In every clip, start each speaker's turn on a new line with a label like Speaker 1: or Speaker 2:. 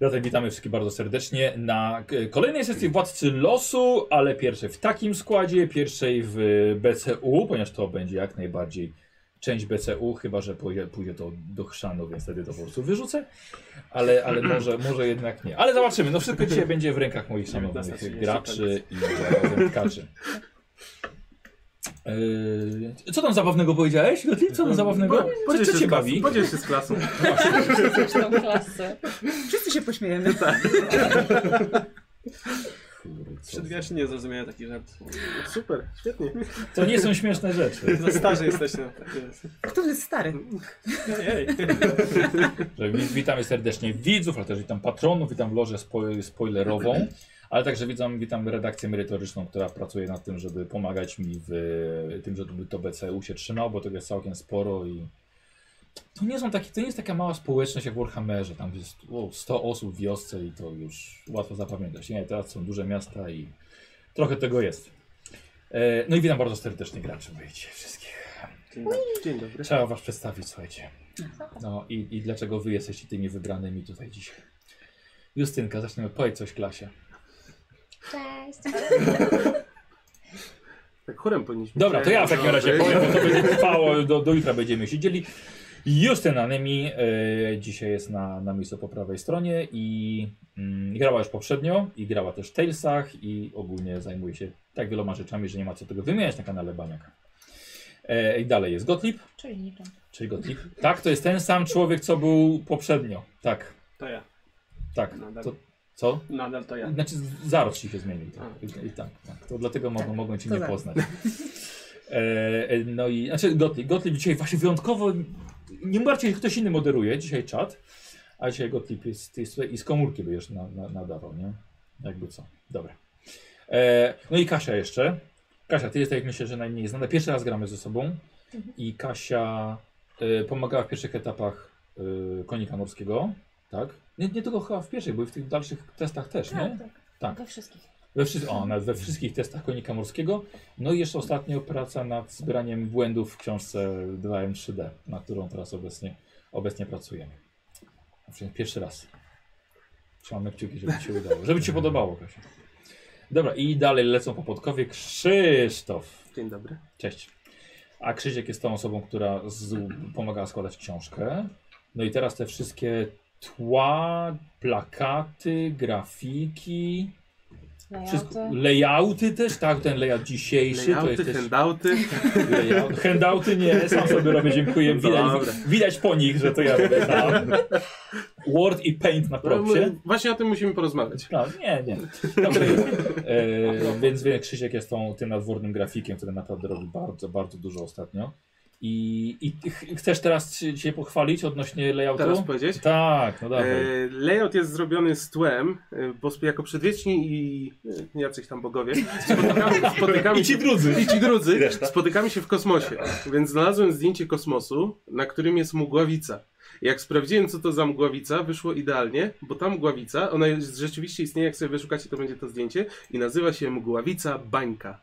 Speaker 1: Zatem witamy wszystkich bardzo serdecznie na k- kolejnej sesji Władcy Losu, ale pierwszej w takim składzie, pierwszej w e, BCU, ponieważ to będzie jak najbardziej część BCU, chyba że pójdzie, pójdzie to do chrzanu, więc wtedy to po prostu wyrzucę, ale, ale może, może jednak nie. Ale zobaczymy, no wszystko dzisiaj będzie w rękach moich szanownych
Speaker 2: 19,
Speaker 1: graczy i zarazem tkaczy. Yy, Co tam zabawnego powiedziałeś? Gottlieb? Co tam
Speaker 2: no,
Speaker 1: zabawnego? Co, co cię bawi?
Speaker 2: Podziel się z klasą.
Speaker 3: Też tą klasę.
Speaker 4: Wszyscy się pośmiejemy.
Speaker 5: No tak.
Speaker 2: Przedwieczni nie zrozumiałem taki żart.
Speaker 5: Super, świetnie.
Speaker 1: To nie są śmieszne rzeczy.
Speaker 2: Za starzy jesteście na takie.
Speaker 4: Kto jest stary?
Speaker 2: Ej,
Speaker 1: Że wi- Witamy serdecznie widzów, ale też witam patronów, witam lożę spo- spoilerową, ale także witam, witam redakcję merytoryczną, która pracuje nad tym, żeby pomagać mi w e, tym, żeby to BCU się trzymało, bo tego jest całkiem sporo i to nie, są takie, to nie jest taka mała społeczność jak w Warhammerze, tam jest o, 100 osób w wiosce i to już łatwo zapamiętać. Nie, teraz są duże miasta i trochę tego jest. E, No i witam bardzo serdecznie graczy, mówię ci wszystkich.
Speaker 2: Dzień dobry.
Speaker 5: Dzień dobry.
Speaker 1: Trzeba was przedstawić, słuchajcie. No i, i dlaczego wy jesteście tymi wybranymi tutaj dzisiaj? Justynka, zaczniemy. Powiedz coś klasie.
Speaker 3: Cześć.
Speaker 5: Tak chórem powinniśmy.
Speaker 1: Dobra, to ja w takim razie powiem, bo to będzie trwało, do, do jutra będziemy siedzieli. Justyna Nemi e, dzisiaj jest na, na miejscu po prawej stronie i mm, grała już poprzednio i grała też w Talesach i ogólnie zajmuje się tak wieloma rzeczami, że nie ma co tego wymieniać na kanale Baniaka. E, I dalej jest Gottlieb,
Speaker 3: Czyli niczym.
Speaker 1: czyli Gottlieb. Tak, to jest ten sam człowiek, co był poprzednio. Tak,
Speaker 2: To ja.
Speaker 1: tak.
Speaker 2: Nadal.
Speaker 1: To, co?
Speaker 2: Nadal to ja.
Speaker 1: Znaczy zaraz ci się zmienił. Tak, I, i tak, tak. To dlatego mogą, mogą cię
Speaker 4: to
Speaker 1: nie
Speaker 4: zaraz.
Speaker 1: poznać. E, e, no i znaczy Gottlieb, Gottlieb dzisiaj właśnie wyjątkowo, nie bardziej ktoś inny moderuje dzisiaj czat, a dzisiaj Gottlieb jest, jest tutaj i z komórki będziesz na, na, nadawał, nie? Jakby co. Dobra. E, no i Kasia jeszcze. Kasia, ty jesteś myślę, że najmniej znana. Pierwszy raz gramy ze sobą
Speaker 3: Mhm.
Speaker 1: i Kasia e, pomagała w pierwszych etapach e, Konika Morskiego, tak? Nie, nie tylko chyba w pierwszych, bo i w tych dalszych testach też, nie?
Speaker 3: Tak, tak.
Speaker 1: Tak.
Speaker 3: We wszystkich.
Speaker 1: We, wszys- o, nawet we wszystkich testach konika morskiego. No i jeszcze ostatnio praca nad zbieraniem błędów w książce 2M3D, nad którą teraz obecnie, obecnie pracujemy. A przynajmniej Pierwszy raz. Trzymamy kciuki, żeby ci się udało. Żeby ci się podobało, Kasia. Dobra, i dalej lecą po podkowie Krzysztof.
Speaker 5: Dzień dobry.
Speaker 1: Cześć. A Krzysiek jest tą osobą, która z, pomagała składać książkę. No i teraz te wszystkie tła, plakaty, grafiki. Wszystko,
Speaker 3: Layouty.
Speaker 1: layouty też, tak, ten layout dzisiejszy,
Speaker 5: Layouty,
Speaker 1: to jest też
Speaker 5: handouty.
Speaker 1: layout. Handouty nie, sam sobie robię, dziękuję, widać,
Speaker 5: No Dobra.
Speaker 1: widać po nich, że to ja robię sam. Word i Paint na
Speaker 5: No,
Speaker 1: propsie.
Speaker 5: my- Właśnie o tym musimy porozmawiać.
Speaker 1: No, nie, nie. Dobrze jest. E, więc wiem, Krzysiek jest tą, tym nadwornym grafikiem, który naprawdę robi bardzo, bardzo dużo ostatnio. I, i ty ch- chcesz teraz się się pochwalić odnośnie layoutu?
Speaker 5: Teraz powiedzieć.
Speaker 1: Tak, no dawaj.
Speaker 5: E, layout jest zrobiony z tłem, e, bo sp- jako przedwieczni i e, jacyś tam bogowie spotykamy, spotykamy
Speaker 1: I ci
Speaker 5: się
Speaker 1: drudzy.
Speaker 5: i ci drudzy
Speaker 6: Reszta.
Speaker 5: spotykamy się w kosmosie. Więc znalazłem zdjęcie kosmosu, na którym jest mgławica. Jak sprawdziłem, co to za mgławica, wyszło idealnie, bo ta mgławica, ona jest, rzeczywiście istnieje, jak sobie wyszukacie, to będzie to zdjęcie i nazywa się mgławica bańka.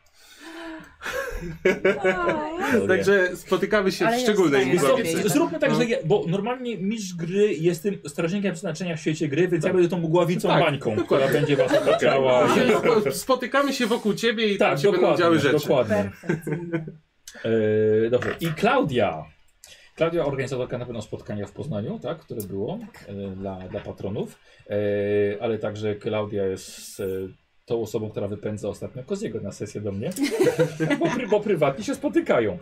Speaker 5: Także spotykamy się
Speaker 3: Ale
Speaker 5: w
Speaker 3: jest
Speaker 5: szczególnej
Speaker 3: fajnie.
Speaker 1: Wiesz co,
Speaker 5: mgławicy.
Speaker 3: Lepiej.
Speaker 1: Zróbmy tak,
Speaker 5: No.
Speaker 1: że ja, bo normalnie mistrz gry jest tym strażnikiem przeznaczenia w świecie gry, więc ja będę tą mgławicą
Speaker 5: Tak,
Speaker 1: bańką,
Speaker 5: dokładnie.
Speaker 1: która będzie was otaczała.
Speaker 5: Czyli Spotykamy się wokół ciebie i tam
Speaker 1: tak,
Speaker 5: się będą działy
Speaker 1: dokładnie.
Speaker 5: rzeczy.
Speaker 1: dokładnie.
Speaker 4: Perfekcyjnie.
Speaker 1: Yy, dobrze. I Klaudia. Klaudia, organizatorka na pewno spotkania w Poznaniu, tak, które było yy, dla, dla patronów, Yy, ale także Klaudia jest yy, tą osobą, która wypędza ostatnio Koziego na sesję do mnie, bo, pry, bo prywatnie się spotykają.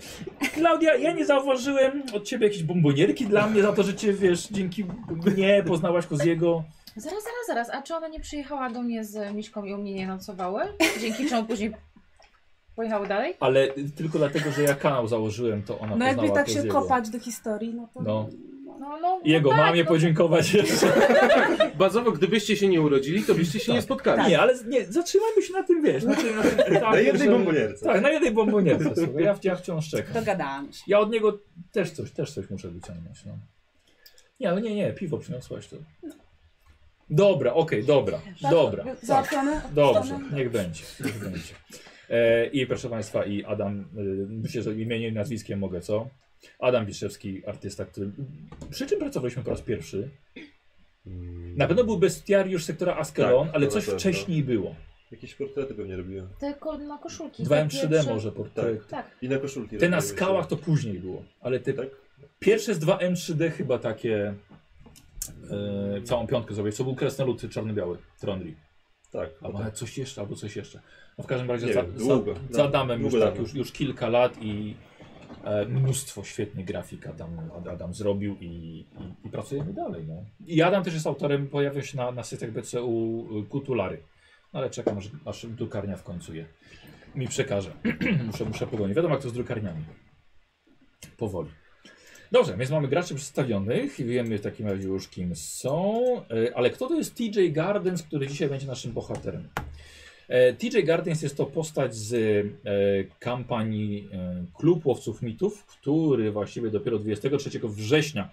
Speaker 1: Klaudia, ja nie zauważyłem od ciebie jakiejś bombonierki dla mnie za to, że cię, wiesz, dzięki mnie poznałaś Koziego.
Speaker 3: Zaraz, zaraz, zaraz. A czy ona nie przyjechała do mnie z Miśką i u mnie nie nocowały? Dzięki czemu później pojechały dalej?
Speaker 1: Ale tylko dlatego, że ja kanał założyłem, to ona
Speaker 4: No
Speaker 1: poznała
Speaker 4: jakby tak się
Speaker 1: Koziego.
Speaker 4: kopać do historii, no to...
Speaker 1: No.
Speaker 3: No, no.
Speaker 1: Jego
Speaker 3: no tak,
Speaker 1: mamie
Speaker 3: no,
Speaker 1: podziękować jeszcze.
Speaker 5: Bazowo, gdybyście się nie urodzili, to byście się
Speaker 1: Tak.
Speaker 5: nie
Speaker 7: Tak.
Speaker 5: spotkali.
Speaker 3: Tak.
Speaker 1: Nie, ale z- nie, zatrzymajmy się na tym, wiesz, na tym, na tym etapie,
Speaker 6: Na jednej
Speaker 1: że-
Speaker 6: bombonierce.
Speaker 1: Tak, na jednej bombonierce, słuchaj, ja, w- ja wciąż czekam.
Speaker 4: Dogadamy się.
Speaker 1: Ja od niego też coś, też coś muszę wyciągnąć, no. Nie, no nie, nie, piwo przyniosłaś to. Dobra, okej, dobra, dobra. Tak.
Speaker 4: Załatwione?
Speaker 1: Dobrze, niech będzie. Niech będzie. E, I proszę Państwa, i Adam, y, myślę, że imieniem i nazwiskiem mogę, co? Adam Wiszewski, artysta, który. Przy czym pracowaliśmy po raz pierwszy? Na pewno był bestiariusz sektora Askelon,
Speaker 6: Tak,
Speaker 1: ale
Speaker 6: to
Speaker 1: coś
Speaker 6: na pewno.
Speaker 1: wcześniej było.
Speaker 6: Jakieś portrety pewnie robiłem.
Speaker 3: Tylko na no, koszulki.
Speaker 1: Dwa
Speaker 3: te
Speaker 1: M3D
Speaker 3: pierwsze-
Speaker 1: może portret.
Speaker 3: Tak,
Speaker 6: I na koszulki
Speaker 1: Te na
Speaker 6: robiłem
Speaker 1: skałach to później było, ale te
Speaker 6: jeszcze. Tak?
Speaker 1: pierwsze z 2 M3D chyba takie e, całą piątkę zrobię. Co był kresnolud czarno-biały, Trondri.
Speaker 6: Tak.
Speaker 1: Albo
Speaker 6: tak.
Speaker 1: nawet coś jeszcze, albo coś jeszcze. No w każdym razie
Speaker 6: Nie
Speaker 1: za,
Speaker 6: wiem,
Speaker 1: za,
Speaker 6: długo. no,
Speaker 1: za Adamem już,
Speaker 6: Długo
Speaker 1: tak,
Speaker 6: dawno.
Speaker 1: już, już kilka lat i e, mnóstwo świetnych grafik Adam, Ad- Adam zrobił i, i, i pracujemy dalej. No. I Adam też jest autorem, pojawił się na, na sitach BCU y, Kutulary. No ale czekam, aż, aż drukarnia w końcu je mi przekaże. muszę, muszę pogonić. Wiadomo jak to z drukarniami. Powoli. Dobrze, więc mamy graczy przedstawionych i wiemy w takim razie już kim są. E, Ale kto to jest TJ Gardens, który dzisiaj będzie naszym bohaterem? E, TJ Gardens jest to postać z e, kampanii e, Klub Łowców Mitów, który właściwie dopiero 23 września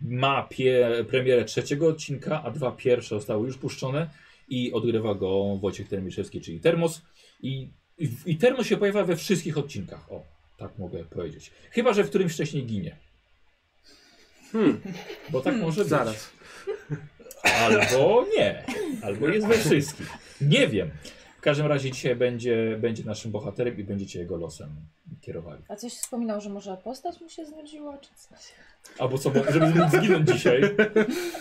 Speaker 1: ma pie, premierę trzeciego odcinka, a dwa pierwsze zostały już puszczone i odgrywa go Wojciech Termiszewski, czyli Termos. I, i, I Termos się pojawia we wszystkich odcinkach, o, tak mogę powiedzieć. Chyba, że w którymś wcześniej ginie,
Speaker 5: Hmm,
Speaker 1: bo tak może być.
Speaker 5: zaraz.
Speaker 1: Albo nie. Albo jest we wszystkich. Nie wiem. W każdym razie dzisiaj będzie, będzie naszym bohaterem i będziecie jego losem kierowali.
Speaker 3: a coś wspominał, że może postać mu się znudziła, czy coś.
Speaker 1: Albo co, bo- żeby mógł zginąć dzisiaj.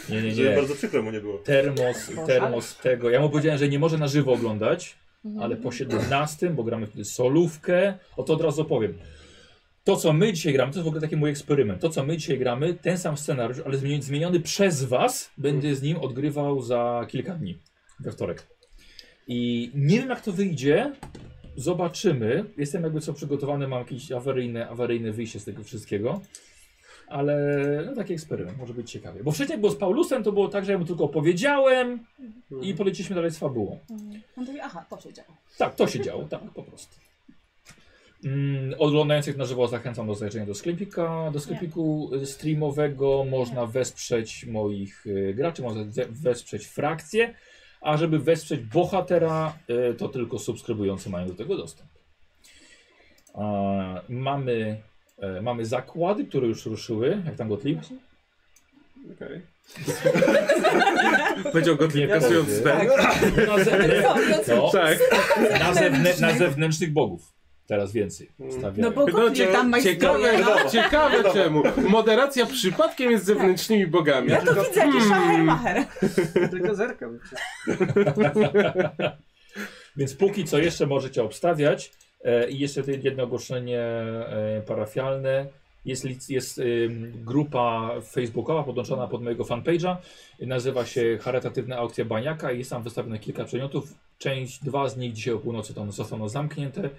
Speaker 1: Nie, nie,
Speaker 6: Żeby
Speaker 1: nie.
Speaker 6: bardzo przykro mu nie było.
Speaker 1: Termos, termos tego. Ja mu powiedziałem, że nie może na żywo oglądać,
Speaker 3: Mhm.
Speaker 1: ale po 17, bo gramy wtedy solówkę, o to od razu opowiem. To, co my dzisiaj gramy, to jest w ogóle taki mój eksperyment. To, co my dzisiaj gramy, ten sam scenariusz, ale zmieni- zmieniony przez Was, będę z nim odgrywał za kilka dni, we wtorek. I nie wiem, jak to wyjdzie. Zobaczymy. Jestem jakby co przygotowany, mam jakieś awaryjne, awaryjne wyjście z tego wszystkiego. Ale no, taki eksperyment może być ciekawie. Bo wcześniej jak było z Paulusem, to było tak, że ja mu tylko opowiedziałem i poleciliśmy dalej z fabułą.
Speaker 3: Mhm.
Speaker 4: On mówi, aha, to się działo.
Speaker 1: Tak, to się działo, tak, po prostu. Mm, oglądających na żywo zachęcam do zajrzenia do sklepika, do sklepiku y, streamowego. Można wesprzeć moich y, graczy, można ze- wesprzeć frakcję, a żeby wesprzeć bohatera, y, to tylko subskrybujący mają do tego dostęp. A, mamy, e, mamy zakłady, które już ruszyły, jak tam Gottlieb?
Speaker 2: Okej.
Speaker 5: Powiedział Gottlieb,
Speaker 1: Ja
Speaker 5: kasując
Speaker 1: też.
Speaker 5: zbęk.
Speaker 1: Na, ze-
Speaker 4: Co, i od-
Speaker 1: no,
Speaker 5: Tak.
Speaker 1: na, zewnę- na zewnętrznych bogów. Teraz więcej.
Speaker 4: No
Speaker 1: stawiają.
Speaker 4: bo Gottlieb tam ma
Speaker 5: ciekawe,
Speaker 4: historię, no.
Speaker 5: ciekawe czemu. Moderacja przypadkiem jest z zewnętrznymi bogami.
Speaker 4: Ja to widzę,
Speaker 1: Hmm.
Speaker 4: jakiś szachermacher.
Speaker 2: Tylko zerkam.
Speaker 1: Więc póki co jeszcze możecie obstawiać. E, I jeszcze to jedno ogłoszenie e, parafialne. Jest, lic- jest ym, grupa facebookowa podłączona pod mojego fanpage'a. Nazywa się Charytatywna Aukcja Baniaka i jest tam wystawionych kilka przedmiotów. Część, dwa z nich dzisiaj o północy tam zostaną zamknięte.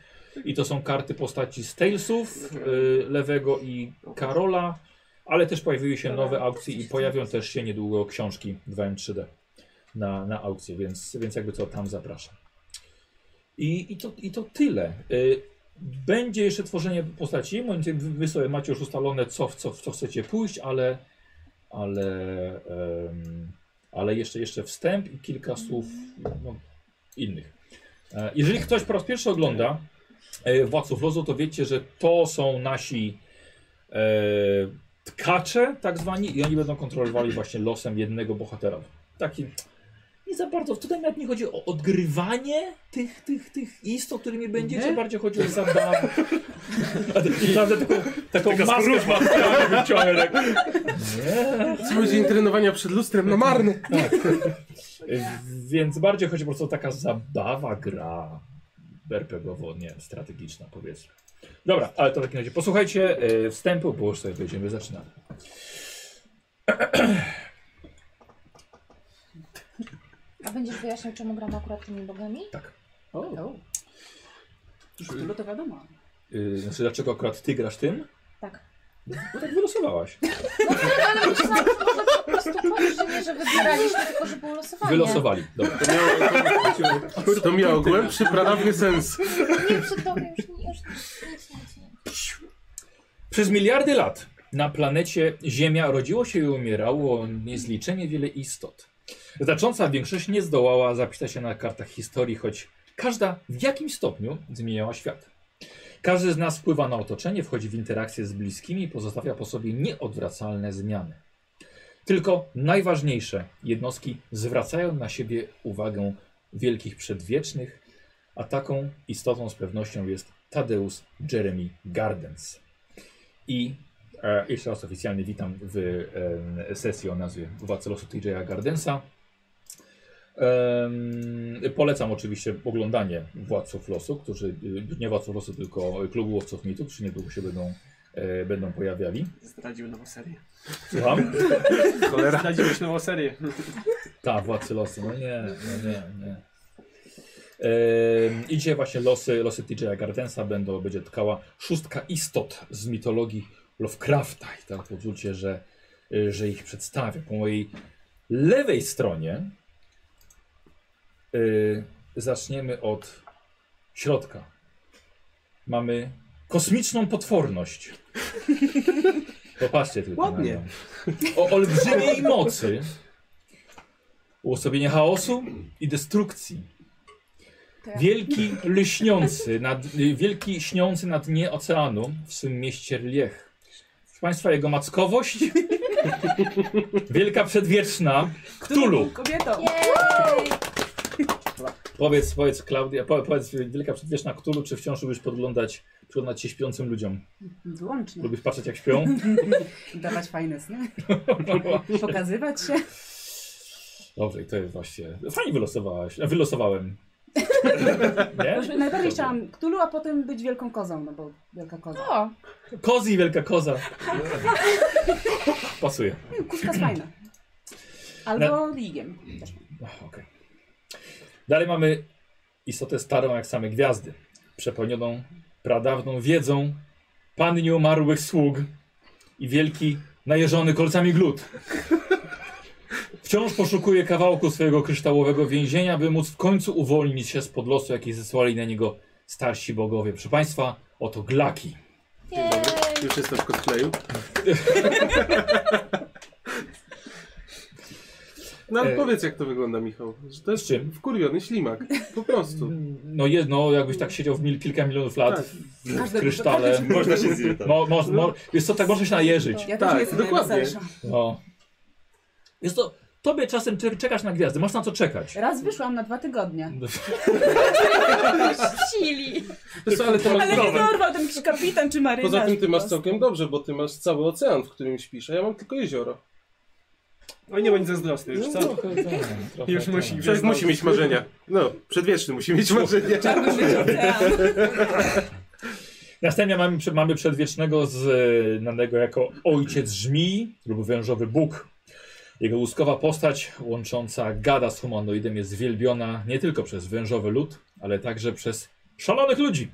Speaker 1: I to są karty postaci z Talesów, y, Lewego i Karola. Ale też pojawiły się nowe aukcje i pojawią też się niedługo książki 2M3D na, na aukcję, więc, więc jakby co tam zapraszam. I, i, to, I to tyle. Y, Będzie jeszcze tworzenie postaci. Moim zdaniem wy- wy sobie macie już ustalone, co, w co, w co chcecie pójść, ale, ale, em, ale jeszcze, jeszcze wstęp i kilka słów no, innych. E, Jeżeli ktoś po raz pierwszy ogląda e, Władców Lozu, to wiecie, że to są nasi e, tkacze, tak zwani, i oni będą kontrolowali właśnie losem jednego bohatera. Taki nie za bardzo. Tutaj nawet nie chodzi o odgrywanie tych, tych, tych istot, którymi będziecie. Bardziej chodzi o zabawę. A ty- I prawda, taką, taką maskę z maskami wyciąłem, tak. Nie.
Speaker 5: Cały dzień trenowania przed lustrem, no marny.
Speaker 1: Więc bardziej chodzi po prostu o taka zabawa gra RPGowo, nie strategiczna powiedzmy. Dobra, ale to w takim razie posłuchajcie e, wstępu, bo już sobie będziemy zaczynamy.
Speaker 3: A będziesz wyjaśniał, czemu gram akurat tymi bogami?
Speaker 1: Tak.
Speaker 4: O. Już tyle to wiadomo.
Speaker 1: Y, znaczy, dlaczego akurat ty grasz tym?
Speaker 3: Tak.
Speaker 1: Bo tak wylosowałaś.
Speaker 3: No Ale myślałam, że może po prostu powiesz, że nie, że wybieraliśmy, tylko że było losowanie.
Speaker 1: Wylosowali. Dobra.
Speaker 5: To miało, to, to miało głębszy, pradawny sens.
Speaker 3: Nie, przed tobą już nie, już nic, nic, nic.
Speaker 1: Przez miliardy lat na planecie Ziemia rodziło się i umierało niezliczenie wiele istot. Znacząca większość nie zdołała zapisać się na kartach historii, choć każda w jakimś stopniu zmieniała świat. Każdy z nas wpływa na otoczenie, wchodzi w interakcje z bliskimi i pozostawia po sobie nieodwracalne zmiany. Tylko najważniejsze jednostki zwracają na siebie uwagę wielkich przedwiecznych, a taką istotą z pewnością jest Tadeusz Jeremy Gardens. I e, jeszcze raz oficjalnie witam w e, sesji o nazwie Władcy Losu TJ'a Gardensa. Em, polecam oczywiście oglądanie Władców Losu, którzy, y, nie Władców Losu, tylko Klubu Łowców Mitu, którzy niedługo się będą, e, będą pojawiali.
Speaker 2: Zdradził nową serię.
Speaker 1: Słucham?
Speaker 5: Cholera.
Speaker 2: Zdradziłeś nową serię.
Speaker 1: Tak, władcy losu. No nie, no nie, nie. Ym, I dzisiaj właśnie losy, losy TJ'a Gardensa będą, będzie tkała szóstka istot z mitologii Lovecrafta. I tak pozwólcie, że, y, że ich przedstawię. Po mojej lewej stronie y, zaczniemy od środka. Mamy kosmiczną potworność. Popatrzcie tylko
Speaker 5: Ładnie.
Speaker 1: na nią. O olbrzymiej mocy. Uosobienie chaosu i destrukcji.
Speaker 3: Tak.
Speaker 1: Wielki lśniący, nad, y, wielki śniący na dnie oceanu w swym mieście Liech. Proszę Państwa, jego mackowość. Wielka przedwieczna. Ktulu.
Speaker 4: Kobieto!
Speaker 3: Jej!
Speaker 1: Powiedz, powiedz Klaudia, po, powiedz wielka przedwieczna Ktulu, czy wciąż lubisz podglądać, przyglądać się śpiącym ludziom?
Speaker 4: Wyłącznie.
Speaker 1: Lubisz patrzeć jak śpią?
Speaker 4: Dawać fajne sny.
Speaker 1: No.
Speaker 4: Pokazywać się.
Speaker 1: Dobrze, i to jest właśnie. Fajnie wylosowałaś. e, Wylosowałem. Nie?
Speaker 4: Najbardziej chciałam Ktulu, a potem być wielką kozą, no bo wielka koza.
Speaker 3: O,
Speaker 1: Kozy i wielka koza. Pasuje.
Speaker 4: No, Kuszka jest fajna. Albo ligiem. Też fajna.
Speaker 1: Ach, okej. Dalej mamy istotę starą jak same gwiazdy, przepełnioną pradawną wiedzą pan nieumarłych sług i wielki najeżony kolcami glut. Wciąż poszukuje kawałku swojego kryształowego więzienia, by móc w końcu uwolnić się spod losu, jaki zesłali na niego starsi bogowie. Proszę Państwa, oto Glaki.
Speaker 3: jej!
Speaker 5: Już jestem w cosplayu. No ale
Speaker 1: E.
Speaker 5: powiedz jak to wygląda, Michał. Że to
Speaker 1: Z
Speaker 5: jest
Speaker 1: czym?
Speaker 5: wkurwiony ślimak. Po prostu.
Speaker 1: No jedno, jakbyś tak siedział w mil kilka milionów lat
Speaker 5: Tak.
Speaker 1: w, w krysztale.
Speaker 6: Można się zirytować.
Speaker 1: Mo, mo, mo, jest to tak, można się najeżyć.
Speaker 4: Ja też
Speaker 5: Tak,
Speaker 4: nie jestem
Speaker 5: dokładnie.
Speaker 4: najweselszą.
Speaker 1: No. Jest to. Tobie czasem czek- czekasz na gwiazdy, masz na co czekać.
Speaker 4: Raz wyszłam na dwa tygodnie.
Speaker 3: Sili!
Speaker 5: Wiesz co, ale to masz
Speaker 4: Ale nie
Speaker 5: problem.
Speaker 4: dorwał ten jakiś kapitan czy marynarz.
Speaker 5: Poza tym ty
Speaker 4: po
Speaker 5: masz
Speaker 4: prostu.
Speaker 5: całkiem dobrze, bo ty masz cały ocean, w którym śpisz, a ja mam tylko jezioro.
Speaker 2: Oj, nie bądź zazdrosny już, co?
Speaker 1: trochę, tak, trochę,
Speaker 2: Już
Speaker 1: trochę.
Speaker 2: musi.
Speaker 5: Człowiek musi mieć marzenia. No, przedwieczny musi mieć marzenia.
Speaker 4: Czarny życie ocean.
Speaker 1: Następnie mamy, prze- mamy przedwiecznego y, znanego jako ojciec żmii lub wężowy Bóg. Jego łuskowa postać łącząca gada z humanoidem jest wielbiona nie tylko przez wężowy lud, ale także przez szalonych ludzi.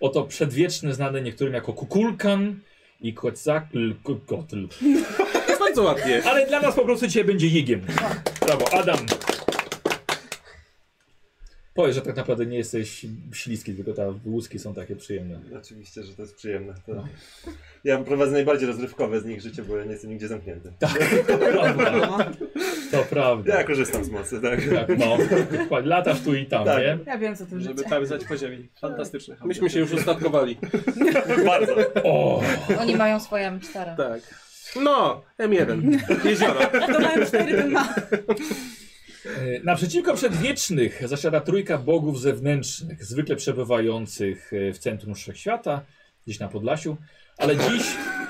Speaker 1: Oto przedwieczny znany niektórym jako Kukulkan i Quetzal Kotl.
Speaker 5: To jest bardzo ładnie.
Speaker 1: Ale dla nas po prostu dzisiaj będzie jigiem. Brawo, Adam. Powiedz, że tak naprawdę nie jesteś śliski, tylko te łuski są takie przyjemne.
Speaker 6: Oczywiście, że to jest przyjemne. To... Ja prowadzę najbardziej rozrywkowe z nich życie, bo ja nie jestem nigdzie zamknięty.
Speaker 1: Tak, To prawda.
Speaker 4: No.
Speaker 1: To prawda.
Speaker 6: Ja korzystam z mocy, tak.
Speaker 1: Tak, no. Dokładnie. Latasz tu i tam,
Speaker 6: Tak.
Speaker 1: nie?
Speaker 4: Ja wiem co to
Speaker 2: Żeby
Speaker 4: życie.
Speaker 2: pełzać po ziemi. Fantastyczne.
Speaker 5: Myśmy się już ustatkowali.
Speaker 6: Bardzo.
Speaker 1: O,
Speaker 3: Oni mają swoje M4.
Speaker 5: Tak. No, M1. Jezioro.
Speaker 4: To mają cztery, ten ma.
Speaker 1: E, Naprzeciwko przedwiecznych zasiada trójka bogów zewnętrznych, zwykle przebywających e, w centrum wszechświata, gdzieś na Podlasiu, ale dziś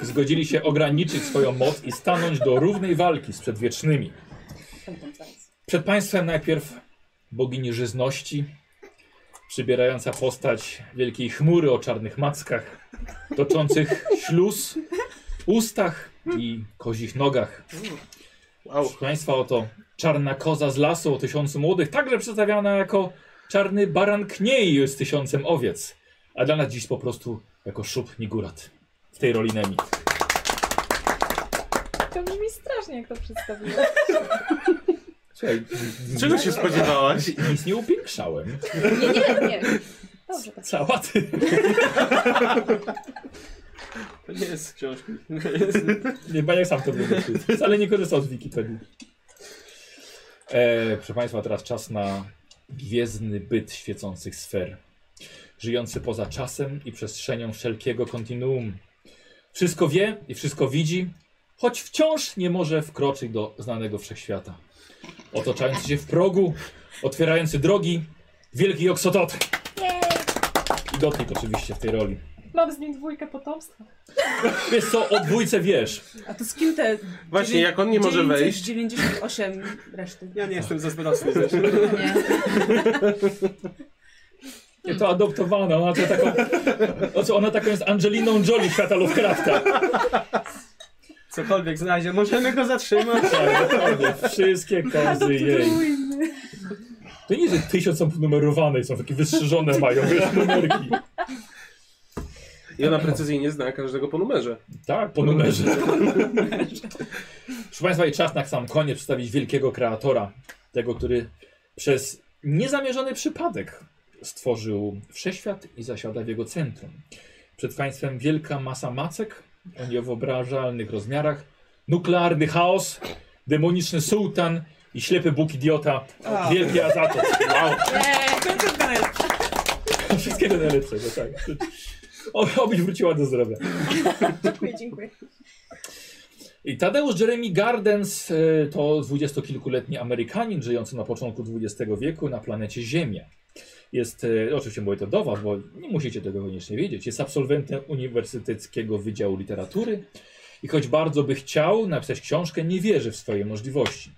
Speaker 1: zgodzili się ograniczyć swoją moc i stanąć do równej walki z przedwiecznymi.
Speaker 4: Pamiętam zaraz.
Speaker 1: Przed Państwem najpierw bogini żyzności, przybierająca postać wielkiej chmury o czarnych mackach, toczących śluz, ustach i kozich nogach.
Speaker 5: Wow.
Speaker 1: Proszę Państwa, oto czarna koza z lasu o tysiącu młodych, także przedstawiana jako czarny baran kniej z tysiącem owiec, a dla nas dziś po prostu jako szub nigurat w tej roli Nemi.
Speaker 3: To brzmi strasznie, jak to przedstawiłeś.
Speaker 1: Słuchaj,
Speaker 5: Czego się spodziewałaś?
Speaker 1: nic nie upiększałem.
Speaker 3: Nie, nie, nie. Dobrze, to
Speaker 1: Cała ty.
Speaker 2: To nie jest z książki. To jest-
Speaker 1: Nie, Baniak sam to wymyślił. Wcale nie korzystał z Wikipedii. E, proszę Państwa, teraz czas na gwiezdny byt świecących sfer. Żyjący poza czasem i przestrzenią wszelkiego kontinuum. Wszystko wie i wszystko widzi, choć wciąż nie może wkroczyć do znanego wszechświata. Otaczający się w progu, otwierający drogi, wielki Oksotot. I dotnik oczywiście w tej roli.
Speaker 3: Mam z nim dwójkę potomstwa.
Speaker 1: Wiesz co, o dwójce wiesz.
Speaker 4: A to z kim te...
Speaker 5: Właśnie, jak on nie może wejść,
Speaker 4: 98 reszty.
Speaker 2: Ja nie jestem zazdrosny zresztą.
Speaker 3: Nie.
Speaker 1: Nie, to adoptowana, ona to taką... O co, ona taką jest Angeliną Jolie świata Lovecrafta.
Speaker 2: Cokolwiek znajdzie, możemy go zatrzymać.
Speaker 1: Tak, dokładnie. Wszystkie kozy jej. To nie, że tysiąc są numerowane i są takie wystrzyżone mają, wiesz, numerki.
Speaker 5: i ona precyzyjnie zna każdego po numerze.
Speaker 1: Tak, po numerze. Proszę Państwa, i czas na sam koniec przedstawić wielkiego kreatora. Tego, który przez niezamierzony przypadek stworzył wszechświat i zasiada w jego centrum. Przed Państwem wielka masa macek o niewyobrażalnych rozmiarach, nuklearny chaos, demoniczny sułtan i ślepy bóg idiota,
Speaker 4: A.
Speaker 1: wielki azatot. Wow.
Speaker 4: Końcówka najlepsza.
Speaker 1: Wszystkiego najlepszego, tak. O- Obyś wróciła do zdrowia.
Speaker 3: Dziękuję, dziękuję.
Speaker 1: I Tadeusz Jeremy Gardens y, to dwudziestokilkuletni Amerykanin żyjący na początku XX wieku na planecie Ziemia. Jest, y, oczywiście mówię to do was, bo nie musicie tego koniecznie wiedzieć, jest absolwentem Uniwersyteckiego Wydziału Literatury i choć bardzo by chciał napisać książkę, nie wierzy w swoje możliwości.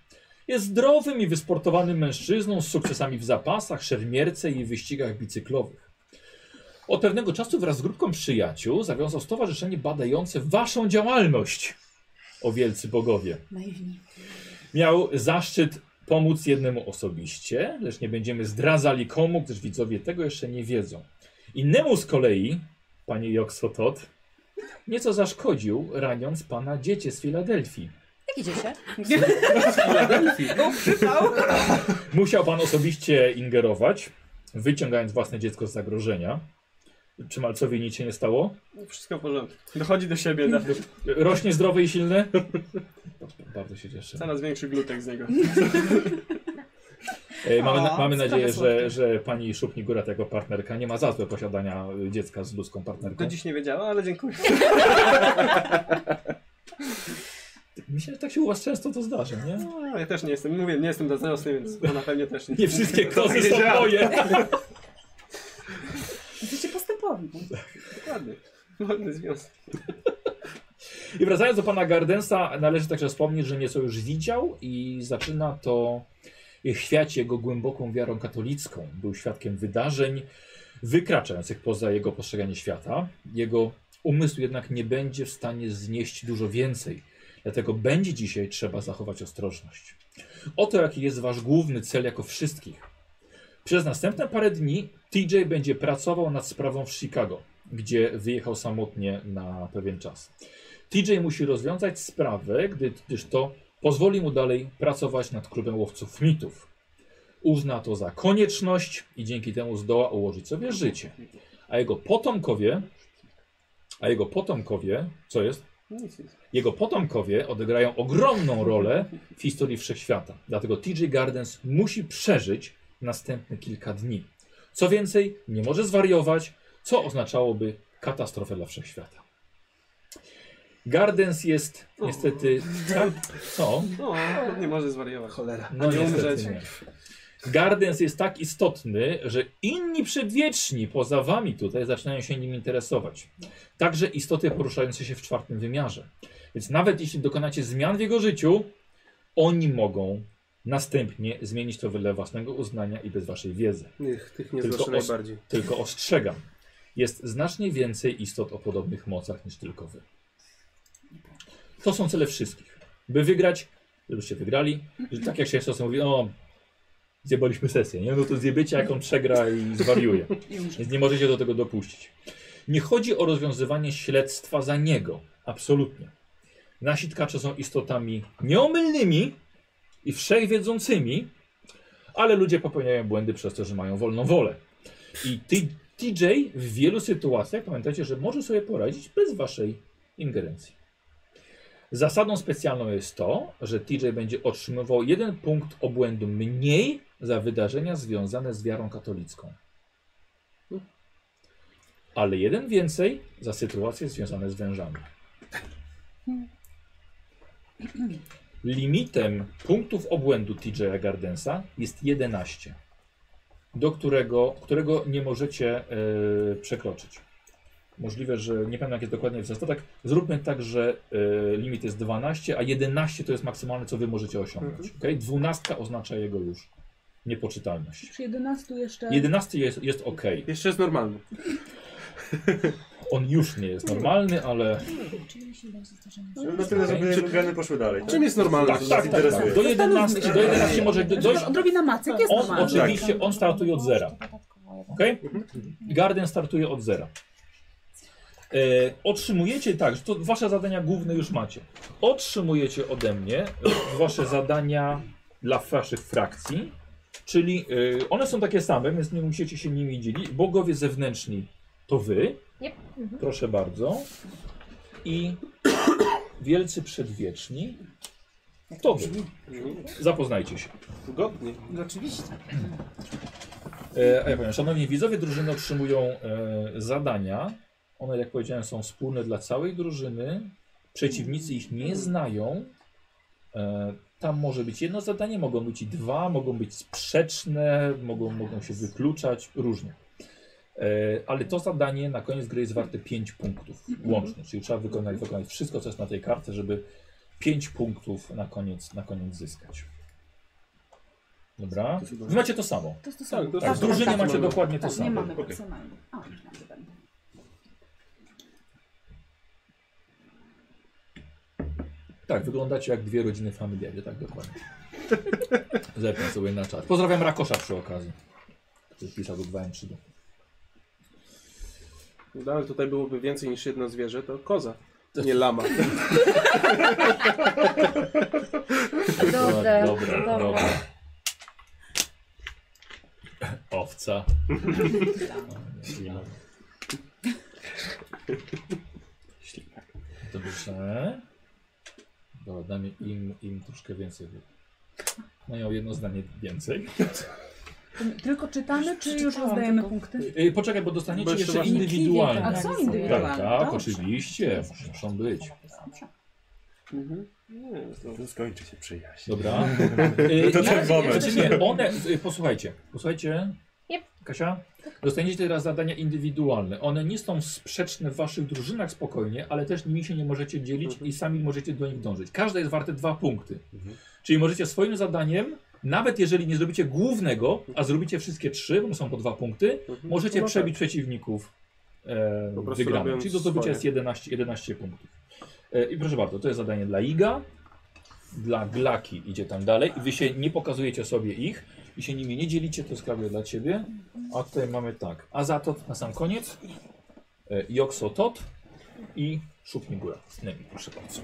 Speaker 1: Jest zdrowym i wysportowanym mężczyzną z sukcesami w zapasach, szermierce i wyścigach bicyklowych. Od pewnego czasu wraz z grupką przyjaciół zawiązał stowarzyszenie badające waszą działalność o wielcy bogowie.
Speaker 4: Naiwni.
Speaker 1: Miał zaszczyt pomóc jednemu osobiście, lecz nie będziemy zdradzali komu, gdyż widzowie tego jeszcze nie wiedzą. Innemu z kolei, panie Joksotot, nieco zaszkodził, raniąc pana dziecię z Filadelfii.
Speaker 3: Jakie dziecię?
Speaker 1: Musiał pan osobiście ingerować, wyciągając własne dziecko z zagrożenia. Czy malcowi nic się nie stało?
Speaker 2: Wszystko w porządku. Dochodzi do siebie, da.
Speaker 1: Rośnie zdrowy i silny? Bardzo się cieszę.
Speaker 2: coraz większy glutek z niego.
Speaker 1: E, Mamy, na,
Speaker 4: O,
Speaker 1: mamy nadzieję,
Speaker 4: sprawy
Speaker 1: że, że pani Szupnigórat jako partnerka nie ma za złe posiadania y, dziecka z ludzką
Speaker 2: Do
Speaker 1: partnerką.
Speaker 2: dziś nie wiedziała, ale dziękuję.
Speaker 1: Myślę, że tak się u was często to zdarza, nie?
Speaker 2: No, ja też nie jestem, mówię, nie jestem zazdrosny, więc ona pewnie też nie.
Speaker 1: Nie wszystkie kozy są moje.
Speaker 4: Jesteście postępowi.
Speaker 2: Dokładnie. Wolny związek.
Speaker 1: I wracając do pana Gardensa, należy także wspomnieć, że nieco już widział i zaczyna to świać jego głęboką wiarą katolicką. Był świadkiem wydarzeń wykraczających poza jego postrzeganie świata. Jego umysł jednak nie będzie w stanie znieść dużo więcej. Dlatego będzie dzisiaj trzeba zachować ostrożność. Oto jaki jest wasz główny cel jako wszystkich. Przez następne parę dni TJ będzie pracował nad sprawą w Chicago, gdzie wyjechał samotnie na pewien czas. TJ musi rozwiązać sprawę, gdy- gdyż to pozwoli mu dalej pracować nad klubem łowców mitów. Uzna to za konieczność i dzięki temu zdoła ułożyć sobie życie. A jego potomkowie, a jego potomkowie, co jest?
Speaker 2: Nic, nic.
Speaker 1: Jego potomkowie odegrają ogromną rolę w historii wszechświata. Dlatego TJ Gardens musi przeżyć następne kilka dni. Co więcej, nie może zwariować, co oznaczałoby katastrofę dla wszechświata. Gardens jest niestety. Tak, co?
Speaker 2: O, No, nie może zwariować. Cholera.
Speaker 1: No
Speaker 2: nie
Speaker 1: niestety
Speaker 2: umrzeć.
Speaker 1: nie. Gardens jest tak istotny, że inni przedwieczni poza wami tutaj zaczynają się nim interesować. Także istoty poruszające się w czwartym wymiarze. Więc nawet jeśli dokonacie zmian w jego życiu, oni mogą następnie zmienić to wedle własnego uznania i bez waszej wiedzy.
Speaker 5: Niech tych nie
Speaker 1: Tylko
Speaker 5: zgłoszę
Speaker 1: os-
Speaker 5: najbardziej.
Speaker 1: Tylko ostrzegam, jest znacznie więcej istot o podobnych mocach niż tylko wy. To są cele wszystkich. By wygrać, żebyście wygrali. Że tak jak się czasem mówi, o, zjebaliśmy sesję, nie? No to zjebiecie, jak on przegra i zwariuje.
Speaker 4: I umrze.
Speaker 1: Więc nie możecie do tego dopuścić. Nie chodzi o rozwiązywanie śledztwa za niego. Absolutnie. Nasi tkacze są istotami nieomylnymi i wszechwiedzącymi, ale ludzie popełniają błędy przez to, że mają wolną wolę. I ty, TJ w wielu sytuacjach, pamiętajcie, że może sobie poradzić bez waszej ingerencji. Zasadą specjalną jest to, że TJ będzie otrzymywał jeden punkt obłędu mniej za wydarzenia związane z wiarą katolicką ale jeden więcej za sytuacje związane z wężami. Limitem punktów obłędu TJ'a Gardensa jest 11, do którego, którego nie możecie e, przekroczyć. Możliwe, że nie pamiętam jak jest dokładnie w zasadach. Zróbmy tak, że e, limit jest 12, a 11 to jest maksymalne, co wy możecie osiągnąć.
Speaker 5: Mhm.
Speaker 1: Okay? 12 oznacza jego już niepoczytalność.
Speaker 4: Przy 11 jeszcze.
Speaker 8: Tak.
Speaker 1: 11 jest, jest ok.
Speaker 5: Jeszcze jest normalny.
Speaker 1: On już nie jest normalny, ale.
Speaker 3: Czyli jeśli będzie zdarzenie.
Speaker 1: No,
Speaker 6: No, Na tyle, żeby organy poszły dalej.
Speaker 5: Czym jest normalność?
Speaker 1: Tak, tak, tak, tak. Do 11, do 11 może
Speaker 4: Znaczy,
Speaker 1: do- dojść.
Speaker 4: Odrobina macek jest
Speaker 1: On
Speaker 4: normalna.
Speaker 1: oczywiście on startuje od zera. Ok? mhm. Garden startuje od zera. E, otrzymujecie tak, że to wasze zadania główne już macie. Otrzymujecie ode mnie e, wasze zadania dla waszych frakcji, czyli e, one są takie same, więc nie musicie się nimi dzielić. Bogowie zewnętrzni to wy,
Speaker 3: Yep. Mhm.
Speaker 1: proszę bardzo, i wielcy przedwieczni
Speaker 4: Jak
Speaker 1: to wy.
Speaker 4: brzmi?
Speaker 1: Zapoznajcie się.
Speaker 5: Godnie.
Speaker 4: No Oczywiście.
Speaker 1: E, a ja powiem, szanowni widzowie, drużyny otrzymują e, zadania. One, jak powiedziałem, są wspólne dla całej drużyny. Przeciwnicy ich nie znają. E, tam może być jedno zadanie, mogą być i dwa, mogą być sprzeczne, mogą, mogą się wykluczać, różnie. E, ale to zadanie na koniec gry jest warte 5 punktów łącznie, czyli trzeba wykonać, wykonać wszystko, co jest na tej kartce, żeby 5 punktów na koniec, na koniec zyskać. Dobra? Wy macie to samo.
Speaker 4: To jest to samo.
Speaker 5: to
Speaker 1: Tak, w drużynie macie dokładnie to
Speaker 4: Tak, nie
Speaker 1: samo.
Speaker 4: mamy
Speaker 6: Okej.
Speaker 4: personalnych. A, myślałam, że będą.
Speaker 1: Tak, wyglądacie jak dwie rodziny familiarnie, tak dokładnie. Zerknę sobie na czat. Pozdrawiam Rakosza przy okazji. Który pisał do 2M3.
Speaker 5: No, ale tutaj byłoby więcej niż jedno zwierzę, to koza. Nie lama.
Speaker 3: Dobre,
Speaker 1: Dobra,
Speaker 3: dobre.
Speaker 1: dobra. Owca.
Speaker 6: Ślimak.
Speaker 1: Dobrze. Dobra, damy im, im troszkę więcej. Mają jedno zdanie więcej.
Speaker 4: Tylko czytamy, czy już
Speaker 3: Przeczytałam
Speaker 4: rozdajemy
Speaker 3: tylko.
Speaker 4: punkty?
Speaker 1: Yy, Poczekaj, bo
Speaker 5: Bo
Speaker 1: dostaniecie
Speaker 5: jeszcze
Speaker 1: jeszcze
Speaker 5: właśnie-
Speaker 1: indywidualne.
Speaker 3: A co indywidualne?
Speaker 1: Tak, tak,
Speaker 4: Dobrze.
Speaker 1: oczywiście. Muszą być.
Speaker 2: Mhm. Nie, jest dobrze.
Speaker 6: No, To skończy się przyjaźń.
Speaker 1: Dobra.
Speaker 6: To
Speaker 1: Yy,
Speaker 6: ten
Speaker 1: nie,
Speaker 6: moment.
Speaker 1: Znaczy nie, one, y, posłuchajcie, posłuchajcie.
Speaker 3: Yep.
Speaker 1: Kasia, dostaniecie teraz zadania indywidualne. One nie są sprzeczne w waszych drużynach spokojnie, ale też nimi się nie możecie dzielić
Speaker 5: Mhm.
Speaker 1: i sami możecie do nich dążyć. Każde jest warte dwa punkty.
Speaker 6: Mhm.
Speaker 1: Czyli możecie swoim zadaniem, nawet jeżeli nie zrobicie głównego, a zrobicie wszystkie trzy, bo są po dwa punkty,
Speaker 5: Mhm.
Speaker 1: możecie
Speaker 5: No tak.
Speaker 1: przebić przeciwników e,
Speaker 5: Po prostu
Speaker 1: wygranych.
Speaker 5: robiąc
Speaker 1: Czyli do zdobycia
Speaker 5: swoje.
Speaker 1: jest 11, 11 punktów. E, I proszę bardzo, to jest zadanie dla Iga, dla Glaki idzie tam dalej i wy się nie pokazujecie sobie ich i się nimi nie dzielicie, to jest klawisz dla ciebie. A tutaj mamy tak, Azatot na sam koniec, e, Joksotot i Szupnigura. Z nimi, proszę bardzo.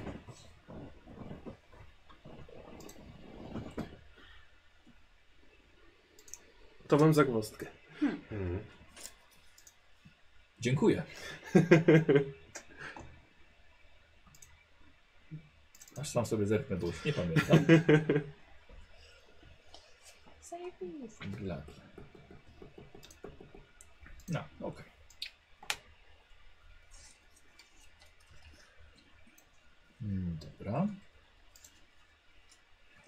Speaker 5: To mam zagwozdkę.
Speaker 6: Mhm.
Speaker 1: Dziękuję. Aż sam sobie zerknę, bo już nie pamiętam.
Speaker 3: Zajebiste.
Speaker 1: Glaki. No, okej. Mm, Dobra.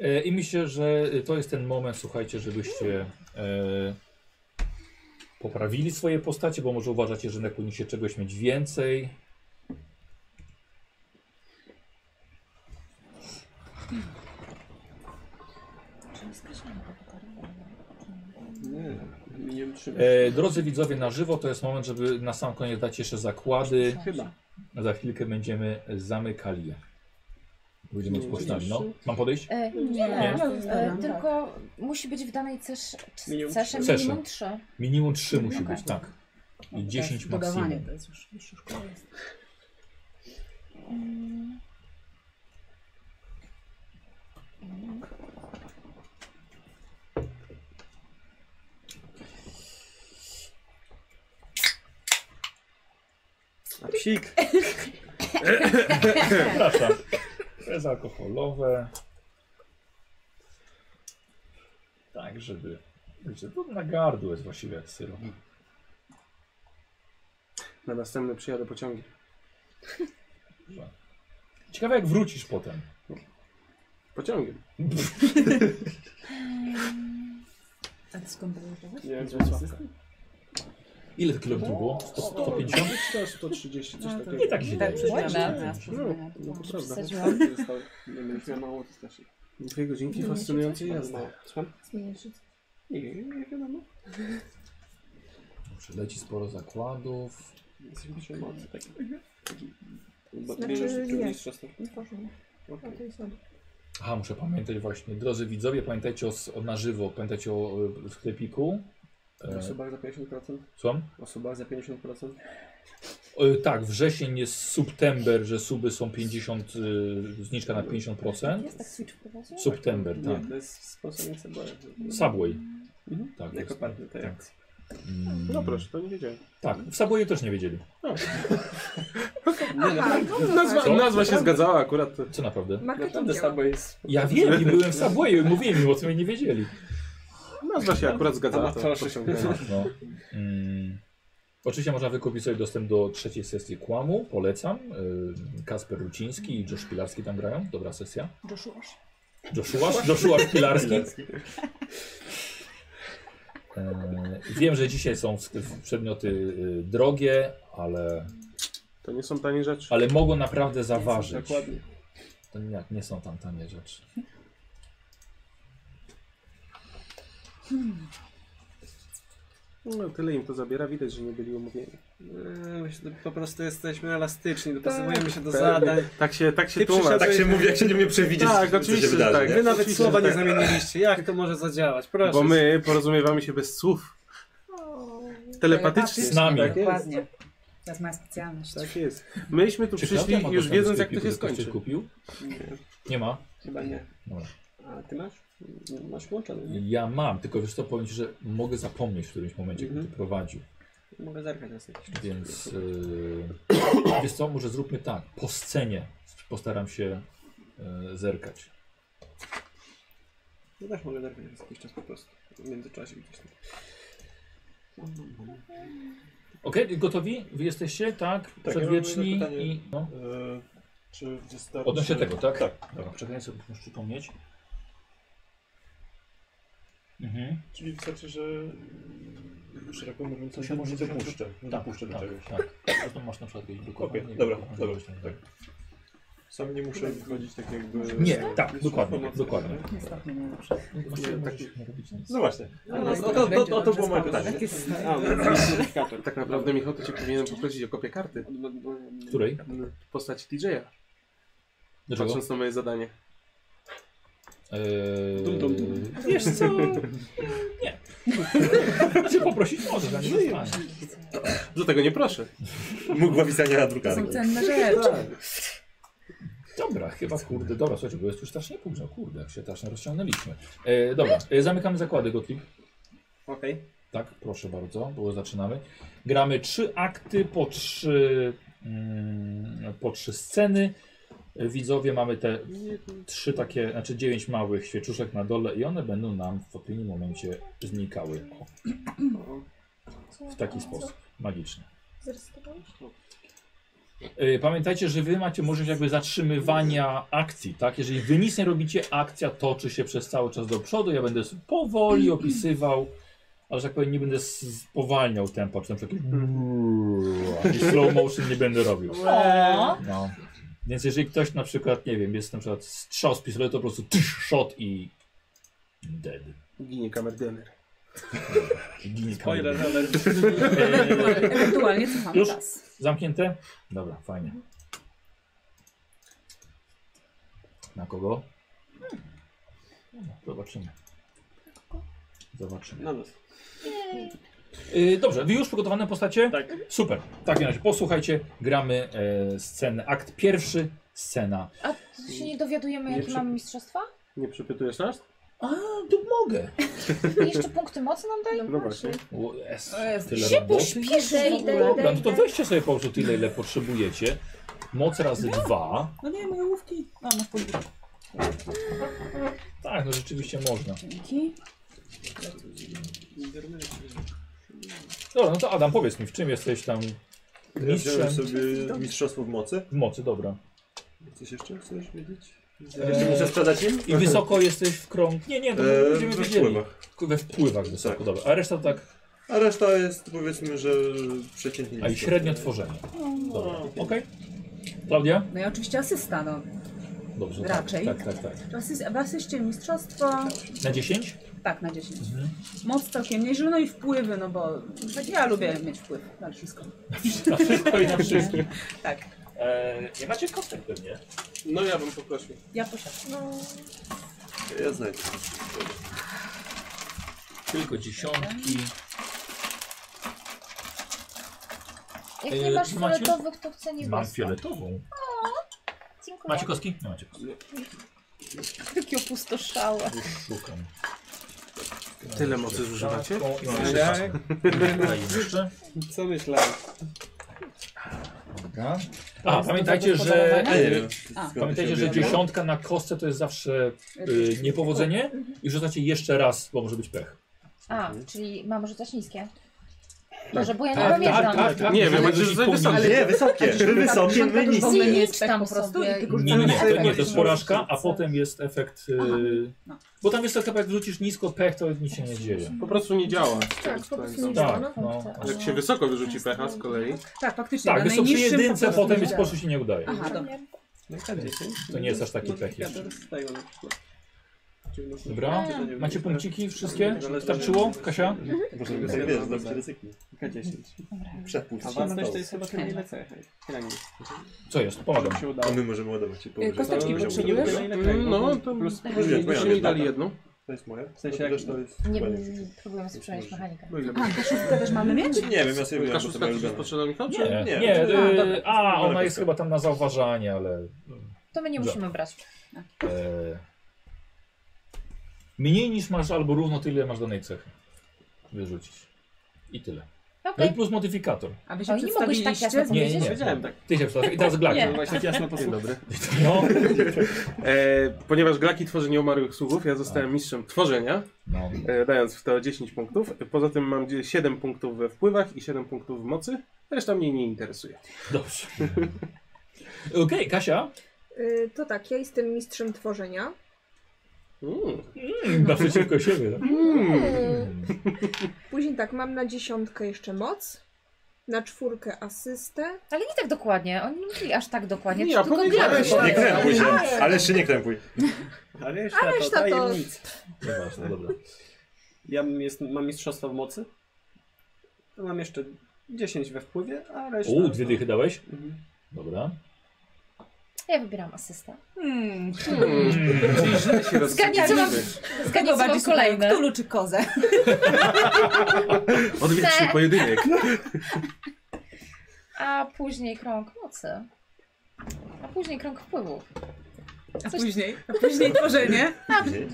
Speaker 1: E, I myślę, że to jest ten moment, słuchajcie, żebyście e, poprawili swoje postacie, bo może uważacie, że jednak powinniście czegoś mieć więcej.
Speaker 3: Czyli skreślamy to pokarmienie.
Speaker 2: Nie, mi nie wytrzyma.
Speaker 1: E, drodzy widzowie, na żywo to jest moment, żeby na sam koniec dać jeszcze zakłady.
Speaker 2: Chyba.
Speaker 1: Za chwilkę będziemy zamykali je. Będziemy
Speaker 5: Nie,
Speaker 1: rozpoczynali. No,
Speaker 2: jeszcze?
Speaker 1: mam podejść?
Speaker 3: E,
Speaker 4: Nie,
Speaker 3: nie,
Speaker 4: ja
Speaker 3: e,
Speaker 4: zostawiam,
Speaker 3: tylko musi być w danej cesze
Speaker 2: Minimum
Speaker 3: cesze
Speaker 1: trzy.
Speaker 3: minimum 3.
Speaker 1: Minimum 3 musi
Speaker 3: Okej.
Speaker 1: być, tak. I
Speaker 4: No,
Speaker 1: 10
Speaker 4: teraz Dodawanie
Speaker 1: maksimum.
Speaker 4: to jest już, już, już koniec.
Speaker 2: A psik.
Speaker 1: Przepraszam. Bezalkoholowe. Tak, żeby. Wiecie, to na gardło jest właściwie jak syrop.
Speaker 5: Na następne przyjadę pociągiem.
Speaker 1: Ciekawe jak wrócisz potem.
Speaker 5: Pociągiem.
Speaker 4: A ty skąd wyjeżdżałeś?
Speaker 2: Nie, z Wrocławia.
Speaker 1: Ile kilometrów było? 100, 150?
Speaker 2: 100, 130, coś
Speaker 4: No, to
Speaker 2: takiego.
Speaker 1: Nie tak się
Speaker 4: Tak,
Speaker 1: dzieje.
Speaker 4: przez
Speaker 2: Właśnie.
Speaker 4: zmianę.
Speaker 5: No,
Speaker 4: przez zmianę.
Speaker 5: no, to prawda.
Speaker 3: Przesadziłam.
Speaker 2: Zostały. Nie wiem, jak mało to strasznie.
Speaker 5: Dwie godzinki fascynującej jazdy.
Speaker 2: Mało. Słucham?
Speaker 3: Zmienisz
Speaker 2: Nie, nie, nie wiadomo.
Speaker 1: Dobrze, Leci sporo zakładów.
Speaker 2: Zrobicie moc. Taki. taki- Bo
Speaker 3: Znaczy,
Speaker 2: bierzesz
Speaker 3: nie.
Speaker 2: udział w mistrzostwach.
Speaker 3: No to jest dobre.
Speaker 1: Aha, muszę pamiętać właśnie. Drodzy widzowie, pamiętajcie o, s- o na żywo, pamiętajcie o y, sklepiku.
Speaker 2: W
Speaker 1: E,
Speaker 2: Osobach za 50%?
Speaker 1: Słucham?
Speaker 2: W Osobach za 50%?
Speaker 1: E, tak, wrzesień jest subtember, że suby są 50, y, zniżka na 50%.
Speaker 3: Jest tak switch wprowadził?
Speaker 1: Subtember, tak.
Speaker 2: Nie, to jest sponsorem Subway.
Speaker 1: Subway.
Speaker 2: Mhm.
Speaker 1: Tak,
Speaker 2: Jako
Speaker 1: jest.
Speaker 2: partner tej
Speaker 1: Tak.
Speaker 2: akcji.
Speaker 1: Mm,
Speaker 5: No proszę, to nie wiedziałem.
Speaker 1: Tak, w Subwayu też nie wiedzieli.
Speaker 3: Aha,
Speaker 4: Tak.
Speaker 3: no,
Speaker 5: Nazwa,
Speaker 1: Co?
Speaker 5: nazwa się zgadzała akurat.
Speaker 1: Co naprawdę?
Speaker 2: Naprawdę
Speaker 3: marketing działa.
Speaker 2: Subway jest...
Speaker 1: Ja wiem i byłem w Subwayu, mówiłem im o tym i nie wiedzieli.
Speaker 5: Nazwa się akurat zgadzała. To
Speaker 2: Amatorzy.
Speaker 5: pociągnęła.
Speaker 1: No. Mm. Oczywiście można wykupić sobie dostęp do trzeciej sesji Kłamu, polecam. Y, Kasper Ruciński i Josh Pilarski tam grają, dobra sesja.
Speaker 4: Doszło
Speaker 1: Joshua, Joshua Pilarski. E, Wiem, że dzisiaj są sk- przedmioty y, drogie, ale,
Speaker 5: To nie są tanie rzeczy.
Speaker 1: ale mogą naprawdę zaważyć.
Speaker 2: Dokładnie.
Speaker 1: To nie, nie są tam tanie rzeczy.
Speaker 5: No, tyle im to zabiera, widać, że nie byli umówieni.
Speaker 2: Eee, myślę, że Po prostu jesteśmy elastyczni, dopasowujemy się do
Speaker 5: Tak.
Speaker 2: zadań.
Speaker 5: Tak się, tak się
Speaker 2: Ty
Speaker 5: tłumaczy.
Speaker 2: przyszedłeś-
Speaker 6: Tak się mówi, jak się nie umie przewidzieć,
Speaker 5: Tak,
Speaker 6: co
Speaker 5: oczywiście,
Speaker 6: się
Speaker 5: że
Speaker 6: wydarzy.
Speaker 5: tak.
Speaker 6: nie?
Speaker 2: Wy nawet
Speaker 5: Oczywiście,
Speaker 2: słowa
Speaker 5: że
Speaker 2: nie
Speaker 5: tak.
Speaker 2: zamieniliście. Jak to może zadziałać? Proszę.
Speaker 5: Bo my porozumiewamy się bez słów. Telepatycznie.
Speaker 1: Z
Speaker 7: no,
Speaker 1: nami.
Speaker 5: Tak jest.
Speaker 4: Dokładnie. To jest moja specjalność.
Speaker 5: Tak jest. Myśmy tu
Speaker 1: Czy
Speaker 5: przyszli
Speaker 1: Klaudia ma
Speaker 5: już
Speaker 1: dostęp do
Speaker 5: wiedząc, jak to
Speaker 1: sklepiku,
Speaker 5: się
Speaker 1: że ktoś coś
Speaker 5: skończy.
Speaker 1: kupił?
Speaker 2: Nie,
Speaker 1: Nie ma.
Speaker 2: chyba nie.
Speaker 1: Dobra.
Speaker 2: A ty masz? Masz włączone, nie?
Speaker 1: Ja mam, tylko wiesz co, powiem ci, że mogę zapomnieć w którymś momencie,
Speaker 2: Mhm.
Speaker 1: gdy ty prowadził.
Speaker 2: Mogę zerkać na jakiś czas.
Speaker 1: Więc yy, wiesz co, może zróbmy tak, po scenie postaram się yy, zerkać.
Speaker 2: Ja też mogę zerkać na jakiś czas po prostu. W międzyczasie gdzieś tam.
Speaker 1: Okej, gotowi? Wy jesteście, tak?
Speaker 6: mam
Speaker 1: Przedwieczni
Speaker 6: jedno pytanie.
Speaker 1: i... No.
Speaker 6: E, Czy wystarczy...
Speaker 1: Odnośnie tego, tak?
Speaker 6: Tak.
Speaker 1: Dobra, czekaj, sobie muszę przypomnieć. Mhm.
Speaker 6: Czyli wystarczy, że szeroko mówiąc,
Speaker 1: To się może
Speaker 6: nie
Speaker 1: zrobić.
Speaker 6: dopuszczę. Nie
Speaker 1: Tak,
Speaker 6: dopuszczę do
Speaker 1: tak,
Speaker 6: czegoś.
Speaker 1: tak. Zresztą masz na przykład jakieś blokowanie.
Speaker 6: Okej, dobra,
Speaker 1: blokowanie,
Speaker 6: dobra,
Speaker 1: coś tam.
Speaker 6: tak. Sam nie muszę wychodzić tak jakby...
Speaker 1: Nie,
Speaker 6: e,
Speaker 1: tak,
Speaker 6: z
Speaker 1: dokładnie,
Speaker 6: informacji,
Speaker 1: dokładnie.
Speaker 6: tak?
Speaker 4: Niestety nie zawsze.
Speaker 1: Właściwie
Speaker 6: Nie,
Speaker 1: możesz
Speaker 6: tak-
Speaker 1: nie robić nic.
Speaker 6: No właśnie.
Speaker 2: No,
Speaker 6: No,
Speaker 2: no,
Speaker 6: to, to, to, to,
Speaker 4: będzie
Speaker 6: było moje
Speaker 4: dobrze
Speaker 6: pytanie.
Speaker 4: spało. Takie
Speaker 2: A, modyfikator.
Speaker 5: Tak naprawdę Michał, to cię powinien poprosić o kopię karty.
Speaker 1: Której?
Speaker 7: Yy.
Speaker 5: W postaci DJ-a.
Speaker 1: Dlaczego?
Speaker 5: Patrząc na moje zadanie.
Speaker 1: Eee,
Speaker 2: Dum, dum, dum.
Speaker 1: Wiesz co? Nie. Cię Znaczy, poprosić może, nie zostanie.
Speaker 5: Do tego nie proszę.
Speaker 6: Mógł pisania
Speaker 4: To są
Speaker 6: drukarni.
Speaker 4: cenne rzeczy.
Speaker 1: Dobra, chyba kurde, dobra, słuchajcie, bo jest już strasznie późno, kurde, jak się strasznie rozciągnęliśmy. E, dobra, e, zamykamy zakłady, Gotlib.
Speaker 2: Okej.
Speaker 1: Tak, proszę bardzo, bo zaczynamy. Gramy trzy akty po trzy, mm, po trzy sceny. E, Widzowie, mamy te trzy takie, znaczy dziewięć małych świeczuszek na dole i one będą nam w odpowiednim momencie znikały. O, w taki sposób, magiczny.
Speaker 3: Zresztowałeś?
Speaker 1: E, Pamiętajcie, że wy macie możliwość jakby zatrzymywania akcji, tak? Jeżeli wy nic nie robicie, akcja toczy się przez cały czas do przodu. Ja będę sobie powoli opisywał, ale że tak powiem, nie będę s- spowalniał tempa, czy na przykład jakieś- i slow motion nie będę robił.
Speaker 3: O,
Speaker 1: No. Więc jeżeli ktoś na przykład, nie wiem, jest na przykład strzał z pistoletu, to po prostu tysz, shot i dead.
Speaker 5: Ginie kamerdyner.
Speaker 1: I ginie
Speaker 2: Spoiler
Speaker 1: kamera.
Speaker 2: alert.
Speaker 1: E,
Speaker 4: Ewentualnie cofam
Speaker 1: Już?
Speaker 4: czas.
Speaker 1: Zamknięte? Dobra, fajnie. Na kogo? Dobra, Zobaczymy. Zobaczymy.
Speaker 2: Na nas.
Speaker 1: Y, dobrze, wy już przygotowane postacie?
Speaker 2: Tak.
Speaker 1: Super. W takim razie posłuchajcie, gramy e, scenę. Akt pierwszy, scena.
Speaker 3: a tu się nie dowiadujemy,
Speaker 5: Nie
Speaker 3: jakie
Speaker 5: przy-
Speaker 3: mamy mistrzostwa?
Speaker 5: Nie przepytujesz nas?
Speaker 1: A, No, tu mogę.
Speaker 3: I jeszcze punkty mocy nam dają?
Speaker 5: No właśnie.
Speaker 1: O, jest,
Speaker 4: O jest. tak.
Speaker 1: Tyle
Speaker 3: Się
Speaker 1: roboty.
Speaker 3: pośpieszę i
Speaker 1: Dobra, no to weźcie sobie po prostu tyle, ile potrzebujecie. Moc razy dwa.
Speaker 4: No nie, moje łówki. A, masz podwórko.
Speaker 1: Tak, no rzeczywiście można.
Speaker 4: Dzięki.
Speaker 1: Dobra, no to Adam, powiedz mi, w czym jesteś tam
Speaker 6: Ja wziąłem
Speaker 1: mistrzem
Speaker 6: sobie mistrzostwo w mocy.
Speaker 1: w mocy, dobra.
Speaker 6: Coś jeszcze chcesz wiedzieć? Jeszcze muszę sprzedać im?
Speaker 1: I wysoko jesteś w krąg. Nie, nie, to
Speaker 6: Eee,
Speaker 1: będziemy
Speaker 6: we
Speaker 1: wiedzieli.
Speaker 6: wpływach.
Speaker 1: We wpływach wysoko,
Speaker 6: Tak.
Speaker 1: dobra. A reszta to tak,
Speaker 6: A reszta jest powiedzmy, że przeciętnie.
Speaker 1: a i
Speaker 6: nisko.
Speaker 1: średnio tworzenie. Dobra, okej. Klaudia?
Speaker 8: No i oczywiście asysta, no.
Speaker 1: Dobrze,
Speaker 8: Raczej.
Speaker 1: Tak, tak, tak, tak.
Speaker 8: W asys- W asyście mistrzostwo,
Speaker 1: Na 10?
Speaker 8: tak, na 10.
Speaker 1: Mhm.
Speaker 8: Moc całkiem nieźle, no i wpływy, no bo ja lubię mieć wpływ na wszystko.
Speaker 1: Na wszystko i na wszystko.
Speaker 8: Tak,
Speaker 1: Eee, nie macie kostek pewnie.
Speaker 5: No ja bym poprosił.
Speaker 8: ja posiadam.
Speaker 6: Ja znajdę.
Speaker 1: Tylko dziesiątki.
Speaker 3: Jak
Speaker 1: Eee,
Speaker 3: nie masz
Speaker 1: macie?
Speaker 3: fioletowych, to chcę niebieską.
Speaker 1: Mam fioletową.
Speaker 3: Dziękuję.
Speaker 1: Macie kostki? Nie macie kostki.
Speaker 3: Takie opustoszałe.
Speaker 1: Już szukam.
Speaker 5: Tyle mocy zużywacie?
Speaker 1: Taką i mam jeszcze
Speaker 2: Tak.
Speaker 1: taką. Tutaj jeszcze.
Speaker 2: Co myślałem?
Speaker 1: Dobra. A, pamiętajcie, że... e,
Speaker 4: Podarowania?
Speaker 6: Ja nie wiem.
Speaker 4: A.
Speaker 6: skąd się
Speaker 1: Pamiętajcie, że
Speaker 6: wzięło.
Speaker 1: dziesiątka na kostce to jest zawsze y, niepowodzenie i rzucacie jeszcze raz, bo może być pech.
Speaker 3: A, czyli mam rzucać niskie. Może, bo ja nie
Speaker 1: tak,
Speaker 3: pamiętam.
Speaker 1: tak, tak.
Speaker 5: Nie wiem, znaczy,
Speaker 1: Możemy
Speaker 5: macie
Speaker 1: rzucić
Speaker 5: rzucać
Speaker 1: po
Speaker 5: wysoko.
Speaker 1: niżej.
Speaker 6: Ale nie, wysokie. Wy wysokie, my
Speaker 8: Bo
Speaker 6: niskie.
Speaker 8: my
Speaker 3: Zjeść
Speaker 8: nie jest tak
Speaker 3: tam
Speaker 8: po
Speaker 3: po
Speaker 8: prostu
Speaker 3: sobie.
Speaker 8: i tylko
Speaker 1: Nie, nie, nie,
Speaker 8: rzucamy
Speaker 1: to, nie, to jest
Speaker 8: sobie.
Speaker 1: porażka, a potem jest efekt. y,
Speaker 8: Aha, no.
Speaker 1: Bo tam jest taka, jak rzucisz nisko pech, to nic się nie dzieje.
Speaker 5: Po prostu nie działa.
Speaker 3: Tak, po prostu nie
Speaker 1: Tak,
Speaker 3: działa.
Speaker 1: no.
Speaker 3: Tak.
Speaker 5: Jak się wysoko wyrzuci pecha z kolei.
Speaker 8: Tak, faktycznie.
Speaker 1: Tak,
Speaker 8: na
Speaker 1: jest to przy
Speaker 8: najniższym po
Speaker 1: jedynce,
Speaker 8: prostu
Speaker 1: potem
Speaker 8: nie
Speaker 1: jest po
Speaker 8: działa.
Speaker 1: prostu się nie udaje.
Speaker 8: Aha, dobra.
Speaker 2: No i tak 10.
Speaker 1: To nie jest aż taki
Speaker 2: No,
Speaker 1: pech
Speaker 2: ja
Speaker 1: jeszcze.
Speaker 2: to z tego na przykład.
Speaker 1: Dobra,
Speaker 2: Eee.
Speaker 1: macie punkciki wszystkie? Wystarczyło? Kasia?
Speaker 2: Mhm.
Speaker 1: Mhm.
Speaker 6: Może by sobie wiesz, zawsze ryzyknie.
Speaker 2: K10.
Speaker 6: Przepuść.
Speaker 2: Awansność to jest chyba tylko ile cecha.
Speaker 1: Co jest? Pomagam.
Speaker 2: się
Speaker 6: A
Speaker 2: udało.
Speaker 6: my możemy ładować się powyżej.
Speaker 4: kosteczki
Speaker 6: Poziomu.
Speaker 4: potrzebujesz?
Speaker 5: No, to plus.
Speaker 6: Plus wiesz, moja
Speaker 5: Byście mi
Speaker 6: biedna.
Speaker 5: dali jedną.
Speaker 6: To jest moja. W
Speaker 2: sensie
Speaker 6: sensie
Speaker 2: jak-
Speaker 6: jak... To jest...
Speaker 3: Nie,
Speaker 6: Nie,
Speaker 3: próbujemy sobie przenieść mechanikę.
Speaker 5: No ile
Speaker 8: A, to szóstkę też mamy mieć?
Speaker 6: nie wiem, ja sobie biorę, bo to
Speaker 5: Kaszuska
Speaker 6: moja
Speaker 5: też jest
Speaker 6: ulubiona.
Speaker 5: potrzebna, Michał? czy-
Speaker 1: Nie,
Speaker 6: nie.
Speaker 1: nie.
Speaker 8: A,
Speaker 1: y,
Speaker 8: dobra.
Speaker 1: A, ona
Speaker 6: Dobra,
Speaker 1: jest
Speaker 6: tak.
Speaker 1: chyba tam na zauważanie, ale.
Speaker 3: To my nie
Speaker 1: Dobra.
Speaker 3: musimy brać.
Speaker 1: e, Mniej niż masz, albo równo tyle masz danej cechy. Wyrzucić. I tyle. No
Speaker 3: Okej.
Speaker 1: i plus modyfikator.
Speaker 8: A wy
Speaker 3: O,
Speaker 8: się
Speaker 3: nie mogłeś tak jasno
Speaker 8: przedstawiliście?
Speaker 1: Nie, nie,
Speaker 3: powiedzieć?
Speaker 1: nie.
Speaker 2: Wiedziałem tak.
Speaker 1: Ty się wstawiasz. I teraz Glakia.
Speaker 3: Nie.
Speaker 2: Właśnie jasno
Speaker 5: Dzień
Speaker 2: posłuchaj.
Speaker 5: dobry.
Speaker 1: No.
Speaker 5: E, ponieważ Graki tworzy nieumarłych sługów, ja zostałem mistrzem tworzenia,
Speaker 1: no.
Speaker 5: e, dając w to 10 punktów. Poza tym mam gdzie- 7 punktów we wpływach i 7 punktów w mocy. Reszta mnie nie interesuje.
Speaker 1: Dobrze. Okej, Kasia.
Speaker 9: Y, To tak, ja jestem mistrzem tworzenia.
Speaker 5: Mm.
Speaker 1: Naprzeciwko siebie.
Speaker 9: Później tak, mam na dziesiątkę jeszcze moc, na czwórkę asystę.
Speaker 3: Ale nie tak dokładnie. Oni nie mówili aż tak dokładnie.
Speaker 5: Nie,
Speaker 3: Ja tylko
Speaker 5: powiedziałem,
Speaker 3: grałeś.
Speaker 5: że-
Speaker 6: Nie krępuj się, ale jeszcze nie krępuj.
Speaker 2: A reszta,
Speaker 9: reszta
Speaker 2: to
Speaker 9: to-
Speaker 2: tajemnica.
Speaker 1: Nieważne, dobra.
Speaker 2: Ja mam jest, mam mistrzostwo w mocy. To mam jeszcze 10 we wpływie, a reszta...
Speaker 1: U, dwie dychy dałeś?
Speaker 2: Mhm.
Speaker 1: Dobra.
Speaker 3: Ja wybieram asystę.
Speaker 8: Hmm.
Speaker 5: Mm. Źle się
Speaker 3: Zgadnij, co mam-
Speaker 5: rozstrzygaliśmy.
Speaker 3: Zgadnij, co mam kolejne.
Speaker 8: Ktulu czy kozę?
Speaker 5: Odwieczny pojedynek.
Speaker 3: No. A później krąg mocy. A później krąg wpływów.
Speaker 8: A później? A później tworzenie?
Speaker 6: Gdzie?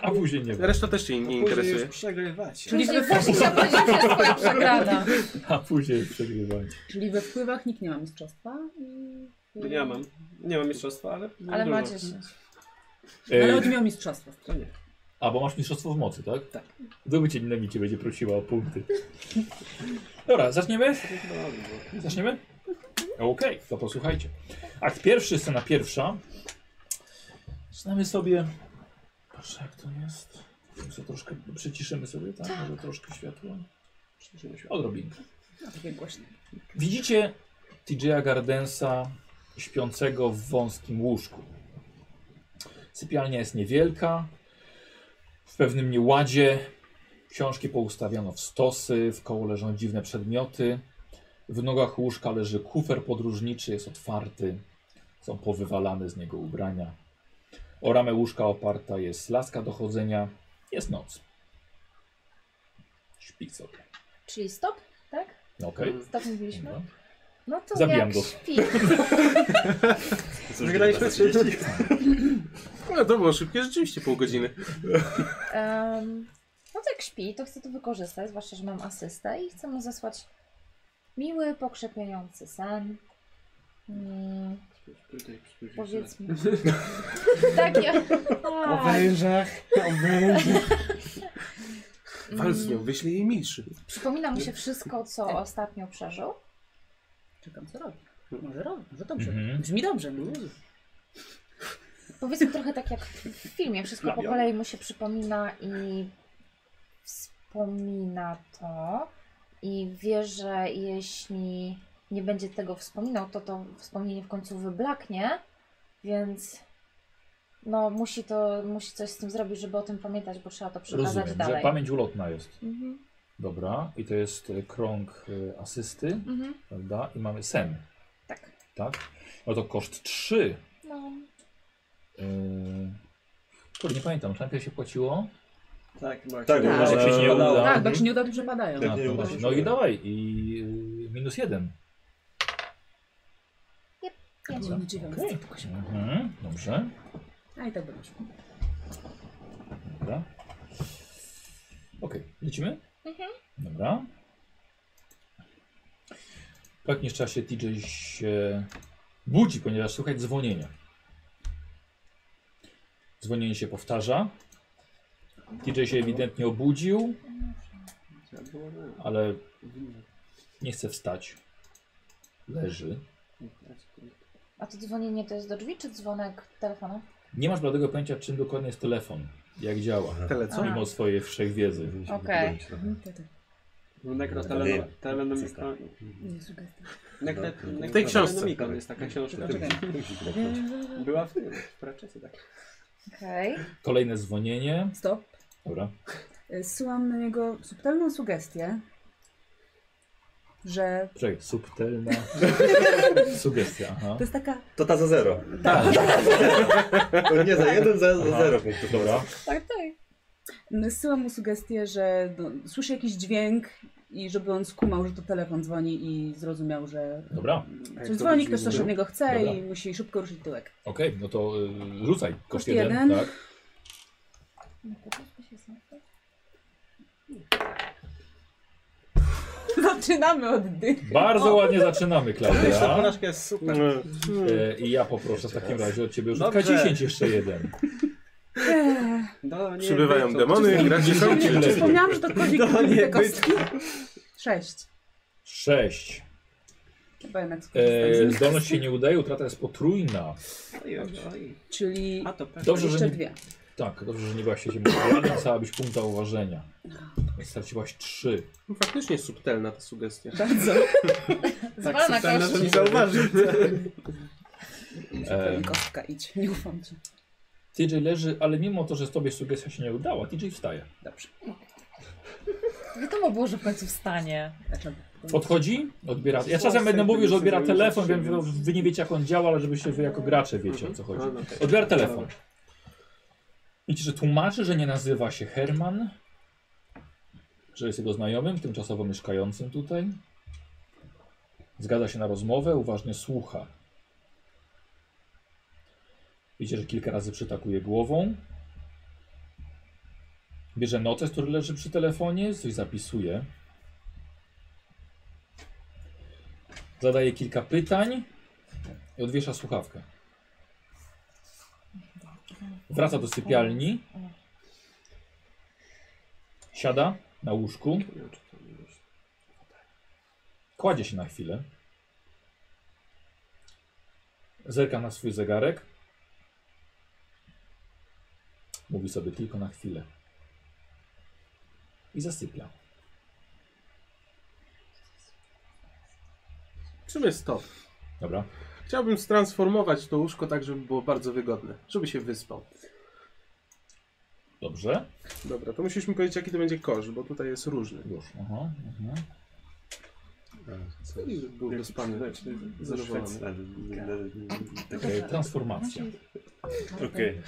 Speaker 1: A później nie wiem.
Speaker 5: Reszta też się nie
Speaker 2: Później już
Speaker 5: interesuje.
Speaker 2: przegrywacie.
Speaker 8: Czyli
Speaker 3: Później
Speaker 8: żeby-
Speaker 3: właśnie chciałam powiedzieć, że jest twoja przegrana.
Speaker 1: A później przegrywanie.
Speaker 8: Czyli we wpływach nikt nie ma mistrzostwa.
Speaker 2: Bo Ja mam. No Nie mam mistrzostwa, ale.
Speaker 3: Ale
Speaker 2: dużo.
Speaker 3: ma 10.
Speaker 8: Ale
Speaker 1: E,
Speaker 8: oni miał mistrzostwo.
Speaker 2: To nie.
Speaker 1: a, bo masz mistrzostwo w mocy, tak?
Speaker 2: Tak.
Speaker 1: Zdobycie dynamiki cię będzie prosiła o punkty. Dobra, zaczniemy?
Speaker 2: No,
Speaker 1: Zaczniemy? Okej, to posłuchajcie. Akt pierwszy, scena pierwsza. Znamy sobie... Patrz jak to jest. Co troszkę przyciszymy sobie, tak? Może troszkę światła? Odrobinkę.
Speaker 8: No, takie głośne.
Speaker 1: Widzicie TJ'a Gardensa śpiącego w wąskim łóżku. Sypialnia jest niewielka, w pewnym nieładzie. Książki poustawiano w stosy, w koło leżą dziwne przedmioty. W nogach łóżka leży kufer podróżniczy, jest otwarty. Są powywalane z niego ubrania. O ramę łóżka oparta jest laska do chodzenia. Jest noc. Śpi sobie. No
Speaker 3: Czyli stop, tak?
Speaker 1: Okej.
Speaker 3: Stop mówiliśmy. No to
Speaker 1: Zabijam
Speaker 3: jak
Speaker 1: go.
Speaker 3: śpi.
Speaker 2: Wygraliśmy trzy.
Speaker 5: No to było szybkie, rzeczywiście pół godziny.
Speaker 3: Em, no to jak śpi, to chcę to wykorzystać, zwłaszcza, że mam asystę i chcę mu zasłać miły, pokrzepiający sen. Mm, powiedzmy. tak, ja...
Speaker 2: O wężach, o wężach.
Speaker 5: Wal z nią, wyślij jej milszy.
Speaker 3: Mm, Przypomina mu się wszystko, co ostatnio przeżył.
Speaker 8: Czekam, co robi. Może robi, może dobrze.
Speaker 1: Mhm.
Speaker 8: Brzmi dobrze.
Speaker 3: Powiedzmy trochę tak jak w filmie, wszystko po kolei mu się przypomina i wspomina to i wie, że jeśli nie będzie tego wspominał, to to wspomnienie w końcu wyblaknie, więc no musi to, musi coś z tym zrobić, żeby o tym pamiętać, bo trzeba to przekazać
Speaker 1: Rozumiem, że
Speaker 3: dalej.
Speaker 1: pamięć ulotna jest.
Speaker 3: Mhm.
Speaker 1: Dobra, i to jest e, krąg e, asysty,
Speaker 3: Mhm.
Speaker 1: prawda? I mamy sen,
Speaker 3: Tak.
Speaker 1: tak? No to koszt 3.
Speaker 3: No.
Speaker 1: Yy... Kurde, nie pamiętam, czy najpierw się płaciło?
Speaker 2: Tak, bo jak
Speaker 6: Tak,
Speaker 2: się
Speaker 6: bo
Speaker 2: uda-
Speaker 1: może jak się nie
Speaker 2: udało-
Speaker 1: uda.
Speaker 8: Tak, bo jak się nie uda, to przepadają.
Speaker 6: Tak.
Speaker 1: A,
Speaker 6: nie
Speaker 1: no,
Speaker 6: uda
Speaker 1: właśnie.
Speaker 6: się.
Speaker 1: no i dawaj, i y, minus 1.
Speaker 3: Pięć.
Speaker 8: Byłem dziwiony.
Speaker 1: Mhm, dobrze,
Speaker 8: A i tak będziesz.
Speaker 1: dobra. Okej, lecimy?
Speaker 3: Mhm.
Speaker 1: Dobra. W jakimś czasie TJ się budzi, ponieważ słychać dzwonienia. Dzwonienie się powtarza. TJ się ewidentnie obudził,
Speaker 2: Trzeba było, no,
Speaker 1: ale
Speaker 2: winno
Speaker 1: nie chce wstać. Leży.
Speaker 2: dać.
Speaker 3: A to dzwonienie to jest do drzwi czy dzwonek telefonu?
Speaker 1: Nie masz bladego pojęcia, czym dokładnie jest telefon, jak działa,
Speaker 5: Tyle co?
Speaker 1: mimo swojej wszechwiedzy.
Speaker 3: Okej.
Speaker 1: Mhm.
Speaker 2: No,
Speaker 5: Tak.
Speaker 2: nekroteleno- telenomikon-
Speaker 8: Nie, sugestia.
Speaker 2: nekre-
Speaker 6: W
Speaker 5: Tak. tej książce.
Speaker 2: nekrotelemikon jest taka książka.
Speaker 8: Czekaj. Eee,
Speaker 2: Była w tym, w Pratchecie, tak.
Speaker 3: Okej.
Speaker 1: Kolejne dzwonienie.
Speaker 8: Stop.
Speaker 1: Dobra.
Speaker 8: Syłam na niego subtelną sugestię, że
Speaker 1: Czekaj, subtelna sugestia. Aha.
Speaker 8: to jest taka
Speaker 6: To ta za zero. To nie za jeden, za, za
Speaker 1: Aha.
Speaker 6: zero punktów.
Speaker 1: Dobra.
Speaker 3: Tak, tak.
Speaker 8: Syłam mu sugestię, że no, słyszy jakiś dźwięk i żeby on skumał, że to telefon dzwoni i zrozumiał, że
Speaker 1: Dobra.
Speaker 8: ktoś dzwoni, ktoś coś od niego chce
Speaker 1: Dobra.
Speaker 8: i musi szybko ruszyć tyłek.
Speaker 1: Okej, no to y, rzucaj.
Speaker 8: Koszt
Speaker 1: Koszt jeden.
Speaker 8: jeden.
Speaker 1: Tak.
Speaker 8: Zaczynamy od dych.
Speaker 1: Bardzo ładnie zaczynamy,
Speaker 2: Ta
Speaker 1: Klaudia.
Speaker 2: porażka jest super.
Speaker 5: No.
Speaker 1: Y, I ja poproszę w takim razie od ciebie rzutka
Speaker 2: Dobrze.
Speaker 1: 10 jeszcze jeden.
Speaker 2: No, nie,
Speaker 5: Przybywają
Speaker 2: wyjdź,
Speaker 5: demony, gra się kończy.
Speaker 8: Wspomniałam, że to kodzik
Speaker 2: No nie,
Speaker 8: te
Speaker 2: byt.
Speaker 8: kostki. Sześć.
Speaker 1: 6.
Speaker 8: Chyba jednak skorzystam
Speaker 1: E,
Speaker 8: z nich.
Speaker 1: zdolność się nie udaje, utrata jest potrójna.
Speaker 2: Oj, oj, oj.
Speaker 8: Czyli
Speaker 2: A to pewnie.
Speaker 1: Dobrze, że
Speaker 8: jeszcze
Speaker 1: nie,
Speaker 8: dwie.
Speaker 1: tak, dobrze, że nie byłaś siecią materialną, całabyś punkta uważenia. Straciłaś 3.
Speaker 5: Faktycznie subtelna ta sugestia.
Speaker 8: Bardzo.
Speaker 2: Tak,
Speaker 3: Zwalna
Speaker 2: słyszałem, że
Speaker 3: kości.
Speaker 2: nie zauważył.
Speaker 1: E,
Speaker 8: Kostka idź, nie ufam ci.
Speaker 1: TJ leży, ale mimo to, że tobie sugestia się nie udała, TJ wstaje.
Speaker 8: Dobrze.
Speaker 3: Wiadomo było, że w końcu wstanie.
Speaker 8: Dlaczego?
Speaker 1: Podchodzi, odbiera. Ja czasem będę mówił, że odbiera telefon, wiem, że wy nie wiecie jak on działa, ale żebyście wy jako gracze wiecie o co
Speaker 2: No,
Speaker 1: chodzi.
Speaker 2: tak.
Speaker 1: Odbiera telefon. Widzicie, że tłumaczy, że nie nazywa się Herman, że jest jego znajomym, tymczasowo mieszkającym tutaj. Zgadza się na rozmowę, uważnie słucha. Widzicie, że kilka razy przytakuje głową. Bierze notes, który leży przy telefonie, coś zapisuje. Zadaje kilka pytań i odwiesza słuchawkę. Wraca do sypialni. Siada na łóżku. Kładzie się na chwilę. Zerka na swój zegarek. Mówi sobie tylko na chwilę. I zasypia.
Speaker 5: Czym jest to?
Speaker 1: Dobra.
Speaker 5: Chciałbym transformować to łóżko tak, żeby było bardzo wygodne, żeby się wyspał.
Speaker 1: Dobrze.
Speaker 5: Dobra, to musisz mi powiedzieć, jaki to będzie koszt, bo tutaj jest różny.
Speaker 1: Już. Aha, aha.
Speaker 5: I żeby był wyspany.
Speaker 6: Za
Speaker 5: Zadowolony.
Speaker 6: Szwecję.
Speaker 1: Okej, Eee, transformacja.
Speaker 6: Okej.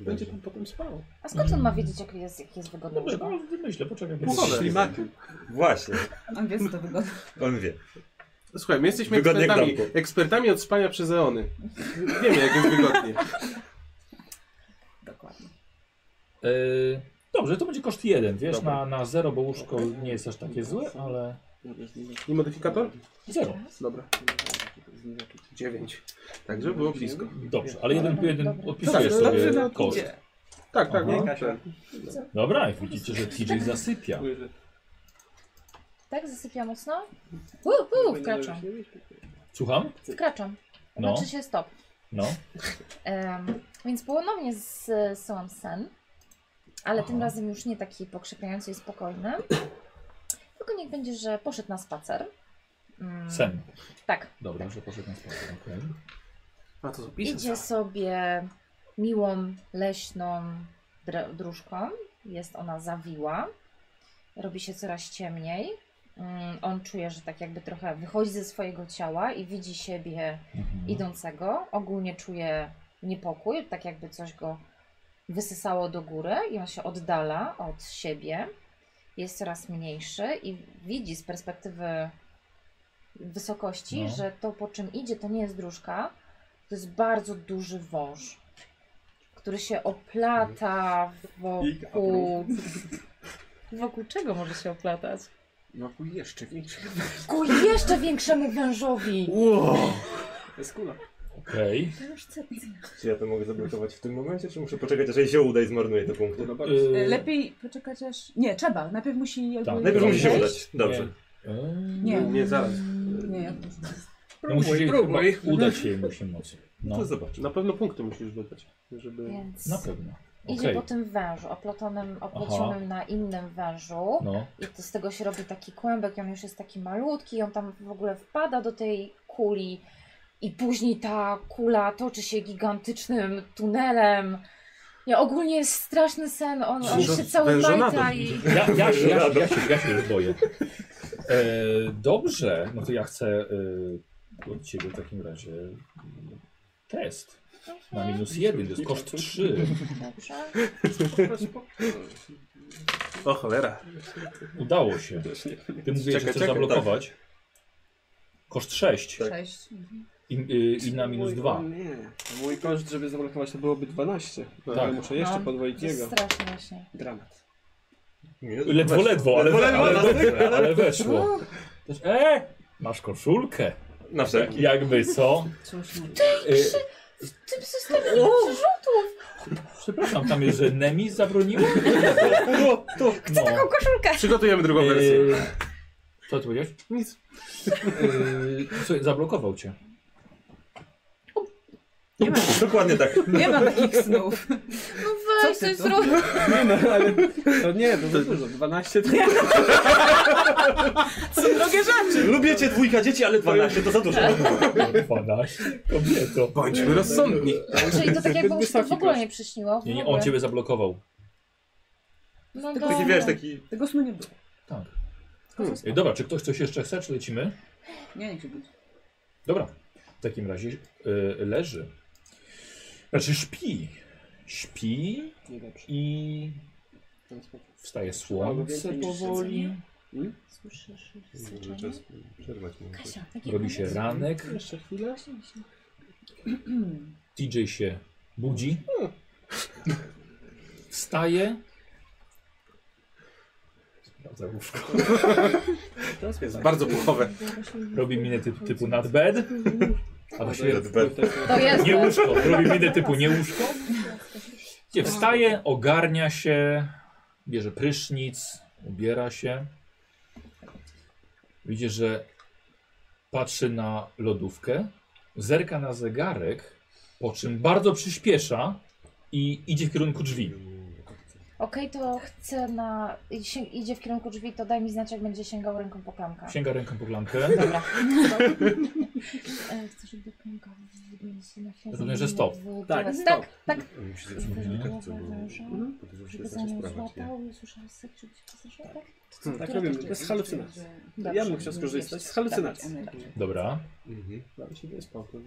Speaker 5: Będzie pan potem spał.
Speaker 3: A skąd on ma wiedzieć, jak jest, jak jest wygodne
Speaker 1: Mm. Dobrze,
Speaker 3: łóżko?
Speaker 1: no, wymyślę, poczekaj.
Speaker 5: Pogodę.
Speaker 2: Ślimaki.
Speaker 6: Właśnie,
Speaker 8: On wie, co to wygląda.
Speaker 6: on wie.
Speaker 5: Słuchaj, my jesteśmy
Speaker 6: Wygodnie jak
Speaker 5: ekspertami,
Speaker 6: domku.
Speaker 5: ekspertami od spania przez eony. Wiemy, jak jest wygodnie.
Speaker 8: Dokładnie.
Speaker 1: Yy, dobrze, to będzie koszt jeden, wiesz,
Speaker 5: Dobra.
Speaker 1: na, na zero, bo łóżko nie jest aż takie złe, ale
Speaker 5: I modyfikator?
Speaker 1: zero.
Speaker 5: Dobra. Dziewięć. Także było blisko.
Speaker 1: Dobrze, ale jeden, jeden odpisujesz
Speaker 5: Dobrze,
Speaker 1: sobie
Speaker 5: dobrze, no,
Speaker 1: koszt.
Speaker 5: idzie. Tak, tak.
Speaker 1: Aha.
Speaker 5: no, tak.
Speaker 1: Dobra, jak widzicie, że TJ zasypia.
Speaker 3: Tak, zasypia mocno? Uuu, wkraczam.
Speaker 1: Słucham?
Speaker 3: Wkraczam.
Speaker 1: No.
Speaker 3: Znaczy się stop.
Speaker 1: No.
Speaker 3: Em, więc ponownie zsyłam sen, ale tym
Speaker 1: Aha.
Speaker 3: razem już nie taki pokrzepiający i spokojny. Tylko niech będzie, że poszedł na spacer. Mm,
Speaker 1: Sen.
Speaker 3: Tak.
Speaker 1: Dobra, że poszedł na spacer. okej.
Speaker 5: A to zapiszę sobie.
Speaker 3: Idzie sobie miłą, leśną dr- dróżką. Jest ona zawiła. Robi się coraz ciemniej. Mm, On czuje, że tak jakby trochę wychodzi ze swojego ciała i widzi siebie
Speaker 1: Mhm.
Speaker 3: idącego. Ogólnie czuje niepokój, tak jakby coś go wysysało do góry i on się oddala od siebie. Jest coraz mniejszy i widzi z perspektywy wysokości,
Speaker 1: No.
Speaker 3: że to po czym idzie to nie jest dróżka, to jest bardzo duży wąż, który się oplata wokół... Wokół czego może się oplatać?
Speaker 5: No
Speaker 4: Wokół jeszcze większego.
Speaker 3: Ku jeszcze większemu wężowi!
Speaker 5: Wow.
Speaker 2: To jest kula.
Speaker 1: Y, Okej.
Speaker 6: Czy ja to mogę zablokować w tym momencie, czy muszę poczekać, aż jej się uda i zmarnuję te punkty?
Speaker 2: Kula bardzo.
Speaker 1: Y,
Speaker 8: E, Lepiej poczekać aż... Nie, trzeba. Najpierw musi jakby...
Speaker 1: Tak.
Speaker 6: Najpierw musi się
Speaker 1: Wejść?
Speaker 6: udać. Dobrze.
Speaker 1: y,
Speaker 8: Nie.
Speaker 5: Nie, zaraz.
Speaker 8: Nie, ja...
Speaker 1: No musi się
Speaker 4: próbuj.
Speaker 1: chyba udać się musi mocy. No,
Speaker 6: To zobacz.
Speaker 5: Na pewno punkty musisz dodać, żeby...
Speaker 3: Więc
Speaker 1: na pewno.
Speaker 3: idzie
Speaker 1: Okej.
Speaker 3: po tym wężu, oplotonym, oplecionym na innym wężu.
Speaker 1: No.
Speaker 3: I to z tego się robi taki kłębek, i on już jest taki malutki, i on tam w ogóle wpada do tej kuli. I później ta kula toczy się gigantycznym tunelem. Nie, ogólnie jest straszny sen, on, on
Speaker 5: Wężo-
Speaker 3: się cały
Speaker 5: wężonadą.
Speaker 3: majta i...
Speaker 1: Ja, ja, ja, ja, ja, się, ja się już boję. E, dobrze, no to ja chcę e, od ciebie w takim razie mm, test. Na minus jeden, to jest koszt trzy.
Speaker 3: Dobrze.
Speaker 5: O cholera.
Speaker 1: Udało się. Ty mówisz, że
Speaker 5: Czekaj,
Speaker 1: chcesz
Speaker 5: czekaj,
Speaker 1: zablokować.
Speaker 6: tak.
Speaker 1: Koszt 6
Speaker 8: Sześć. Mhm.
Speaker 1: i, y, i na minus
Speaker 2: Mój-
Speaker 1: 2.
Speaker 2: o Nie, mój koszt, żeby zablokować to byłoby 12.
Speaker 5: Tak.
Speaker 2: Ale muszę jeszcze
Speaker 3: No.
Speaker 2: podwoić
Speaker 3: To jest
Speaker 2: jego.
Speaker 3: straszny właśnie.
Speaker 2: Dramat.
Speaker 6: Nie,
Speaker 1: Ledwo,
Speaker 6: weź.
Speaker 1: ledwo, ale,
Speaker 6: Ledwo,
Speaker 1: ale,
Speaker 6: ledwo, ale-
Speaker 1: ale, ale weszło. Też, e, masz koszulkę.
Speaker 6: Na wszelki.
Speaker 1: Jakby co?
Speaker 4: Coś
Speaker 8: no.
Speaker 4: mu...
Speaker 1: Y,
Speaker 3: W tym systemie przerzutów!
Speaker 1: przepraszam, tam jest, że Nemi zabroniła?
Speaker 6: To, to.
Speaker 1: No.
Speaker 3: Taką koszulkę!
Speaker 5: Przygotujemy drugą wersję.
Speaker 1: Y, co ty powiedziałeś?
Speaker 5: Nic.
Speaker 1: Y, słuchaj, zablokował cię.
Speaker 8: Nie ma,
Speaker 6: Dokładnie tak.
Speaker 8: nie ma takich snów.
Speaker 3: No weź,
Speaker 8: Co ty
Speaker 3: coś
Speaker 8: to?
Speaker 3: zrób!
Speaker 2: Nie no, ale to nie, to za dużo. 12 to
Speaker 8: Są drogie rzeczy.
Speaker 6: Lubię cię dwójka dzieci, ale 12 to za dużo.
Speaker 1: 12? Kobieto.
Speaker 5: Bądźmy rozsądni.
Speaker 3: Czyli to tak jakby mu się to w
Speaker 2: wysoki
Speaker 3: ogóle
Speaker 2: koszt.
Speaker 3: nie przyśniło. w
Speaker 1: Nie, nie,
Speaker 3: ogóle.
Speaker 1: on ciebie zablokował.
Speaker 3: No
Speaker 6: Taki wiesz, taki...
Speaker 8: Tego snu nie było.
Speaker 1: Tak.
Speaker 8: Tylko
Speaker 1: Y,
Speaker 8: zaspa-
Speaker 1: dobra, czy ktoś coś jeszcze chce, czy lecimy?
Speaker 8: Nie, niech się budzi.
Speaker 1: Dobra, w takim razie y, leży. Znaczy śpi. Śpi
Speaker 2: nie dobrze.
Speaker 1: i
Speaker 2: Ten spokój.
Speaker 1: wstaje słońce powoli.
Speaker 3: Słyszysz
Speaker 6: Może
Speaker 3: syczenie?
Speaker 6: czas przerwać mu.
Speaker 3: Kasia, jaki
Speaker 1: Robi się
Speaker 3: pomysł?
Speaker 1: ranek.
Speaker 2: Jeszcze chwilę.
Speaker 1: DJ się budzi. Wstaje. Sprawdza łóżko.
Speaker 2: Teraz
Speaker 5: Jest bardzo puchowe.
Speaker 1: Robi minę typu, typu nad bed. A właściwie
Speaker 3: To jest
Speaker 1: nie
Speaker 3: to.
Speaker 1: łóżko. Robi minę typu nie łóżko. Nie, wstaje, ogarnia się, bierze prysznic, ubiera się. Widzi, że patrzy na lodówkę, zerka na zegarek, po czym bardzo przyspiesza i idzie w kierunku drzwi.
Speaker 3: Okej, to chcę na... i się- Idzie w kierunku drzwi, to daj mi znać, jak będzie sięgał ręką po klamkę.
Speaker 1: Sięga ręką po klamkę.
Speaker 3: Dobra. E, Chcę, żeby klamka wyglądała się na chwilę.
Speaker 1: Rozumiem, że stop.
Speaker 3: w-
Speaker 2: Tak,
Speaker 3: w-
Speaker 2: stop.
Speaker 3: Tak, tak.
Speaker 6: Musi zatrzymać delikatnie, bo podróż się
Speaker 3: Żeby za
Speaker 6: zacznie
Speaker 3: nią
Speaker 6: sprawać, nie?
Speaker 3: złapał i usłyszał syk, żeby się zaczął, tak?
Speaker 2: Tak robimy, to jest halucynacja. Ja bym chciał skorzystać z halucynacji.
Speaker 1: Dobra.
Speaker 6: Mhm.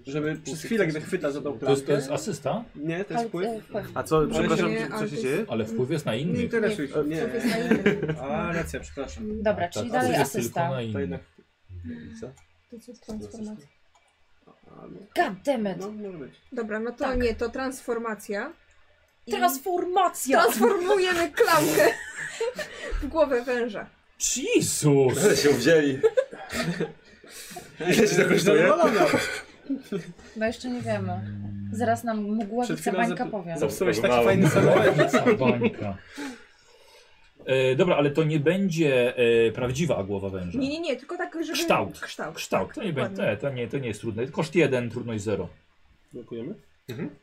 Speaker 2: Żeby przez chwilę, gdy chwyta za
Speaker 1: To
Speaker 2: tą
Speaker 1: jest, to
Speaker 2: klamkę.
Speaker 1: jest asysta,
Speaker 2: Nie, to jest
Speaker 3: Halu- e,
Speaker 2: wpływ.
Speaker 3: wpływ.
Speaker 5: A co, przepraszam,
Speaker 9: Nie, ale
Speaker 5: co
Speaker 9: to
Speaker 5: się
Speaker 9: jest-
Speaker 5: dzieje?
Speaker 1: ale wpływ jest na
Speaker 9: Nie
Speaker 1: innych.
Speaker 2: Interesuj się.
Speaker 9: To
Speaker 2: Nie.
Speaker 9: jest na innym.
Speaker 2: A, racja, przepraszam.
Speaker 3: Dobra, czyli
Speaker 1: Tak,
Speaker 3: dalej
Speaker 1: jest tylko
Speaker 3: asysta.
Speaker 1: na
Speaker 2: To
Speaker 1: innych.
Speaker 2: jednak.
Speaker 6: I co?
Speaker 9: To jest transformacja.
Speaker 2: A, no,
Speaker 3: God damn it.
Speaker 2: no, może być.
Speaker 9: Dobra, no to
Speaker 3: Tak.
Speaker 9: nie, to transformacja. I
Speaker 3: Transformacja!
Speaker 9: transformujemy klamkę w głowę węża.
Speaker 1: Jezus!
Speaker 6: Ale się wzięli. no, Ile ci to kosztuje?
Speaker 3: No, No jeszcze nie wiemy. Zaraz nam
Speaker 2: Przed
Speaker 3: mgławica
Speaker 2: chwilą
Speaker 3: bańka
Speaker 2: zap-
Speaker 3: powie.
Speaker 2: Zepsułeś taki
Speaker 6: Próbowałem.
Speaker 2: fajny samochód.
Speaker 1: Bańka. E, dobra, ale to nie będzie e, prawdziwa głowa węża.
Speaker 9: Nie, nie, nie, tylko tak, żeby...
Speaker 1: Kształt. No
Speaker 9: Kształt.
Speaker 1: Kształt, to nie, będzie, to nie, to nie jest trudne. Koszt 1, trudność 0.
Speaker 5: blokujemy?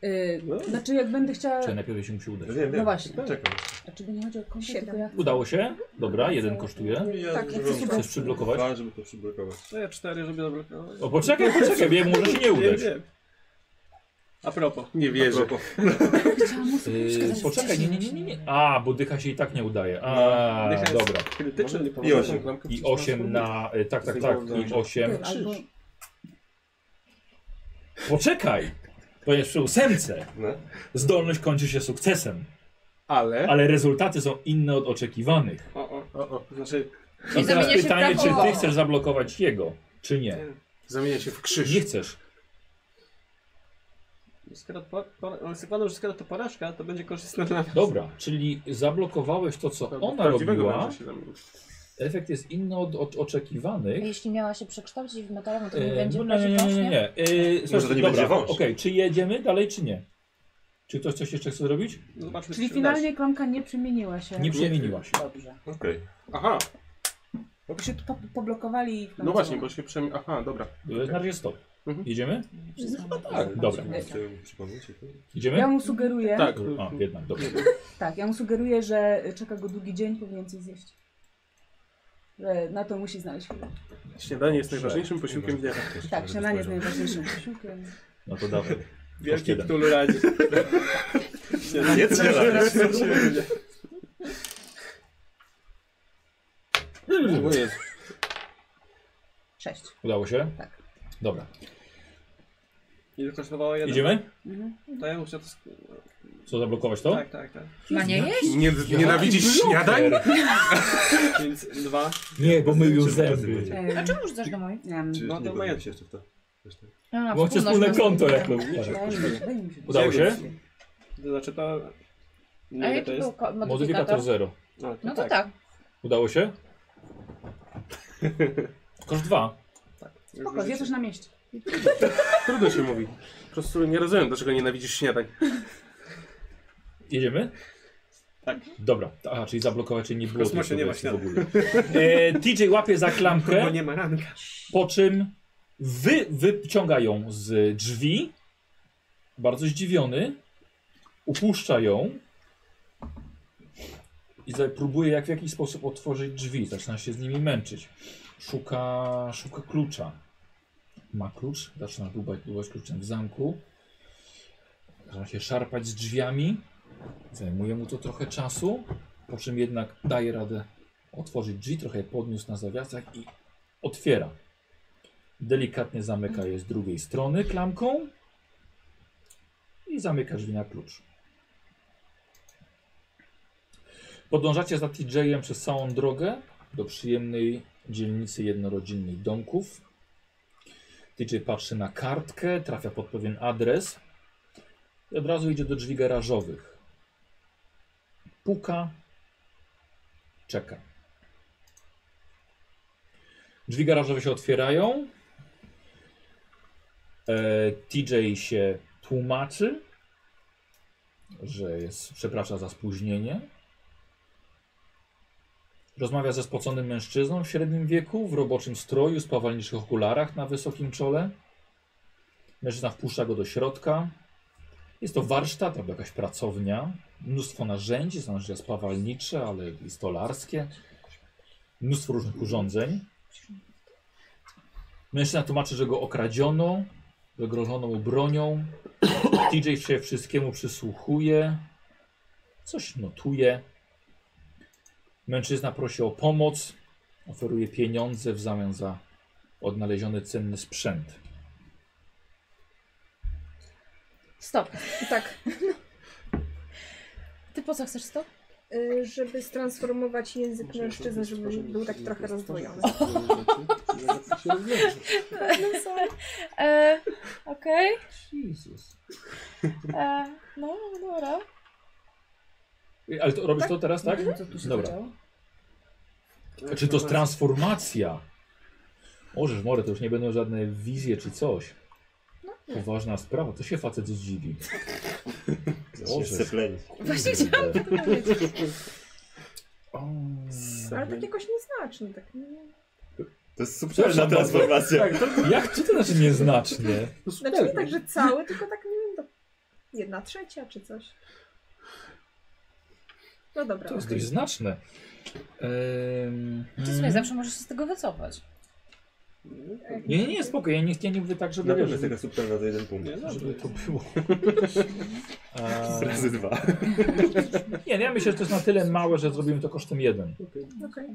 Speaker 8: Y,
Speaker 5: No.
Speaker 8: Znaczy, jak będę chciała.
Speaker 1: Czy najpierw się musi udać?
Speaker 6: Wiem, wiem.
Speaker 8: No właśnie.
Speaker 6: Czekam.
Speaker 8: Znaczy, nie chodzi o konkret,
Speaker 9: Siedem.
Speaker 8: tylko jak.
Speaker 1: Udało się? Dobra, jeden kosztuje.
Speaker 6: Ja
Speaker 9: Tak,
Speaker 6: używam
Speaker 9: chcesz
Speaker 6: dwa,
Speaker 1: Chcesz przyblokować?
Speaker 6: Tak, żeby to przyblokować.
Speaker 2: To ja cztery, żeby zablokować.
Speaker 1: O, poczekaj, poczekaj, wiem, może się nie udać.
Speaker 2: Wiem, wiem. A propos.
Speaker 5: Nie wierzę.
Speaker 8: Chciałam mu
Speaker 1: Yy, poczekaj, nie, nie, nie, nie, nie. A, bo dycha się i tak nie udaje. A,
Speaker 2: No, Dycha jest
Speaker 1: dobra.
Speaker 2: Krytyczny nie
Speaker 6: I osiem.
Speaker 1: I 8 na. y, Tak, tak, tak. I 8.
Speaker 8: Albo...
Speaker 1: Poczekaj! To jest przy ósemce.
Speaker 6: No.
Speaker 1: Zdolność kończy się sukcesem,
Speaker 5: Ale.
Speaker 1: ale rezultaty są inne od oczekiwanych.
Speaker 2: O, o.
Speaker 5: O, o,
Speaker 2: Znaczy,
Speaker 1: I
Speaker 3: I
Speaker 1: teraz
Speaker 3: zamienia się w
Speaker 1: pytanie, czy
Speaker 3: brawo.
Speaker 1: ty chcesz zablokować jego, czy nie?
Speaker 5: zamienia się w krzyż.
Speaker 1: Nie chcesz.
Speaker 2: skoro, po, po, ale zakładam, że skoro to porażka, to będzie korzystne dla nas.
Speaker 1: Dobra, czyli zablokowałeś to, co
Speaker 5: Albo
Speaker 1: ona
Speaker 5: prawdziwego
Speaker 1: robiła.
Speaker 5: męża się zamienił.
Speaker 1: Efekt jest inny od, od oczekiwanych.
Speaker 3: Jeśli miała się przekształcić w metalową, to nie
Speaker 1: E,
Speaker 3: będzie
Speaker 1: no
Speaker 3: w razie
Speaker 1: nie, nie, nie,
Speaker 3: wąż,
Speaker 1: nie, nie. E, słuchajcie,
Speaker 6: to nie
Speaker 1: dobra,
Speaker 6: będzie wąż.
Speaker 1: Okej, czy jedziemy dalej, czy nie? Czy ktoś coś jeszcze chce zrobić?
Speaker 2: Zobaczmy,
Speaker 8: Czyli
Speaker 2: czy uda się.
Speaker 8: finalnie klamka nie przemieniła się.
Speaker 3: Tak.
Speaker 1: Nie przemieniła się.
Speaker 8: Dobrze.
Speaker 6: Okej.
Speaker 5: Aha,
Speaker 8: Bo się po, poblokowali. i w końcu-
Speaker 5: no właśnie, bo się przemienił. Aha, dobra.
Speaker 1: E, Na razie stop.
Speaker 5: Mhm.
Speaker 1: Jedziemy?
Speaker 8: Przyznam.
Speaker 1: Tak, dobra.
Speaker 8: Ja
Speaker 6: Tak,
Speaker 1: Idziemy?
Speaker 8: mu sugeruję.
Speaker 5: Tak.
Speaker 1: A, jednak, dobrze.
Speaker 8: Tak, ja mu sugeruję, że czeka go długi dzień, powinien coś zjeść. Że na to musi znaleźć chwilę.
Speaker 5: Śniadanie jest najważniejszym posiłkiem dnia.
Speaker 8: Tak, śniadanie jest najważniejszym posiłkiem.
Speaker 1: No to dawaj.
Speaker 2: Wielki
Speaker 1: Kosztem.
Speaker 2: Cthulhu radzi.
Speaker 6: Nie trzeba.
Speaker 8: Sześć.
Speaker 1: Udało się?
Speaker 8: Tak.
Speaker 1: Dobra.
Speaker 2: I kosztowało jeden.
Speaker 1: Idziemy?
Speaker 8: Mhm.
Speaker 2: To ja muszę to... sk-
Speaker 1: Co, zablokować to?
Speaker 2: Tak, tak, tak.
Speaker 3: Ma nie jeść?
Speaker 5: Nie, nienawidzisz śniadań?
Speaker 2: Więc dwa.
Speaker 1: Nie, bo mył już
Speaker 6: Zobaczymy,
Speaker 1: zęby.
Speaker 6: będzie.
Speaker 8: E,
Speaker 1: Znaczy-
Speaker 3: A czemu rzucasz do No, moich?
Speaker 8: em,
Speaker 2: No, to
Speaker 6: No
Speaker 2: moje.
Speaker 6: to się jeszcze w to. tak.
Speaker 3: A,
Speaker 1: Bo chcę wspólne konto jak był.
Speaker 8: daj mi- daj mi się.
Speaker 1: Udało się?
Speaker 2: To znaczy to...
Speaker 3: A
Speaker 2: Nie,
Speaker 3: jaki
Speaker 2: to
Speaker 3: był
Speaker 2: jest...
Speaker 3: ko- modyfikator?
Speaker 1: Modyfikator 0.
Speaker 2: A,
Speaker 3: No to tak.
Speaker 1: Udało się? Koszt 2.
Speaker 8: Spoko, zje coś na mieście.
Speaker 5: Trudno się mówi. Po prostu nie rozumiem, dlaczego nienawidzisz śniadań.
Speaker 1: Jedziemy?
Speaker 2: Tak.
Speaker 1: Dobra. Aha, czyli zablokować, czyli nie było
Speaker 2: kosmosie
Speaker 1: tej
Speaker 2: nie ma
Speaker 1: progresji w ogóle. E, TJ łapie za
Speaker 2: Bo
Speaker 1: klamkę,
Speaker 2: nie ma ranka.
Speaker 1: po czym wy, wyciąga ją z drzwi. Bardzo zdziwiony. Upuszcza ją. I za- próbuje jak w jakiś sposób otworzyć drzwi. Zaczyna się z nimi męczyć. Szuka, szuka klucza. Ma klucz. Zaczyna dłubać, dłubać kluczem w zamku. Zaczyna się szarpać z drzwiami. Zajmuje mu to trochę czasu. Po czym jednak daje radę otworzyć drzwi. Trochę je podniósł na zawiasach i otwiera. Delikatnie zamyka je z drugiej strony klamką. I zamyka drzwi na klucz. Podążacie za TJ-em przez całą drogę do przyjemnej dzielnicy jednorodzinnych domków. TJ patrzy na kartkę, trafia pod pewien adres i od razu idzie do drzwi garażowych. Puka, czeka. Drzwi garażowe się otwierają. E, TJ się tłumaczy, że jest, przeprasza za spóźnienie. Rozmawia ze spoconym mężczyzną w średnim wieku, w roboczym stroju, z powalniczych okularach na wysokim czole. Mężczyzna wpuszcza go do środka. Jest to warsztat albo jakaś pracownia. Mnóstwo narzędzi, są narzędzia spawalnicze, ale i stolarskie. Mnóstwo różnych urządzeń. Mężczyzna tłumaczy, że go okradziono, że grożono mu bronią. TJ się wszystkiemu przysłuchuje, coś notuje. Mężczyzna prosi o pomoc, oferuje pieniądze w zamian za odnaleziony cenny sprzęt.
Speaker 3: Stop.
Speaker 9: Tak,
Speaker 3: Ty po co chcesz stop?
Speaker 9: y, żeby transformować język mężczyzny, żeby był tak trochę rozdwojony.
Speaker 3: No sorry. E, Okej.
Speaker 1: Jezus.
Speaker 3: E, No, dobra.
Speaker 1: Ale to, robisz to teraz, tak?
Speaker 8: Nie wiem, co tu się
Speaker 1: Dobra.
Speaker 8: zadziało.
Speaker 1: Czy to jest transformacja? Możesz, More, to już nie będą żadne wizje czy coś. Poważna sprawa, to się facet zdziwi.
Speaker 6: Zacznie syplenić.
Speaker 3: Właśnie chciałam to powiedzieć.
Speaker 1: O.
Speaker 9: Ale tak jakoś nieznacznie, tak nie,
Speaker 6: To jest subtelna
Speaker 1: Przepraszam
Speaker 6: transformacja.
Speaker 5: Tak, to,
Speaker 1: Jak co to znaczy nieznacznie?
Speaker 5: to
Speaker 9: Znaczy nie
Speaker 5: super.
Speaker 9: tak, że cały, tylko tak nie wiem, do jedna trzecia czy coś. No dobra.
Speaker 1: To jest dość znaczne. Ehm,
Speaker 3: Czy w sumie Znaczy, zawsze możesz się z tego wycofać.
Speaker 1: Nie, nie, nie, spoko, ja nie, ja nie mówię tak, żeby,
Speaker 6: Na pewno
Speaker 1: wiesz,
Speaker 6: jest
Speaker 1: żeby,
Speaker 6: taka subtelna za jeden punkt.
Speaker 1: żeby to było. A,
Speaker 6: Razy dwa.
Speaker 1: nie, no ja myślę, że to jest na tyle małe, że zrobimy to kosztem jeden.
Speaker 9: Okej.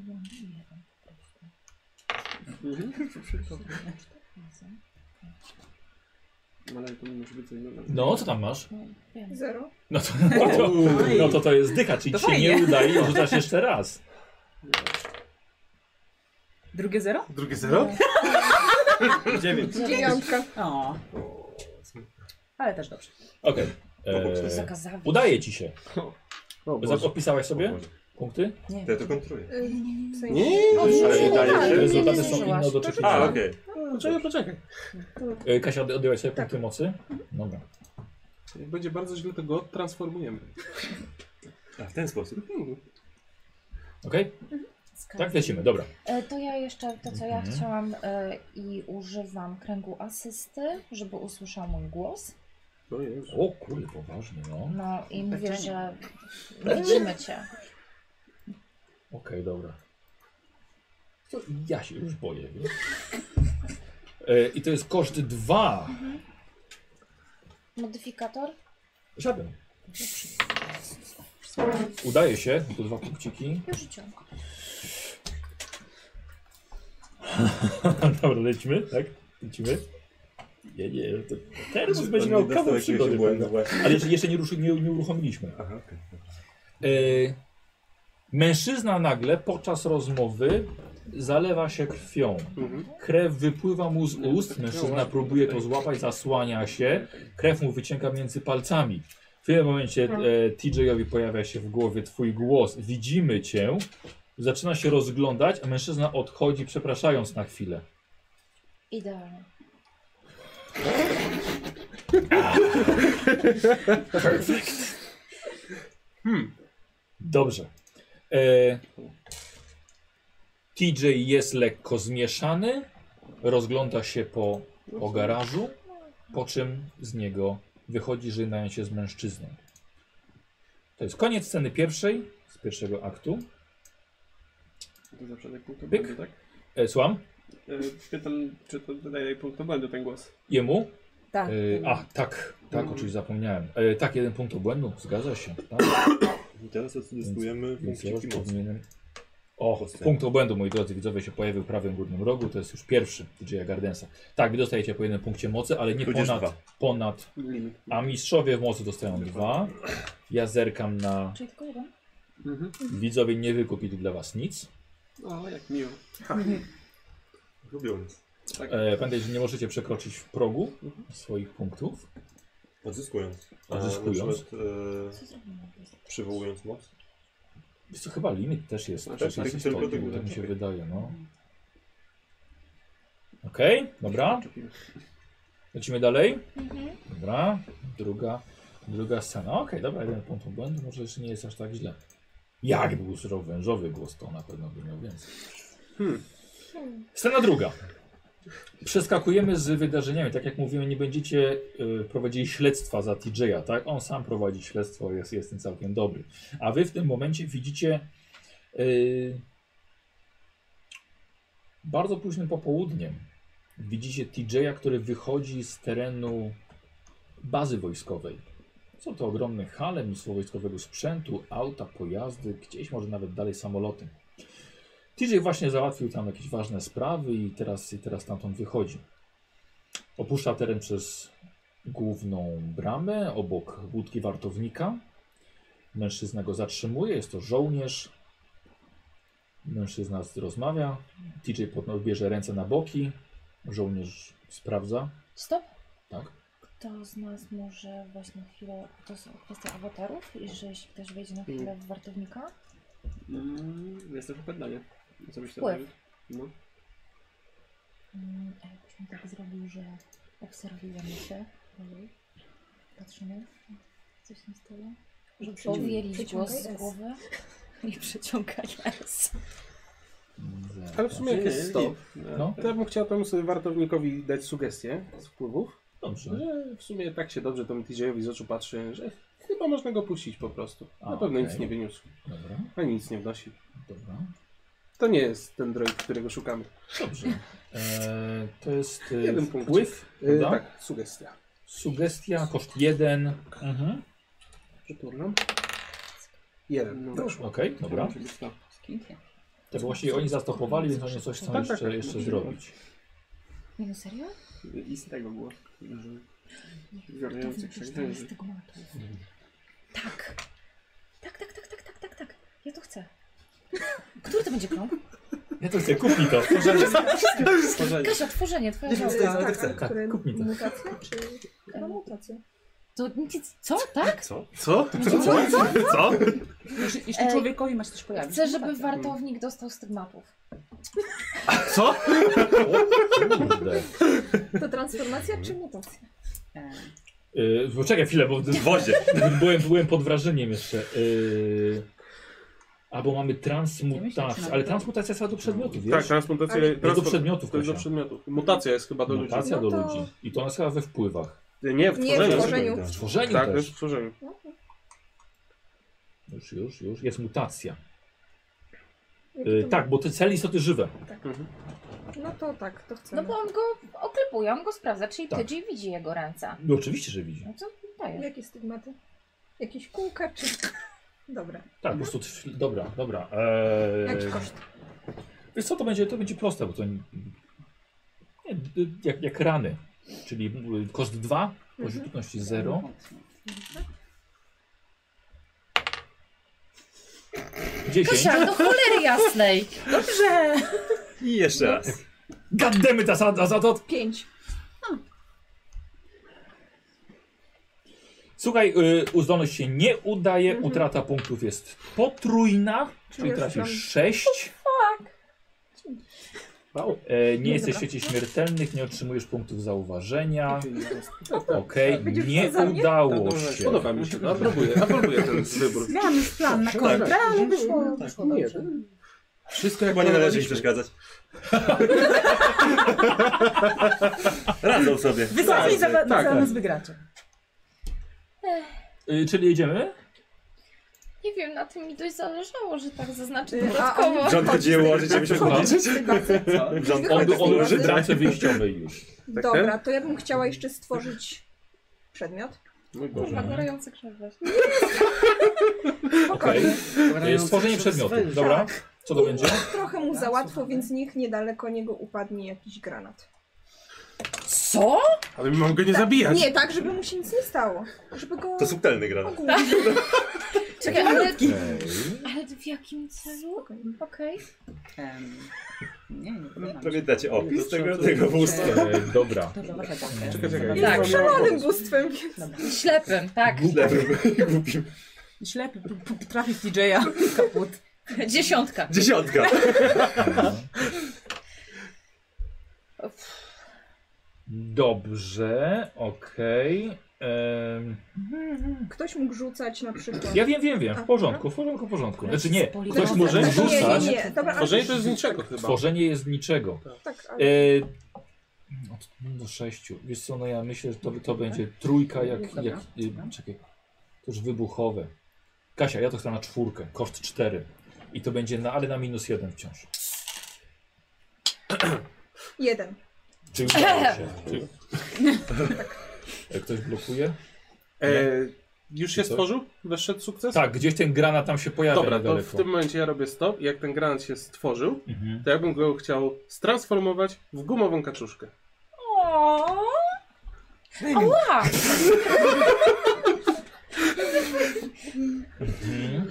Speaker 2: Mhm. Ale to może być co innego.
Speaker 1: No, co tam masz?
Speaker 9: Zero.
Speaker 1: No to no to, no to, to jest dycha, czyli
Speaker 8: To
Speaker 1: ci się nie
Speaker 8: fajnie.
Speaker 1: udaje i rzucasz jeszcze raz.
Speaker 8: Drugie zero?
Speaker 5: Drugie zero?
Speaker 2: Dziewięć.
Speaker 9: Dziewiątka.
Speaker 8: O. Ale też dobrze.
Speaker 1: Okej.
Speaker 6: Obok
Speaker 1: Eee,
Speaker 3: Wysoka zawieść.
Speaker 1: Udaje ci się.
Speaker 5: O
Speaker 1: Za-
Speaker 5: Boże.
Speaker 1: Opisałaś
Speaker 6: O
Speaker 1: sobie
Speaker 6: Boże.
Speaker 1: punkty?
Speaker 3: Nie.
Speaker 6: To ja to kontruję.
Speaker 9: Y, W sensie...
Speaker 5: Nie,
Speaker 6: Ale
Speaker 3: nie,
Speaker 6: daje
Speaker 3: nie, nie,
Speaker 6: się?
Speaker 3: nie,
Speaker 1: Rezultaty
Speaker 3: nie
Speaker 1: są
Speaker 3: zużyłaś.
Speaker 1: inne do
Speaker 6: A,
Speaker 1: oczekiwania.
Speaker 6: okej.
Speaker 2: No,
Speaker 5: Poczekaj, poczekaj.
Speaker 1: Eee, Kasia, od- odjęłaś sobie
Speaker 9: Tak.
Speaker 1: punkty mocy? Dobra.
Speaker 5: Jak będzie bardzo źle, to go transformujemy.
Speaker 6: A, w ten sposób.
Speaker 2: Mhm.
Speaker 5: Hmm.
Speaker 1: Okej?
Speaker 3: Skarb.
Speaker 1: Tak, lecimy, dobra.
Speaker 3: E, To ja jeszcze to, co ja
Speaker 1: Mhm.
Speaker 3: chciałam e, i używam kręgu asysty, żeby usłyszał mój głos.
Speaker 5: No jest.
Speaker 1: O kurde, poważnie, no. Okej,
Speaker 3: No i mówię,
Speaker 8: Pewnie.
Speaker 3: że widzimy cię.
Speaker 1: dobra. To Ja się już boję, wiesz? Eee, I to jest koszt dwa.
Speaker 3: Modyfikator?
Speaker 1: Żaden. Udaje się, to dwa punkciki.
Speaker 3: Już rzuciłam.
Speaker 1: Dobra, lecimy, tak? Lecimy. Nie, nie, to teraz
Speaker 6: Czy
Speaker 1: będzie
Speaker 6: on
Speaker 1: miał
Speaker 6: nie dostał
Speaker 1: kawał
Speaker 6: jakiegoś
Speaker 1: przygody.
Speaker 6: błędu
Speaker 1: pewnie.
Speaker 6: właśnie?
Speaker 1: Ale jeszcze, jeszcze nie, ruszy, nie, nie uruchomiliśmy.
Speaker 6: Aha, okej.
Speaker 1: Yy, mężczyzna nagle podczas rozmowy zalewa się krwią.
Speaker 5: Mhm.
Speaker 1: Krew wypływa mu z ust, mężczyzna próbuje to złapać, zasłania się, krew mu wycieka między palcami. W tym momencie e, TJ-owi pojawia się w głowie twój głos, widzimy cię, zaczyna się rozglądać, a mężczyzna odchodzi przepraszając na chwilę.
Speaker 3: Idealnie.
Speaker 1: Dobrze. E, TJ jest lekko zmieszany, rozgląda się po, po garażu, po czym z niego wychodzi, żegnając się z mężczyzną. To jest koniec sceny pierwszej, z pierwszego aktu.
Speaker 2: To zawsze tak punktu
Speaker 1: Pyk.
Speaker 2: błędu, tak?
Speaker 1: E, słucham?
Speaker 2: E, Pytam, czy to dodaje punktu błędu ten głos.
Speaker 1: Jemu?
Speaker 8: Tak.
Speaker 1: E, a, tak, tak, oczywiście zapomniałem. E, tak, jeden punkt obłędu, zgadza się. Tak?
Speaker 6: I teraz odzyskujemy
Speaker 1: Więc ja już
Speaker 6: punkciki mocy.
Speaker 1: powinienem... O, punkt obłędu, moi drodzy widzowie, się pojawił w prawym górnym rogu. To jest już pierwszy DJ Gardensa. Tak, wy dostajecie po jednym punkcie mocy, ale nie
Speaker 6: Tudzież
Speaker 1: ponad,
Speaker 6: dwa.
Speaker 1: ponad.
Speaker 2: Limit.
Speaker 1: A mistrzowie w mocy dostają dwa. Ja zerkam na.
Speaker 3: Czyli tylko jeden?
Speaker 2: Mhm.
Speaker 1: Widzowie nie wykupili dla was nic.
Speaker 2: O, jak miło.
Speaker 6: Lubią nas.
Speaker 2: Tak.
Speaker 1: E, pamiętajcie, że nie możecie przekroczyć w progu swoich punktów.
Speaker 6: Odzyskując. A,
Speaker 1: Odzyskując.
Speaker 6: na przykład, e,
Speaker 3: Co zrobimy?
Speaker 6: Przywołując moc.
Speaker 1: Wiesz co, chyba limit też jest.
Speaker 2: Tak,
Speaker 1: też
Speaker 6: tak,
Speaker 1: jest
Speaker 6: tylko
Speaker 1: istotny,
Speaker 6: tylko
Speaker 1: tak mi się
Speaker 6: tak.
Speaker 1: wydaje, no. Okej, dobra.
Speaker 2: Czepimy.
Speaker 1: Lecimy dalej. Dobra, druga, druga scena. Okej, dobra, jeden punkt błędu, może jeszcze nie jest aż tak źle. Jak był surowy wężowy głos, to na pewno by miał więcej. Scena druga. Przeskakujemy z wydarzeniami. Tak jak mówiłem, nie będziecie y, prowadzili śledztwa za TJ-a, tak? On sam prowadzi śledztwo, jest, jest tym całkiem dobry. A wy w tym momencie widzicie y, bardzo późnym popołudniem widzicie TJ-a, który wychodzi z terenu bazy wojskowej. Są to ogromne hale, mnóstwo wojskowego sprzętu, auta, pojazdy, gdzieś może nawet dalej samoloty. TJ właśnie załatwił tam jakieś ważne sprawy i teraz, i teraz tamtąd wychodzi. Opuszcza teren przez główną bramę obok łódki wartownika. Mężczyzna go zatrzymuje, jest to żołnierz. Mężczyzna z- rozmawia. TJ podno- bierze ręce na boki. Żołnierz sprawdza.
Speaker 3: Stop.
Speaker 1: Tak.
Speaker 3: Kto z nas może właśnie chwilę... To są kwestia awatarów i że jeśli ktoś wejdzie na chwilę w wartownika,
Speaker 2: Mm, jest też opętanie. Co byś
Speaker 3: Wpływ.
Speaker 2: robił? No.
Speaker 3: Mm, A jakbyś mi tak zrobił, że obserwujemy się dalej, patrzymy, co się stało, że
Speaker 9: Przyciągaj-
Speaker 3: powielić
Speaker 9: przyciągaj
Speaker 3: głos z
Speaker 9: S.
Speaker 3: głowy i przeciągać S.
Speaker 1: Zaraz.
Speaker 7: Ale w sumie jak jest stop,
Speaker 1: No.
Speaker 7: to ja bym chciał temu sobie wartownikowi dać sugestię z wpływów,
Speaker 1: Dobrze.
Speaker 7: że w sumie tak się dobrze temu TJ-owi z oczu patrzy, że chyba można go puścić po prostu.
Speaker 1: A,
Speaker 7: Na pewno
Speaker 1: okej.
Speaker 7: nic nie wyniósł,
Speaker 1: Dobra,
Speaker 7: ani nic nie wnosi.
Speaker 1: dobra.
Speaker 7: To nie jest ten droid, którego szukamy.
Speaker 1: Dobrze. E, to jest e,
Speaker 7: Jeden punkt.
Speaker 1: wpływ,
Speaker 7: Yy,
Speaker 1: prawda?
Speaker 7: tak, sugestia.
Speaker 1: Sugestia, koszt jeden. Mhm.
Speaker 7: Przeturlam. Jeden.
Speaker 2: No.
Speaker 7: Dobrze.
Speaker 1: Okej, dobra.
Speaker 8: Pięknie.
Speaker 1: To właściwie oni zastopowali, więc oni coś chcą
Speaker 7: Tak, tak,
Speaker 1: jeszcze,
Speaker 7: tak.
Speaker 1: jeszcze zrobić.
Speaker 3: Nie no serio?
Speaker 2: I z tego było. że
Speaker 3: To
Speaker 2: Wiorący
Speaker 3: wypisz tam z
Speaker 2: krzywdy.
Speaker 3: tego matu. Tak. Tak, tak, tak, tak, tak, tak, tak. Ja to chcę. Który to będzie krąg?
Speaker 1: Ja to chcę, kupi to.
Speaker 10: Stworzenie.
Speaker 3: Kasia, tworzenie, twoja
Speaker 2: Nie wiem,
Speaker 3: żałobka.
Speaker 2: co to
Speaker 9: tak,
Speaker 2: jest, ale
Speaker 9: ale
Speaker 1: tak,
Speaker 9: które
Speaker 1: kup mi to.
Speaker 9: mutacje czy chyba mutacje?
Speaker 3: To nic, co? Tak?
Speaker 6: Co?
Speaker 7: Co?
Speaker 3: Co? Co?
Speaker 7: Co?
Speaker 8: Jeszcze, jeszcze
Speaker 3: Ej.
Speaker 8: człowiekowi masz też pojawić.
Speaker 3: Chcę,
Speaker 8: No
Speaker 3: żeby
Speaker 8: tak.
Speaker 3: wartownik dostał stygmatów.
Speaker 7: Co?
Speaker 1: Kurde.
Speaker 9: To transformacja czy mutacja?
Speaker 8: E,
Speaker 1: Yy, poczekaj chwilę, bo w wodzie. byłem, byłem pod wrażeniem jeszcze. Yy, albo mamy
Speaker 8: Ja myślę,
Speaker 1: transmutację,
Speaker 8: że
Speaker 1: ale
Speaker 8: na-
Speaker 1: transmutacja jest chyba do przedmiotów, wiesz?
Speaker 7: Tak, transmutacja.
Speaker 9: Ale-
Speaker 1: To jest do
Speaker 7: Transpo...
Speaker 1: przedmiotów,
Speaker 7: To jest do
Speaker 1: Kasia.
Speaker 7: przedmiotów. Mutacja jest chyba do ludzi.
Speaker 1: Mutacja do
Speaker 9: No to-
Speaker 1: ludzi. I to ona jest chyba we wpływach.
Speaker 7: Nie, w
Speaker 9: Nie,
Speaker 7: tworzeniu.
Speaker 1: W
Speaker 9: w tworzeniu.
Speaker 1: tworzeniu
Speaker 7: Tak,
Speaker 1: też.
Speaker 7: też w tworzeniu.
Speaker 1: Już, już, już. Jest mutacja. Yy, tak, bo te cel istoty żywe.
Speaker 9: No to tak, to chcę.
Speaker 3: No bo on go oklepuje, on go sprawdza, czyli
Speaker 1: Tak.
Speaker 3: tak. TG widzi jego ręce.
Speaker 1: No oczywiście, że widzi.
Speaker 3: No co daje?
Speaker 9: Jakie stygmaty? Jakieś kółka czy... Dobra.
Speaker 1: Tak, po prostu. tw- Dobra, dobra. Eee,
Speaker 9: Jaki koszt?
Speaker 1: Wiesz co, to będzie, to będzie proste, bo to nie, nie, d- jak, jak rany, czyli y, koszt 2, poziom trudności
Speaker 8: no,
Speaker 1: 0.
Speaker 3: Kasia,
Speaker 1: 10.
Speaker 3: do cholery jasnej! Dobrze!
Speaker 6: I jeszcze raz.
Speaker 1: Gaddemy ta za, za to.
Speaker 9: Pięć.
Speaker 1: Słuchaj, y, uzdolność się nie udaje,
Speaker 9: Mhm.
Speaker 1: utrata punktów jest potrójna, czyli
Speaker 9: już
Speaker 1: trafisz
Speaker 9: mam-
Speaker 1: 6.
Speaker 7: Wow.
Speaker 1: E, nie
Speaker 9: No
Speaker 1: jesteś w
Speaker 9: dobra.
Speaker 1: świecie śmiertelnych, nie otrzymujesz punktów
Speaker 9: No
Speaker 1: zauważenia.
Speaker 7: tak.
Speaker 1: Okej,
Speaker 9: Będziesz
Speaker 1: nie
Speaker 9: za mnie?
Speaker 1: udało się.
Speaker 7: No Podoba mi się. to. Aprobuję, aprobuję ten wybór.
Speaker 8: Miałam już plan na
Speaker 7: Tak.
Speaker 8: kontrę, ale
Speaker 9: Mhm.
Speaker 8: wyszło,
Speaker 9: Tak,
Speaker 8: wyszło
Speaker 7: nie,
Speaker 8: dobrze.
Speaker 7: Wszystko jak
Speaker 6: Chyba nie należy im
Speaker 7: planowaliśmy.
Speaker 6: przeszkadzać. Radzą sobie.
Speaker 8: Wy sami za, za
Speaker 7: tak.
Speaker 8: nas wygracie.
Speaker 1: Y, czyli jedziemy?
Speaker 3: Nie wiem, na tym mi dość zależało, że tak zaznaczę
Speaker 9: Yy, a
Speaker 3: dodatkowo.
Speaker 9: on-
Speaker 6: Rząd chodziło ułożyć, żebyśmy
Speaker 1: Słucham?
Speaker 6: chodzić.
Speaker 2: Co?
Speaker 6: Rząd
Speaker 1: On,
Speaker 9: Wychodzi
Speaker 1: on już
Speaker 9: z
Speaker 1: w bramce wyjściowej już.
Speaker 9: Dobra, to ja bym chciała jeszcze stworzyć przedmiot.
Speaker 7: Mój
Speaker 3: Kurwa,
Speaker 7: Boże.
Speaker 3: gorący krzewy.
Speaker 1: Okej.
Speaker 9: Spokojnie.
Speaker 1: Y, Stworzenie przedmiotu.
Speaker 7: Tak.
Speaker 1: Dobra. Co to będzie?
Speaker 9: Trochę mu za łatwo, więc niech niedaleko niego upadnie jakiś granat.
Speaker 3: Co?
Speaker 7: Ale mam go nie zabijać.
Speaker 9: Nie, tak, żeby mu się nic nie stało. Żeby go...
Speaker 6: To subtelny gra.
Speaker 9: ogólnie-
Speaker 3: Czekaj, ale,
Speaker 1: Okej.
Speaker 3: ale w jakim celu? Okej.
Speaker 8: Em, nie, nie podoba mi się.
Speaker 6: Pamiętacie, o, z tego, tego wózka.
Speaker 1: E, dobra.
Speaker 8: Dobra, może tak.
Speaker 7: Czekaj, czekaj.
Speaker 3: Tak,
Speaker 7: Mam-
Speaker 9: Szalonym bóstwem, więc...
Speaker 8: Dobra.
Speaker 3: Ślepym, tak.
Speaker 8: Ślepy, p- p- trafi w DJ-a, kaput.
Speaker 3: Dziesiątka.
Speaker 6: Dziesiątka.
Speaker 1: Dobrze, okej. Em,
Speaker 9: Ktoś mógł rzucać na przykład... No,
Speaker 1: Ja wiem, wiem, wiem. W porządku, w porządku, w porządku. Znaczy nie, ktoś może
Speaker 9: nie, nie,
Speaker 1: rzucać.
Speaker 9: nie, dobra, ale-
Speaker 7: Tworzenie to jest z niczego chyba.
Speaker 1: Tworzenie jest z niczego.
Speaker 9: Tak, ale...
Speaker 1: E, od do sześciu. Wiesz co, no ja myślę, że to, to będzie trójka jak... jak y, czekaj. To już wybuchowe. Kasia, ja to chcę na czwórkę. Koszt cztery. I to będzie, na, ale na minus jeden wciąż.
Speaker 9: Jeden.
Speaker 1: Czy udało się? Czy... E, Ktoś blokuje?
Speaker 7: E, już się
Speaker 1: Czy coś?
Speaker 7: stworzył? Weszedł sukces?
Speaker 1: Tak, gdzieś ten granat tam się pojawia
Speaker 7: Dobra, to
Speaker 1: niedaleko.
Speaker 7: w tym momencie ja robię stop. Jak ten granat się stworzył,
Speaker 1: Mhm.
Speaker 7: to ja bym go chciał stransformować w gumową kaczuszkę.
Speaker 3: Ooo. Ała!
Speaker 1: Mhm.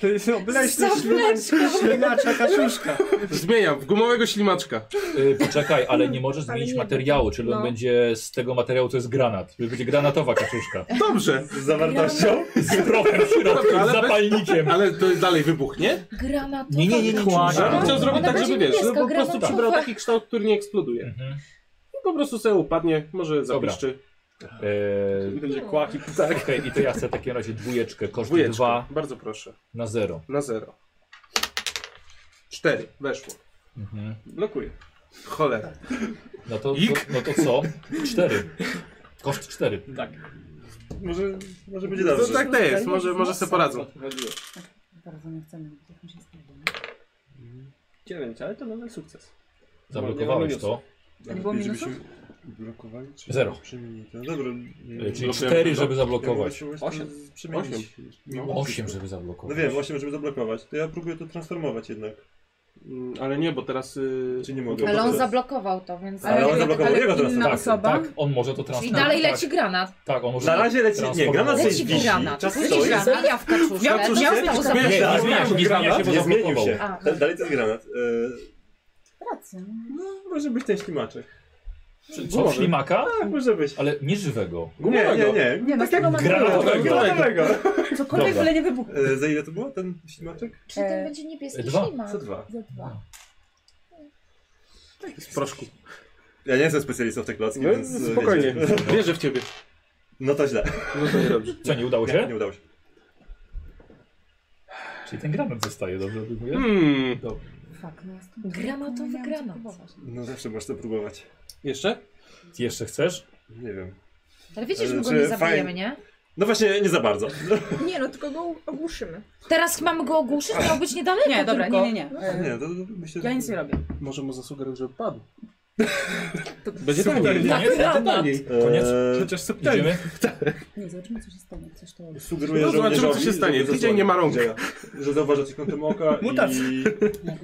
Speaker 2: To jest obleśna
Speaker 3: Zableczko.
Speaker 2: ślinacza kaczuszka.
Speaker 7: Zmieniam, w gumowego ślimaczka.
Speaker 1: Y, poczekaj, ale nie możesz
Speaker 9: Ale
Speaker 1: zmienić
Speaker 9: nie,
Speaker 1: materiału, czyli on
Speaker 9: no.
Speaker 1: będzie z tego materiału to jest granat. Czyli Będzie granatowa kaczuszka.
Speaker 7: Dobrze,
Speaker 6: Z zawartością.
Speaker 1: Z prochem w środku,
Speaker 7: Dobra, ale
Speaker 1: z
Speaker 7: bez-
Speaker 1: zapalnikiem.
Speaker 7: ale to dalej wybuchnie.
Speaker 3: Granatowa.
Speaker 1: Nie, nie, nie, nie,
Speaker 3: kaczuszka.
Speaker 7: Ja bym chciał zrobić
Speaker 3: Ona
Speaker 7: tak,
Speaker 3: będzie
Speaker 7: żeby
Speaker 5: no
Speaker 7: wiesz, żeby
Speaker 3: niebieska,
Speaker 7: po prostu
Speaker 3: granatowa.
Speaker 7: przybrał taki kształt, który nie eksploduje.
Speaker 1: Mhm.
Speaker 7: I po prostu sobie upadnie, może
Speaker 1: Dobra.
Speaker 7: zapiszczy.
Speaker 1: Eee,
Speaker 7: Będzie kłaki.
Speaker 1: tak. Okej, i to ja chcę w takim razie dwójeczkę, koszt
Speaker 7: Dwójeczka.
Speaker 1: 2
Speaker 7: Bardzo proszę.
Speaker 1: na 0.
Speaker 7: Na zero. Cztery. Weszło.
Speaker 1: Mhm.
Speaker 2: Blokuje.
Speaker 5: Cholera.
Speaker 1: No, to, to,
Speaker 5: Ik.
Speaker 1: no to co? Cztery. Koszt cztery.
Speaker 2: Tak.
Speaker 6: Może, może będzie
Speaker 5: No
Speaker 6: dobrze.
Speaker 5: tak to jest, może, może se poradzą.
Speaker 2: Odchodziło.
Speaker 8: Bardzo nie chcemy być jakimś istniejem.
Speaker 2: 9, ale to nadal sukces.
Speaker 1: Zablokowałeś to.
Speaker 8: Tak było
Speaker 6: Lepiej,
Speaker 8: minusów?
Speaker 6: blokowali? Czy
Speaker 1: Zero.
Speaker 6: Przymienili ten. Dobra.
Speaker 1: Y, Czyli
Speaker 5: Blokujemy
Speaker 1: cztery,
Speaker 5: to?
Speaker 1: żeby
Speaker 6: Zablokować.
Speaker 1: zablokować.
Speaker 2: Osiem.
Speaker 6: Przymienić.
Speaker 5: No.
Speaker 1: Osiem, żeby
Speaker 6: No
Speaker 1: zablokować.
Speaker 6: wiem, 8, żeby zablokować. To ja próbuję to transformować jednak.
Speaker 5: Mm, Ale nie, bo teraz... y,
Speaker 6: Czy nie mogę?
Speaker 3: Ale on
Speaker 6: Dobra.
Speaker 3: zablokował to, więc.
Speaker 6: Ale on
Speaker 8: nie-
Speaker 6: zablokował jego teraz.
Speaker 8: inna
Speaker 6: Tak,
Speaker 8: osoba.
Speaker 1: Tak, on może to transformować.
Speaker 3: Czyli dalej
Speaker 1: tak,
Speaker 3: leci granat.
Speaker 1: Tak, on może.
Speaker 6: Na razie leci. Nie, granat
Speaker 1: Leci
Speaker 6: się
Speaker 3: Leci
Speaker 6: wisi.
Speaker 3: granat.
Speaker 6: Czas
Speaker 3: Leci
Speaker 6: stoi.
Speaker 3: granat, ja w kaczuszkę.
Speaker 5: Ja w kaczuszkę?
Speaker 3: Miał został
Speaker 5: Nie,
Speaker 1: Nie,
Speaker 3: zablokował.
Speaker 1: nie zmienia się, nie zmienia się, bo
Speaker 6: Nie zmienił
Speaker 1: zablokował.
Speaker 6: się.
Speaker 3: A.
Speaker 6: Da- Dalej to jest granat. Y,
Speaker 8: Pracy. no.
Speaker 6: No, może być ten ślimaczek.
Speaker 1: Co,
Speaker 5: Gumowy.
Speaker 1: ślimaka?
Speaker 6: Tak, może być.
Speaker 1: Ale nie żywego.
Speaker 6: Nie, nie, nie.
Speaker 8: Nie, no z tego mamy
Speaker 1: Granatowego.
Speaker 6: Granatowego.
Speaker 8: Cokolwiek,
Speaker 1: Dobra.
Speaker 8: ale nie wybuchło.
Speaker 6: Y, Za ile to było ten ślimaczek?
Speaker 3: Czy ten
Speaker 8: E,
Speaker 3: będzie niebieski
Speaker 1: dwa.
Speaker 3: ślimak?
Speaker 6: Za dwa.
Speaker 8: Za dwa.
Speaker 5: Z proszku.
Speaker 6: Ja nie jestem specjalistą w te klocki,
Speaker 5: No,
Speaker 6: więc... y,
Speaker 5: spokojnie.
Speaker 6: wiecie.
Speaker 5: Wierzę w ciebie.
Speaker 6: No to źle.
Speaker 5: No to dobrze.
Speaker 1: Co, nie udało
Speaker 6: Nie,
Speaker 1: się?
Speaker 6: nie udało się.
Speaker 1: Czyli ten granat zostaje, dobrze odbyguję?
Speaker 5: Hmm.
Speaker 1: Dobrze.
Speaker 8: Fuck, no ja z tym-
Speaker 3: Granatowy
Speaker 8: miałam co
Speaker 3: granat.
Speaker 8: próbować.
Speaker 6: No zawsze możesz to próbować.
Speaker 5: Jeszcze?
Speaker 1: Jeszcze chcesz?
Speaker 6: Nie wiem.
Speaker 3: Ale wiecie, że
Speaker 6: Ale
Speaker 3: my go
Speaker 6: czy
Speaker 3: nie zabijemy,
Speaker 6: fajn-
Speaker 3: nie?
Speaker 6: No właśnie, nie za bardzo.
Speaker 9: Nie no, tylko go ogłuszymy.
Speaker 3: Teraz mamy go ogłuszyć, miał być niedaleko
Speaker 8: Nie, dobra,
Speaker 3: tylko.
Speaker 8: nie, nie, nie.
Speaker 6: Nie,
Speaker 8: E,
Speaker 6: to, to myślę, że...
Speaker 8: Ja nic nie robię.
Speaker 5: Może mu zasugeruję, żeby padł. Będzie
Speaker 6: Super.
Speaker 5: taniej.
Speaker 1: Tak,
Speaker 5: Będzie
Speaker 1: tak,
Speaker 5: taniej.
Speaker 1: Koniec?
Speaker 6: Eee,
Speaker 5: Chociaż subtelnie.
Speaker 1: Idziemy?
Speaker 8: Nie, zobaczymy co się stanie. Coś to...
Speaker 6: Sugeruję,
Speaker 5: No,
Speaker 6: że
Speaker 5: zobaczymy, co się stanie. Tydzień nie ma rąk.
Speaker 6: Że zauważa coś kątem oka
Speaker 5: Mutacja.
Speaker 6: i...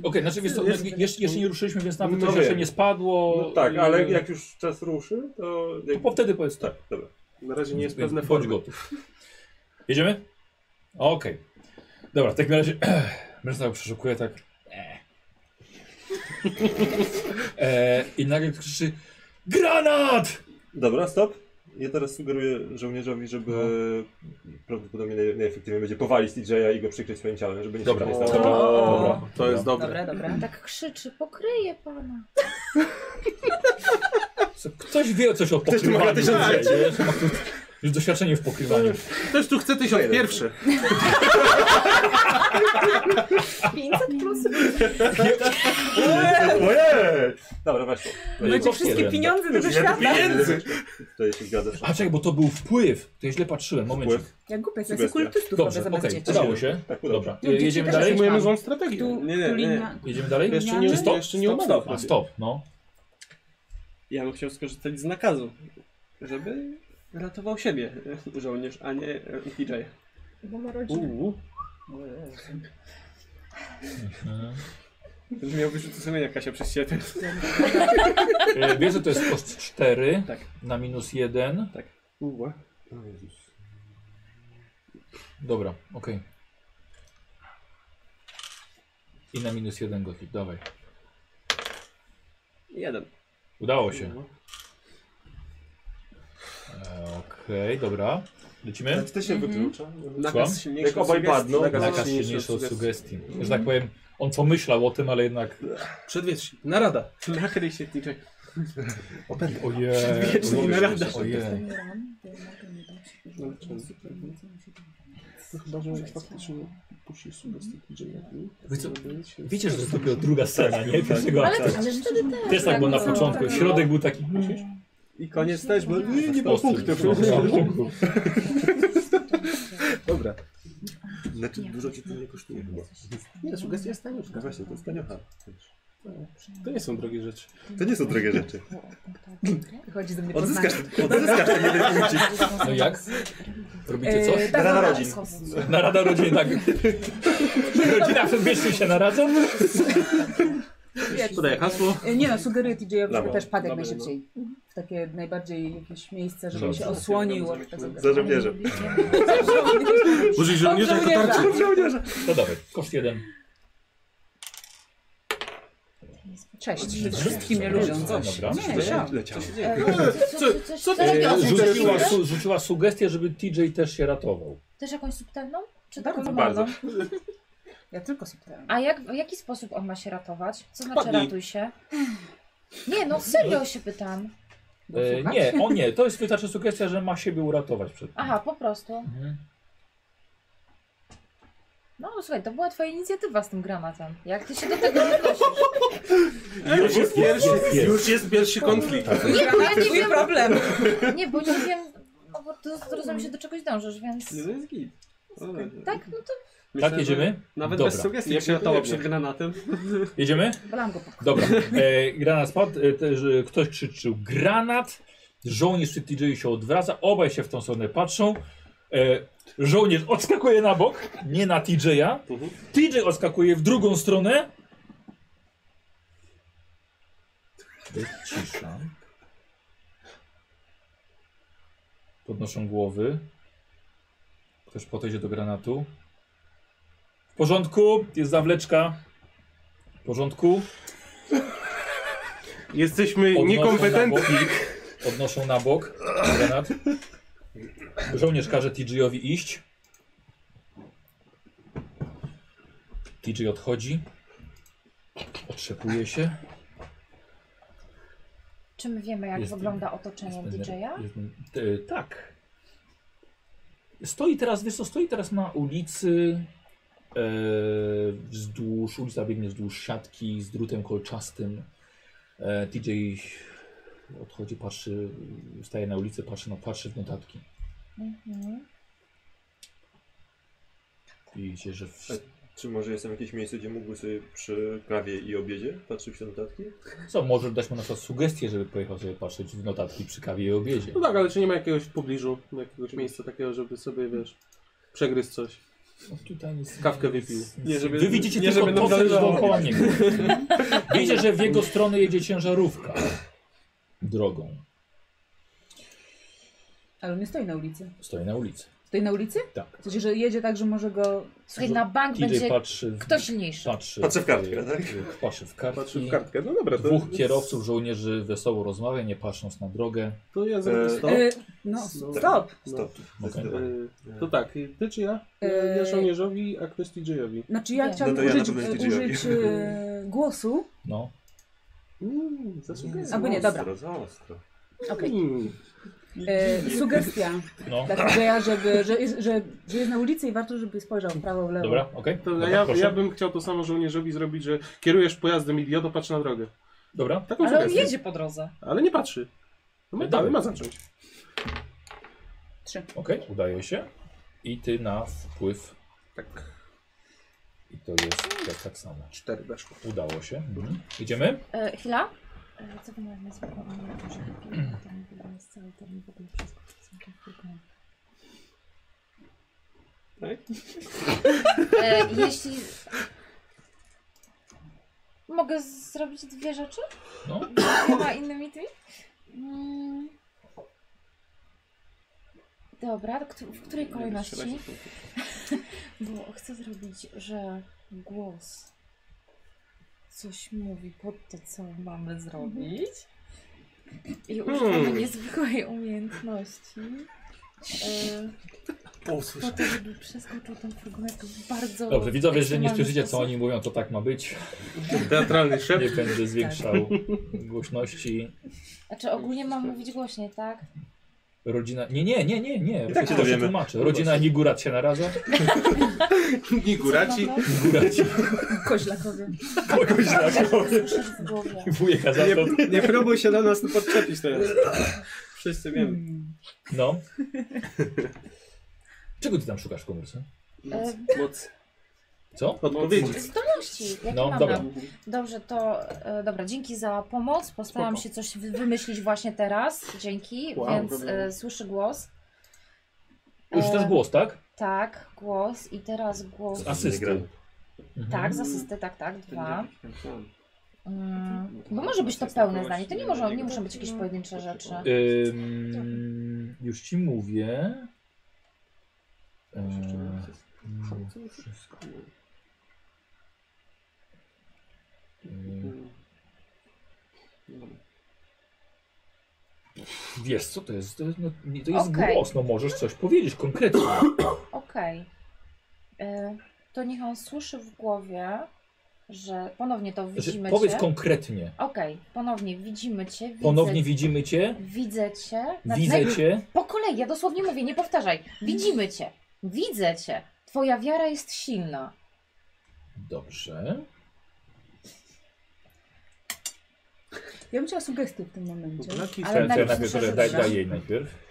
Speaker 1: Okej, znaczy wiesz co,
Speaker 5: Jest-
Speaker 1: je- jeszcze, jeszcze nie ruszyliśmy, więc nawet
Speaker 6: No
Speaker 1: to
Speaker 6: wiem.
Speaker 1: jeszcze nie spadło.
Speaker 6: No tak, ale
Speaker 1: Yy,
Speaker 6: jak już czas ruszy, to...
Speaker 1: to po wtedy powiedz tak.
Speaker 6: Tak, dobra.
Speaker 5: Na razie nie jest pewne
Speaker 1: Bądź
Speaker 5: formy.
Speaker 1: gotów. Jedziemy? Okej. Dobra, w takim razie mężczyzna go przeszukuje tak. E, I nagle krzyczy GRANAT!
Speaker 6: Dobra, stop. Ja teraz sugeruję żołnierzowi, żeby
Speaker 5: No.
Speaker 6: prawdopodobnie naj- najefektywniej będzie powalić DJ-a i go przykryć swoim ciałem, żeby nic
Speaker 1: Dobra.
Speaker 6: się nie
Speaker 5: O,
Speaker 6: stało.
Speaker 1: Dobra.
Speaker 5: Dobra, to
Speaker 1: Dobra.
Speaker 5: jest dobre.
Speaker 8: Dobra, dobra.
Speaker 3: Tak krzyczy, pokryje pana.
Speaker 1: Ktoś wie coś o
Speaker 5: tu ma
Speaker 1: pokrywaniu.
Speaker 5: na tysiąc
Speaker 1: dzisiaj, wiesz? Ma tu Już doświadczenie w pokrywaniu.
Speaker 5: Ktoś tu chce tysiąc pierwszy.
Speaker 9: 500 plus
Speaker 6: Ojej! Dobra, weź to.
Speaker 1: No i
Speaker 8: Macie
Speaker 1: kosztuje,
Speaker 8: wszystkie
Speaker 1: tak.
Speaker 8: pieniądze tego świata.
Speaker 5: Pieniędzy!
Speaker 6: Tutaj się zgadza.
Speaker 1: A czekaj, bo to był wpływ. To ja źle patrzyłem, momencik.
Speaker 6: Wpływ.
Speaker 8: Jak głupec, ja sobie
Speaker 6: Sugestia.
Speaker 8: kultystów
Speaker 1: Dobrze,
Speaker 8: robię
Speaker 1: okej,
Speaker 8: zamiast dzieci.
Speaker 1: udało się.
Speaker 6: Tak, udało
Speaker 1: Dobra,
Speaker 8: się.
Speaker 1: e, jedziemy
Speaker 8: Dzieci
Speaker 1: dalej?
Speaker 8: też
Speaker 5: Przyjmujemy złą strategię.
Speaker 8: Tu,
Speaker 2: Nie, nie,
Speaker 8: tu
Speaker 2: nie.
Speaker 8: linia...
Speaker 1: Jedziemy dalej?
Speaker 5: Jeszcze nie,
Speaker 1: Stop,
Speaker 5: jeszcze nie
Speaker 2: stop,
Speaker 5: upadł.
Speaker 2: stop.
Speaker 1: A stop, no.
Speaker 2: Ja bym chciał skorzystać z nakazu, żeby ratował siebie e, żołnierz, a nie e, DJ.
Speaker 9: Bo ma rodzinę.
Speaker 2: Uuu.
Speaker 1: Mhm.
Speaker 2: Będziesz miał wyrzuty sumienia, Kasia, przez siebie.
Speaker 1: E, Wiesz, że to jest koszt 4
Speaker 2: Tak.
Speaker 1: na minus 1.
Speaker 2: Uuu.
Speaker 1: Dobra, okej. I na minus jeden go hit, dawaj.
Speaker 2: Jeden.
Speaker 1: Udało się.
Speaker 2: Mhm.
Speaker 1: E, Okej, dobra. Lecimy?
Speaker 6: Czy to Znaczy, się
Speaker 8: Mhm.
Speaker 6: wyklucza?
Speaker 1: Słucham?
Speaker 2: Nakaz silniejszy
Speaker 6: Jak obaj
Speaker 2: od sugestii.
Speaker 6: padną,
Speaker 2: Nakaz-
Speaker 1: Nakaz silniejszy od sugestii. Że tak powiem, on pomyślał o tym, ale jednak...
Speaker 5: Przedwietrz. Narada.
Speaker 2: Nakryj się, DJ.
Speaker 1: Ojej.
Speaker 2: Przedwieczny
Speaker 1: ojej,
Speaker 2: narada.
Speaker 1: Ojej.
Speaker 8: Dostanie ran, to jednak nie da się dużo
Speaker 5: No,
Speaker 8: czasu,
Speaker 5: czemu?
Speaker 8: to nic nie musi pomóc.
Speaker 5: Chyba, że faktycznie puści sugestie DJ-owi.
Speaker 1: Wy co- Wiecie, że to jest dopiero druga scena, nie? Pierwszego
Speaker 3: Ale
Speaker 1: aktu.
Speaker 3: to też wtedy też.
Speaker 1: Też tak było na
Speaker 3: no,
Speaker 1: początku.
Speaker 3: tak.
Speaker 1: Środek był taki...
Speaker 2: I koniec też, bo nie, nie ma
Speaker 1: Ostry.
Speaker 2: punktów.
Speaker 1: No, no, punktów.
Speaker 5: Dobra.
Speaker 6: Znaczy dużo ci to nie kosztuje chyba.
Speaker 5: Nie, sugestia jest taniutka.
Speaker 6: Właśnie, to jest taniocha.
Speaker 5: To nie są drogie rzeczy.
Speaker 6: To nie są drogie rzeczy.
Speaker 3: tak,
Speaker 8: Chodzi ze mnie pod
Speaker 6: Odzyskasz, odzyskasz ten jeden punkcik.
Speaker 8: znaczy-
Speaker 3: tak.
Speaker 1: No jak?
Speaker 3: E,
Speaker 1: Robicie coś?
Speaker 6: Rada
Speaker 8: na
Speaker 6: rodzin.
Speaker 8: znaczy-
Speaker 1: Narada rodziny, tak. Rodzina przed mieściem się naradza?
Speaker 5: Podaję hasło.
Speaker 8: Nie no, sugeruję TJ-owi, żeby
Speaker 6: Dobra.
Speaker 8: też padł jak
Speaker 2: Dobra,
Speaker 8: najszybciej. W takie najbardziej jakieś miejsce, żeby
Speaker 1: Dobrze.
Speaker 8: się osłonił od tego.
Speaker 6: Za żołnierzem.
Speaker 5: Użyj żołnierza jako
Speaker 8: żołnierza.
Speaker 5: tarczy.
Speaker 1: No dawaj, koszt jeden.
Speaker 8: Cześć. Wszystkim nie lubią coś.
Speaker 1: Dobra.
Speaker 8: Nie, ja.
Speaker 6: Leciało.
Speaker 3: E,
Speaker 5: co ty
Speaker 3: Też
Speaker 5: Ja
Speaker 1: E,
Speaker 3: jakąś
Speaker 5: rzuciłeś?
Speaker 1: Rzuciła,
Speaker 3: subtelną?
Speaker 1: su, rzuciła sugestię, żeby TJ też się ratował.
Speaker 3: Też jakąś subtelną? Czy
Speaker 8: Bardzo,
Speaker 3: taką
Speaker 6: bardzo.
Speaker 3: wolną?
Speaker 8: Ja tylko subtelnie.
Speaker 3: A jak, w jaki sposób on ma się ratować? Co znaczy
Speaker 5: Padnij.
Speaker 3: ratuj się? Nie, no serio się pytam.
Speaker 8: No
Speaker 1: E, nie, o nie, to jest wystarczy sugestia, że ma siebie uratować przed tym.
Speaker 3: Aha, po prostu.
Speaker 1: Mhm.
Speaker 3: No słuchaj, to była twoja inicjatywa z tym granatem. Jak ty się do tego odnosisz?
Speaker 5: Już jest pierwszy, już jest pierwszy konflikt.
Speaker 1: Tak.
Speaker 3: Nie, bo ja nie
Speaker 8: Twój
Speaker 3: wiem.
Speaker 8: problem.
Speaker 3: Nie, bo nie wiem. No bo to rozumiem się do czegoś dążysz, więc.
Speaker 2: No to jest git.
Speaker 3: Tak, no to
Speaker 2: Myślę,
Speaker 1: Tak,
Speaker 2: że
Speaker 1: jedziemy?
Speaker 2: Nawet
Speaker 1: Dobra.
Speaker 2: bez sugestii
Speaker 5: Ja
Speaker 2: przylatała
Speaker 5: pierdolę.
Speaker 2: przed granatem.
Speaker 1: Jedziemy?
Speaker 3: blam go pod
Speaker 1: Dobra. E, granat spadł, e, też, e, ktoś krzyczył granat, żołnierz przy TJ się odwraca, obaj się w tą stronę patrzą. E, żołnierz odskakuje na bok, nie na TJ'a.
Speaker 5: Mhm.
Speaker 1: TJ odskakuje w drugą stronę. Jest cisza. Podnoszą głowy. Ktoś podejdzie do granatu. W porządku, jest zawleczka. W porządku.
Speaker 5: Jesteśmy
Speaker 1: Podnoszą
Speaker 5: niekompetentni.
Speaker 1: na bok- Podnoszą na bok granat. Żołnierz każe TG-owi iść. TG odchodzi. Otrzepuje się.
Speaker 3: Czy my wiemy, jak
Speaker 1: Jest-
Speaker 3: wygląda otoczenie
Speaker 1: Jest-
Speaker 3: DJ-a?
Speaker 1: jest- e, tak. Stoi teraz, wiesz co, stoi teraz na ulicy e, wzdłuż, ulica biegnie wzdłuż siatki z drutem kolczastym. E, TJ odchodzi, patrzy, staje na ulicy, patrzy, no, patrzy w notatki.
Speaker 3: Mhm.
Speaker 1: I widzicie, że w,
Speaker 6: Czy może jest tam jakieś miejsce, gdzie mógłby sobie przy kawie i obiedzie patrzeć w te notatki?
Speaker 1: co, może dać mu na przykład sugestię, żeby pojechał sobie patrzeć w notatki przy kawie i obiedzie.
Speaker 5: No tak, ale czy nie ma jakiegoś w pobliżu, jakiegoś miejsca takiego, żeby sobie, wiesz, przegryzł coś.
Speaker 1: No tutaj nic,
Speaker 5: Kawkę wypił.
Speaker 1: Nie,
Speaker 2: Nie,
Speaker 1: żeby,
Speaker 2: żeby-
Speaker 1: Wy widzicie
Speaker 2: nie,
Speaker 1: tylko
Speaker 2: żeby
Speaker 1: to,
Speaker 2: nam
Speaker 1: co jest
Speaker 2: zależało.
Speaker 5: No.
Speaker 1: dookoła niego. Wiecie, że w jego stronę jedzie ciężarówka. Drogą.
Speaker 8: Ale on nie stoi na ulicy.
Speaker 1: Stoi na ulicy.
Speaker 8: Stoi na ulicy?
Speaker 1: Tak.
Speaker 8: W sensie, że jedzie tak, że może go...
Speaker 3: Słuchaj, na bank
Speaker 1: TJ
Speaker 3: będzie
Speaker 1: patrzy... w-
Speaker 3: ktoś silniejszy.
Speaker 1: Patrzy,
Speaker 6: Patrzę w kartkę, tak?
Speaker 1: Patrzy w kartki.
Speaker 5: Patrzy w kartkę, no dobra, to,
Speaker 1: Dwóch kierowców, żołnierzy wesoło rozmawia, nie patrząc na drogę.
Speaker 5: to ja zrobię
Speaker 6: Eee,
Speaker 5: stop.
Speaker 8: Y, no,
Speaker 5: Stop.
Speaker 8: stop.
Speaker 6: Stop.
Speaker 1: Okej.
Speaker 6: Zdecydowanie.
Speaker 5: Eee, To tak, ty czy ja? Ja- Ja
Speaker 8: Eee.
Speaker 5: żołnierzowi, a ktoś TJ-owi.
Speaker 8: Znaczy ja
Speaker 3: Nie.
Speaker 8: chciałam
Speaker 6: No to ja na
Speaker 8: użyć, e,
Speaker 6: pewno jest DJ-owi.
Speaker 8: użyć y, głosu.
Speaker 1: No.
Speaker 5: Mm, zasugeruj.
Speaker 8: Albo nie, dobra.
Speaker 6: Ostro, za ostro.
Speaker 8: Okej.
Speaker 5: Mm.
Speaker 8: Y, sugestia.
Speaker 1: No.
Speaker 8: Dla DJ-a, żeby, że, jest- że, że jest na ulicy i warto, żeby spojrzał w prawo, w lewo.
Speaker 1: Dobra, okej.
Speaker 5: To
Speaker 1: Dobra,
Speaker 5: ja,
Speaker 1: No tak, proszę.
Speaker 5: ja bym chciał to samo żołnierzowi zrobić, że kierujesz pojazdem, idioto, patrz na drogę.
Speaker 1: Dobra.
Speaker 5: Taką
Speaker 3: Ale on
Speaker 5: sugestię.
Speaker 3: jedzie po drodze.
Speaker 5: Ale nie patrzy. No
Speaker 1: No
Speaker 5: ma,
Speaker 1: dawaj.
Speaker 5: ma zacząć.
Speaker 8: Trzy.
Speaker 1: Okej, udaje się. I ty na wpływ.
Speaker 5: Tak,
Speaker 1: I to jest tak, tak samo.
Speaker 5: cztery weszło.
Speaker 1: Udało się. Mhm. Idziemy?
Speaker 3: E, chwila. E, co wy mają na zwykłą Anię? Proszę, chwilę, bo to mi w ogóle jest cały termin w ogóle wszystko.
Speaker 2: Tak?
Speaker 3: E, jeśli... Mogę zrobić dwie rzeczy?
Speaker 1: No.
Speaker 3: Dwoma innymi tymi? Mm. Dobra, kto- w której kolejności? Bo chcę zrobić, że głos coś mówi pod to, co mamy zrobić. I używamy
Speaker 5: Hmm.
Speaker 3: niezwykłej umiejętności. E, po to, żeby przeskoczył ten fragment w bardzo.
Speaker 1: Dobrze, widzowie, że nie
Speaker 3: ekstremalny
Speaker 1: słyszycie, co
Speaker 3: sposób.
Speaker 1: oni mówią, to tak ma być.
Speaker 5: Teatralny szep.
Speaker 1: Nie będę
Speaker 6: Tak.
Speaker 1: zwiększał głośności.
Speaker 3: Znaczy ogólnie mam mówić głośniej, tak?
Speaker 1: Rodzina. Nie, nie, nie, nie, nie.
Speaker 6: I tak się
Speaker 1: To
Speaker 6: dowiemy.
Speaker 1: tłumaczę. Rodzina Nigurat się naradza.
Speaker 5: Niguraci.
Speaker 3: Co mam
Speaker 1: Niguraci
Speaker 8: Koźlakowy.
Speaker 1: kogoś Tak.
Speaker 3: robić? Słyszysz w głowie.
Speaker 1: wujeka za to.
Speaker 2: Nie, nie próbuj się do nas podczepić teraz. Wszyscy wiemy.
Speaker 8: Hmm.
Speaker 1: No. Czego ty tam szukasz w komórce?
Speaker 3: E,
Speaker 2: Moc.
Speaker 1: Co?
Speaker 5: Odpowiedzi.
Speaker 3: Zdolności, jakie
Speaker 1: No,
Speaker 3: mamy.
Speaker 1: dobra.
Speaker 3: Dobrze, to e, dobra, dzięki za pomoc. Postaram
Speaker 5: Spoko.
Speaker 3: się coś wy- wymyślić właśnie teraz. Dzięki,
Speaker 5: Wow,
Speaker 3: więc
Speaker 2: dobra.
Speaker 3: e, słyszy głos.
Speaker 1: Już
Speaker 3: E,
Speaker 1: też głos, tak?
Speaker 3: Tak, głos i teraz głos.
Speaker 1: Z asysty. Mhm.
Speaker 3: Tak, z asysty, tak, tak, dwa. Mm,
Speaker 2: Mhm.
Speaker 3: bo może być to pełne zdanie, to nie, może, nie muszą być jakieś pojedyncze rzeczy.
Speaker 1: Ym, już ci mówię. E, Ym, ym, wiesz co to jest? To jest, no, nie- to jest
Speaker 3: Okej.
Speaker 1: głos, no możesz coś powiedzieć konkretnie. Znaczy,
Speaker 3: Okej. E, To niech on słyszy w głowie, że ponownie to
Speaker 1: Znaczy,
Speaker 3: widzimy
Speaker 1: powiedz
Speaker 3: cię.
Speaker 1: konkretnie.
Speaker 3: Okej, ponownie widzimy cię. Widzę, Tak,
Speaker 1: Ponownie widzimy cię,
Speaker 3: widzę cię. Na-
Speaker 1: widzę cię.
Speaker 3: Po kolei, ja dosłownie mówię, nie powtarzaj. Widzimy cię. Widzę cię. Twoja wiara jest silna.
Speaker 1: Dobrze.
Speaker 8: Ja bym chciała sugestię w tym momencie.
Speaker 5: Blaki
Speaker 8: Ale
Speaker 1: Ten, ten
Speaker 3: tak
Speaker 8: najpierw
Speaker 1: najpierw,
Speaker 8: muszę
Speaker 1: daj, daj,
Speaker 8: rzucić.
Speaker 1: daj jej najpierw.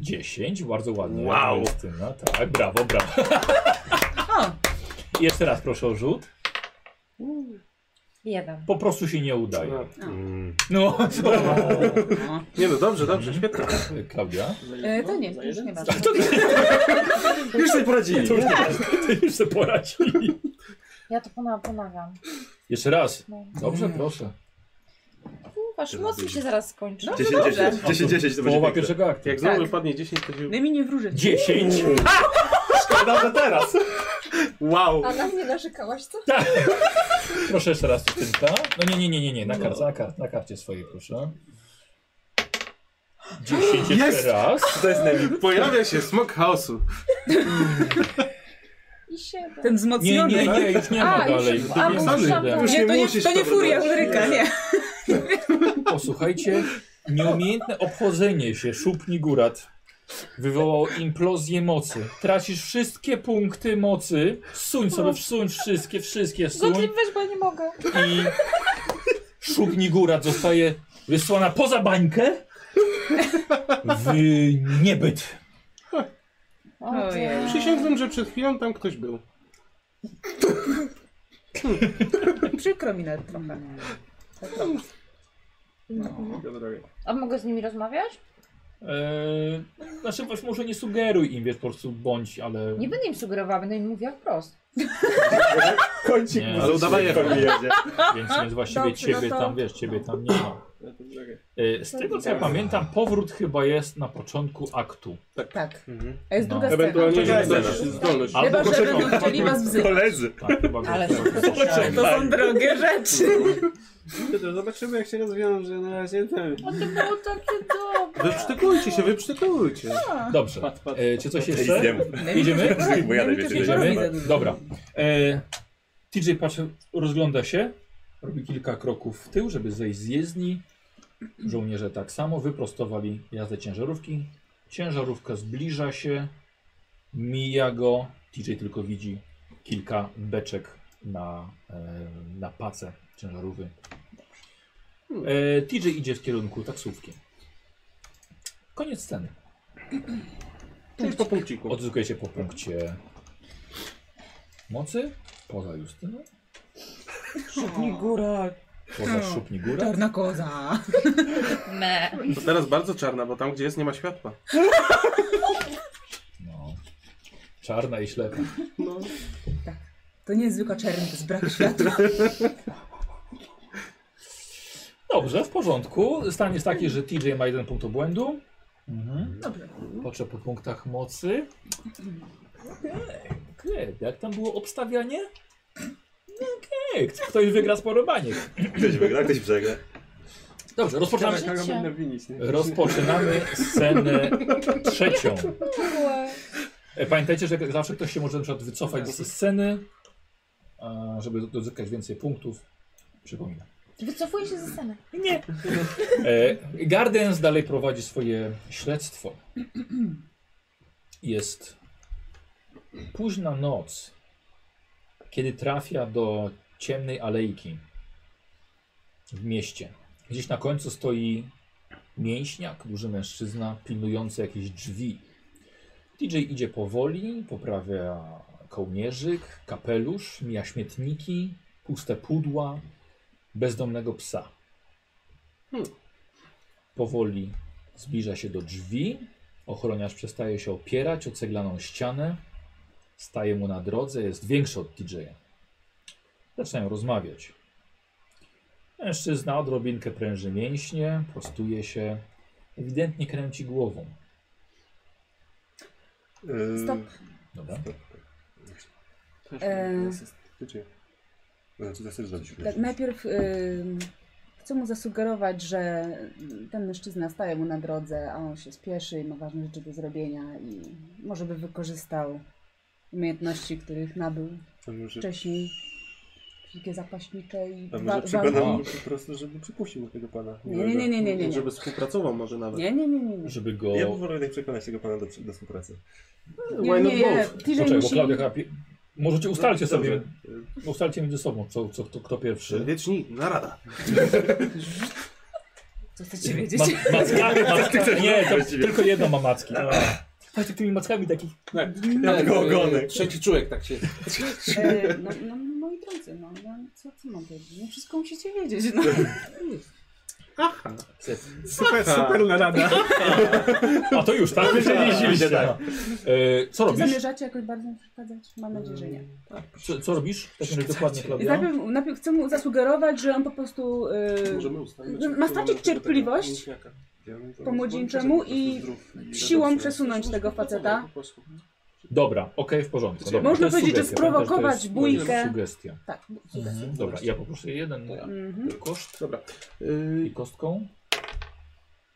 Speaker 1: 10, bardzo ładnie.
Speaker 5: Wow.
Speaker 1: Justyna, tak, brawo, brawo.
Speaker 8: O,
Speaker 1: I Jeszcze raz proszę o rzut.
Speaker 3: Jeden.
Speaker 1: Po prostu się nie udaje.
Speaker 6: Mm.
Speaker 1: No,
Speaker 8: no.
Speaker 5: Nie no, dobrze,
Speaker 1: Mhm.
Speaker 5: dobrze, świetnie.
Speaker 1: Klaudia.
Speaker 2: Za
Speaker 8: E,
Speaker 2: jedno?
Speaker 8: to nie,
Speaker 2: Za
Speaker 8: to już
Speaker 2: jeden?
Speaker 8: nie ważne.
Speaker 6: Już sobie poradzili.
Speaker 1: To już, to już sobie poradzili.
Speaker 3: Ja to pona- ponawiam.
Speaker 1: Jeszcze raz.
Speaker 3: No.
Speaker 1: Dobrze, proszę.
Speaker 3: Wasz moc mi się zaraz skończy.
Speaker 6: 10, 10, 10, 10 to będzie
Speaker 1: Połowa
Speaker 6: piękne.
Speaker 1: pierwszego aktu.
Speaker 5: Jak znowu
Speaker 8: Tak.
Speaker 5: wypadnie 10, to się...
Speaker 8: Najmniej nie wróżę.
Speaker 1: 10.
Speaker 6: Szkoda, że teraz.
Speaker 5: Wow!
Speaker 9: A na mnie narzekałaś, co?
Speaker 1: Proszę jeszcze raz Justynka. No nie, nie, nie, nie, nie. Na, karcie, na, kar na karcie swojej proszę. 10
Speaker 5: Jest!
Speaker 1: jeszcze raz.
Speaker 6: To jest najmniej.
Speaker 5: Pojawia się smok chaosu.
Speaker 3: I siedem.
Speaker 8: Ten
Speaker 1: Nie,
Speaker 8: wzmocniony.
Speaker 1: nie, nie, już nie ma
Speaker 8: A, już-
Speaker 1: dalej.
Speaker 8: a,
Speaker 1: To nie
Speaker 5: bo
Speaker 1: ma
Speaker 5: już
Speaker 1: żaden.
Speaker 3: szampan.
Speaker 8: Nie, to nie,
Speaker 5: musisz
Speaker 8: to nie
Speaker 5: to
Speaker 8: furia,
Speaker 5: wybrać.
Speaker 8: Henryka, nie.
Speaker 1: Posłuchajcie, nieumiejętne obchodzenie się szupni górat wywołało implozję mocy. Tracisz wszystkie punkty mocy. Suń sobie, wsuń wszystkie, wszystkie suń
Speaker 3: Gotlib weź, bo ja nie mogę.
Speaker 1: i szupni górat zostaje wysłana poza bańkę w niebyt.
Speaker 8: Ojej.
Speaker 5: Przysięgłem, że przed chwilą tam ktoś był.
Speaker 8: Przykro mi nawet trochę.
Speaker 2: Dobra, dobra.
Speaker 3: A mogę z nimi rozmawiać?
Speaker 1: Eee, znaczy właśnie może nie sugeruj im, wiesz, po prostu bądź, ale...
Speaker 3: Nie będę im sugerowała, będę im mówiła wprost.
Speaker 6: Kończyk
Speaker 1: Nie.
Speaker 6: muzyczny
Speaker 5: Ale udawaj
Speaker 6: w końcu jedzie.
Speaker 1: Więc, więc właściwie
Speaker 9: Dobrze,
Speaker 1: ciebie
Speaker 9: no to-
Speaker 1: tam, wiesz, ciebie tam nie ma.
Speaker 2: Ja to- Czekaj.
Speaker 1: Eee, z tego co ja pamiętam, powrót chyba jest na początku aktu.
Speaker 8: Tak.
Speaker 6: Mhm.
Speaker 8: A jest
Speaker 1: No.
Speaker 8: druga scena.
Speaker 5: Ewentualnie
Speaker 6: Czekaj,
Speaker 5: zdolność. zdolność.
Speaker 1: A-
Speaker 8: Chyba,
Speaker 1: Albo
Speaker 8: że
Speaker 1: poczekam.
Speaker 8: będą chcieli was wzywać.
Speaker 6: Koledzy.
Speaker 1: Tak, chyba
Speaker 4: Ale
Speaker 1: było.
Speaker 4: są słyszałem.
Speaker 8: To są drogie rzeczy.
Speaker 2: Dobra, Zobaczymy, jak się rozwiąże. Na razie ten.
Speaker 3: O, to było takie dobre.
Speaker 5: Wyprztykujcie się, wyprztykujcie.
Speaker 1: Dobrze.
Speaker 2: Pat, pat.
Speaker 1: E, czy coś
Speaker 6: Ej,
Speaker 1: jeszcze?
Speaker 6: zjem.
Speaker 1: Idziemy?
Speaker 6: Bo ja
Speaker 8: Najmniej
Speaker 1: Idziemy?
Speaker 8: robi
Speaker 6: najwyżej.
Speaker 8: za dużo.
Speaker 1: Dobra. E, TJ patrzy, rozgląda się, robi kilka kroków w tył, żeby zejść z jezdni. Żołnierze tak samo wyprostowali jazdę ciężarówki. Ciężarówka zbliża się, mija go. TJ tylko widzi kilka beczek na, e, na pace ciężarówki. E, TJ idzie w kierunku taksówki. Koniec sceny.
Speaker 5: Czyli po punkciku.
Speaker 1: Odzyskuje się po punkcie mocy. Poza Justyną.
Speaker 8: Szybni góra.
Speaker 1: Poza szupni góra.
Speaker 8: Czarna koza.
Speaker 3: Me.
Speaker 5: To teraz bardzo czarna, bo tam gdzie jest nie ma światła.
Speaker 1: No. Czarna i ślepa.
Speaker 5: No.
Speaker 8: To nie jest zwykła czerń, to jest brak światła.
Speaker 1: Dobrze, w porządku. Stan jest taki, że TJ ma jeden punkt obłędu. Mhm.
Speaker 8: Dobrze.
Speaker 1: Patrzę po punktach mocy. Okej, okay. jak tam było obstawianie? No Okej, okay. ktoś wygra sporo baniek.
Speaker 6: Ktoś wygra, ktoś przegra.
Speaker 1: Dobrze,
Speaker 2: Ciekawe,
Speaker 1: rozpoczynamy.
Speaker 2: kogo
Speaker 3: życie.
Speaker 2: będę winić, nie?
Speaker 1: Rozpoczynamy scenę trzecią. E, Pamiętajcie, że zawsze ktoś się może na przykład wycofać ze sceny, a, żeby dozyskać więcej punktów. Przypominam.
Speaker 3: Wycofuję się ze sceny.
Speaker 1: E, Gardens dalej prowadzi swoje śledztwo. Jest późna noc, kiedy trafia do ciemnej alejki w mieście. Gdzieś na końcu stoi mięśniak, duży mężczyzna, pilnujący jakieś drzwi. DJ idzie powoli, poprawia kołnierzyk, kapelusz, mija śmietniki, puste pudła, bezdomnego psa powoli zbliża się do drzwi. Ochroniarz przestaje się opierać o ceglaną ścianę. Staje mu na drodze, jest większy od DJ-a. Zaczynają rozmawiać. Mężczyzna odrobinkę pręży mięśnie, prostuje się, ewidentnie kręci głową.
Speaker 6: Yy,
Speaker 8: Stop.
Speaker 1: Dobra.
Speaker 2: Też
Speaker 8: Eee.
Speaker 2: mam asyst.
Speaker 6: Ty czy? Znaczy, to chcesz zrobić.
Speaker 8: Tak, najpierw ym, chcę mu zasugerować, że ten mężczyzna staje mu na drodze, a on się spieszy i ma ważne rzeczy do zrobienia i może by wykorzystał umiejętności, których nabył
Speaker 6: A może,
Speaker 8: wcześniej. Wszystkie zapaśnicze i...
Speaker 6: a
Speaker 8: wa-
Speaker 6: może
Speaker 8: walne.
Speaker 6: przekonam po prostu, żeby przypuścił tego pana.
Speaker 8: Nie, nie, nie, nie, nie, nie.
Speaker 5: Żeby współpracował może nawet.
Speaker 8: Nie, nie, nie, nie. nie.
Speaker 1: Żeby go.
Speaker 6: Ja bym wolał jednak przekonać tego pana do, do współpracy.
Speaker 5: Why
Speaker 8: Nie,
Speaker 5: not
Speaker 8: nie, nie.
Speaker 5: both?
Speaker 8: TJ
Speaker 1: Poczekaj, bo
Speaker 8: musi...
Speaker 1: Klaudia chyba pi- Możecie ustalcie sobie,
Speaker 6: Dobrze.
Speaker 1: ustalcie między sobą, co, co, kto, kto pierwszy.
Speaker 5: Wieczni, narada.
Speaker 8: Co chcecie wiedzieć?
Speaker 1: Ma, mackami, mackami, nie, to tylko jedno ma macki. Chodźcie tymi mackami takich.
Speaker 6: Ja
Speaker 8: no,
Speaker 6: tylko ogonek.
Speaker 5: Trzeci człowiek tak się...
Speaker 8: E, no, no, moi drodzy, no, no co, co mam powiedzieć? No, wszystko musicie wiedzieć. No.
Speaker 5: Aha.
Speaker 4: Super, super narada.
Speaker 1: A to już, tak? Wiedzieliście.
Speaker 6: tak.
Speaker 1: E, co
Speaker 8: Czy
Speaker 1: robisz?
Speaker 8: zamierzacie jakoś bardzo przeszkadzać? Mam nadzieję, że
Speaker 1: Mm,
Speaker 8: nie.
Speaker 1: Co, co robisz? Tak jak dokładnie Klaudia?
Speaker 8: Najpierw, najpierw chcę mu zasugerować, że on po prostu y,
Speaker 5: Możemy ustalić...
Speaker 8: Ma stracić cierpliwość po młodzieńczemu i siłą przesunąć tego faceta.
Speaker 1: Dobra, okej, w porządku. Dobra,
Speaker 8: Można
Speaker 1: to jest
Speaker 8: powiedzieć, że
Speaker 1: sugestia, pamiętaj, to
Speaker 8: sprowokować
Speaker 1: jest- to jest
Speaker 8: bójkę.
Speaker 1: Sugestia.
Speaker 8: Tak.
Speaker 1: Mhm, dobra, ja poproszę jeden
Speaker 8: Mhm.
Speaker 1: koszt
Speaker 5: Dobra.
Speaker 1: i
Speaker 5: Y,
Speaker 1: kostką.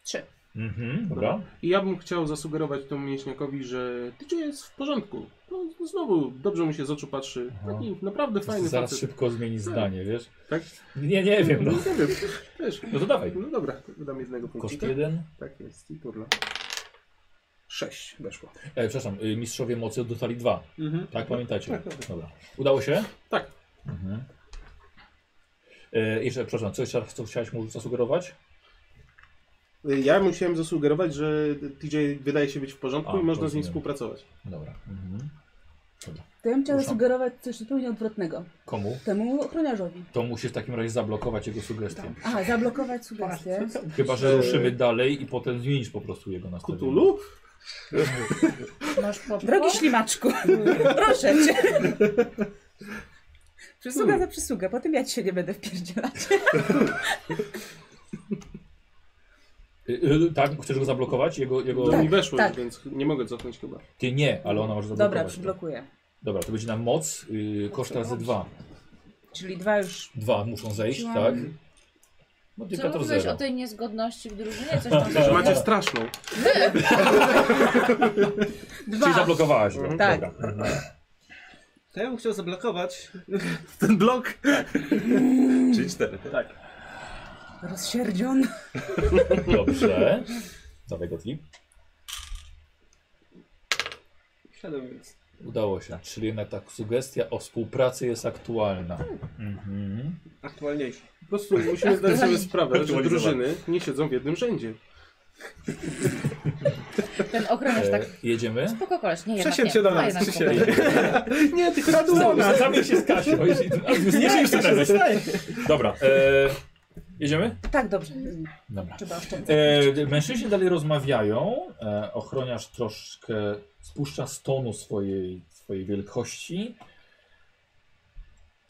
Speaker 8: Trzy.
Speaker 1: Mhm, dobra.
Speaker 5: I ja bym chciał zasugerować temu mięśniakowi, że tyczy jest w porządku. No, znowu dobrze mu się z oczu patrzy.
Speaker 1: Aha.
Speaker 5: Taki naprawdę fajny
Speaker 1: Zaraz
Speaker 5: facet.
Speaker 1: szybko zmieni zdanie, wiesz?
Speaker 5: Tak?
Speaker 1: Nie, nie wiem, no.
Speaker 5: Nie wiem, wiesz.
Speaker 1: No to dawaj.
Speaker 5: No dobra, to wydam jednego
Speaker 1: Koszt
Speaker 5: punkcika.
Speaker 1: jeden.
Speaker 5: Tak jest, i turla. Sześć weszło.
Speaker 1: E, przepraszam, y, mistrzowie mocy dostali dwa.
Speaker 2: Mhm.
Speaker 1: Tak, pamiętacie? Dobra. Udało się?
Speaker 5: Tak.
Speaker 1: Mhm. E, jeszcze, przepraszam, coś raz, co chciałeś mu zasugerować?
Speaker 5: Y, Ja musiałem zasugerować, że TJ wydaje się być w porządku
Speaker 1: A,
Speaker 5: i można z nim
Speaker 1: rozumiem.
Speaker 5: współpracować.
Speaker 1: Dobra. Mhm.
Speaker 8: To ja bym chciała
Speaker 1: Ruszam.
Speaker 8: zasugerować coś zupełnie odwrotnego.
Speaker 1: Komu?
Speaker 8: Temu ochroniarzowi.
Speaker 1: To musisz w takim razie zablokować jego sugestię.
Speaker 8: Aha, zablokować sugestię.
Speaker 1: Chyba, że ruszymy dalej i potem zmienisz po prostu jego nastawienie.
Speaker 5: Kutulu?
Speaker 3: Masz popcorn?
Speaker 8: Drogi ślimaczku, proszę cię. Przysługa za przysługę, po tym ja ci się nie będę wpierdzielać.
Speaker 1: Y, y, tak? Chcesz go zablokować? Jego, jego...
Speaker 5: No mi weszło,
Speaker 8: tak.
Speaker 5: więc nie mogę cofnąć chyba.
Speaker 1: Ty nie, ale ona może zablokować. tak.
Speaker 8: Dobra, przyblokuję.
Speaker 1: Dobra, to będzie na moc, yy, koszt razy dwa.
Speaker 8: Czyli dwa już.
Speaker 1: Dwa muszą zejść,
Speaker 8: Siłami.
Speaker 1: tak?
Speaker 3: Co
Speaker 1: Modyfikator
Speaker 3: mówiłeś o
Speaker 1: zero.
Speaker 3: tej niezgodności w drużynie? Coś tam
Speaker 5: Że
Speaker 1: Tak.
Speaker 5: macie straszną.
Speaker 1: Czyli
Speaker 8: Dwa.
Speaker 1: zablokowałaś go.
Speaker 5: Mhm.
Speaker 8: Tak.
Speaker 1: Dobra.
Speaker 2: To ja bym chciał zablokować.
Speaker 5: Ten blok.
Speaker 6: Czyli cztery.
Speaker 2: Tak.
Speaker 8: Rozsierdziony.
Speaker 1: Dobrze. Dawaj Gottlieb.
Speaker 2: Siadam więc.
Speaker 1: Udało się. Czyli jednak ta sugestia o współpracy jest aktualna. Mhm.
Speaker 2: Aktualniejszy.
Speaker 5: Po prostu musimy zdać sobie sprawę, że
Speaker 6: Aktualizowane.
Speaker 5: drużyny nie siedzą w jednym rzędzie.
Speaker 3: Ten ochroniarz tak.
Speaker 1: E, jedziemy?
Speaker 3: Spoko koleś, nie jednak
Speaker 4: Przesiądź
Speaker 3: nie.
Speaker 4: się do
Speaker 3: A
Speaker 4: nas,
Speaker 3: jednak
Speaker 4: przesiądź.
Speaker 3: spoko.
Speaker 5: Nie, ty kradł
Speaker 1: Zamień- Zamień się z Kasią. Nie, się już Dobra. E, jedziemy?
Speaker 8: Tak, dobrze.
Speaker 1: Dobra.
Speaker 8: Trzeba oszczędzać.
Speaker 1: E, mężczyźni dalej rozmawiają. E, ochroniarz troszkę spuszcza z tonu swojej, swojej wielkości.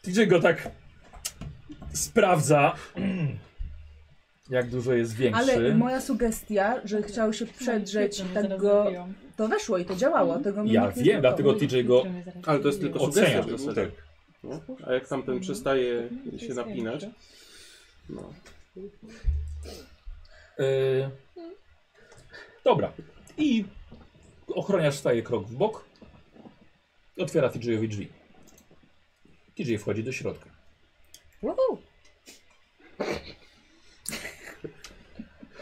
Speaker 1: TJ go tak sprawdza, jak dużo jest większy.
Speaker 8: Ale moja sugestia, że chciał się przedrzeć i tak go... To weszło i to działało. Tego mi
Speaker 1: Ja
Speaker 8: nikt nie
Speaker 1: wiem, dlatego
Speaker 8: zblokował.
Speaker 1: TJ go
Speaker 5: Ale to jest tylko sugestia
Speaker 1: Oceniam.
Speaker 5: w
Speaker 6: Tak.
Speaker 5: zasadzie. No. A jak tamten przestaje się napinać, no.
Speaker 1: Y, Dobra. I ochroniarz staje krok w bok. Otwiera TJ-owi drzwi. TJ wchodzi do środka.
Speaker 3: Uhu.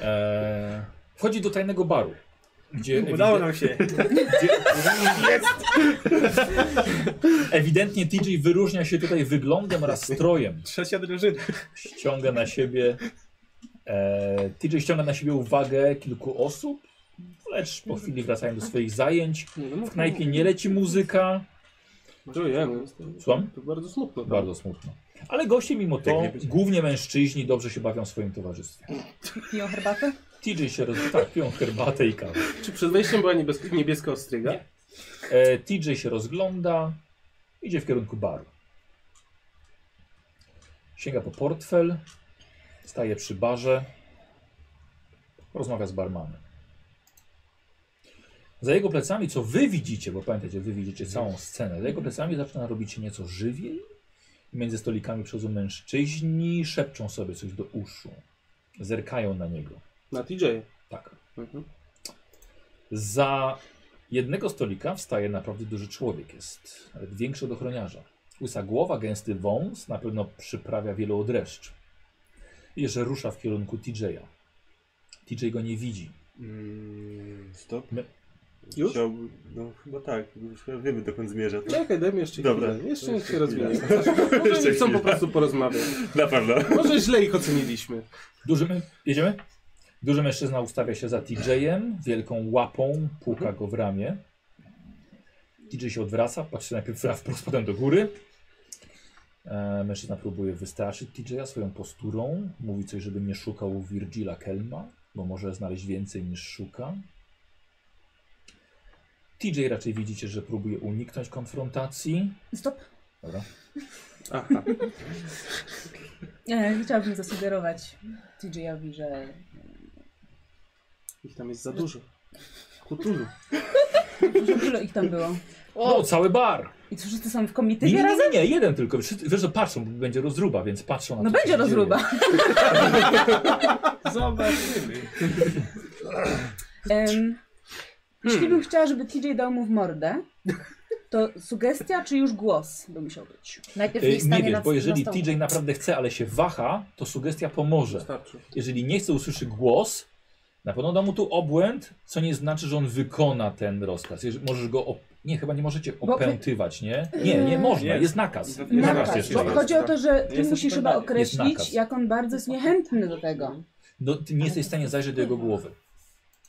Speaker 1: E, wchodzi do tajnego baru. Gdzie
Speaker 4: Udało
Speaker 1: ewide-
Speaker 4: nam się.
Speaker 1: ewidentnie TJ wyróżnia się tutaj wyglądem oraz strojem.
Speaker 4: Trzecia drużyna.
Speaker 1: Ściąga na siebie. E, TJ ściąga na siebie uwagę kilku osób, lecz po chwili wracają do swoich zajęć. W knajpie nie leci muzyka.
Speaker 5: To ja, no.
Speaker 1: Słucham?
Speaker 5: To bardzo smutno. tak?
Speaker 1: Bardzo smutno. Ale goście mimo to,
Speaker 6: nie będzie.
Speaker 1: głównie mężczyźni, dobrze się bawią w swoim towarzystwie.
Speaker 8: Piją herbatę?
Speaker 1: TJ się roz... tak, piją herbatę i kawę.
Speaker 5: Czy przed wejściem była niebieska, niebieska ostryga?
Speaker 1: Nie. E, TJ się rozgląda, idzie w kierunku baru. Sięga po portfel, staje przy barze, rozmawia z barmanem. Za jego plecami, co wy widzicie, bo pamiętajcie, wy widzicie całą scenę, za jego plecami zaczyna robić się nieco żywiej. Między stolikami przechodzą mężczyźni, szepczą sobie coś do uszu. Zerkają na niego.
Speaker 5: Na TJ.
Speaker 1: Tak.
Speaker 5: Mhm.
Speaker 1: Za jednego stolika wstaje naprawdę duży człowiek, jest nawet większy od ochroniarza. Łysa głowa, gęsty wąs, na pewno przyprawia wielu odreszcz. I Jeszcze rusza w kierunku TJ'a. TJ go nie widzi.
Speaker 6: Mm, Stop.
Speaker 1: My-
Speaker 7: Już?
Speaker 6: Chciałbym, no chyba tak, już chyba wiemy dokąd zmierza. tak?
Speaker 7: Czekaj, daj mi jeszcze
Speaker 6: Dobra.
Speaker 7: chwilę. Jeszcze niech się
Speaker 6: Jeszcze
Speaker 7: rozwinie.
Speaker 6: chwilę.
Speaker 7: Może
Speaker 6: Jeszcze
Speaker 7: oni chcą
Speaker 6: chwilę.
Speaker 7: po prostu porozmawiać.
Speaker 6: Na pewno.
Speaker 7: Może źle ich oceniliśmy.
Speaker 1: Duży, mę- jedziemy? Duży mężczyzna ustawia się za TJ-em, wielką łapą
Speaker 8: Mhm.
Speaker 1: puka go w ramię. TJ się odwraca, patrzy najpierw na wprost, potem do góry. E, mężczyzna próbuje wystraszyć TJ-a swoją posturą. Mówi coś, żeby nie szukał Virgila Kelma, bo może znaleźć więcej niż szuka. TJ raczej widzicie, że próbuje uniknąć konfrontacji.
Speaker 8: Stop.
Speaker 1: Dobra.
Speaker 7: Aha.
Speaker 8: E, chciałabym zasugerować TJ-owi, że
Speaker 7: Ich tam jest za dużo. Kutulu.
Speaker 8: że dużo ich tam było.
Speaker 1: O, No, cały bar!
Speaker 8: I wszyscy są w
Speaker 1: Nie, nie,
Speaker 8: komitywie razem?
Speaker 1: nie, nie, jeden tylko. Wszyscy- Wiesz, że patrzą, bo będzie rozruba, więc patrzą na
Speaker 8: No
Speaker 1: to, co
Speaker 8: będzie
Speaker 1: się
Speaker 8: rozruba.
Speaker 7: Zobaczymy.
Speaker 8: Em, Jeśli
Speaker 1: Hmm.
Speaker 8: bym chciała, żeby TJ dał mu w mordę, to sugestia czy już głos by musiał być?
Speaker 3: Najpierw
Speaker 1: dzieje.
Speaker 3: nie
Speaker 1: Y, Nie
Speaker 3: stanie
Speaker 1: wiem,
Speaker 3: na,
Speaker 1: bo jeżeli
Speaker 3: na
Speaker 1: TJ naprawdę chce, ale się waha, to sugestia pomoże.
Speaker 7: Wystarczy.
Speaker 1: Jeżeli nie chce, usłyszy głos, na pewno da mu tu obłęd, co nie znaczy, że on wykona ten rozkaz. Jeżeli, możesz go. Op- nie, chyba nie możecie
Speaker 8: Bo wy-
Speaker 1: opętywać, nie? Nie, nie można,
Speaker 2: Nie.
Speaker 1: jest nakaz.
Speaker 2: Nakaz,
Speaker 1: Nakaz
Speaker 8: Nakaz,
Speaker 1: jeszcze
Speaker 8: No tak, bo
Speaker 1: jest.
Speaker 8: chodzi o to, że ty
Speaker 2: Jestem
Speaker 8: musisz chyba
Speaker 2: totalnie.
Speaker 1: Jest nakaz.
Speaker 8: określić, jak on bardzo jest niechętny do tego.
Speaker 1: No, ty nie jesteś w stanie zajrzeć do jego głowy.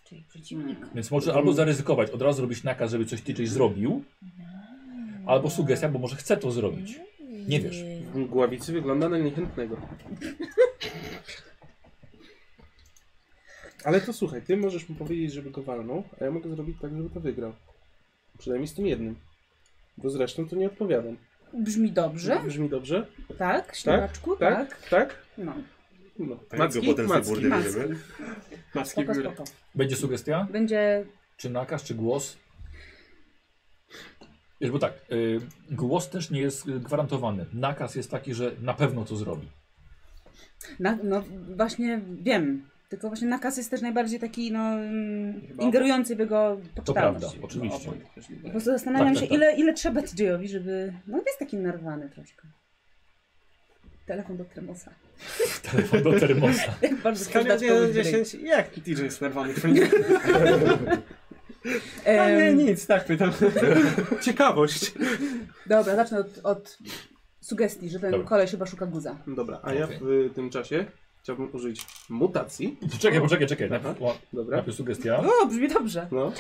Speaker 3: Czyli przeciwnik.
Speaker 1: Więc
Speaker 2: Mhm.
Speaker 1: możesz albo zaryzykować, od razu robić nakaz, żeby coś TJ zrobił,
Speaker 3: Mm.
Speaker 1: albo sugestia, bo może chce to zrobić. Nie
Speaker 3: Yy,
Speaker 1: wiesz.
Speaker 7: Gławicy wygląda na niechętnego. Ale to słuchaj, ty możesz mu powiedzieć, żeby go walnął, a ja mogę zrobić tak, żeby to wygrał. Przynajmniej z tym jednym. Bo zresztą to nie odpowiadam.
Speaker 8: Brzmi dobrze,
Speaker 7: Brzmi dobrze?
Speaker 8: tak? Ślimaczku,
Speaker 7: Tak?
Speaker 8: tak?
Speaker 7: Tak?
Speaker 8: No,
Speaker 7: No.
Speaker 6: Tak, go potem sobie burdy
Speaker 8: macki.
Speaker 6: bierzemy.
Speaker 2: Maski
Speaker 8: Spoko,
Speaker 2: w górę.
Speaker 8: spoko.
Speaker 1: Będzie sugestia?
Speaker 8: Będzie
Speaker 1: Czy nakaz, czy głos? Wiesz, bo tak, y, głos też nie jest y, gwarantowany. Nakaz jest taki, że na pewno to zrobi.
Speaker 8: Na, no właśnie wiem. Tylko właśnie nakaz jest też najbardziej taki, no, mm,
Speaker 2: Chyba-
Speaker 8: ingerujący w jego
Speaker 1: To
Speaker 8: poczytalność.
Speaker 1: prawda, oczywiście.
Speaker 2: No, opłat też nie
Speaker 8: Po
Speaker 2: daje.
Speaker 8: prostu zastanawiam
Speaker 1: Tak,
Speaker 8: się,
Speaker 1: tak, tak.
Speaker 8: Ile, ile trzeba TJ-owi, żeby... No jest taki narwany troszkę. Telefon do Tremosa.
Speaker 1: Telefon do termosa.
Speaker 8: Jak bardzo chcesz
Speaker 2: Skala
Speaker 8: dać
Speaker 2: od 1
Speaker 8: komuś
Speaker 2: do 10. Jak DJ jest nerwany? A nie,
Speaker 8: Em,
Speaker 2: nic, tak pytam.
Speaker 7: Ciekawość.
Speaker 8: Dobra, zacznę od, od sugestii, że ten
Speaker 1: Dobra.
Speaker 8: koleś chyba szuka guza.
Speaker 7: Dobra, a ja
Speaker 1: Okej.
Speaker 7: w tym czasie chciałbym użyć mutacji.
Speaker 1: Czekaj, poczekaj, czekaj. Najpierw, o,
Speaker 7: Dobra.
Speaker 1: najpierw sugestia.
Speaker 8: O, brzmi dobrze.
Speaker 7: No.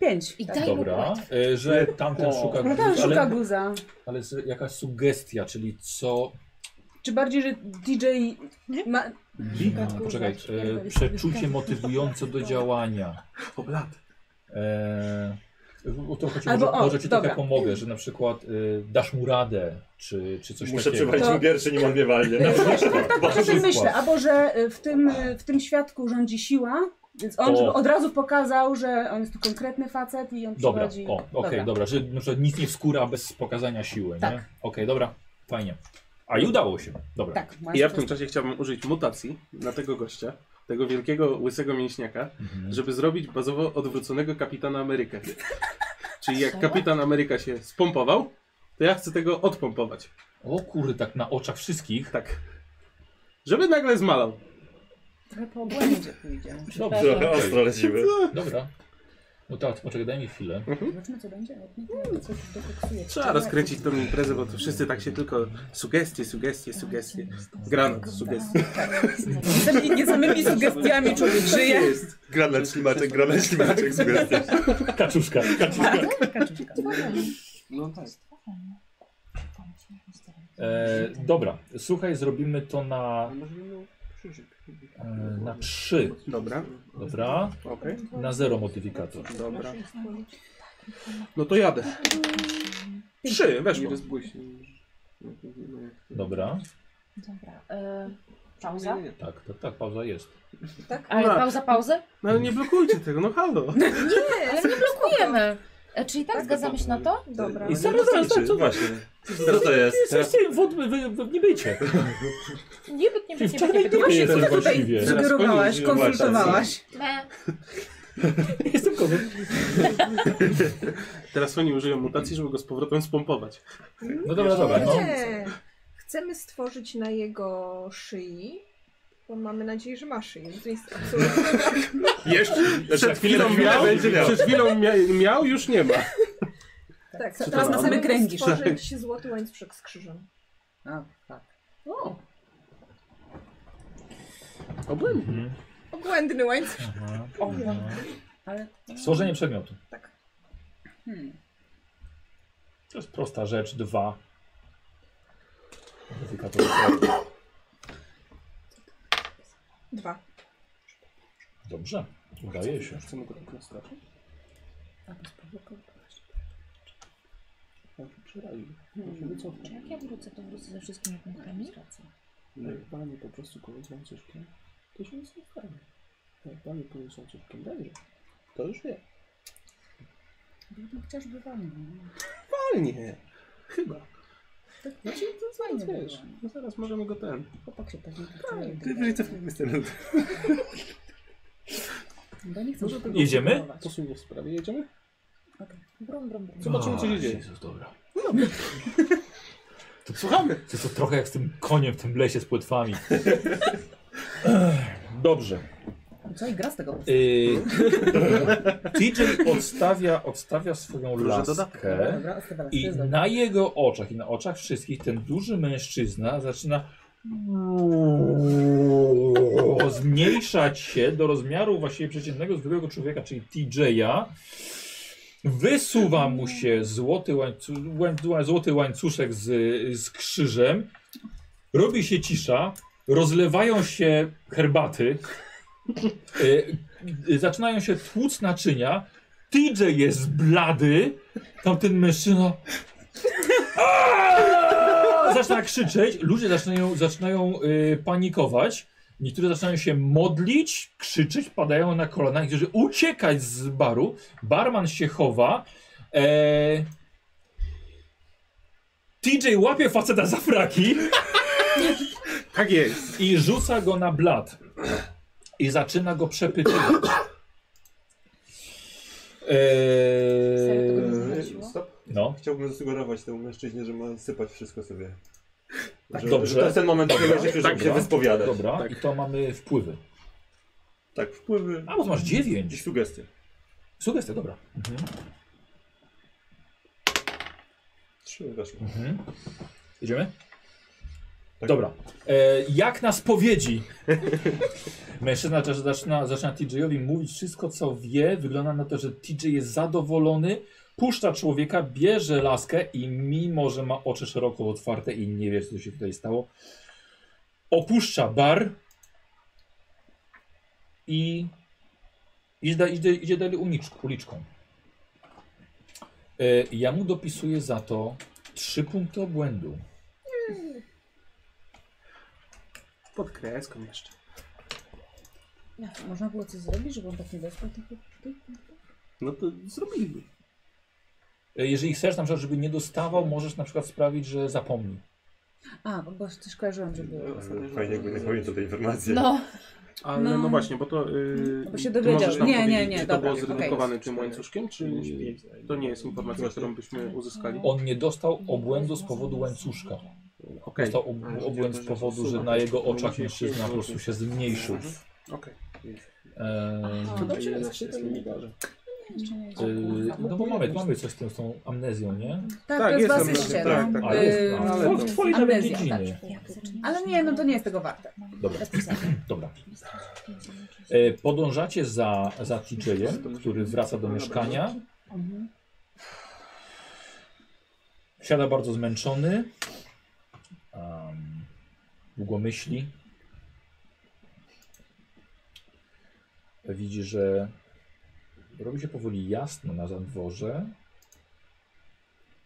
Speaker 8: Pięć.
Speaker 3: I
Speaker 8: tak.
Speaker 3: daj mu
Speaker 1: Dobra,
Speaker 3: płatki.
Speaker 1: y, że tamten szuka
Speaker 8: No tam
Speaker 1: guza,
Speaker 8: szuka
Speaker 1: ale,
Speaker 8: guza.
Speaker 1: ale jest jakaś sugestia, czyli co...
Speaker 8: Czy bardziej, że DJ ma...
Speaker 1: A, poczekaj, y, przeczucie motywujące do działania.
Speaker 7: Oblat.
Speaker 1: E, o to chodzi,
Speaker 8: Albo
Speaker 1: może,
Speaker 8: on,
Speaker 1: może ci
Speaker 8: dobra.
Speaker 1: trochę pomogę, że na przykład y, dasz mu radę, czy, czy coś
Speaker 6: Muszę
Speaker 1: takiego.
Speaker 6: przeprowadzić
Speaker 8: To-
Speaker 6: mu pierwszy, nim on mnie walnie.
Speaker 8: Tak, o czym myślę, albo że y, w tym, y, w tym świadku rządzi siła, więc on
Speaker 1: O.
Speaker 8: żeby od razu pokazał, że on jest tu konkretny facet i on
Speaker 1: Dobra,
Speaker 8: przychodzi.
Speaker 1: o, okej, dobra. że na przykład nic nie wskóra bez pokazania siły, nie? Okej, dobra, fajnie. A i udało się, dobra.
Speaker 8: Tak,
Speaker 7: I
Speaker 8: masz
Speaker 7: ja w tym czasie chciałbym użyć mutacji na tego gościa, tego wielkiego, łysego mięśniaka,
Speaker 1: Mhm.
Speaker 7: żeby zrobić bazowo odwróconego kapitana Amerykę. Czyli jak kapitan Ameryka się spompował, to ja chcę tego odpompować.
Speaker 1: O kurde, tak na oczach wszystkich.
Speaker 7: Tak. Żeby nagle zmalał.
Speaker 8: trochę po obłędzie pójdzie.
Speaker 1: tak.
Speaker 6: Dobrze, No, ostro lecimy.
Speaker 1: Dobra. No tak, poczekaj, daj mi chwilę.
Speaker 8: Zobaczmy co będzie. jak nie, to Coś dokoksuje.
Speaker 7: Trzeba rozkręcić tą imprezę, bo to wszyscy tak się tylko sugestie, sugestie, sugestie. Granat, sugestie.
Speaker 8: Jestem nie samymi sugestiami człowiek żyje.
Speaker 7: Jest.
Speaker 6: Granat ślimaczek, granat ślimaczek, sugestia.
Speaker 1: Kaczuszka. Kaczuszka.
Speaker 2: No tak.
Speaker 1: E, dobra, słuchaj, zrobimy to
Speaker 2: A
Speaker 1: na,
Speaker 2: może bym miał krzyżyk.
Speaker 1: e, na 3.
Speaker 7: Dobra,
Speaker 1: Dobra,
Speaker 7: okej.
Speaker 1: na 0 modyfikator.
Speaker 7: Dobra. No to jadę. Trzy,
Speaker 2: Nie
Speaker 7: weszło.
Speaker 2: rozbłyśnie.
Speaker 1: Dobra,
Speaker 3: Dobra. e, Pauza?
Speaker 2: Nie, nie, nie.
Speaker 1: tak, tak, tak, pauza jest.
Speaker 3: Ale
Speaker 7: Dobra.
Speaker 3: pauza, pauzę?
Speaker 7: No ale nie blokujcie tego, no halo.
Speaker 3: Nie, ale nie blokujemy. E, Czyli tak zgadzamy się na to?
Speaker 9: Dobra.
Speaker 6: I zaraz, zaraz, zaraz, co właśnie? Co to jest?
Speaker 1: Jesteście w, w, w niebycie.
Speaker 3: Nie,
Speaker 1: Czyli
Speaker 3: nie
Speaker 1: w
Speaker 3: będziemy
Speaker 1: czarnej
Speaker 3: nie
Speaker 1: dupie
Speaker 8: Właśnie
Speaker 1: jestem
Speaker 8: co tutaj
Speaker 1: właściwie.
Speaker 8: sugerowałaś,
Speaker 6: Teraz koniec,
Speaker 8: konsultowałaś.
Speaker 3: Me.
Speaker 1: Jestem kozłem.
Speaker 7: Teraz oni użyją mutacji, żeby go z powrotem spompować.
Speaker 1: No dobra, dobra, no.
Speaker 9: Nie. Chcemy stworzyć na jego szyi Bo mamy nadzieję, że masz jej. To jest absolutnie tak.
Speaker 5: Jeszcze,
Speaker 1: za
Speaker 5: przed chwilą
Speaker 1: chwilę chwilę
Speaker 5: miał,
Speaker 6: będzie miał.
Speaker 5: przed chwilą mia, miał, już nie ma.
Speaker 9: tak
Speaker 8: Co
Speaker 5: teraz na
Speaker 8: same
Speaker 9: możemy
Speaker 8: kręgi
Speaker 9: stworzyć złoty łańcuszek z krzyżem.
Speaker 8: A, tak.
Speaker 5: Obłędnie.
Speaker 1: Mhm.
Speaker 9: Obłędny łańcuszek.
Speaker 1: Aha.
Speaker 8: O,
Speaker 1: Aha.
Speaker 8: ale...
Speaker 1: Stworzenie przedmiotu.
Speaker 9: Tak.
Speaker 8: Hmm.
Speaker 1: To jest prosta rzecz. Dwa. Modyfikator celowy.
Speaker 9: Dwa.
Speaker 1: Dobrze. Udaje się.
Speaker 5: Chcę mu go tak naskoczyć?
Speaker 8: A to sprowokować.
Speaker 5: Ja
Speaker 2: Tak,
Speaker 5: się przeraził. Ja się
Speaker 8: hmm.
Speaker 3: Czy
Speaker 5: wycofam.
Speaker 3: jak ja wrócę, to wrócę ze wszystkimi punktami?
Speaker 5: Najebany po prostu kogoś łańcuszkiem, to się nie spotkamy. Najebany kogoś łańcuszkiem, dobrze. To już wie.
Speaker 8: No, chociażby wolno. no.
Speaker 5: Fajnie. Chyba.
Speaker 8: Tak, no, To
Speaker 5: Znaczy, to
Speaker 8: fajnie
Speaker 5: zaraz
Speaker 8: by
Speaker 5: wiesz.
Speaker 8: było.
Speaker 5: No zaraz możemy go ten.
Speaker 8: Chłopak się pewnie
Speaker 5: Ty wyżej cofnijmy z tym.
Speaker 8: Bo nie chcę
Speaker 5: Może
Speaker 8: się
Speaker 5: tego-
Speaker 1: Jedziemy?
Speaker 8: kontynuować.
Speaker 5: Posunię w sprawie, jedziemy?
Speaker 3: Brum, brum, brum.
Speaker 5: Zobaczymy, co się
Speaker 1: A,
Speaker 5: dzieje.
Speaker 1: Jezus, No dobra.
Speaker 5: To słuchamy.
Speaker 1: To jest to trochę jak z tym koniem w tym lesie z płetwami. Dobrze.
Speaker 8: Co i gra z tego powstała?
Speaker 1: Yy, TJ odstawia, odstawia swoją
Speaker 5: Proszę
Speaker 1: laskę
Speaker 8: Dobra, Esteban, to
Speaker 1: i
Speaker 8: jest dobre.
Speaker 1: na jego oczach i na oczach wszystkich ten duży mężczyzna zaczyna zmniejszać się do rozmiaru właściwie przeciętnego zwykłego człowieka, czyli TJ-a. Wysuwa mu się złoty, łańcu, łań- złoty łańcuszek z, z krzyżem. Robi się cisza, rozlewają się herbaty, y, y, zaczynają się tłuc naczynia. TJ jest blady, tamten mężczyzna Aaaa! zaczyna krzyczeć, ludzie zaczynają, zaczynają y, panikować. Niektórzy zaczynają się modlić, krzyczeć, padają na kolana, niektórzy uciekać z baru. Barman się chowa. E... TJ łapie faceta za fraki
Speaker 5: Tak jest.
Speaker 1: i rzuca go na blat. I zaczyna go przepytywać.
Speaker 3: Serio
Speaker 1: Eee,
Speaker 3: tego nie zdradziło?
Speaker 6: E, Stop.
Speaker 1: no.
Speaker 6: Chciałbym zasugerować temu mężczyźnie, że ma sypać wszystko sobie. Że,
Speaker 1: dobrze.
Speaker 6: Że to jest ten moment, w którym Tak się, żeby
Speaker 1: Dobra. Tak,
Speaker 6: się wyspowiadać.
Speaker 1: Dobra,
Speaker 5: Tak.
Speaker 1: i to mamy wpływy.
Speaker 6: Tak, wpływy
Speaker 1: A, bo to masz
Speaker 6: i
Speaker 1: 9.
Speaker 6: sugestie.
Speaker 1: Sugestia, dobra. Mhm.
Speaker 6: Trzy weszło.
Speaker 1: Mhm. Jedziemy?
Speaker 6: Tak.
Speaker 1: Dobra. E, jak na spowiedzi. Mężczyzna też zaczyna, zaczyna TJ-owi mówić wszystko, co wie. Wygląda na to, że TJ jest zadowolony. Puszcza człowieka, bierze laskę i mimo, że ma oczy szeroko otwarte i nie wie, co się tutaj stało, opuszcza bar i idzie, idzie, idzie dalej uliczk- uliczką. E, ja mu dopisuję za to Trzy punkty obłędu.
Speaker 5: Pod kreską jeszcze.
Speaker 8: Ja, Można było coś zrobić, żeby on tak nie dostał tych tych punktów?
Speaker 5: No to zrobimy.
Speaker 1: E, Jeżeli chcesz, na przykład, żeby nie dostawał, możesz na przykład sprawić, że zapomni.
Speaker 8: A, bo- bo coś kojarzyłam, że
Speaker 5: E,
Speaker 8: było.
Speaker 6: Fajnie, jakby nie pamiętał tej informacji.
Speaker 8: No,
Speaker 5: Ale
Speaker 8: No. Mm,
Speaker 5: no, właśnie, bo to. Yy,
Speaker 8: Bo się
Speaker 5: ty
Speaker 8: dowiedział.
Speaker 5: możesz nam
Speaker 8: Nie, nie,
Speaker 5: powiedzieć,
Speaker 8: nie,
Speaker 5: Czy to
Speaker 8: dobra,
Speaker 5: było
Speaker 8: okej.
Speaker 5: zredukowane tym łańcuszkiem, czy to nie jest informacja, którą byśmy
Speaker 8: No.
Speaker 5: uzyskali?
Speaker 1: On nie dostał obłędu z powodu łańcuszka.
Speaker 5: Okej.
Speaker 1: Dostał ob obłęd z powodu, że na jego oczach mężczyzna po prostu się zmniejszył.
Speaker 5: Okej.
Speaker 1: Eee,
Speaker 5: No, To dobrze, jest, jest, jest,
Speaker 8: jeszcze nie jest.
Speaker 1: eee, no bo mamy, mamy coś z tym, z tą amnezją, nie?
Speaker 5: tak,
Speaker 8: Tak, to jest
Speaker 5: jest
Speaker 8: was
Speaker 5: tam-
Speaker 8: jeszcze.
Speaker 5: tak,
Speaker 8: no.
Speaker 5: tak,
Speaker 1: Ale
Speaker 8: Ym,
Speaker 1: jest, ale w twojej nawet
Speaker 8: amnezja, tak.
Speaker 1: dziedzinie.
Speaker 8: Ale nie, no to nie jest tego warte.
Speaker 1: Dobra.
Speaker 8: Bez przesady.
Speaker 1: Dobra. E, podążacie za, za TJ-em, który wraca do mieszkania.
Speaker 8: Mhm.
Speaker 1: Siada bardzo zmęczony. Um, długo myśli. Widzi, że robi się powoli jasno na zadworze.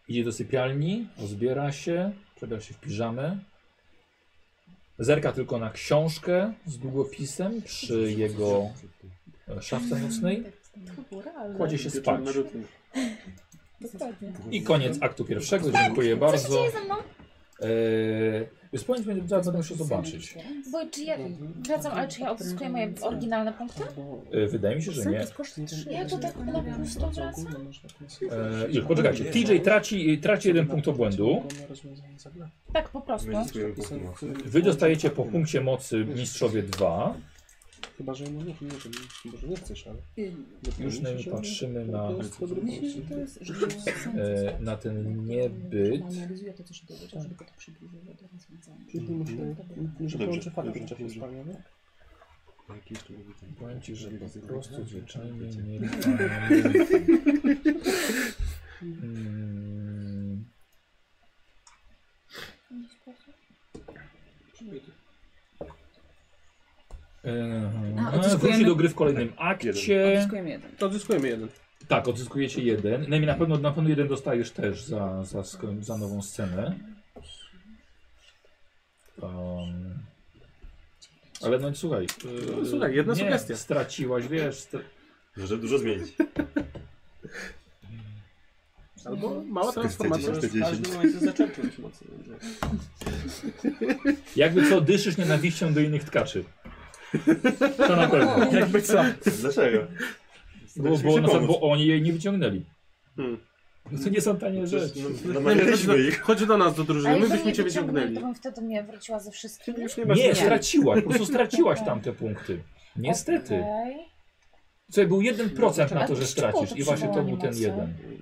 Speaker 1: Idzie do sypialni, rozbiera się, przebiera się w piżamę. Zerka tylko na książkę z długopisem przy jego e, szafce nocnej. Kładzie się spać. Tak. I koniec aktu pierwszego. Dziękuję bardzo. E,
Speaker 3: Chcecie ze mną?
Speaker 1: Eee, Spłonić będzie zaraz będę musiał zobaczyć.
Speaker 3: Bo czy ja wracam, ale czy ja odzyskuję moje oryginalne punkty?
Speaker 1: E, Wydaje mi się, że nie.
Speaker 4: jest koszt trzy,
Speaker 3: Ja to tak na pusto wracam?
Speaker 1: E, już, poczekajcie. TJ traci, traci jeden punkt obłędu.
Speaker 3: Tak, po prostu.
Speaker 6: My zyskujemy punkty mocy.
Speaker 1: Wy dostajecie po punkcie mocy mistrzowie 2.
Speaker 7: Chyba, że no nie, nie, nie, może nie chcesz, ale...
Speaker 1: Już na nie patrzymy na,
Speaker 8: Myślę, że to jest, że to jest
Speaker 1: e, na ten niebyt.
Speaker 8: Analizuję to, co się dowiedział, żeby go to przybliżyło do
Speaker 1: Mhm.
Speaker 8: rozwiązania.
Speaker 7: Że
Speaker 6: Dobrze,
Speaker 7: połączę fale
Speaker 6: dobrze,
Speaker 7: w czasie
Speaker 6: dobrze.
Speaker 7: spalniania?
Speaker 6: Jaki jeszcze mówi ten-
Speaker 1: Powiem ci, że po prostu zwyczajnie
Speaker 6: Wiecie.
Speaker 1: nie Mm,
Speaker 8: A,
Speaker 1: e,
Speaker 8: odzyskujemy?
Speaker 1: Wróci do gry w kolejnym akcie.
Speaker 8: Odzyskujemy jeden.
Speaker 5: To Tak, odzyskujemy jeden.
Speaker 1: Tak, odzyskujecie jeden. No i na pewno, na pewno jeden dostajesz też za, za, sko- za nową scenę. Um, ale no słuchaj. e,
Speaker 5: No, słuchaj, jedna
Speaker 1: nie,
Speaker 5: sugestia.
Speaker 1: Straciłaś, wiesz. Stra
Speaker 6: Może dużo zmienić.
Speaker 5: Albo mała
Speaker 6: Sugestia
Speaker 5: transformacja.
Speaker 6: dziesięć.
Speaker 2: Możesz w każdym momencie zaczerpnąć mocy. Andrzej.
Speaker 1: jakby co, dyszysz nienawiścią do innych tkaczy. To na pewno.
Speaker 5: No, Jakby co?
Speaker 6: Dlaczego?
Speaker 1: Bo, bo, no, bo oni jej nie wyciągnęli.
Speaker 5: Hmm.
Speaker 1: No to nie są tanie rzeczy.
Speaker 6: no,
Speaker 5: chodź, do,
Speaker 6: Namawialiśmy ich.
Speaker 5: chodź do nas, do
Speaker 3: Ale
Speaker 5: drużyny,
Speaker 3: jakby mnie
Speaker 5: byśmy cię
Speaker 3: wyciągnęli,
Speaker 5: wyciągnęli.
Speaker 3: to bym wtedy mnie wróciła ze wszystkimi.
Speaker 1: Nie, straciłaś, po prostu straciłaś tamte punkty. Niestety.
Speaker 3: Okej.
Speaker 1: Słuchaj, był 1% na
Speaker 3: A
Speaker 1: to, że
Speaker 3: z czego to
Speaker 1: stracisz i właśnie to był ten
Speaker 3: przywołanie
Speaker 1: jeden.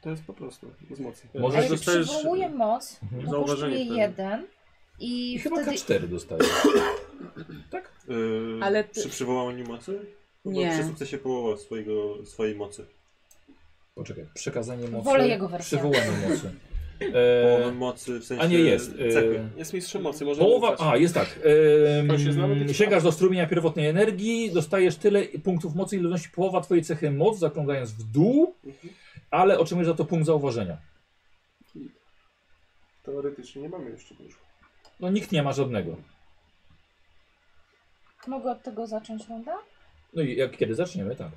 Speaker 2: To jest po prostu z mocy.
Speaker 1: Możesz
Speaker 3: A jak
Speaker 5: dostajesz-
Speaker 3: przywołuję moc, to
Speaker 5: Zauważenie
Speaker 3: kosztuje
Speaker 5: wtedy.
Speaker 3: jeden. I,
Speaker 1: I chyba
Speaker 3: wtedy...
Speaker 1: K4 dostajesz. Tak?
Speaker 6: Yy,
Speaker 8: Ale ty-
Speaker 6: Przy przywołaniu mocy? Chyba
Speaker 8: Nie.
Speaker 6: Przy sukcesie połowa swojego, swojej mocy.
Speaker 1: Poczekaj, przekazanie mocy.
Speaker 3: Wolę jego wersję.
Speaker 1: Przywołanie mocy.
Speaker 6: Połowę
Speaker 1: E,
Speaker 6: mocy w sensie
Speaker 1: a nie jest.
Speaker 6: cechy.
Speaker 1: E,
Speaker 2: Jest mistrzem mocy, może
Speaker 1: połowa.
Speaker 2: rzucać.
Speaker 1: A, jest tak.
Speaker 5: To się znamy,
Speaker 1: E,
Speaker 5: tylko-
Speaker 1: sięgasz do strumienia pierwotnej energii, dostajesz tyle punktów mocy, ile wynosi połowa twojej cechy moc, zakrągając w dół, ale otrzymujesz za to punkt zauważenia.
Speaker 7: Teoretycznie nie mamy jeszcze dużo.
Speaker 1: No nikt nie ma żadnego.
Speaker 3: Mogę od tego zacząć rundę?
Speaker 1: No i jak kiedy zaczniemy, tak.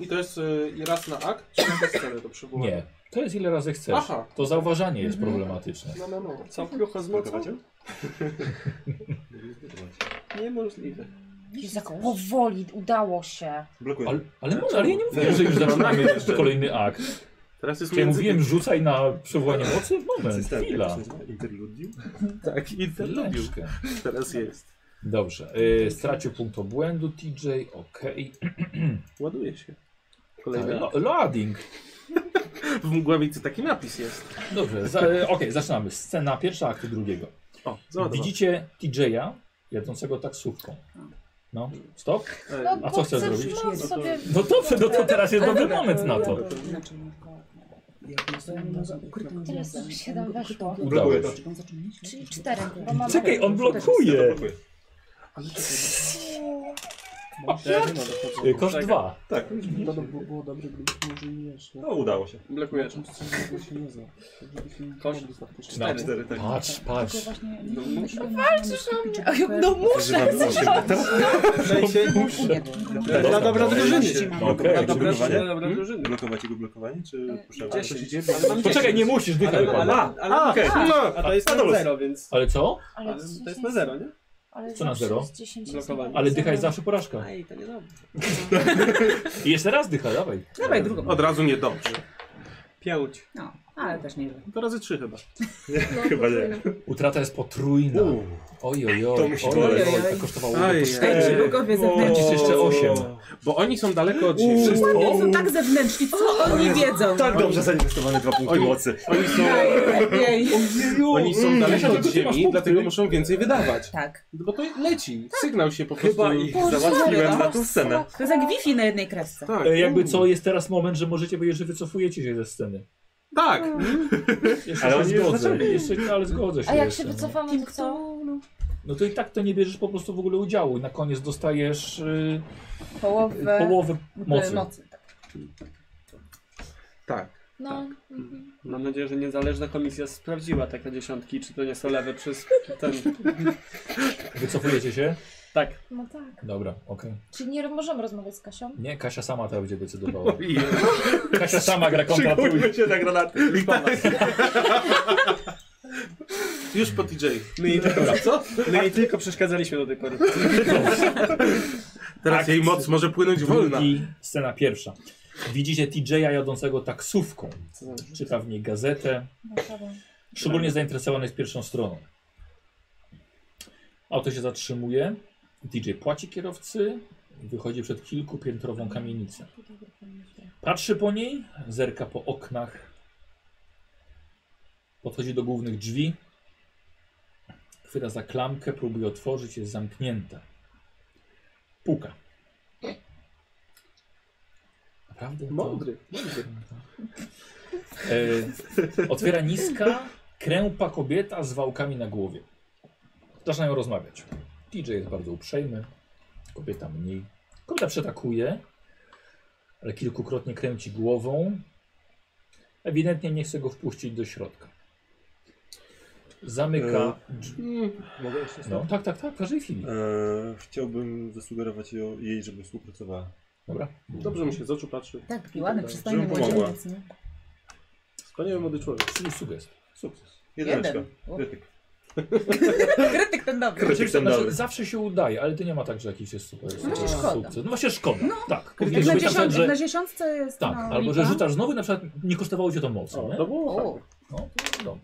Speaker 7: I to jest y, i raz na akt, czy na scenę to przywołanie?
Speaker 1: Nie. To jest ile razy chcesz.
Speaker 7: Aha.
Speaker 1: To zauważanie jest problematyczne.
Speaker 7: No, no, no.
Speaker 2: Sam klucha z mocą?
Speaker 6: Blokowacie?
Speaker 2: Niemożliwe.
Speaker 3: Jezu, jak powoli udało się.
Speaker 6: Blokuję.
Speaker 1: Ale, ale, może, ale ja nie mówiłem, że już zaczynamy kolejny akt.
Speaker 5: Teraz jest
Speaker 1: Czy ja
Speaker 5: między...
Speaker 1: mówiłem, rzucaj na przywołanie mocy? Moment,
Speaker 6: System, jak to
Speaker 1: chwila.
Speaker 6: się nazywa? Interludium?
Speaker 5: Tak, i ten lubił.
Speaker 1: Chwileczkę.
Speaker 5: Teraz jest.
Speaker 1: Dobrze, yy, stracił punkt obłędu TJ, okej.
Speaker 5: Ładuje się. Kolejny.
Speaker 1: Okay. Loading.
Speaker 5: W mgławicy taki napis jest.
Speaker 1: Dobrze, za, e, okej, zaczynamy. Scena pierwsza, aktu drugiego.
Speaker 5: O,
Speaker 2: No,
Speaker 5: zobacz.
Speaker 1: Widzicie TJ-a jadącego taksówką. No, stop.
Speaker 5: E,
Speaker 3: No,
Speaker 1: A
Speaker 3: bo
Speaker 1: co chcesz
Speaker 3: chcesz
Speaker 1: zrobić?
Speaker 3: moc sobie...
Speaker 1: No dobrze, no to teraz jest dobry moment na to.
Speaker 8: Inaczej,
Speaker 3: Teraz już siedem weszło.
Speaker 1: Udało się.
Speaker 3: Czyli cztery, bo mam...
Speaker 1: Czekaj, on
Speaker 6: Ja to
Speaker 1: blokuje.
Speaker 6: blokuję.
Speaker 1: Yy, Koszt dwa.
Speaker 6: Tak,
Speaker 7: To by było, było dobrze, gdybyśmy może nie jeszcze.
Speaker 6: no udało się.
Speaker 2: Blokujesz.
Speaker 7: Czym strzelnego się nie zna. Gdybyśmy nie
Speaker 2: Kosz?
Speaker 7: mogli faktycznie-
Speaker 1: Na
Speaker 6: Cztery, tak.
Speaker 1: No, Patrz, patrz.
Speaker 8: No, Walczysz o mnie!
Speaker 3: No muszę,
Speaker 6: Używamy osiem.
Speaker 2: tak.
Speaker 1: Dobra,
Speaker 8: dobra,
Speaker 1: Okej, czy blokowanie?
Speaker 2: Dobra,
Speaker 6: Blokować
Speaker 2: drużyna,
Speaker 6: blokowanie?
Speaker 2: dobra drużyna.
Speaker 6: Blokować jego blokowanie,
Speaker 8: E,
Speaker 6: czy puszczamy?
Speaker 7: Gdzie się dzieje?
Speaker 2: Ale mam
Speaker 1: Poczekaj, nie
Speaker 2: dziesięć.
Speaker 1: musisz, dychaj.
Speaker 2: Ale, ale,
Speaker 1: Ale,
Speaker 2: ale, ale okej.
Speaker 5: No,
Speaker 2: A to jest
Speaker 6: A to
Speaker 2: na
Speaker 6: luz.
Speaker 2: zero, więc...
Speaker 1: ale co?
Speaker 2: Ale to jest na zero, nie?
Speaker 3: Ale
Speaker 1: Co na
Speaker 3: zawsze
Speaker 1: zero?
Speaker 3: jest 10 jest
Speaker 2: Blokowanie.
Speaker 1: Ale dycha jest zawsze porażka.
Speaker 2: Ej, to nie dobrze.
Speaker 1: I jeszcze raz dycha, dawaj.
Speaker 8: Dawaj drugą.
Speaker 5: od razu niedobrze.
Speaker 2: Pięć.
Speaker 8: No, ale też nieźle.
Speaker 5: To razy trzy chyba.
Speaker 9: No,
Speaker 6: Chyba nie.
Speaker 9: potrójne.
Speaker 1: Utrata jest potrójna.
Speaker 6: Uuu.
Speaker 1: Oj, oj, oj.
Speaker 6: To musi
Speaker 1: oj,
Speaker 6: boleć.
Speaker 1: oj, oj, to kosztowało
Speaker 5: Aj,
Speaker 1: po
Speaker 5: aj.
Speaker 1: cztery.
Speaker 8: Ej, bogowie zewnętrzni.
Speaker 1: Widzisz jeszcze osiem.
Speaker 5: Bo oni są daleko od
Speaker 6: Uuu.
Speaker 5: siebie.
Speaker 8: Oni
Speaker 1: O!
Speaker 8: są tak zewnętrzni, co oni wiedzą?
Speaker 6: Tak dobrze zainwestowane dwa punkty
Speaker 5: Oj.
Speaker 6: mocy.
Speaker 5: Oni są,
Speaker 8: Najlepiej.
Speaker 5: oni są daleko od
Speaker 1: Dlaczego ty masz
Speaker 5: ziemi,
Speaker 1: punkty?
Speaker 5: dlatego muszą więcej wydawać. No
Speaker 8: Tak.
Speaker 5: Bo to leci. Sygnał się po prostu...
Speaker 6: Chyba ich załatwiłem na tą scenę.
Speaker 8: To jest jak Wi-Fi na jednej kresce.
Speaker 5: Tak.
Speaker 1: E, jakby co, jest teraz moment, że możecie powiedzieć, że wycofujecie się ze sceny.
Speaker 5: Tak.
Speaker 1: Jeszcze
Speaker 6: Ale
Speaker 1: się
Speaker 6: oni już
Speaker 1: zgodzę.
Speaker 6: zaczęli.
Speaker 1: Jeszcze, nie, ale zgodzę się.
Speaker 3: A jak
Speaker 1: jeszcze,
Speaker 3: się
Speaker 1: no.
Speaker 3: wycofamy, to co?
Speaker 1: No to i tak to nie bierzesz po prostu w ogóle udziału. I na koniec dostajesz y,
Speaker 8: Połowę
Speaker 1: połowę
Speaker 8: e,
Speaker 1: mocy.
Speaker 8: mocy. tak.
Speaker 5: Tak.
Speaker 3: No, mhm.
Speaker 2: Mam nadzieję, że niezależna komisja sprawdziła tak na dziesiątki, czy to nie są lewe przez ten...
Speaker 1: Wycofujecie się?
Speaker 2: Tak.
Speaker 3: no tak.
Speaker 1: Dobra, okej.
Speaker 3: Czyli nie możemy rozmawiać z Kasią?
Speaker 1: Nie, Kasia sama teraz będzie decydowała.
Speaker 5: I
Speaker 1: Kasia sama gra kontra trójkę.
Speaker 6: się na granaty.
Speaker 5: tak. Już po TJ.
Speaker 2: My jej, tylko,
Speaker 5: Co?
Speaker 2: my jej tylko przeszkadzaliśmy do tej pory.
Speaker 5: Teraz
Speaker 1: Akt
Speaker 5: jej moc może płynąć wolna.
Speaker 1: Drugi, scena pierwsza. Widzicie TJ'a jadącego taksówką.
Speaker 2: Co za-
Speaker 1: Czyta w niej gazetę. Szczególnie zainteresowany jest pierwszą stroną. Auto się zatrzymuje. DJ płaci kierowcy. Wychodzi przed kilkupiętrową kamienicę. Patrzy po niej, zerka po oknach. Podchodzi do głównych drzwi. Chwyta za klamkę, próbuje otworzyć, jest zamknięta. Puka. Naprawdę? to-
Speaker 5: Mądry.
Speaker 1: E, otwiera niska, krępa kobieta z wałkami na głowie. Zaczynają rozmawiać. DJ jest bardzo uprzejmy, kobieta mniej. Kobieta przetakuje, ale kilkukrotnie kręci głową. Ewidentnie nie chce go wpuścić do środka. Zamyka. drzwi.
Speaker 6: Mogę jeszcze
Speaker 1: No,
Speaker 6: stąd?
Speaker 1: tak, tak, tak, w każdej chwili.
Speaker 6: E, chciałbym zasugerować ją- jej, żeby współpracowała.
Speaker 1: Dobra.
Speaker 5: Dobrze mi się z oczu patrzy.
Speaker 8: Tak, taki ładny, przystojny
Speaker 6: Żeby pomogła.
Speaker 8: młodzieniec, nie?
Speaker 5: Wspaniały młody człowiek.
Speaker 1: Czyli sugestia. Sukces.
Speaker 6: Jedyneczka.
Speaker 8: O,
Speaker 6: Krytyk.
Speaker 8: Krytyk ten dobry.
Speaker 6: Krytyk
Speaker 1: Oczywiście,
Speaker 6: ten
Speaker 1: znaczy,
Speaker 6: dobry.
Speaker 1: zawsze się udaje, ale to nie ma tak, że jakiś jest super.
Speaker 8: No
Speaker 1: super
Speaker 8: właśnie szkoda.
Speaker 1: sukces. No właśnie szkoda. tak.
Speaker 8: Jak
Speaker 1: Powinno
Speaker 8: na,
Speaker 1: być tak,
Speaker 8: dziesiąt,
Speaker 1: że,
Speaker 8: na dziesiątce jest
Speaker 1: tak,
Speaker 8: no,
Speaker 1: albo że
Speaker 8: lipa.
Speaker 1: rzucasz znowu i na przykład nie kosztowało cię to mocno.
Speaker 5: O,
Speaker 1: nie?
Speaker 5: to było
Speaker 8: O,
Speaker 5: fajne.
Speaker 1: No, to no.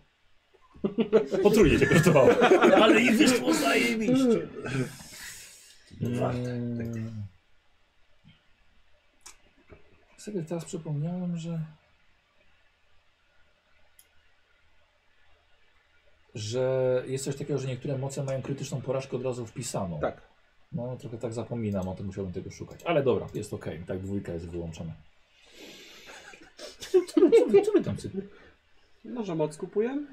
Speaker 1: Potrójnie cię kosztowało. Ale i wyszło zajebiście. Mm. Sobie teraz przypomniałem, że... Że jest coś takiego, że niektóre moce mają krytyczną porażkę od razu wpisaną.
Speaker 5: Tak.
Speaker 1: No, trochę tak zapominam o tym, musiałbym tego szukać. Ale dobra, jest okej, i tak dwójka jest wyłączona. Co my- co my- Co my tam sobie
Speaker 2: Może moc kupuję?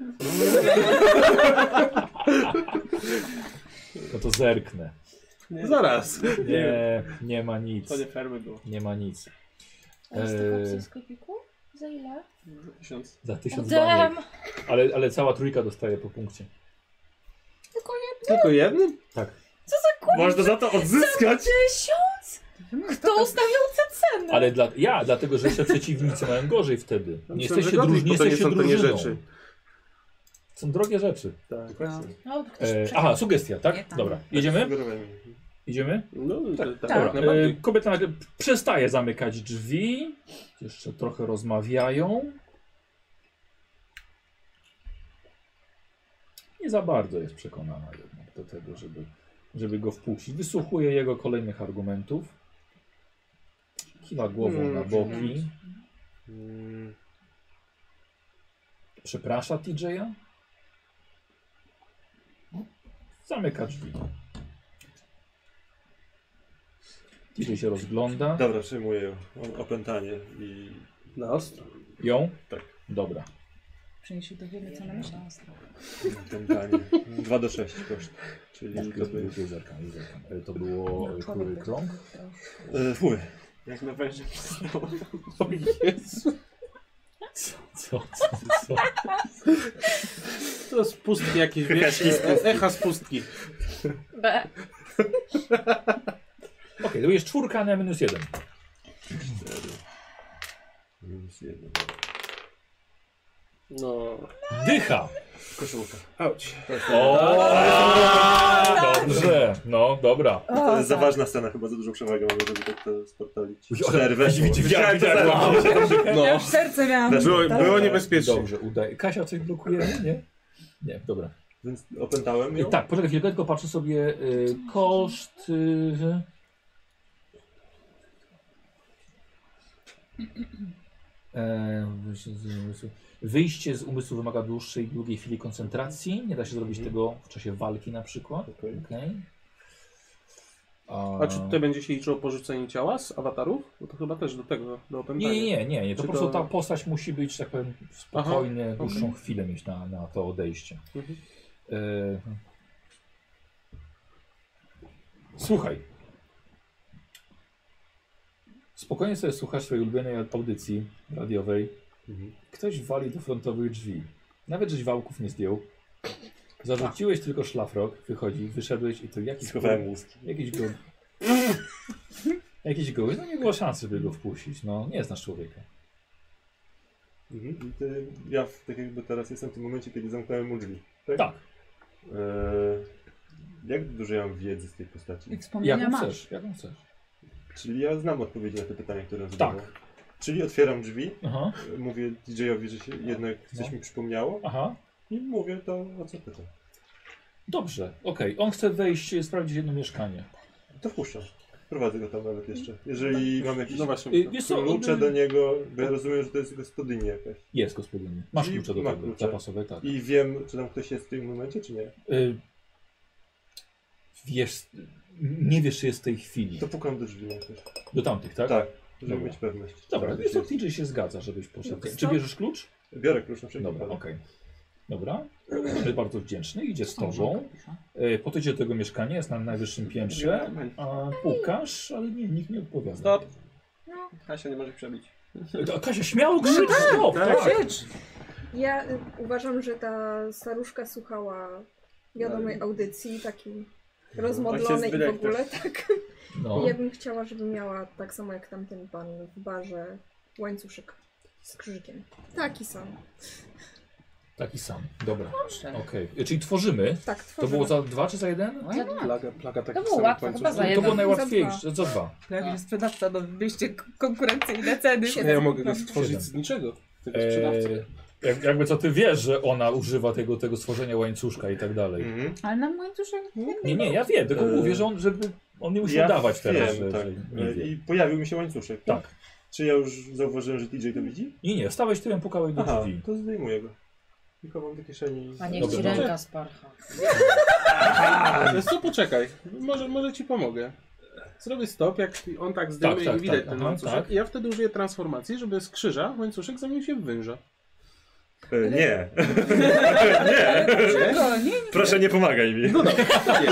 Speaker 1: No to zerknę.
Speaker 2: Nie,
Speaker 5: Zaraz.
Speaker 1: Nie, nie ma nic.
Speaker 2: to nie fermy było.
Speaker 1: Nie ma nic.
Speaker 3: A jest taka
Speaker 1: Eee.
Speaker 3: opcja w sklepiku? Za ile?
Speaker 2: Tysiąc.
Speaker 1: Za tysiąc
Speaker 3: Damn.
Speaker 1: baniek. Ale, ale cała trójka dostaje po punkcie.
Speaker 5: Tylko jednym?
Speaker 6: Można za to odzyskać!
Speaker 3: Tysiąc? Kto ustawiający cenę?
Speaker 1: Ale dla, ja, dlatego że jeszcze przeciwnicy mają gorzej wtedy. Nie
Speaker 5: Myślę, że
Speaker 1: jesteście
Speaker 5: gorzej,
Speaker 1: drużni,
Speaker 5: bo to nie
Speaker 1: jesteście
Speaker 5: są tanie
Speaker 1: drużyną.
Speaker 5: rzeczy.
Speaker 1: Są drogie rzeczy.
Speaker 8: No.
Speaker 3: No, ktoś
Speaker 1: E,
Speaker 3: przegrał.
Speaker 1: aha, sugestia,
Speaker 8: Nie,
Speaker 1: tak?
Speaker 8: tam.
Speaker 1: Dobra, jedziemy?
Speaker 6: Sugerowałem jej.
Speaker 1: Idziemy?
Speaker 5: No, tak. tak.
Speaker 1: Dobra,
Speaker 5: tak.
Speaker 1: e, kobieta nagle przestaje zamykać drzwi. Jeszcze trochę rozmawiają. Nie za bardzo jest przekonana jednak do tego, żeby, żeby go wpuścić. Wysłuchuje jego kolejnych argumentów. Kiwa głową
Speaker 5: Mm,
Speaker 1: na boki.
Speaker 6: Mm,
Speaker 1: Przeprasza TJ'a. Zamyka drzwi. TJ się rozgląda.
Speaker 6: Dobra, przyjmuję ją. O- Opętanie i...
Speaker 5: Na ostro.
Speaker 1: Ją?
Speaker 6: Tak.
Speaker 1: Dobra.
Speaker 8: Przyniesie to wiemy, co nam myślą.
Speaker 6: Opętanie. 2 do 6 koszt. Czyli to by...
Speaker 1: Już zerkam, już zerkam. E, To było e, który krąg?
Speaker 6: E, Fuj.
Speaker 2: Jak na węże przystało.
Speaker 5: O Jezu.
Speaker 1: Co, co, co, co?
Speaker 5: To z pustki jakieś, wiesz, e, echa z pustki.
Speaker 3: B.
Speaker 1: Okej, to jest czwórka na minus jeden.
Speaker 6: Minus jeden.
Speaker 5: No.
Speaker 1: Dycha!
Speaker 6: Koszulka.
Speaker 5: Auć.
Speaker 1: O! Dobrze, no dobra.
Speaker 6: To jest za ważna scena, chyba za dużą przewagę mamy, żeby tak to sportalić. Cztery
Speaker 1: Widzicie,
Speaker 6: weszło.
Speaker 1: widziałem, widziałem.
Speaker 8: Ja już serce miałam.
Speaker 6: Weszło.
Speaker 5: No. Było,
Speaker 6: Tak.
Speaker 5: było niebezpiecznie.
Speaker 1: Dobrze, udaje. Kasia coś blokuje, nie? Nie, dobra.
Speaker 6: Więc opętałem
Speaker 1: I
Speaker 6: ją?
Speaker 1: tak, poczekaj chwilkę, tylko patrzę sobie y, koszt. Y, E, wyjście z umysłu- Wyjście z umysłu wymaga dłuższej i długiej chwili koncentracji. Nie da się zrobić
Speaker 5: Mhm.
Speaker 1: tego w czasie walki na przykład.
Speaker 6: Okej.
Speaker 1: Okej.
Speaker 5: A czy tutaj będzie się liczyło porzucenie ciała z awatarów? Bo to chyba też do tego, do opętania.
Speaker 1: Nie, nie, nie, nie, nie. To
Speaker 5: Czy
Speaker 1: po prostu
Speaker 5: to-
Speaker 1: ta postać musi być, że tak powiem, spokojnie, dłuższą chwilę mieć na, na to odejście.
Speaker 5: Mhm.
Speaker 1: E, Słuchaj. Spokojnie sobie słuchasz swojej ulubionej audycji radiowej.
Speaker 6: Mhm.
Speaker 1: Ktoś wali do frontowych drzwi. Nawet żeś wałków nie zdjął. Zarzuciłeś tylko szlafrok, wychodzi, wyszedłeś i to jakiś
Speaker 6: Schowałem łuski.
Speaker 1: Jakiś go. Jakiś goły. No nie było szansy, by go wpuścić. No, nie znasz człowieka.
Speaker 6: Mhm. I ty, ja w- tak jakby teraz jestem w tym momencie, kiedy zamknąłem mu drzwi.
Speaker 1: Tak.
Speaker 6: Eee, jak dużo ja mam wiedzy z tej postaci?
Speaker 8: I wspomnienia
Speaker 1: Jaką
Speaker 8: masz.
Speaker 1: chcesz, jaką chcesz.
Speaker 6: Czyli ja znam odpowiedzi na te pytania, które on
Speaker 1: Tak.
Speaker 6: zadawał. Czyli otwieram drzwi,
Speaker 1: Aha,
Speaker 6: e, mówię DJ-owi, że się jednak
Speaker 1: No.
Speaker 6: coś mi przypomniało
Speaker 1: aha.
Speaker 6: i mówię to, o co pyta.
Speaker 1: Dobrze, okej. On chce wejść, e, sprawdzić jedno mieszkanie.
Speaker 6: To wpuszczam. Prowadzę go tam nawet jeszcze. Jeżeli mam jakieś
Speaker 7: No właśnie.
Speaker 1: Y, Wiesz co,
Speaker 6: klucze
Speaker 1: on,
Speaker 6: do niego, bo ja rozumiem, że to jest gospodyni jakaś.
Speaker 1: jest gospodynie. Masz
Speaker 6: I
Speaker 1: klucze do
Speaker 6: ma
Speaker 1: tego,
Speaker 6: klucze.
Speaker 1: zapasowe, tak.
Speaker 6: I wiem, czy tam ktoś jest w tym momencie, czy nie.
Speaker 1: Y, Wiesz, nie wiesz, czy jest w tej chwili.
Speaker 6: To pukam do drzwi najpierw.
Speaker 1: Do tamtych, tak?
Speaker 6: Tak, żeby
Speaker 1: Dobra.
Speaker 6: mieć pewność.
Speaker 1: Dobra,
Speaker 6: Tak,
Speaker 1: wiesz co,
Speaker 6: jest.
Speaker 1: TJ się zgadza, żebyś poszedł.
Speaker 9: Dobra.
Speaker 1: Czy bierzesz klucz?
Speaker 6: Biorę klucz na wszelki
Speaker 1: Dobra,
Speaker 6: wypadek.
Speaker 1: okej. Dobra, będę bardzo wdzięczny, idzie z tobą. Y, Podejdzie do tego mieszkania, jest na najwyższym piętrze. A pukasz, ale nie, nikt nie odpowiada.
Speaker 2: Stop.
Speaker 9: No.
Speaker 2: Kasia nie może przebić.
Speaker 1: A Kasia, śmiało krzycz, stop, tak.
Speaker 8: Krzycz!
Speaker 9: Ja y, uważam, że ta staruszka słuchała wiadomej audycji, takiej rozmodlonej i w
Speaker 2: dyrektor.
Speaker 9: ogóle, tak.
Speaker 1: No.
Speaker 9: Ja bym chciała, żeby miała tak samo jak tamten pan w barze łańcuszek z krzyżykiem. Taki sam.
Speaker 1: Taki sam, dobra,
Speaker 4: Proszę.
Speaker 1: okej. Y, Czyli tworzymy. To
Speaker 9: Tak, tworzymy.
Speaker 1: było za dwa czy za jeden?
Speaker 7: Plaga, plaga
Speaker 1: Tak
Speaker 3: To
Speaker 7: takich
Speaker 3: było
Speaker 7: samych
Speaker 3: łatwe, chyba
Speaker 7: łańcuszków.
Speaker 3: za
Speaker 1: To było
Speaker 3: jeden.
Speaker 1: najłatwiejsze, za dwa.
Speaker 4: Prawie sprzedawca, no wyście konkurencyjne ceny.
Speaker 9: Siedem.
Speaker 7: Nie, ja mogę go
Speaker 1: Siedem.
Speaker 7: stworzyć z niczego. Tego sprzedawcy.
Speaker 1: Eee, jak, jakby co ty wiesz, że ona używa tego, tego stworzenia łańcuszka i tak dalej.
Speaker 6: Mhm.
Speaker 8: Ale nam łańcuszek...
Speaker 1: Nie, nie, ja wiem, tylko
Speaker 6: Eee,
Speaker 1: mówię, że on, żeby on nie musiał dawać teraz. że,
Speaker 6: Wiem, tak.
Speaker 1: że nie wie.
Speaker 6: I pojawił mi się łańcuszek.
Speaker 1: Tak.
Speaker 6: Czy ja już zauważyłem, że DJ to widzi?
Speaker 1: Nie, nie, stałeś tyłem, pukałeś do
Speaker 6: Aha,
Speaker 1: drzwi.
Speaker 6: to zdejmuję go. I chowam do kieszeni.
Speaker 3: A niech
Speaker 1: Dobra,
Speaker 3: ci
Speaker 1: no.
Speaker 3: ręka sparcha.
Speaker 7: Ale co, poczekaj. Może, może ci pomogę. Zrobię stop, jak on tak zdejmie
Speaker 1: Tak, tak,
Speaker 7: i widać
Speaker 1: tak,
Speaker 7: ten
Speaker 1: aha,
Speaker 7: łańcuszek.
Speaker 1: tak.
Speaker 7: I ja wtedy użyję transformacji, żeby z krzyża łańcuszek zamienił się w węża.
Speaker 6: E, nie, Tak.
Speaker 8: Dlaczego? Nie,
Speaker 6: proszę nie pomagaj mi.
Speaker 7: No dobra. nie.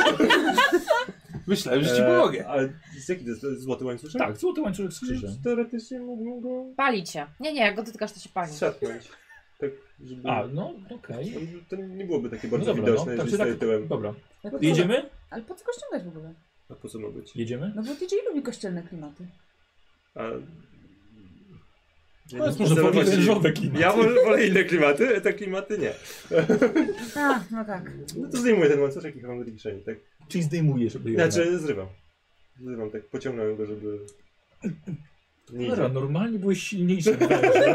Speaker 7: Myślałem, że ci
Speaker 6: E,
Speaker 7: pomogę.
Speaker 6: A z jaki to jest? To jest złoty łańcuszek?
Speaker 1: Tak, złoty łańcuszek z
Speaker 6: Czyli
Speaker 1: krzyżem.
Speaker 6: Teoretycznie mógłbym go
Speaker 3: Pali cię. Nie, nie, jak go dotykasz, to się pali.
Speaker 6: strzepnąć. Tak, żeby...
Speaker 1: A, no okej.
Speaker 6: To nie byłoby takie
Speaker 1: No
Speaker 6: bardzo
Speaker 1: dobra, no,
Speaker 6: widoczne,
Speaker 1: tak,
Speaker 6: jeżeli
Speaker 1: czy
Speaker 6: tak,
Speaker 1: tak,
Speaker 6: stoi tyłem.
Speaker 1: dobra.
Speaker 8: Ale po co-
Speaker 1: Jedziemy?
Speaker 8: Ale po co go ściągać w ogóle?
Speaker 6: A po co ma być?
Speaker 1: Jedziemy?
Speaker 8: No bo DJ lubi kościelne klimaty.
Speaker 6: A...
Speaker 7: To jest
Speaker 1: No, może
Speaker 6: Obserwować-
Speaker 1: bardziej wężowe klimaty.
Speaker 6: Ja wolę, wolę inne klimaty, te klimaty nie.
Speaker 8: A, no tak.
Speaker 6: No to zdejmuję ten łańcuszek i chowam do kieszeni, tak?
Speaker 1: Czyli zdejmujesz, żeby jednak-
Speaker 6: Znaczy zrywam. Zrywam, tak pociągnąłem go, żeby... Nie
Speaker 1: Dobra, no.
Speaker 6: idzie.
Speaker 1: normalnie byłeś silniejszy wężem.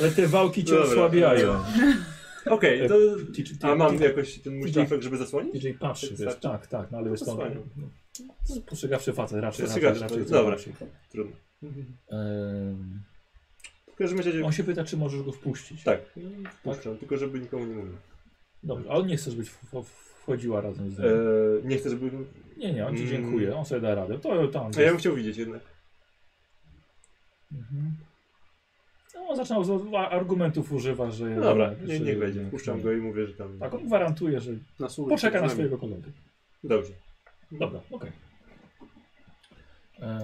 Speaker 1: Ale te wałki cię
Speaker 6: Dobra.
Speaker 1: osłabiają.
Speaker 6: Okej,
Speaker 1: E,
Speaker 6: to...
Speaker 1: Ty- ty-
Speaker 6: A mam
Speaker 1: ty-
Speaker 6: jakoś ten
Speaker 1: tak.
Speaker 6: mój szlifek, żeby zasłonić?
Speaker 1: Jeżeli patrzy,
Speaker 6: Tak,
Speaker 1: wiesz,
Speaker 6: tak.
Speaker 1: tak, tak, no ale wiesz, to,
Speaker 6: Posłuchaj.
Speaker 1: no, postrzegawszy facet, raczej, raczej,
Speaker 6: Postrzegawczy,
Speaker 1: raczej.
Speaker 6: dobra. Trudno.
Speaker 1: Mhm. Ym,
Speaker 6: W każdym razie...
Speaker 1: on się pyta, czy możesz go wpuścić.
Speaker 6: Tak, puszczam, tylko żeby nikomu nie mówił.
Speaker 1: Dobrze, a on nie chce, żebyś w- w- wchodziła razem z nim.
Speaker 6: E, nie chcę, żeby...
Speaker 1: Nie, nie, on ci
Speaker 6: mm.
Speaker 1: dziękuję, on sobie da radę. To tam.
Speaker 6: A ja bym chciał widzieć jednak.
Speaker 1: Mhm. No, on zaczynał z a- argumentów używa, że.
Speaker 6: No dobra,
Speaker 1: że-
Speaker 6: nie, niech wejdzie. Puszczam go i mówię, że tam...
Speaker 1: Tak, on gwarantuje, że
Speaker 7: Na słuch-
Speaker 1: poczeka na
Speaker 7: z nami.
Speaker 1: swojego kolegę.
Speaker 6: Dobrze. No.
Speaker 1: Dobra, okej. Eee,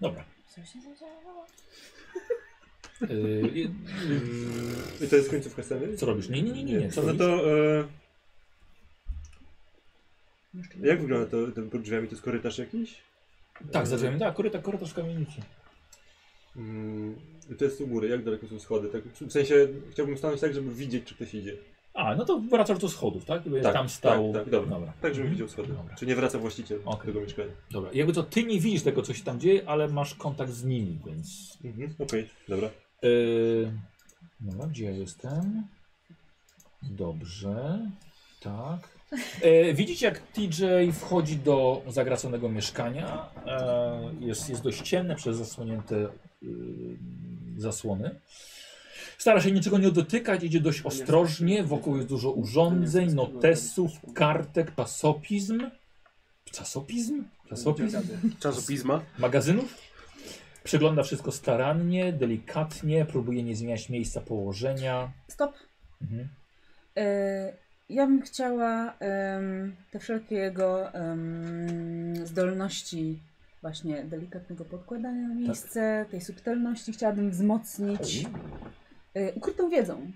Speaker 1: dobra.
Speaker 3: Co się zadziałało?
Speaker 1: Eee, i-
Speaker 6: Mm, I to jest końcówka sceny?
Speaker 1: co robisz? Nie, nie, nie, nie. nie. Co
Speaker 6: No
Speaker 1: robisz?
Speaker 6: to... E, jak wygląda to, to pod drzwiami? To jest korytarz jakiś?
Speaker 1: Tak, za drzwiami, tak, korytarz, korytarz kamienicy.
Speaker 6: Mm, to jest u góry. Jak daleko są schody? Tak, w sensie chciałbym stanąć tak, żeby widzieć, czy ktoś idzie.
Speaker 1: A, no to wracasz do schodów, tak? Jakby
Speaker 6: Tak,
Speaker 1: tam stał.
Speaker 6: tak, tak, dobra.
Speaker 1: Dobra.
Speaker 6: Tak,
Speaker 1: Mhm.
Speaker 6: żebym widział schody.
Speaker 1: Dobra.
Speaker 6: Czy nie wraca właściciel
Speaker 1: Okej.
Speaker 6: tego mieszkania.
Speaker 1: Dobra. Jakby to ty nie widzisz tego, co się tam dzieje, ale masz kontakt z nimi, więc.
Speaker 6: Mhm, okej, dobra.
Speaker 1: Yy... No, gdzie ja jestem? Dobrze. Tak. E, widzicie, jak TJ wchodzi do zagraconego mieszkania. E, jest, jest dość ciemne przez zasłonięte y, zasłony. Stara się niczego nie dotykać, idzie dość ostrożnie. Wokół jest dużo urządzeń, notesów, kartek, czasopism. Czasopism? Czasopism?
Speaker 7: E, Czasopisma.
Speaker 1: magazynów. Przegląda wszystko starannie, delikatnie, próbuje nie zmieniać miejsca położenia.
Speaker 8: Stop.
Speaker 1: Mhm.
Speaker 8: E, ja bym chciała em, te wszelkie jego em, zdolności właśnie delikatnego podkładania
Speaker 1: Tak.
Speaker 8: na miejsce, tej subtelności chciałabym wzmocnić e, ukrytą wiedzą.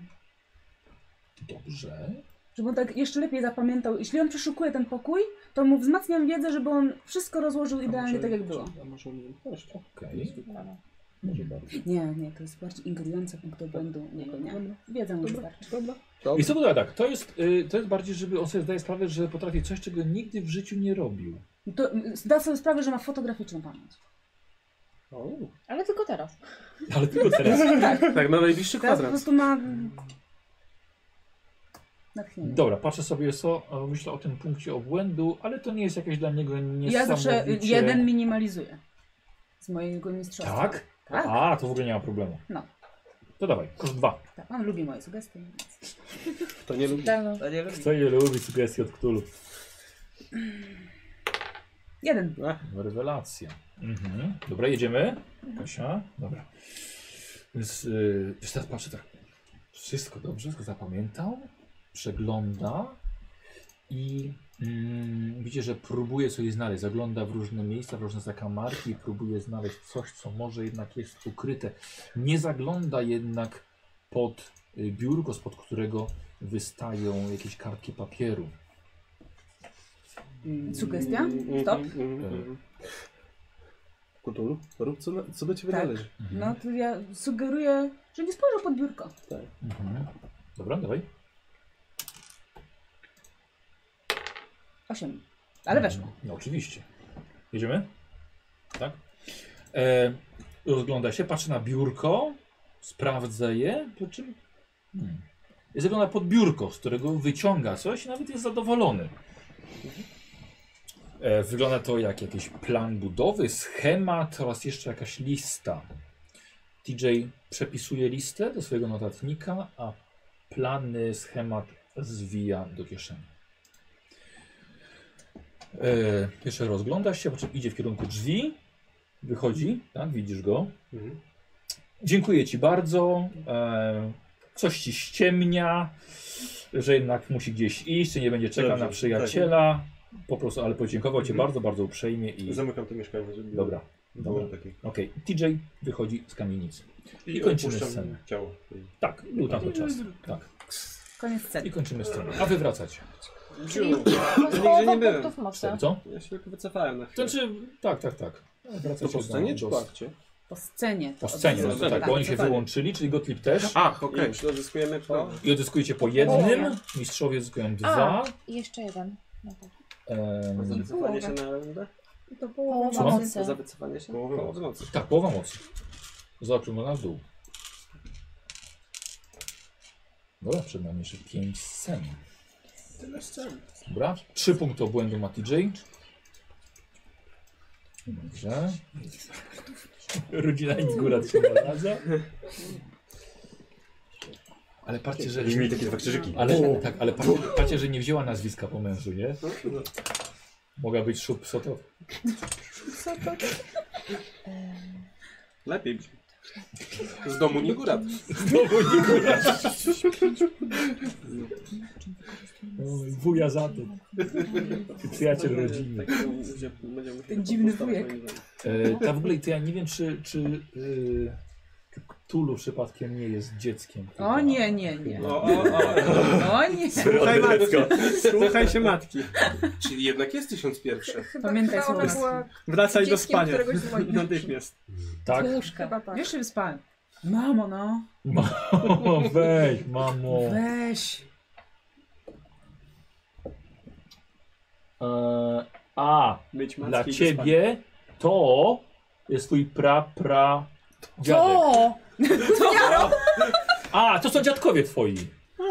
Speaker 1: Dobrze.
Speaker 8: Żeby on tak jeszcze lepiej zapamiętał. Jeśli on przeszukuje ten pokój, to mu tak, wzmacniam wiedzę, żeby on wszystko rozłożył idealnie tak, jak było.
Speaker 7: A może on
Speaker 1: Okej.
Speaker 3: Dobra.
Speaker 1: Może bardzo.
Speaker 8: Nie, nie, to jest bardziej ingerujące punkt błędu. Nie, nie, nie. Wiedza mu wystarczy.
Speaker 1: I co było tak, to jest, y, to jest bardziej, żeby on sobie zdaje sprawę, że potrafi coś, czego nigdy w życiu nie robił.
Speaker 8: To mm, zda sobie sprawę, że ma fotograficzną pamięć.
Speaker 3: Ale tylko teraz.
Speaker 1: Ale tylko teraz.
Speaker 7: Tak, na najbliższy
Speaker 8: Teraz po
Speaker 7: kwadrans.
Speaker 8: prostu ma mm, natchnienie.
Speaker 1: Dobra, patrzę sobie co, e, myślę o tym punkcie obłędu, ale to nie jest jakieś dla niego
Speaker 8: Ja
Speaker 1: niesamowicie...
Speaker 8: zawsze jeden minimalizuję. Z mojego mistrzostwa.
Speaker 1: Tak?
Speaker 8: Tak.
Speaker 1: A, to w ogóle nie ma problemu.
Speaker 8: No.
Speaker 1: To dawaj, koszt dwa.
Speaker 8: tak. On lubi moje sugestie. Więc...
Speaker 7: To nie lubi.
Speaker 3: Czytelno.
Speaker 4: To nie lubi.
Speaker 1: Kto je lubi, sugestie od Cthulhu.
Speaker 8: Jeden.
Speaker 1: Rewelacja. Mhm. Dobra, jedziemy. Kasia, dobra. Więc yy, wiesz, teraz patrzę tak. Wszystko dobrze, wszystko zapamiętał, przegląda i mm, widzicie, że próbuje coś znaleźć. Zagląda w różne miejsca, w różne zakamarki i próbuje znaleźć coś, co może jednak jest ukryte. Nie zagląda jednak pod y, biurko, spod którego wystają jakieś kartki papieru.
Speaker 8: Sugestia?
Speaker 7: Mm,
Speaker 8: Stop.
Speaker 7: Kutul, mm, rób co, na- co do ciebie
Speaker 8: Tak.
Speaker 7: należy.
Speaker 8: No to ja sugeruję, że nie spojrzał pod biurko.
Speaker 1: Mhm. Dobra, dawaj.
Speaker 8: Osiem. Ale weszło.
Speaker 1: No oczywiście. Jedziemy? Tak? E, rozgląda się, patrzy na biurko, sprawdza je, po czym hmm. I zagląda pod biurko, z którego wyciąga coś i nawet jest zadowolony. E, wygląda to jak jakiś plan budowy, schemat oraz jeszcze jakaś lista. TJ przepisuje listę do swojego notatnika, a plany, schemat zwija do kieszeni. E, jeszcze rozgląda się, po czym idzie w kierunku drzwi, wychodzi, tak, widzisz go.
Speaker 5: Mhm.
Speaker 1: Dziękuję Ci bardzo. E, coś Ci ściemnia, że jednak musi gdzieś iść, czy nie będzie czekał
Speaker 6: Dobrze, tak.
Speaker 1: na przyjaciela. Po prostu, ale podziękował Ci
Speaker 6: Mhm.
Speaker 1: bardzo, bardzo uprzejmie i...
Speaker 6: Zamykam to mieszkanie, żeby
Speaker 1: Dobra,
Speaker 6: nie było
Speaker 1: dobra.
Speaker 6: takich.
Speaker 1: okej. TJ wychodzi z kamienicy.
Speaker 6: I,
Speaker 1: kończymy
Speaker 6: opuszczam
Speaker 1: scenę.
Speaker 6: ciało.
Speaker 1: Tak, był tam to czas. Tak.
Speaker 8: Koniec sceny.
Speaker 1: I kończymy scenę. A Wy wracacie.
Speaker 3: Czyli
Speaker 2: nigdzie
Speaker 3: połowa
Speaker 2: nie byłem.
Speaker 3: punktów mocy.
Speaker 1: Co?
Speaker 2: Ja się tylko wycofałem na chwilę.
Speaker 1: Znaczy, tak, tak, tak. Wracacie
Speaker 7: To po
Speaker 1: do-
Speaker 7: scenie czy
Speaker 1: do-
Speaker 7: po akcie?
Speaker 8: Po scenie.
Speaker 1: Po scenie, no, to tak, bo oni się wyłączyli, czyli Gottlieb też.
Speaker 7: Ach,
Speaker 2: I
Speaker 7: okej.
Speaker 2: już odzyskujemy po...
Speaker 1: I odzyskujecie po jednym,
Speaker 3: O.
Speaker 1: mistrzowie odzyskują
Speaker 3: A,
Speaker 1: dwa.
Speaker 3: i jeszcze jeden. No tak.
Speaker 1: Em,
Speaker 2: Wycofanie się na rundę?
Speaker 9: To połowa
Speaker 3: Co?
Speaker 9: mocy.
Speaker 8: Tak.
Speaker 2: To za wycofanie się?
Speaker 6: Połowa
Speaker 2: Połowa nocy.
Speaker 1: tak, połowa mocy. Zobaczymy na dół. Dobra, przed nami jeszcze pięć scen.
Speaker 7: Tyle scen.
Speaker 1: Dobra, trzy punkty obłędu ma TJ. Dobrze. Rodzina nic góra trzyma razem. Ale patrzcie, że...
Speaker 6: Będziemy mieli takie dwa krzyżyki.
Speaker 1: Ale, tak, ale patrzcie, patrzcie, że nie wzięła nazwiska po mężu, nie? Mogła być szub sotow.
Speaker 3: Em,
Speaker 2: Lepiej brzmi.
Speaker 7: Z domu nie góra.
Speaker 1: Znowu nie góra. Oj, Wuja za to. Przyjaciel rodziny.
Speaker 2: Tak, no, gdzie będziemy
Speaker 8: Ten dziwny wujek.
Speaker 1: E, ta w ogóle, to ja nie wiem, czy, czy yy, Tulu przypadkiem nie jest dzieckiem. chyba.
Speaker 8: O nie, nie, nie.
Speaker 2: O, o, o.
Speaker 8: O No nie.
Speaker 2: Słuchaj matki. Słuchaj się matki.
Speaker 7: Czyli jednak jest tysiąc pierwszy.
Speaker 9: Chyba,
Speaker 8: Pamiętaj,
Speaker 9: chyba ona
Speaker 8: Sylwester.
Speaker 9: była
Speaker 2: Wracaj do
Speaker 9: dzieckiem
Speaker 2: spania.
Speaker 9: któregoś z moich
Speaker 2: Natychmiast.
Speaker 1: Tak?
Speaker 9: Chyba
Speaker 8: Łóżka.
Speaker 9: tak.
Speaker 8: Wiesz, że wyspałem. Mamo, no.
Speaker 1: Mamo, weź, mamo.
Speaker 8: Weź.
Speaker 1: E, a,
Speaker 2: Myć matki
Speaker 1: dla
Speaker 2: i do
Speaker 1: ciebie to jest twój pra, pra dziadek.
Speaker 3: To!
Speaker 1: A, to są dziadkowie twoi.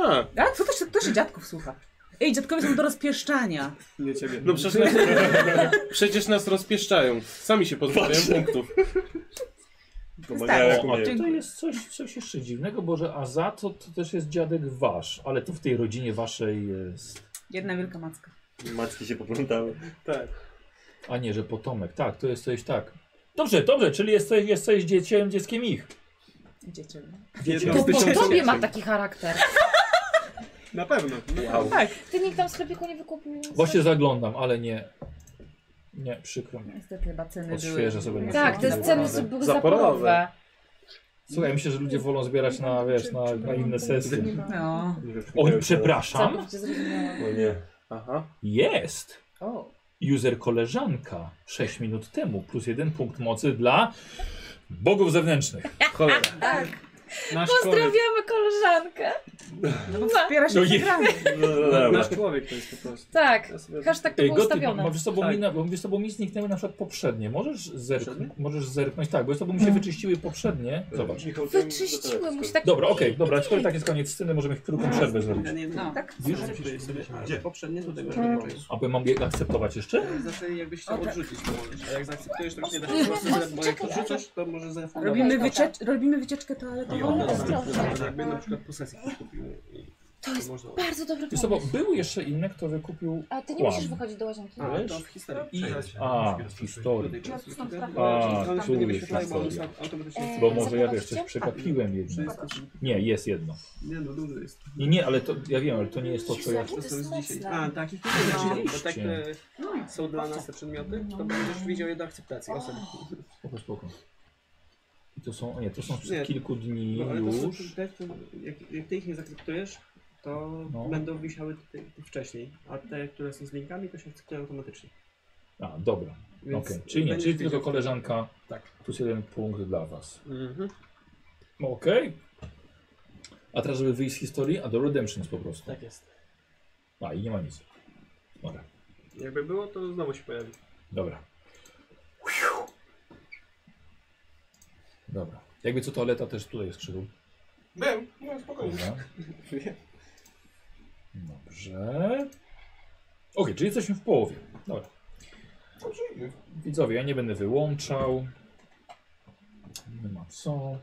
Speaker 7: A,
Speaker 8: A, to też, to się dziadków słucha. Ej, dziadkowie są do rozpieszczania.
Speaker 2: spania. Nie ciebie.
Speaker 7: no przecież nas, przecież nas rozpieszczają. Sami się pozbawiają punktów.
Speaker 6: Maniaku,
Speaker 1: A
Speaker 6: nie.
Speaker 1: to
Speaker 8: Dziękuję.
Speaker 1: jest coś, coś jeszcze dziwnego, bo że Aza to, to też jest dziadek wasz, ale to w tej rodzinie waszej jest...
Speaker 8: Jedna wielka macka.
Speaker 6: Macki się poplątały.
Speaker 1: A nie, że potomek. Tak, to jest coś tak. Dobrze, dobrze, czyli jesteś, jesteś dzieciem, dzieckiem ich.
Speaker 8: Dziecię. no.
Speaker 2: Jedno
Speaker 3: To
Speaker 2: z tysiąca
Speaker 3: po tobie ma
Speaker 2: dzieci.
Speaker 3: taki charakter.
Speaker 2: Na pewno.
Speaker 7: Wow.
Speaker 3: Ty nikt tam w sklepiku nie wykupił.
Speaker 1: Właśnie zaglądam, ale nie. Nie, przykro mi.
Speaker 8: Niestety chyba ceny
Speaker 1: Odświeżę
Speaker 8: były.
Speaker 1: sobie na
Speaker 3: Tak, te sceny są- były zaporowe.
Speaker 1: Słuchaj, myślę, że ludzie wolą zbierać na, wiesz, na, na inne sesje.
Speaker 8: No.
Speaker 6: Nie wiem, czy
Speaker 1: O,
Speaker 6: widziałeś
Speaker 1: przepraszam.
Speaker 3: Całkowicie zrozumiałam.
Speaker 6: teraz. O nie.
Speaker 7: Aha.
Speaker 1: Jest.
Speaker 8: O.
Speaker 1: User koleżanka 6 minut temu plus jeden punkt mocy dla Bogów zewnętrznych.
Speaker 5: Cholera.
Speaker 3: Tak.
Speaker 4: Nasz człowiek.
Speaker 3: Pozdrawiamy koleżankę.
Speaker 2: No,
Speaker 8: Wspiera się
Speaker 1: No je-
Speaker 8: przegrany.
Speaker 6: No, no, dobra.
Speaker 2: Nasz człowiek to jest po prostu.
Speaker 3: Tak.
Speaker 2: Ja sobie-
Speaker 3: Hashtag to
Speaker 1: Ej,
Speaker 3: było
Speaker 1: Goty,
Speaker 3: ustawione.
Speaker 1: Y, bo wiesz co, bo,
Speaker 2: Tak.
Speaker 1: mi, na- bo wiesz co, bo mi zniknęły na przykład poprzednie. Możesz, zerk
Speaker 2: Poprzednie?
Speaker 1: możesz zerknąć, tak, bo jest to, bo mi się
Speaker 4: Mhm.
Speaker 1: wyczyściły poprzednie. Zobacz.
Speaker 6: Michał, ty mi do
Speaker 3: Wyczyściły
Speaker 6: telefonu
Speaker 3: mu się
Speaker 6: skończy.
Speaker 3: tak...
Speaker 1: Dobra, okej, dobra, skoro tak jest koniec sceny, możemy krótką przerwę zrobić.
Speaker 4: Ja nie wiem,
Speaker 8: No.
Speaker 4: tak?
Speaker 6: Wiesz,
Speaker 4: Sorry,
Speaker 6: wiesz,
Speaker 4: sobie,
Speaker 6: wiesz,
Speaker 4: ale
Speaker 6: gdzie?
Speaker 4: Poprzednie do tego, że
Speaker 1: Aby mam je akceptować jeszcze?
Speaker 4: Zaczęli jakbyś chciał
Speaker 8: O, tak.
Speaker 4: odrzucić, to możesz. A jak zaakceptujesz, to już nie da się
Speaker 3: Nie,
Speaker 4: po prostu,
Speaker 3: nie,
Speaker 4: zre- bo jak
Speaker 3: czekaj,
Speaker 4: odrzucasz, No to może zarefundować.
Speaker 8: Robimy,
Speaker 3: Dobra.
Speaker 8: wyciecz- robimy wycieczkę
Speaker 4: I
Speaker 8: toaletową.
Speaker 4: one
Speaker 1: No
Speaker 3: O,
Speaker 4: są-
Speaker 3: ostrożnie.
Speaker 4: tak. jakby na przykład po sesji ktoś kupił i
Speaker 3: To jest
Speaker 4: można...
Speaker 3: bardzo dobry
Speaker 1: Wiesz co, bo
Speaker 4: Tak.
Speaker 3: pomysł.
Speaker 1: były jeszcze inne, kto wykupił...
Speaker 3: A ty nie
Speaker 1: Kłam.
Speaker 3: musisz wychodzić do łazienki.
Speaker 4: Ale to w historii.
Speaker 1: I...
Speaker 4: Przejdź.
Speaker 1: A, historii.
Speaker 4: Tutaj czasu
Speaker 8: Ja tu są
Speaker 4: kilka,
Speaker 8: strachy.
Speaker 1: A,
Speaker 4: ale
Speaker 1: tu
Speaker 4: nie
Speaker 1: jest
Speaker 4: wyświetlają, bo one są
Speaker 1: historia.
Speaker 4: automatycznie-
Speaker 3: E,
Speaker 1: Bo może ja wiesz, coś
Speaker 4: Tak.
Speaker 1: przekapiłem jedno. Nie, jest jedno.
Speaker 4: Nie no, dużo jest.
Speaker 1: Nie, nie, ale to, ja wiem, ale to nie jest to, co ja...
Speaker 4: To są z
Speaker 3: Smutne.
Speaker 4: dzisiaj. A, tak, i tutaj
Speaker 3: No.
Speaker 4: no. bo tak
Speaker 7: e,
Speaker 4: te są dla nas te przedmioty, to będziesz widział je do akceptacji osobie.
Speaker 1: Spoko, spoko. I to są, nie, to są
Speaker 4: Nie.
Speaker 1: z kilku dni
Speaker 4: No, ale to są
Speaker 1: już.
Speaker 4: te, które- jak, jak ty ich nie zaakceptujesz, to
Speaker 1: No.
Speaker 4: będą wisiały te, te wcześniej, a te, które są z linkami, to się akceptują automatycznie.
Speaker 1: A, dobra.
Speaker 4: Więc
Speaker 1: Okej, czyli nie,
Speaker 4: będziesz
Speaker 1: czyli tylko
Speaker 4: wiedział-
Speaker 1: koleżanka,
Speaker 4: Tak.
Speaker 1: plus jeden punkt dla was.
Speaker 4: Mhm.
Speaker 1: No, Okej. A teraz, żeby wyjść z historii, a do Redemptions po prostu.
Speaker 4: Tak jest.
Speaker 1: A, i nie ma nic. Dobra,
Speaker 7: Jakby było, to znowu się pojawi.
Speaker 1: dobra. Dobra. Jakby co, toaleta też tutaj jest krzyku.
Speaker 7: Byłem, no spokojnie.
Speaker 1: Dobra. Dobrze. Okej, czyli jesteśmy w połowie. Dobra. Widzowie, ja nie będę wyłączał. Nie ma co.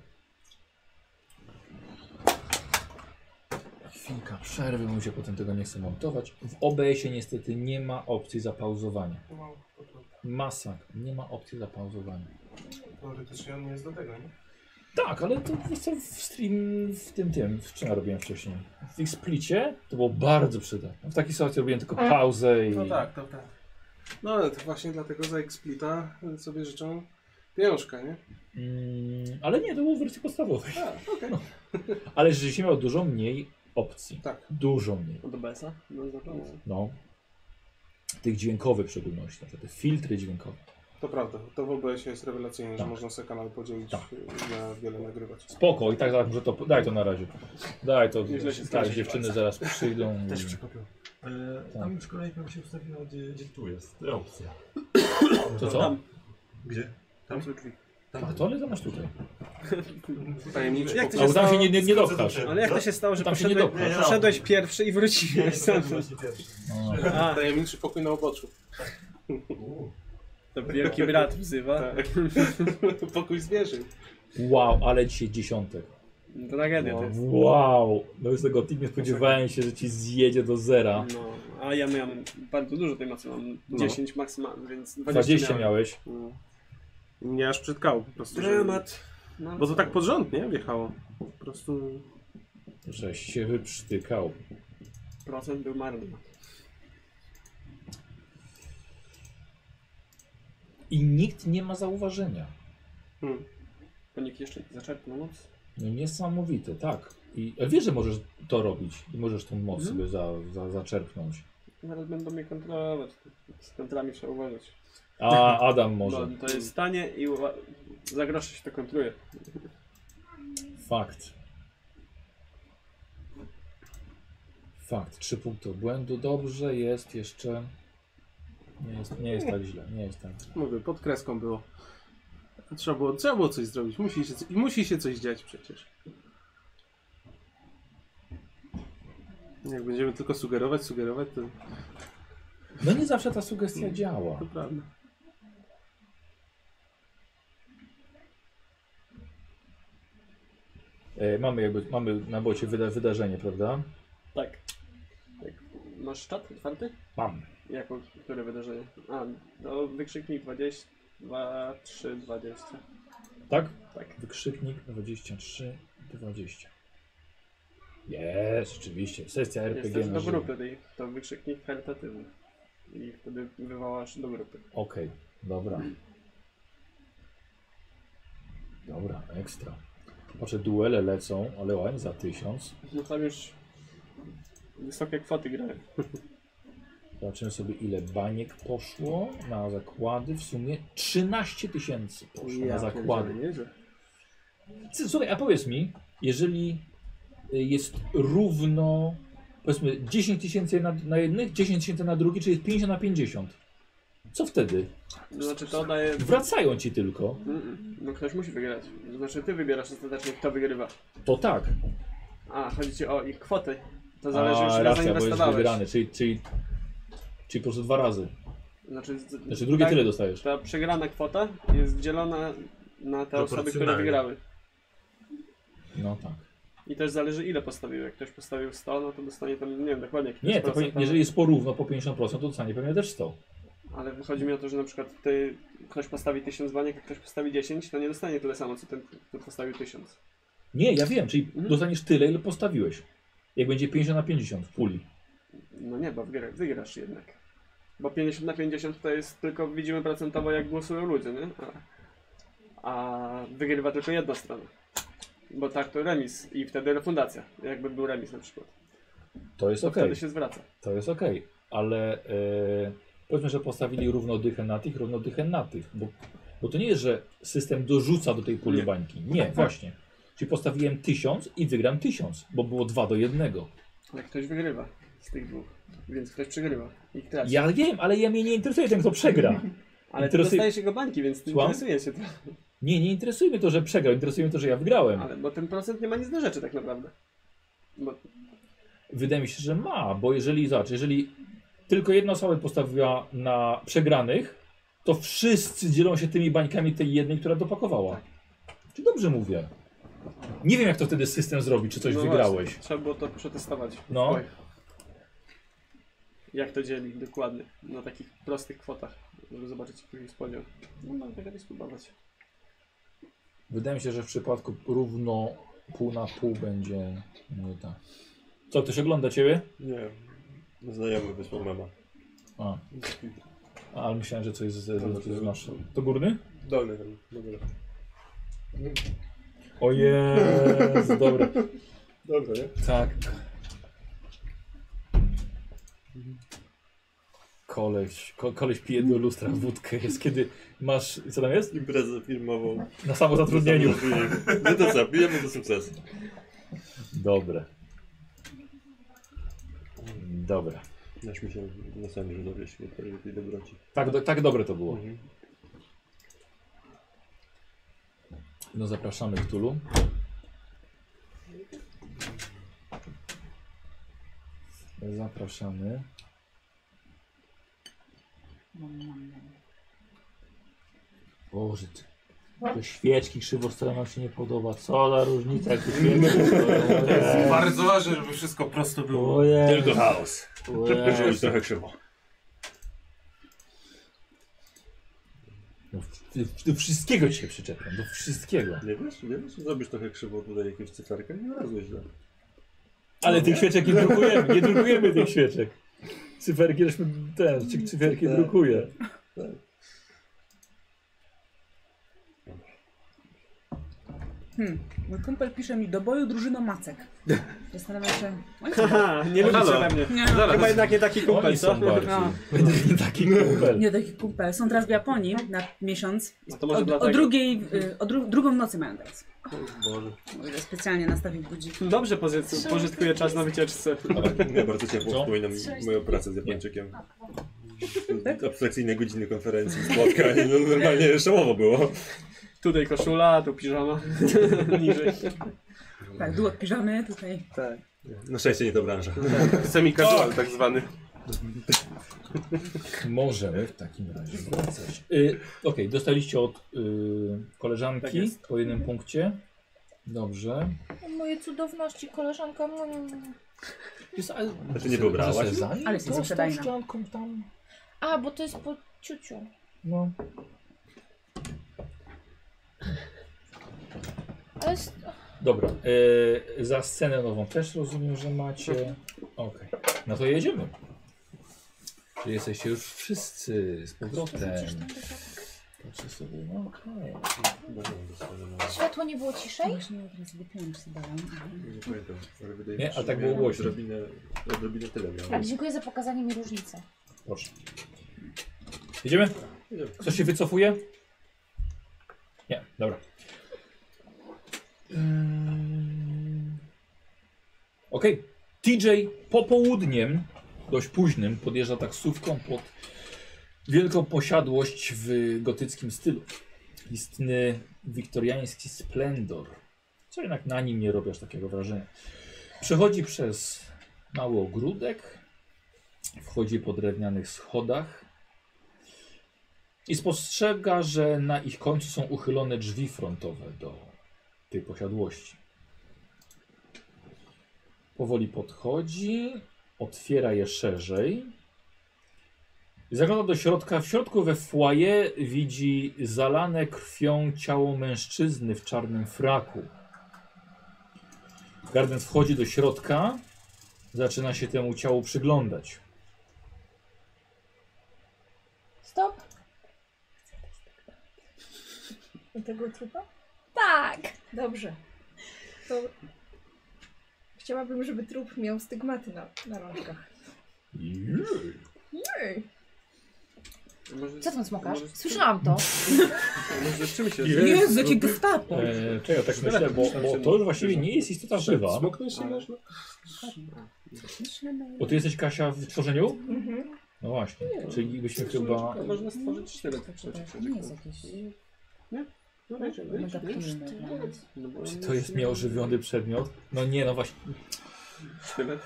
Speaker 1: Chwilka przerwy, bo mi się potem tego nie chce montować. W OBS-ie niestety nie ma opcji zapauzowania. Masakr, nie ma opcji zapauzowania.
Speaker 7: Teoretycznie on nie jest do tego, nie?
Speaker 1: Tak, ale to wiesz co, w stream, w tym, tym, w czym ja robiłem wcześniej? W ich splicie to było bardzo przydatne. W takiej sytuacji robiłem tylko pauzę i...
Speaker 7: No tak, to tak. No ale to właśnie dlatego za Explita sobie życzą pieniążka, nie?
Speaker 1: Mm, ale nie, to było w wersji podstawowej. No. Ale rzeczywiście miał dużo mniej opcji.
Speaker 7: Tak.
Speaker 1: Dużo mniej.
Speaker 2: Od OBS-a? No, zapomnę.
Speaker 1: No. Tych dźwiękowych w szczególności, na przykład te filtry dźwiękowe.
Speaker 7: To prawda, to w OBS jest rewelacyjne, że
Speaker 1: Tak.
Speaker 7: można sobie kanał podzielić
Speaker 1: Tak.
Speaker 7: y, na wiele nagrywać.
Speaker 1: Spoko, i tak, tak, może to... Daj to na razie. Daj to,
Speaker 7: Nieźle się
Speaker 1: tak,
Speaker 7: stracić
Speaker 1: dziewczyny zaraz przyjdą. i-
Speaker 6: Też przekopią. E, tam z kolei mi się ustawiło, gdzie, gdzie tu jest ta opcja.
Speaker 1: To co?
Speaker 6: Gdzie?
Speaker 2: Tam są drzwi.
Speaker 1: A to ale to masz tutaj.
Speaker 7: Tajemniczy
Speaker 2: Jak
Speaker 7: jak
Speaker 2: to
Speaker 1: A bo
Speaker 2: się-
Speaker 1: tam się nie, nie, nie dopchasz.
Speaker 2: Ale jak to się stało, że
Speaker 1: Tam się nie
Speaker 2: poszedłeś,
Speaker 1: dopcha.
Speaker 2: poszedłeś pierwszy i wróciłeś sam?
Speaker 1: No.
Speaker 2: A,
Speaker 7: Tajemniczy pokój na oboczu.
Speaker 2: to wielki brat wzywa.
Speaker 7: Tak. pokój zwierzyn.
Speaker 1: Wow, ale dzisiaj dziesiątek.
Speaker 2: No, To tragedia to jest.
Speaker 1: Wow, no już tego typ nie spodziewałem się, że ci zjedzie do zera.
Speaker 2: No, a ja miałem bardzo dużo tej mocy, mam
Speaker 1: No.
Speaker 2: 10 maksymalnie, więc 20,
Speaker 1: 20 miałeś.
Speaker 2: No.
Speaker 7: Mnie aż przytkało po prostu. że-
Speaker 2: Dramat. No,
Speaker 7: Bo to tak porządnie wjechało. Po prostu
Speaker 1: Żeś się wyprztykał.
Speaker 2: procent był marny.
Speaker 1: I nikt nie ma zauważenia.
Speaker 2: To nikt jeszcze nie zaczerpnął moc.
Speaker 1: No niesamowite, tak. I a wiesz, że możesz to robić i możesz tą moc
Speaker 2: Mhm.
Speaker 1: sobie za, za, zaczerpnąć.
Speaker 2: Zaraz będą mnie kontrolować. Z kontrami trzeba uważać.
Speaker 1: A Adam
Speaker 2: Bo
Speaker 1: może.
Speaker 2: No, to jest stanie i uwa- za grosze się to kontruje.
Speaker 1: Fakt. Fakt. Trzy punkty błędu. Dobrze jest jeszcze. Nie jest, nie jest tak źle. Nie jest tak źle.
Speaker 7: mówię, pod kreską było. Trzeba było, trzeba było coś zrobić. Musi się, i musi się coś dziać przecież. Jak będziemy tylko sugerować, sugerować, to,
Speaker 1: No nie zawsze ta sugestia działa.
Speaker 7: to prawda.
Speaker 1: E, mamy, jakby, mamy na bocie wyda, wydarzenie, prawda?
Speaker 2: Tak. tak. Masz czat otwarty?
Speaker 1: Mam.
Speaker 2: Jako, które wydarzenie? A, to wykrzyknik 22, 3, 20.
Speaker 1: Tak?
Speaker 2: Tak.
Speaker 1: Wykrzyknik 23, 20. Jest, rzeczywiście. Sesja
Speaker 2: Jest
Speaker 1: RPG
Speaker 2: też
Speaker 1: na
Speaker 2: do
Speaker 1: żywo.
Speaker 2: grupy, tej- to wykrzyknik charytatywny. I wtedy wywołasz do grupy.
Speaker 1: Okej, dobra. Dobra, ekstra. Patrzę, duele lecą, ale ładnie za 1000.
Speaker 2: No tam już wysokie kwoty grają.
Speaker 1: Zobaczymy sobie ile baniek poszło na zakłady. W sumie 13 tysięcy poszło na zakłady.
Speaker 7: Nieźle.
Speaker 1: Sy- Słuchaj, a powiedz mi, jeżeli y, jest równo, powiedzmy 10 tysięcy na, na jednych, 10 tysięcy na drugi, czyli jest 50 na 50. Co wtedy?
Speaker 2: To znaczy to daje...
Speaker 1: Wracają ci tylko.
Speaker 2: Mm, No ktoś musi wygrać. To znaczy ty wybierasz ostatecznie kto wygrywa.
Speaker 1: To tak.
Speaker 2: A, chodzi ci o ich kwoty. To zależy
Speaker 1: A,
Speaker 2: już ile
Speaker 1: racja, bo jest
Speaker 2: zainwestowałeś.
Speaker 1: wygrany, czyli, czyli, czyli po prostu dwa razy.
Speaker 2: Znaczy, z-
Speaker 1: Znaczy drugie
Speaker 2: tak,
Speaker 1: tyle dostajesz.
Speaker 2: Ta przegrana kwota jest dzielona na te osoby, które
Speaker 6: Proporcjonalnie.
Speaker 2: wygrały.
Speaker 1: No tak.
Speaker 2: I też zależy ile postawił. Jak ktoś postawił 100, no to dostanie tam, nie wiem dokładnie jaki
Speaker 1: Nie,
Speaker 2: jest
Speaker 1: to powinien-
Speaker 2: procent, ale-
Speaker 1: jeżeli jest porówno po 50%, to dostanie pewnie też 100.
Speaker 2: Ale wychodzi mi o to, że na przykład ty, ktoś postawi 1000 baniek, a ktoś postawi 10, to nie dostanie tyle samo, co ten, kto postawił 1000.
Speaker 1: Nie, ja wiem, czyli
Speaker 2: Mhm.
Speaker 1: dostaniesz tyle, ile postawiłeś. Jak będzie 50 na 50 w puli.
Speaker 2: No nie, bo wygra, wygrasz jednak. Bo 50 na 50 to jest tylko widzimy procentowo jak głosują ludzie, nie? A, a wygrywa tylko jedna strona. Bo tak to remis i wtedy refundacja, jakby był remis na przykład.
Speaker 1: To jest
Speaker 2: To
Speaker 1: okej.
Speaker 2: wtedy się zwraca.
Speaker 1: To jest okej, ale e, powiedzmy, że postawili równo dychę na tych, równo dychę na tych, bo, bo to nie jest, że system dorzuca do tej puli
Speaker 2: Nie. Tak.
Speaker 1: bańki. Nie, właśnie. Czyli postawiłem 1000 i wygram 1000, bo było 2 do 1.
Speaker 2: Ale ktoś wygrywa z tych dwóch, więc ktoś przegrywa i traci.
Speaker 1: Ja wiem, ale ja mnie nie interesuje ten, kto przegra.
Speaker 2: Ale ty
Speaker 1: interesuje-
Speaker 2: dostajesz jego bańki, więc ty
Speaker 1: Słucham?
Speaker 2: interesuje się tym.
Speaker 1: Nie, nie interesuje mnie to, że przegrał, interesuje mnie to, że ja wygrałem.
Speaker 2: Ale bo ten procent nie ma nic do rzeczy tak naprawdę. Bo
Speaker 1: Wydaje mi się, że ma, bo jeżeli, zobacz, jeżeli tylko jedna osoba postawiła na przegranych, to wszyscy dzielą się tymi bańkami tej jednej, która dopakowała. Czy dobrze mówię? Nie wiem, jak to wtedy system zrobi, czy coś
Speaker 2: no
Speaker 1: wygrałeś.
Speaker 2: Właśnie, trzeba było to przetestować.
Speaker 1: No.
Speaker 2: Oj. Jak to dzieli dokładnie, na takich prostych kwotach, żeby zobaczyć jaki jest podział. No mam tego nie spróbować.
Speaker 1: Wydaje mi się, że w przypadku równo pół na pół będzie nie tak. Co, ktoś ogląda ciebie?
Speaker 6: Nie. Znajomy wysłał mema.
Speaker 1: A, a ale myślałem, że coś z, z, z, znasz. To górny?
Speaker 6: Dolny ten, dobra.
Speaker 1: O jest, dobra.
Speaker 6: Dobra, nie?
Speaker 1: Tak. Koleś, ko, koleś pije do lustra wódkę, jest kiedy masz, co tam jest?
Speaker 6: Imprezę firmową.
Speaker 1: Na samozatrudnieniu.
Speaker 6: No to co, bijemy do sukcesu.
Speaker 1: Dobre. Dobra.
Speaker 6: Nasz mi się na samym żydowie świetnie do tej dobroci.
Speaker 1: Tak, do, tak dobre to było. No zapraszamy Ktulu. Zapraszamy. Boże, ty. Te świeczki krzywo stoją, nam się nie podoba. Co za różnica, jak te świeczki stoją.
Speaker 7: Bardzo ważne, żeby wszystko prosto było.
Speaker 1: Ojej.
Speaker 6: Tylko chaos. Muszę być trochę krzywo.
Speaker 1: No, w- w- Do wszystkiego ci się przyczepiam, do wszystkiego.
Speaker 6: Nie wiesz, nie wiesz, zrobisz trochę krzywo tutaj jakąś cyferkę i znalazłeś źle.
Speaker 1: Ale tych świeczek nie drukujemy, nie drukujemy tych świeczek. Cyferki żeśmy ten, cy- cyferki
Speaker 6: Tak.
Speaker 1: drukuje.
Speaker 6: Tak.
Speaker 8: Hmm. Mój kumpel pisze mi do boju drużyno macek. Zastanawiam się. Oj,
Speaker 2: Haha, nie lubicie
Speaker 7: Halo.
Speaker 2: we mnie.
Speaker 8: Nie, no.
Speaker 2: Chyba jednak nie taki
Speaker 1: Oni
Speaker 2: kumpel, co?
Speaker 1: są bardziej. No. Taki kumpel.
Speaker 8: nie taki kumpel. Są teraz w Japonii na miesiąc.
Speaker 2: No to może
Speaker 8: O, o
Speaker 2: dlatego.
Speaker 8: drugiej, y, o dru, drugą w nocy mają teraz. Może specjalnie nastawił budzik.
Speaker 2: Dobrze pozy- pożytkuje czas na wycieczce.
Speaker 6: Ja bardzo ciepło
Speaker 1: Co?
Speaker 6: wspominam
Speaker 3: Sześć.
Speaker 6: moją pracę z Japończykiem. Tak? Abstrakcyjne godziny konferencji, spotkań, no normalnie szałowo było.
Speaker 2: Tutaj koszula, tu piżama. Niżej.
Speaker 8: Tak, duet piżamy tutaj.
Speaker 2: Tak.
Speaker 6: Na szczęście nie ta branża.
Speaker 7: Semi-casual tak zwany.
Speaker 1: Możemy w takim razie wracać. Y, Okej, dostaliście od y,
Speaker 2: Tak
Speaker 1: koleżanki
Speaker 2: jest.
Speaker 1: po jednym punkcie. Dobrze.
Speaker 3: Moje cudowności, koleżanka. No, no, no.
Speaker 1: Jest, ale,
Speaker 6: Znaczy nie wyobrałaś?
Speaker 1: Może zanim
Speaker 8: Ale jest
Speaker 1: tą- tą
Speaker 8: niesprzedajna.
Speaker 1: szklanką No, tam.
Speaker 3: A, bo to jest po ciuciu.
Speaker 1: No.
Speaker 3: Ale s-
Speaker 1: Dobra, y, za scenę nową też rozumiem, że macie. Okej, no to jedziemy. Czyli jesteście już wszyscy z powrotem. Patrzę sobie, no okej.
Speaker 3: światło nie było ciszej?
Speaker 8: Właśnie teraz wypiłam czy sobie dałam.
Speaker 6: Nie pamiętam, ale wydaje
Speaker 1: Nie,
Speaker 6: mi się,
Speaker 1: a
Speaker 6: że
Speaker 1: tak było
Speaker 6: miałem
Speaker 1: głośno.
Speaker 3: Tak,
Speaker 6: Odrobinę, odrobinę tyle miałem.
Speaker 3: Dziękuję za pokazanie mi różnicy.
Speaker 1: Proszę. Jedziemy? Ktoś się wycofuje? Nie, dobra. Yy. Mm. Okej. TJ popołudniem, dość późnym, podjeżdża taksówką pod wielką posiadłość w gotyckim stylu. Istny wiktoriański splendor. Co jednak na nim nie robisz takiego wrażenia. Przechodzi przez mały ogródek, wchodzi po drewnianych schodach i spostrzega, że na ich końcu są uchylone drzwi frontowe do tej posiadłości. Powoli podchodzi, otwiera je szerzej. Zagląda do środka. W środku we foyer widzi zalane krwią ciało mężczyzny w czarnym fraku. Garden wchodzi do środka, zaczyna się temu ciału przyglądać.
Speaker 3: Stop.
Speaker 11: Tego trupa?
Speaker 9: Tak!
Speaker 11: Dobrze.
Speaker 9: To chciałabym, żeby trup miał stygmaty na, na rączkach.
Speaker 1: E,
Speaker 9: Jej.
Speaker 2: Może,
Speaker 3: Co tam smokasz?
Speaker 2: może-
Speaker 3: Słyszałam to.
Speaker 2: Może z czym się...
Speaker 4: Jezu, jakie gestapo!
Speaker 1: Eee, czego tak myślę, bo, bo to już właściwie nie Tak, jest istota żywa.
Speaker 7: Smoknąć nie można?
Speaker 1: Bo ty jesteś Kasia w tworzeniu?
Speaker 9: Mhm.
Speaker 1: No właśnie, czyli byśmy chyba...
Speaker 2: Można stworzyć tak, sztylet przecież.
Speaker 8: To nie jest jakieś
Speaker 2: No, wiecie, no, wiecie,
Speaker 8: mega pilne dla nas.
Speaker 2: no, bo-
Speaker 1: Czy to jest nieożywiony przedmiot? No nie, no właśnie.
Speaker 2: Sztylet?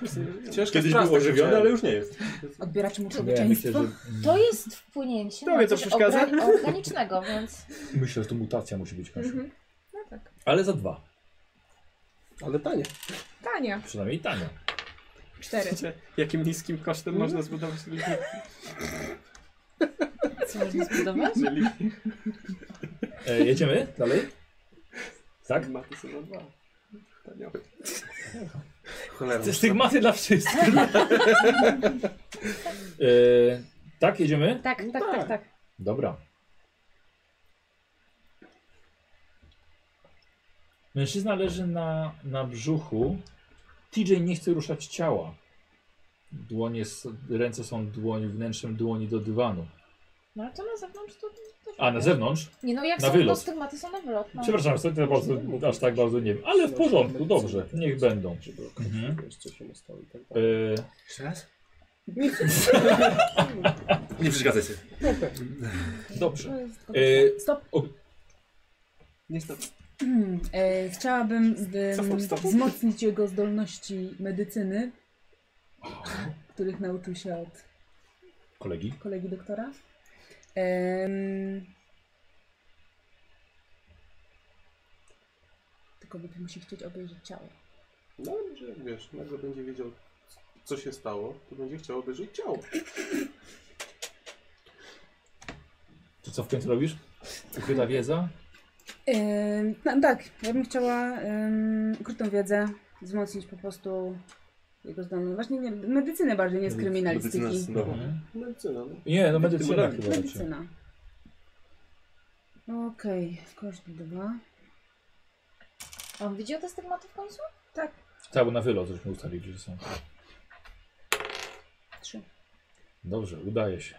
Speaker 7: Ciężko
Speaker 6: Kiedyś
Speaker 7: sprawdzać,
Speaker 6: był ożywiony,
Speaker 7: że-
Speaker 6: ale już nie jest.
Speaker 8: Odbieraczy mu
Speaker 1: Nie, myślę,
Speaker 8: człowieczeństwo.
Speaker 1: że,
Speaker 3: To jest wpłynięcie
Speaker 7: Tobie
Speaker 3: na
Speaker 7: to
Speaker 3: coś
Speaker 7: przeszkadza?
Speaker 3: organ- organicznego, więc
Speaker 1: myślę, że to mutacja musi być, Kasia.
Speaker 9: Mhm. No tak.
Speaker 1: Ale za dwa,
Speaker 7: Ale tanie.
Speaker 9: Tania.
Speaker 1: przynajmniej tania.
Speaker 9: Cztery.
Speaker 2: Wiecie, Jakim niskim kosztem można zbudować linię?
Speaker 3: co można zbudować?
Speaker 2: Czyli
Speaker 1: E, jedziemy dalej? Tak?
Speaker 2: maty są za dwa. Tanio.
Speaker 7: Cholera.
Speaker 1: tak. Stygmaty dla wszystkich. e, tak, jedziemy?
Speaker 3: Tak, tak, tak, tak.
Speaker 1: Dobra. Mężczyzna leży na, na brzuchu. TJ nie chce ruszać ciała. Dłonie, s- ręce są dłoń, wnętrzem dłoni do dywanu.
Speaker 3: No ale to na zewnątrz to... to
Speaker 1: A na zewnątrz?
Speaker 3: Nie no, jak
Speaker 1: na
Speaker 3: są
Speaker 1: wylot.
Speaker 3: no, stygmaty są na wylot. No.
Speaker 1: Przepraszam, sobie to bardzo, aż tak bardzo nie wiem. Ale w porządku, dobrze, niech będą.
Speaker 7: Żeby
Speaker 1: Mhm.
Speaker 7: wiesz, co się mu stało i tak dalej.
Speaker 1: E,
Speaker 4: Jeszcze raz?
Speaker 6: Nie przeszkadzaj się.
Speaker 1: dobrze. E,
Speaker 8: Stop.
Speaker 2: Nie stop.
Speaker 8: Hmm, e, chciałabym z-
Speaker 2: Cofam, stop.
Speaker 8: wzmocnić jego zdolności medycyny, których nauczył się od
Speaker 1: kolegi.
Speaker 8: kolegi doktora. Em, tylko by musi chcieć obejrzeć ciało.
Speaker 5: No, że wiesz, nagle będzie wiedział, co się stało, to będzie chciał obejrzeć ciało.
Speaker 1: To co w końcu robisz? Ukryta wiedza?
Speaker 8: Em, no, tak, ja bym chciała um, ukrytą wiedzę wzmocnić po prostu jego zdolność. Właśnie nie, medycynę bardziej, nie z kryminalistyki.
Speaker 6: Medycyna snowa.
Speaker 1: Mhm.
Speaker 7: Medycyna, no.
Speaker 1: Nie, no medycyna chyba raczej.
Speaker 8: Medycyna. No Okej, koszt dwa.
Speaker 3: A on widział te stygmaty w końcu?
Speaker 1: Tak, bo na wylot żeśmy ustalili, że są.
Speaker 8: Trzy.
Speaker 1: Dobrze, udaje się.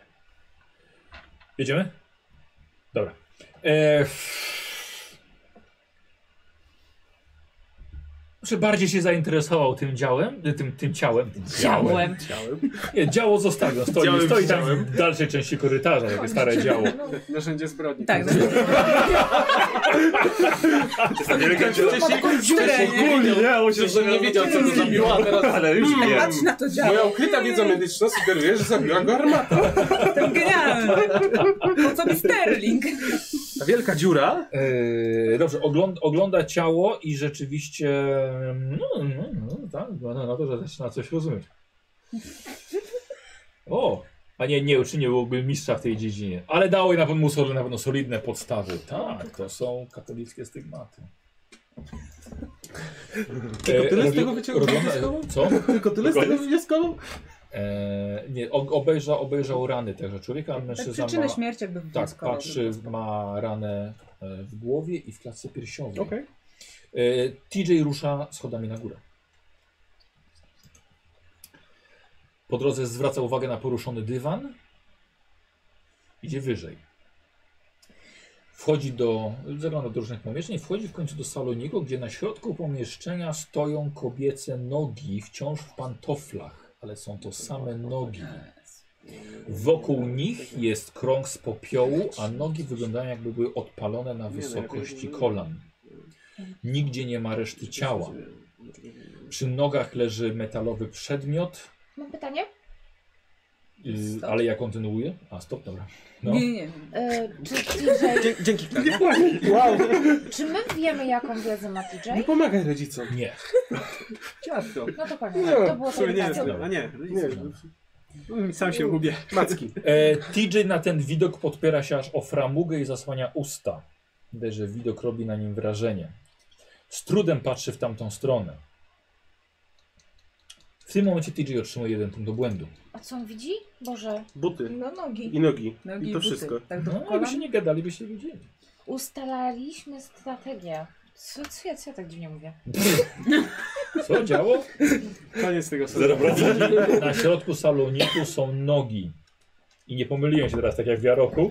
Speaker 1: Jedziemy? Dobra. E... Czy Znaczy, bardziej się zainteresował tym działem? y, Tym, tym ciałem? Tym
Speaker 3: Ciałem.
Speaker 1: Nie, działo zostawiam. Stoi,
Speaker 5: Działem
Speaker 1: stoi tam
Speaker 5: widziałem.
Speaker 1: w dalszej części korytarza, takie stare działo.
Speaker 2: Narzędzie zbrodni.
Speaker 8: Tak,
Speaker 2: To jest-
Speaker 5: Ogólnie, nie? On się
Speaker 7: Jeszcze nie wiedział, co to zabiła, a teraz...
Speaker 6: Ale już nie.
Speaker 8: Patrz na to działo.
Speaker 5: Moja ukryta wiedza medyczna sugeruje, że zabiła go armata.
Speaker 8: To genialne. Po co mi Sterling?
Speaker 7: Ta wielka dziura.
Speaker 1: Eee, dobrze, ogląd, ogląda ciało i rzeczywiście. No, no, no tak, wygląda na to, że zaczyna coś rozumieć. O! A nie, nie uczyniłby mistrza w tej dziedzinie. Ale dało jej na pewno, mu sol- na pewno solidne podstawy. Tak, to są katolickie stygmaty. Tylko
Speaker 7: tyle z tego wyciągnął wnioskował?
Speaker 1: Co?
Speaker 7: Tylko tyle z tego wnioskował?
Speaker 1: Eee, nie, o- obejrzał, obejrzał rany także człowieka, a
Speaker 8: Tak,
Speaker 1: mężczyzna
Speaker 8: przyczynę
Speaker 1: ma,
Speaker 8: śmierci jakby w
Speaker 1: tak, patrzy, ma ranę e, w głowie i w klatce piersiowej.
Speaker 7: Okej.
Speaker 1: E, TJ rusza schodami na górę. Po drodze zwraca uwagę na poruszony dywan. Idzie wyżej. Wchodzi do, zagląda do różnych pomieszczeń, wchodzi w końcu do saloniku, gdzie na środku pomieszczenia stoją kobiece nogi, wciąż w pantoflach, ale są to same nogi. Wokół nich jest krąg z popiołu, a nogi wyglądają jakby były odpalone na wysokości kolan. Nigdzie nie ma reszty ciała. Przy nogach leży metalowy przedmiot,
Speaker 3: Mam pytanie?
Speaker 1: y, ale ja kontynuuję. A stop, dobra. No.
Speaker 8: Nie, nie.
Speaker 3: E, czy TJ,
Speaker 7: Dzięki. Nie,
Speaker 5: Wow!
Speaker 3: czy my wiemy jaką wiedzę ma TJ?
Speaker 5: Nie pomagaj rodzicom.
Speaker 1: Nie.
Speaker 2: Ciasto.
Speaker 3: No to koniec, to było to
Speaker 2: Słuchaj, nie,
Speaker 3: pytanie.
Speaker 2: a nie,
Speaker 5: Nie,
Speaker 7: no.
Speaker 2: nie, Mm, sam się gubię.
Speaker 5: macki.
Speaker 1: E, TJ na ten widok podpiera się aż o framugę i zasłania usta. Widać, że widok robi na nim wrażenie. Z trudem patrzy w tamtą stronę. W tym momencie TJ otrzymuje jeden punkt do błędu.
Speaker 3: A co on widzi? Boże,
Speaker 5: Buty
Speaker 11: No nogi.
Speaker 5: i nogi.
Speaker 8: Nogi
Speaker 5: I
Speaker 8: i
Speaker 5: to
Speaker 8: buty.
Speaker 5: wszystko.
Speaker 8: Tak do
Speaker 1: No,
Speaker 8: kolan?
Speaker 1: jakby się nie gadali, by się wiedzieli.
Speaker 3: ustalaliśmy strategię. Co, co, ja, co ja tak dziwnie mówię?
Speaker 1: Co działo?
Speaker 2: Koniec tego
Speaker 6: Zero
Speaker 2: sezonu.
Speaker 6: procent.
Speaker 1: Na środku saloniku są nogi. I nie pomyliłem się teraz, tak jak w Jaroku.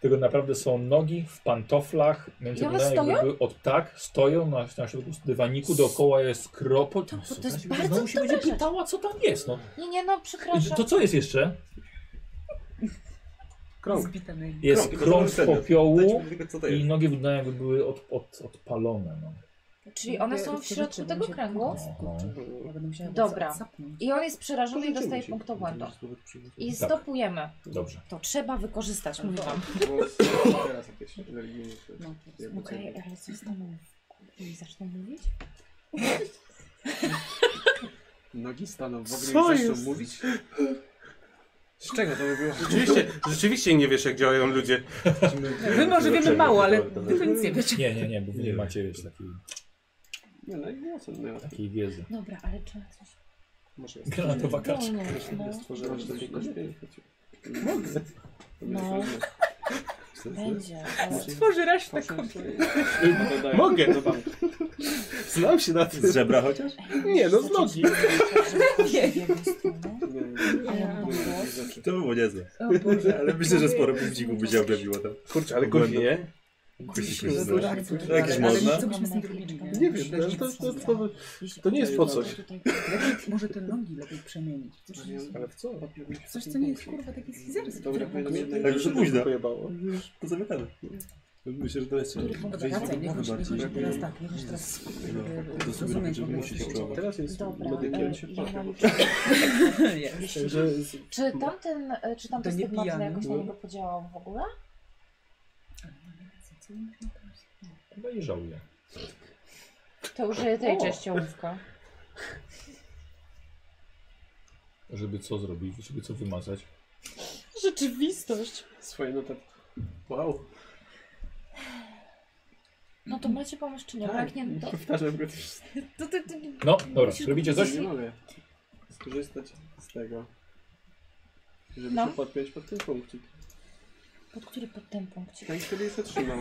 Speaker 1: Tylko naprawdę są nogi w pantoflach. Między
Speaker 3: I one
Speaker 1: wyglądają
Speaker 3: stoją?
Speaker 1: jakby od tak, stoją na, na środku dywaniku, dookoła jest kropo. To,
Speaker 3: to jest bardzo
Speaker 1: Znowu się będzie
Speaker 3: dobre.
Speaker 1: pytała, co tam jest. No.
Speaker 3: Nie, nie, no
Speaker 1: I
Speaker 3: przepraszam.
Speaker 1: To co jest jeszcze?
Speaker 5: Krąg.
Speaker 8: Zbite nogi.
Speaker 1: Jest
Speaker 6: Krąg,
Speaker 1: krąg,
Speaker 6: to
Speaker 1: z
Speaker 6: przedmiot.
Speaker 1: popiołu
Speaker 6: Dajcie mi tylko, co to
Speaker 1: i
Speaker 6: jest.
Speaker 1: nogi wyglądają jakby były od, od, odpalone. No.
Speaker 3: Czyli one są w środku tego kręgu
Speaker 8: Ja będę musiała
Speaker 3: Dobra.
Speaker 8: za- zapnąć.
Speaker 3: i on jest przerażony i dostaje punkt do błędu. I
Speaker 1: Tak.
Speaker 3: stopujemy.
Speaker 1: Dobrze.
Speaker 3: To trzeba wykorzystać, mówię wam.
Speaker 2: Bo Teraz jakieś religijne.
Speaker 8: No,
Speaker 2: Jakby co-
Speaker 3: Okej, ale co z tobą? I zacznę mówić?
Speaker 2: Nogi staną w
Speaker 5: Co
Speaker 2: ogóle i zaczną
Speaker 5: jest?
Speaker 2: mówić? Z czego to by było?
Speaker 5: Rzeczywiście, rzeczywiście nie wiesz, jak działają ludzie.
Speaker 8: Wy może wiemy mało, ale
Speaker 6: Dobra,
Speaker 8: wy to nic nie wiecie.
Speaker 1: Nie, nie, nie, bo wy nie macie wiesz, takiej,
Speaker 2: Nie, no i było co, no.
Speaker 1: takiej wiedzy.
Speaker 3: Dobra, ale trzeba coś
Speaker 7: Może jest.
Speaker 1: Granatowa kaczka.
Speaker 3: dolnąć, no.
Speaker 2: Stworzyłeś takie koszty.
Speaker 3: No. Będzie. ale-
Speaker 8: Tworzy raś tak.
Speaker 5: Mogę.
Speaker 2: Do banku.
Speaker 5: Znam się na tym.
Speaker 6: Z żebra chociaż?
Speaker 5: Nie, no z nogi.
Speaker 2: Nie, nie, nie.
Speaker 3: Ale mam głos.
Speaker 6: To by było niezłe.
Speaker 8: O Boże.
Speaker 6: Ale myślę, że sporo budzików by się objawiło tam.
Speaker 5: Kurczę, ale
Speaker 6: Błędu.
Speaker 5: kozi, nie?
Speaker 6: Guzik
Speaker 8: Ale-
Speaker 6: już znasz.
Speaker 8: ale-
Speaker 6: To jakieś
Speaker 8: ale
Speaker 6: można?
Speaker 8: Co byśmy z tym robili, nie?
Speaker 5: Nie wiem, no, to, to, to, to nie jest po coś.
Speaker 8: Lepiej, może te nogi lepiej przemienić. Coś,
Speaker 5: Ale w co?
Speaker 8: coś co nie jest kurwa takie schizerskie.
Speaker 2: Dobra, powinno być
Speaker 6: Tak już późno.
Speaker 5: Pojebało.
Speaker 6: Już pozamiatane. Myślę, że to jest...
Speaker 8: Wracaj, nie chodź, nie chodź teraz tak, nie chodź teraz
Speaker 6: No, to sobie
Speaker 8: rozumieć
Speaker 6: będzie
Speaker 8: w ogóle.
Speaker 6: musieć czuć.
Speaker 5: Teraz jest
Speaker 3: Dobra,
Speaker 5: medykiem.
Speaker 3: e, ja mam... czy-
Speaker 5: Myślę, że z-
Speaker 3: Czy tamten, e, czy tamten
Speaker 8: To nie
Speaker 3: stygmatny
Speaker 8: pijany.
Speaker 3: jakoś na
Speaker 5: No.
Speaker 3: niego podziałał w ogóle?
Speaker 1: No i żałuję.
Speaker 3: To użyję tej częściołówka.
Speaker 1: Żeby co zrobić, żeby co wymazać.
Speaker 3: Rzeczywistość.
Speaker 2: Swoje notatki.
Speaker 5: Wow.
Speaker 3: No to macie pomysł czy nie? Jak nie, no to,
Speaker 2: Powtarzam go też.
Speaker 3: to, to, to, to
Speaker 1: No, dobra, robicie coś?
Speaker 2: Nie mogę skorzystać z tego, żeby
Speaker 3: No.
Speaker 2: się podpiąć pod ten punkcik.
Speaker 3: pod który pod ten punkcie?
Speaker 2: Ten, który jest otrzymał.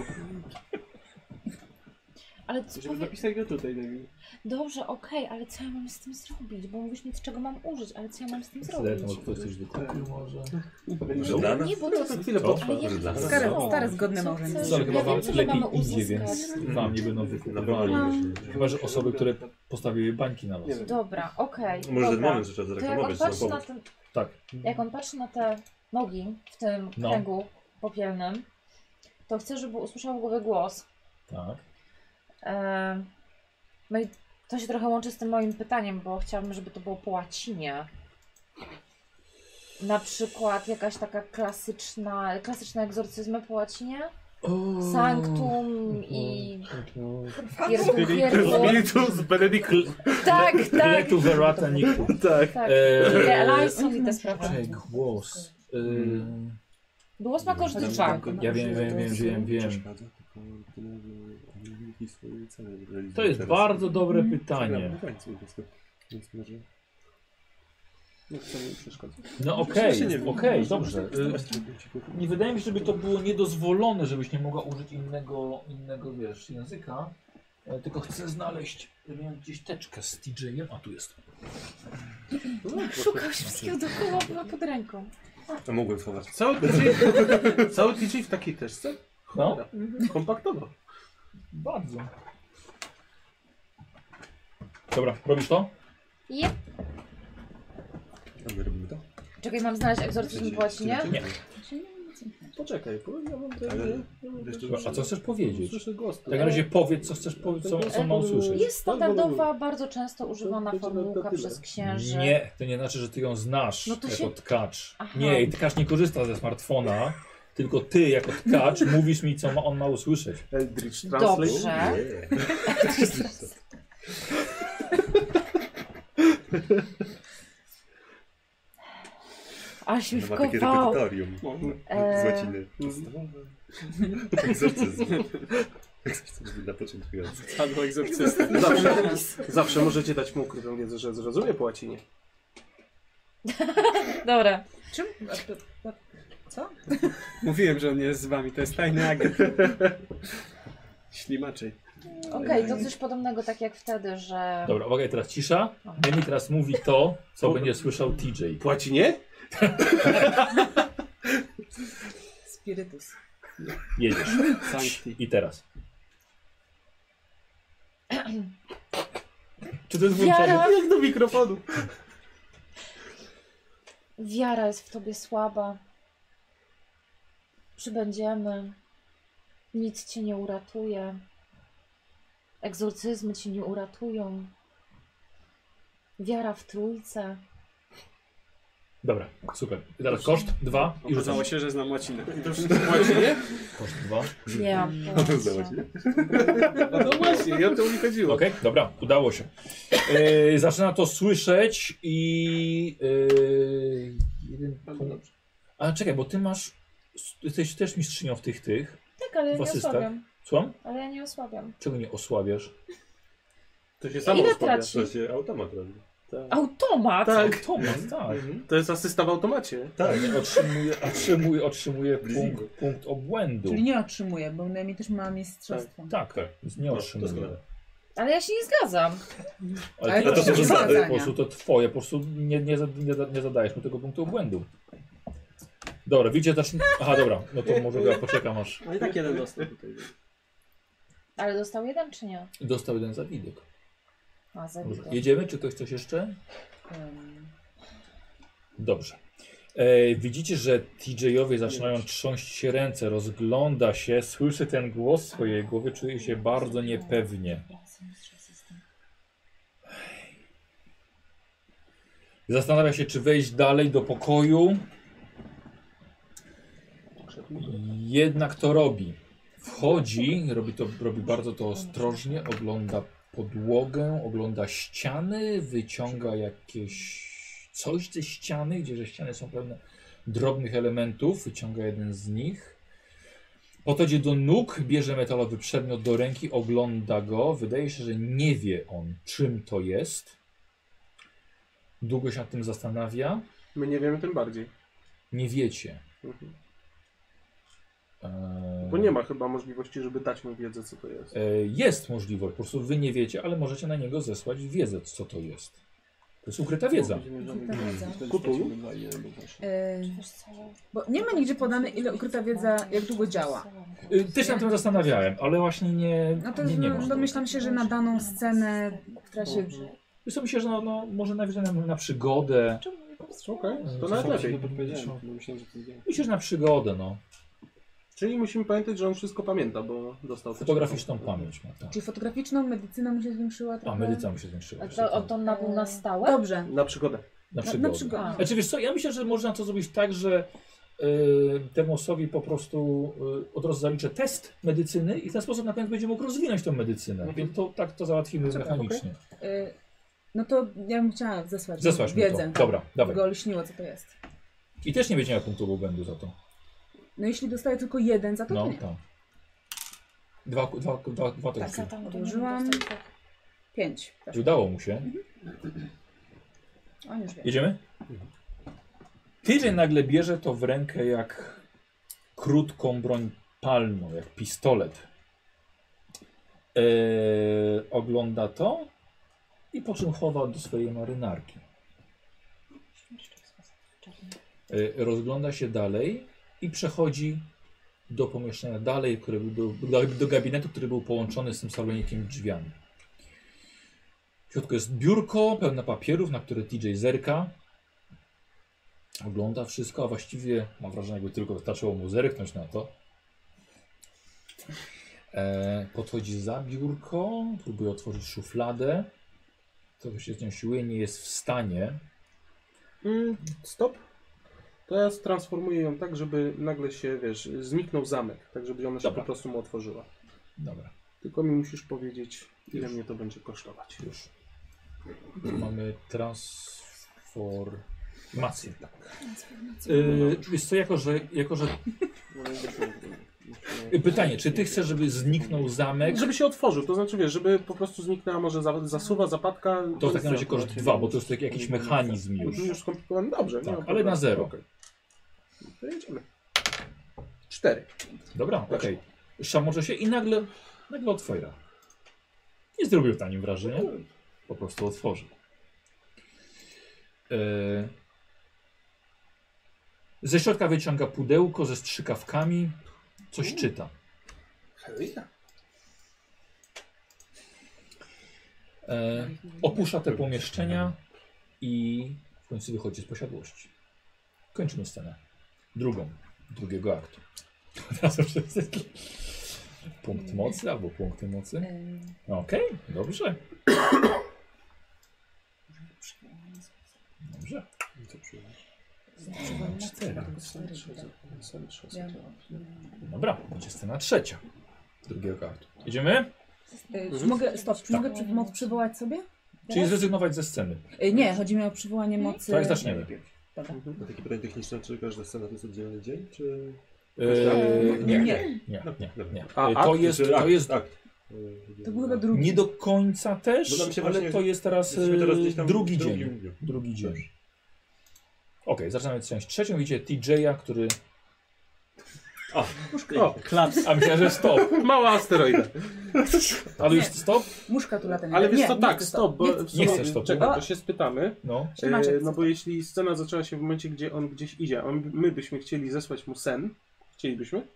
Speaker 3: Ale co
Speaker 2: Żeby
Speaker 3: powie...
Speaker 2: dopisać go tutaj, Debil.
Speaker 3: Dobrze, okej, ale co ja mam z tym zrobić? Bo mówisz mi, z czego mam użyć, ale co ja mam z tym zrobić?
Speaker 1: Zerknął, czy ktoś coś wykupił może.
Speaker 6: Może dla nas?
Speaker 3: Nie, bo to...
Speaker 5: To chwilę
Speaker 1: Co?
Speaker 5: potrwa.
Speaker 3: Ale ja-
Speaker 6: Dla-
Speaker 8: Stare,
Speaker 3: Co?
Speaker 8: stare zgodne
Speaker 3: Co
Speaker 8: małżeństwo.
Speaker 3: chcesz?
Speaker 1: Sorry, chyba
Speaker 3: Ja
Speaker 1: wam
Speaker 3: wiem, co
Speaker 1: lepiej
Speaker 3: mamy
Speaker 1: idzie, więc
Speaker 3: uzyskać. No.
Speaker 1: wam nie będą
Speaker 6: Na
Speaker 1: wykupywali.
Speaker 8: No.
Speaker 6: pewno nie
Speaker 1: Chyba, że osoby, które postawiły bańki na was.
Speaker 2: Nie wiem.
Speaker 3: Dobra, okej,
Speaker 6: Może ten
Speaker 3: dobra.
Speaker 6: moment, że trzeba
Speaker 3: To jak on
Speaker 6: zareklamować, że
Speaker 3: patrzy
Speaker 6: są
Speaker 3: na
Speaker 6: powód.
Speaker 3: ten,
Speaker 1: Tak.
Speaker 3: jak on patrzy na te nogi w tym
Speaker 1: No.
Speaker 3: kręgu popielnym, to chcę, żeby usłyszał w głowie głos.
Speaker 1: Tak.
Speaker 3: E, No i to się trochę łączy z tym moim pytaniem, bo chciałabym, żeby to było po łacinie. Na przykład jakaś taka klasyczna, klasyczne egzorcyzmy po łacinie?
Speaker 1: Mm.
Speaker 3: Sanctum i Spiritus
Speaker 5: Spiritus Benedict.
Speaker 3: Tak, tak,
Speaker 1: Letu verata niku.
Speaker 5: Tak.
Speaker 3: tak.
Speaker 1: Eee,
Speaker 3: Te Elyson i te sprawy.
Speaker 1: Czekaj, głos. Eee,
Speaker 3: Było smakożycza.
Speaker 1: Ja wiem, wiem, wiem, wiem, wiem.
Speaker 6: Przeszkadza, tylko tyle, że oni mieli swoje cele realizują
Speaker 1: To jest
Speaker 6: teraz.
Speaker 1: bardzo dobre
Speaker 3: Mm.
Speaker 6: Przegrałem
Speaker 1: pytanie.
Speaker 6: na końcu po prostu. Więc może...
Speaker 7: Nie chcę mi przeszkodzić.
Speaker 1: No okej, okej, dobrze. Eee, Nie wydaje mi się, żeby to było niedozwolone, żebyś nie mogła użyć innego, innego wiesz, języka. E, Tylko chcę znaleźć, miałem gdzieś teczkę z TJ-em, a tu jest.
Speaker 3: No. Szukał się wszystkiego dookoła, była pod ręką.
Speaker 6: To mogłem schować.
Speaker 7: Cały tydzień, cały tydzień w takiej teczce?
Speaker 1: No,
Speaker 7: Kompaktowo.
Speaker 1: bardzo. Dobra, robisz to?
Speaker 3: Jep.
Speaker 6: A my robimy to? Znaczy,
Speaker 3: Czekaj, mam znaleźć egzorcyzm właśnie.
Speaker 1: Nie.
Speaker 7: Poczekaj, bo ja mam te...
Speaker 6: Ale-
Speaker 7: ja mam
Speaker 6: Wiesz,
Speaker 7: te-
Speaker 1: A co chcesz powiedzieć?
Speaker 7: Słyszę głos.
Speaker 1: W takim razie powiedz, co chcesz powiedzieć, co, co ma usłyszeć.
Speaker 3: Jest standardowa, bardzo często używana formułka przez księży.
Speaker 1: Nie, to nie znaczy, że ty ją znasz
Speaker 3: No to
Speaker 1: jako
Speaker 3: się-
Speaker 1: tkacz.
Speaker 3: Aha.
Speaker 1: Nie, i tkacz nie korzysta ze smartfona, tylko ty jako tkacz mówisz mi, co ma, on ma usłyszeć.
Speaker 7: Eldritch Translate.
Speaker 3: Dobrze. Aż mi
Speaker 6: No ma takie
Speaker 3: wkopało.
Speaker 6: repetytorium. Z
Speaker 3: Eee.
Speaker 6: łaciny. Podstawowe. Egzorcyzm. Egzorcyzm dla początkujących.
Speaker 2: Padł egzorcysta.
Speaker 7: Zawsze, zawsze możecie dać mu ukrytą wiedzę, że zrozumie po łacinie.
Speaker 3: Dobra.
Speaker 8: Czym? a- a- Co?
Speaker 2: Mówiłem, że on jest z wami, to jest tajny agent. Ślimaczej.
Speaker 3: Okej, to coś podobnego tak jak wtedy, że...
Speaker 1: Dobra, uwaga, teraz cisza. Demi teraz mówi to, co będzie słyszał TJ.
Speaker 7: Po łacinie?
Speaker 8: Spirytus.
Speaker 1: Jedziesz.
Speaker 2: Sancti.
Speaker 1: I teraz. Czy to jest włączone?
Speaker 3: Wiara,
Speaker 7: Jak do mikrofonu.
Speaker 3: wiara jest w tobie słaba. Przybędziemy. Nic cię nie uratuje. Egzorcyzmy cię nie uratują. Wiara w trójce.
Speaker 1: Dobra, super. I teraz koszt dwa i rzucamy.
Speaker 2: Okazało się, że znam łacinę.
Speaker 1: Koszt dwa.
Speaker 3: Nie mam
Speaker 6: Udało
Speaker 3: pojęcia.
Speaker 6: się.
Speaker 7: No, no właśnie, ja to mi chodziło.
Speaker 1: Okej, dobra, udało się. E, zaczyna to słyszeć i. E, jeden punkt. A czekaj, bo ty masz. Jesteś też mistrzynią w tych tych.
Speaker 3: Tak, ale ja
Speaker 1: W
Speaker 3: nie
Speaker 1: asystach.
Speaker 3: osłabiam.
Speaker 1: Słucham?
Speaker 3: Ale ja nie osłabiam.
Speaker 1: Czego nie osłabiasz?
Speaker 7: To się samo
Speaker 3: Ile
Speaker 7: rozpawia.
Speaker 3: traci?
Speaker 6: To się automat robi.
Speaker 3: Automat!
Speaker 7: Tak.
Speaker 1: Tomasz, tak.
Speaker 7: To jest asysta w automacie.
Speaker 1: Tak, otrzymuje, otrzymuje, otrzymuje
Speaker 6: Leasingu.
Speaker 1: punkt, punkt obłędu.
Speaker 8: Czyli nie otrzymuję, bo Nemi też ma mistrzostwo.
Speaker 1: Tak, tak. Więc nie
Speaker 6: No,
Speaker 1: otrzymuje.
Speaker 6: doskonale.
Speaker 3: Ale ja się nie zgadzam.
Speaker 1: Ale,
Speaker 8: Ale
Speaker 1: to,
Speaker 8: to
Speaker 1: to,
Speaker 8: są zasady.
Speaker 1: po prostu to twoje, po prostu nie, nie, za- nie, za- nie zadajesz mu tego punktu obłędu. Dobra, widzicie też. Aha, dobra, no to może ja poczekam aż.
Speaker 2: No i tak jeden dostał tutaj.
Speaker 3: Ale dostał jeden czy nie?
Speaker 1: Dostał jeden za widok.
Speaker 3: A, za
Speaker 1: Dobrze.
Speaker 3: widok.
Speaker 1: Jedziemy, czy ktoś coś jeszcze?
Speaker 8: Ym,
Speaker 1: Dobrze. E, widzicie, że TJ-owie zaczynają trząść się ręce, rozgląda się, słyszy ten głos w swojej głowie, czuje się bardzo niepewnie. Zastanawia się, czy wejść dalej do pokoju. Jednak to robi. Wchodzi, robi to robi bardzo to ostrożnie, ogląda podłogę, ogląda ściany, wyciąga jakieś coś ze ściany, gdzie że ściany są pełne drobnych elementów, wyciąga jeden z nich. Podchodzi do nóg, bierze metalowy przedmiot do ręki, ogląda go. Wydaje się, że nie wie on, czym to jest. Długo się nad tym zastanawia.
Speaker 7: My nie wiemy tym bardziej.
Speaker 1: Nie wiecie.
Speaker 7: Mhm.
Speaker 1: Eee,
Speaker 7: Bo nie ma chyba możliwości, żeby dać mu wiedzę, co to jest.
Speaker 1: E, Jest możliwość, po prostu wy nie wiecie, ale możecie na niego zesłać wiedzę, co to jest. To jest ukryta wiedza.
Speaker 8: Ukryta wiedza.
Speaker 7: Kupuj.
Speaker 8: Yy,
Speaker 3: Wiesz co,
Speaker 8: bo nie ma nigdzie podane, ile ukryta wiedza, jak długo działa.
Speaker 1: Y, Też się na tym zastanawiałem, ale właśnie nie.
Speaker 8: No to
Speaker 1: nie, nie ma.
Speaker 8: domyślam się, że na daną scenę, która się...
Speaker 1: Wiesz co, myślę, że no, no, może nawiążę na, na przygodę.
Speaker 7: Okej, to
Speaker 1: To
Speaker 7: nawet lepiej.
Speaker 1: Myślę, że na przygodę, no.
Speaker 7: Czyli musimy pamiętać, że on wszystko pamięta, bo dostał...
Speaker 1: Fotograficzną pamięć ma, tak.
Speaker 8: Czyli fotograficzną medycyna mu się zwiększyła
Speaker 1: A
Speaker 8: trochę?
Speaker 1: medycyna mi się zwiększyła. tak.
Speaker 3: A to, on to nabył na stałe?
Speaker 8: Dobrze.
Speaker 7: Na przygodę.
Speaker 1: Na
Speaker 8: Na, na
Speaker 1: przygodę.
Speaker 8: przygodę.
Speaker 1: Znaczy wiesz co, ja myślę, że można to zrobić tak, że y, temu osobi po prostu y, od razu zaliczę test medycyny i w ten sposób na pewno będzie mógł rozwinąć tą medyczynę.
Speaker 7: Mhm.
Speaker 1: Więc to, tak to załatwimy
Speaker 7: Super,
Speaker 1: mechanicznie.
Speaker 8: Y, No to ja bym chciała zesłać,
Speaker 1: Zesłać mi
Speaker 8: wiedzę.
Speaker 1: to. Dobra, dawaj.
Speaker 8: Go lśniło, co to jest.
Speaker 1: I też nie będzie miał punktu obłędu za to.
Speaker 8: No jeśli dostaję tylko jeden, za to to
Speaker 1: No,
Speaker 8: nie.
Speaker 1: tam. Dwa, dwa, dwa, dwa
Speaker 3: Tak,
Speaker 1: testy.
Speaker 3: za tam
Speaker 8: Odłożyłam. Pięć. Tak.
Speaker 1: Udało mu się.
Speaker 8: On już wie.
Speaker 1: Jedziemy? Tydzień nagle bierze to w rękę jak krótką broń palną, jak pistolet. e, ogląda to i po czym chowa do swojej marynarki. E, Rozgląda się dalej i przechodzi do pomieszczenia dalej, które był, do, do gabinetu, który był połączony z tym salonikiem drzwiami. W środku jest biurko pełne papierów, na które TJ zerka. Ogląda wszystko, a właściwie mam wrażenie, jakby tylko wystarczyło mu zerknąć na to. E, podchodzi za biurko, próbuje otworzyć szufladę. Trochę się z nią siłuje, nie jest w stanie.
Speaker 7: Mm, stop. Teraz transformuję ją tak, żeby nagle się, wiesz, zniknął zamek. Tak, żeby ona się
Speaker 1: Dobra.
Speaker 7: po prostu mu otworzyła.
Speaker 1: Dobra,
Speaker 7: Tylko mi musisz powiedzieć, ile
Speaker 1: Już.
Speaker 7: mnie to będzie kosztować.
Speaker 1: już. Tu mamy transformację. tak. Yy, wiesz co, jako że, jako że... Pytanie, czy ty chcesz, żeby zniknął zamek?
Speaker 7: No, Żeby się otworzył, to znaczy wiesz, żeby po prostu zniknęła może za- zasuwa, zapadka.
Speaker 1: To w takim razie koszt dwa, bo to jest taki jakiś mechanizm
Speaker 7: Już,
Speaker 1: już.
Speaker 7: Mhm. już skomplikowany, dobrze. nie
Speaker 1: Tak,
Speaker 7: ma
Speaker 1: ale
Speaker 7: problemu.
Speaker 1: na zero.
Speaker 7: Okej. To jedziemy. Cztery.
Speaker 1: Dobra, okej. Szamocze się i nagle, nagle otwiera. Nie zrobił na nim wrażenia. Po prostu otworzył. E... Ze środka wyciąga pudełko ze strzykawkami. Coś czyta.
Speaker 7: Hej.
Speaker 1: E... Opuszcza te pomieszczenia i w końcu wychodzi z posiadłości. Kończymy scenę. Drugą. Drugiego aktu. Razem wszyscy. Punkt mocy albo punkty mocy. Okej, dobrze. Dobrze.
Speaker 6: No
Speaker 1: Scena cztery. Dobra, będzie scena trzecia. Drugiego kartu. Idziemy?
Speaker 8: Y, Czy mogę, stop, czy
Speaker 1: Tak.
Speaker 8: mogę przy, moc przywołać sobie?
Speaker 1: Czyli zrezygnować ze sceny.
Speaker 8: Y, Nie, chodzi mi o przywołanie mocy.
Speaker 1: Tak, zaczniemy.
Speaker 8: Dobra.
Speaker 7: Mhm.
Speaker 6: A takie pytanie techniczne, czy każda scena to jest oddzielny dzień, czy... Yy,
Speaker 1: Eee, nie, nie, nie, nie. nie. Eee, to, jest, to jest
Speaker 6: Akt.
Speaker 8: To był chyba drugi.
Speaker 1: nie do końca też,
Speaker 6: Bo nam się
Speaker 1: ale
Speaker 6: właśnie-
Speaker 1: to jest teraz,
Speaker 6: jesteśmy teraz
Speaker 1: eee,
Speaker 6: gdzieś tam w
Speaker 1: drugi
Speaker 6: drugim
Speaker 1: dzień.
Speaker 6: dniu.
Speaker 1: Drugi dzień. Okej, zaczynamy część trzecią. Widzicie TJ-a, który...
Speaker 7: O,
Speaker 1: Klaps. A myślałem, że stop.
Speaker 7: mała asteroida.
Speaker 1: Ale już stop?
Speaker 8: Muszka tu lata nie
Speaker 7: Ale
Speaker 8: da.
Speaker 7: wiesz
Speaker 8: Nie,
Speaker 7: co,
Speaker 8: nie
Speaker 7: tak,
Speaker 8: chcę
Speaker 7: stop, bo
Speaker 8: Nie
Speaker 7: w
Speaker 8: chcę.
Speaker 7: sumie,
Speaker 1: Nie chcesz stopu.
Speaker 7: czekaj,
Speaker 8: A.
Speaker 7: to się spytamy.
Speaker 1: No.
Speaker 8: Maciek
Speaker 7: E,
Speaker 8: chce
Speaker 7: no bo jeśli scena zaczęła się w momencie, gdzie on gdzieś idzie, a my byśmy chcieli zesłać mu sen, chcielibyśmy?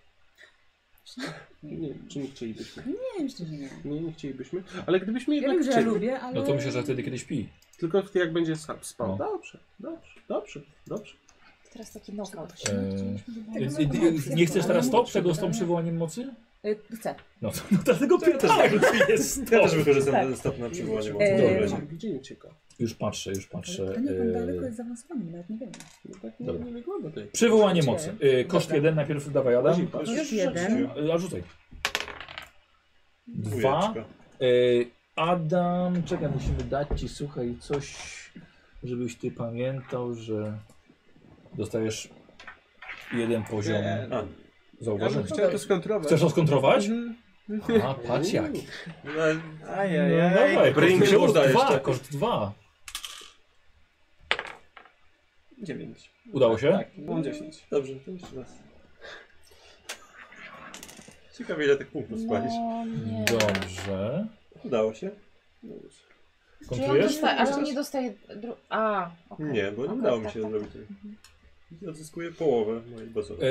Speaker 7: Nie, czy nie chcielibyśmy?
Speaker 8: Nie, myślę, że nie.
Speaker 7: Nie, nie chcielibyśmy, ale gdybyśmy
Speaker 8: Ja
Speaker 7: jednak
Speaker 8: wiem, że ja
Speaker 7: chcieli,
Speaker 8: lubię, ale...
Speaker 1: No to myślę, że wtedy kiedyś pi.
Speaker 7: tylko wtedy jak będzie sa- spał.
Speaker 1: No.
Speaker 7: Dobrze, dobrze, dobrze, dobrze.
Speaker 3: y, Teraz taki knockout.
Speaker 1: Eee,
Speaker 8: Tego
Speaker 1: i-
Speaker 8: mogę
Speaker 1: i- nie chcesz teraz stop tego z tą przywołaniem mocy?
Speaker 8: Y, Chcę.
Speaker 1: No to no, dlatego pytałem, czy jest
Speaker 6: Ja
Speaker 1: stop.
Speaker 6: też wykorzystam
Speaker 8: Tak.
Speaker 6: ten stop na przywołanie
Speaker 7: E,
Speaker 6: mocy.
Speaker 8: Eee,
Speaker 6: Dobra,
Speaker 7: Dobrze, gdzie nie ucieka?
Speaker 1: Już patrzę, już patrzę.
Speaker 8: Ale pytanie, jak on tak daleko
Speaker 1: Eee,
Speaker 8: jest zaawansowany, nawet nie wiem.
Speaker 7: No tak nie,
Speaker 1: Dobra.
Speaker 7: nie wygląda tutaj.
Speaker 1: Przywołanie mocy. Eee, Koszt
Speaker 8: Dobra.
Speaker 1: jeden, najpierw dawaj Adam.
Speaker 7: Patrz,
Speaker 8: Już jeden.
Speaker 1: Eee, A rzucaj. Dwa.
Speaker 6: Dwójeczka.
Speaker 1: Eee, Adam, czekaj, musimy dać ci, słuchaj, coś, żebyś ty pamiętał, że dostajesz jeden poziom
Speaker 4: Eee,
Speaker 6: A,
Speaker 4: Ja bym
Speaker 1: zauważenia.
Speaker 4: chciał to skontrować.
Speaker 1: Chcesz rozkontrować?
Speaker 4: Mhm.
Speaker 1: A, patrz jak.
Speaker 6: No,
Speaker 1: No
Speaker 2: No,
Speaker 4: Ajajaj.
Speaker 6: Bring
Speaker 1: koszt
Speaker 6: Jorda
Speaker 1: dwa,
Speaker 6: jeszcze.
Speaker 1: Koszt dwa.
Speaker 2: Dziewięć.
Speaker 1: Udało się?
Speaker 2: no. Tak, mam dziesięć.
Speaker 6: Dobrze, to jeszcze raz. Ciekawe ile tych punktów spalisz.
Speaker 3: No nie.
Speaker 1: Dobrze.
Speaker 6: Udało się?
Speaker 2: No
Speaker 3: Czy on
Speaker 1: Kontrujesz?
Speaker 3: dostaje, ale on nie dostaje... Dru... A, okej.
Speaker 6: Nie, bo nie
Speaker 3: Okej,
Speaker 6: udało mi
Speaker 3: tak,
Speaker 6: się
Speaker 3: tak,
Speaker 6: zrobić
Speaker 3: tak.
Speaker 6: tego. Odzyskuję połowę mojej bazowej.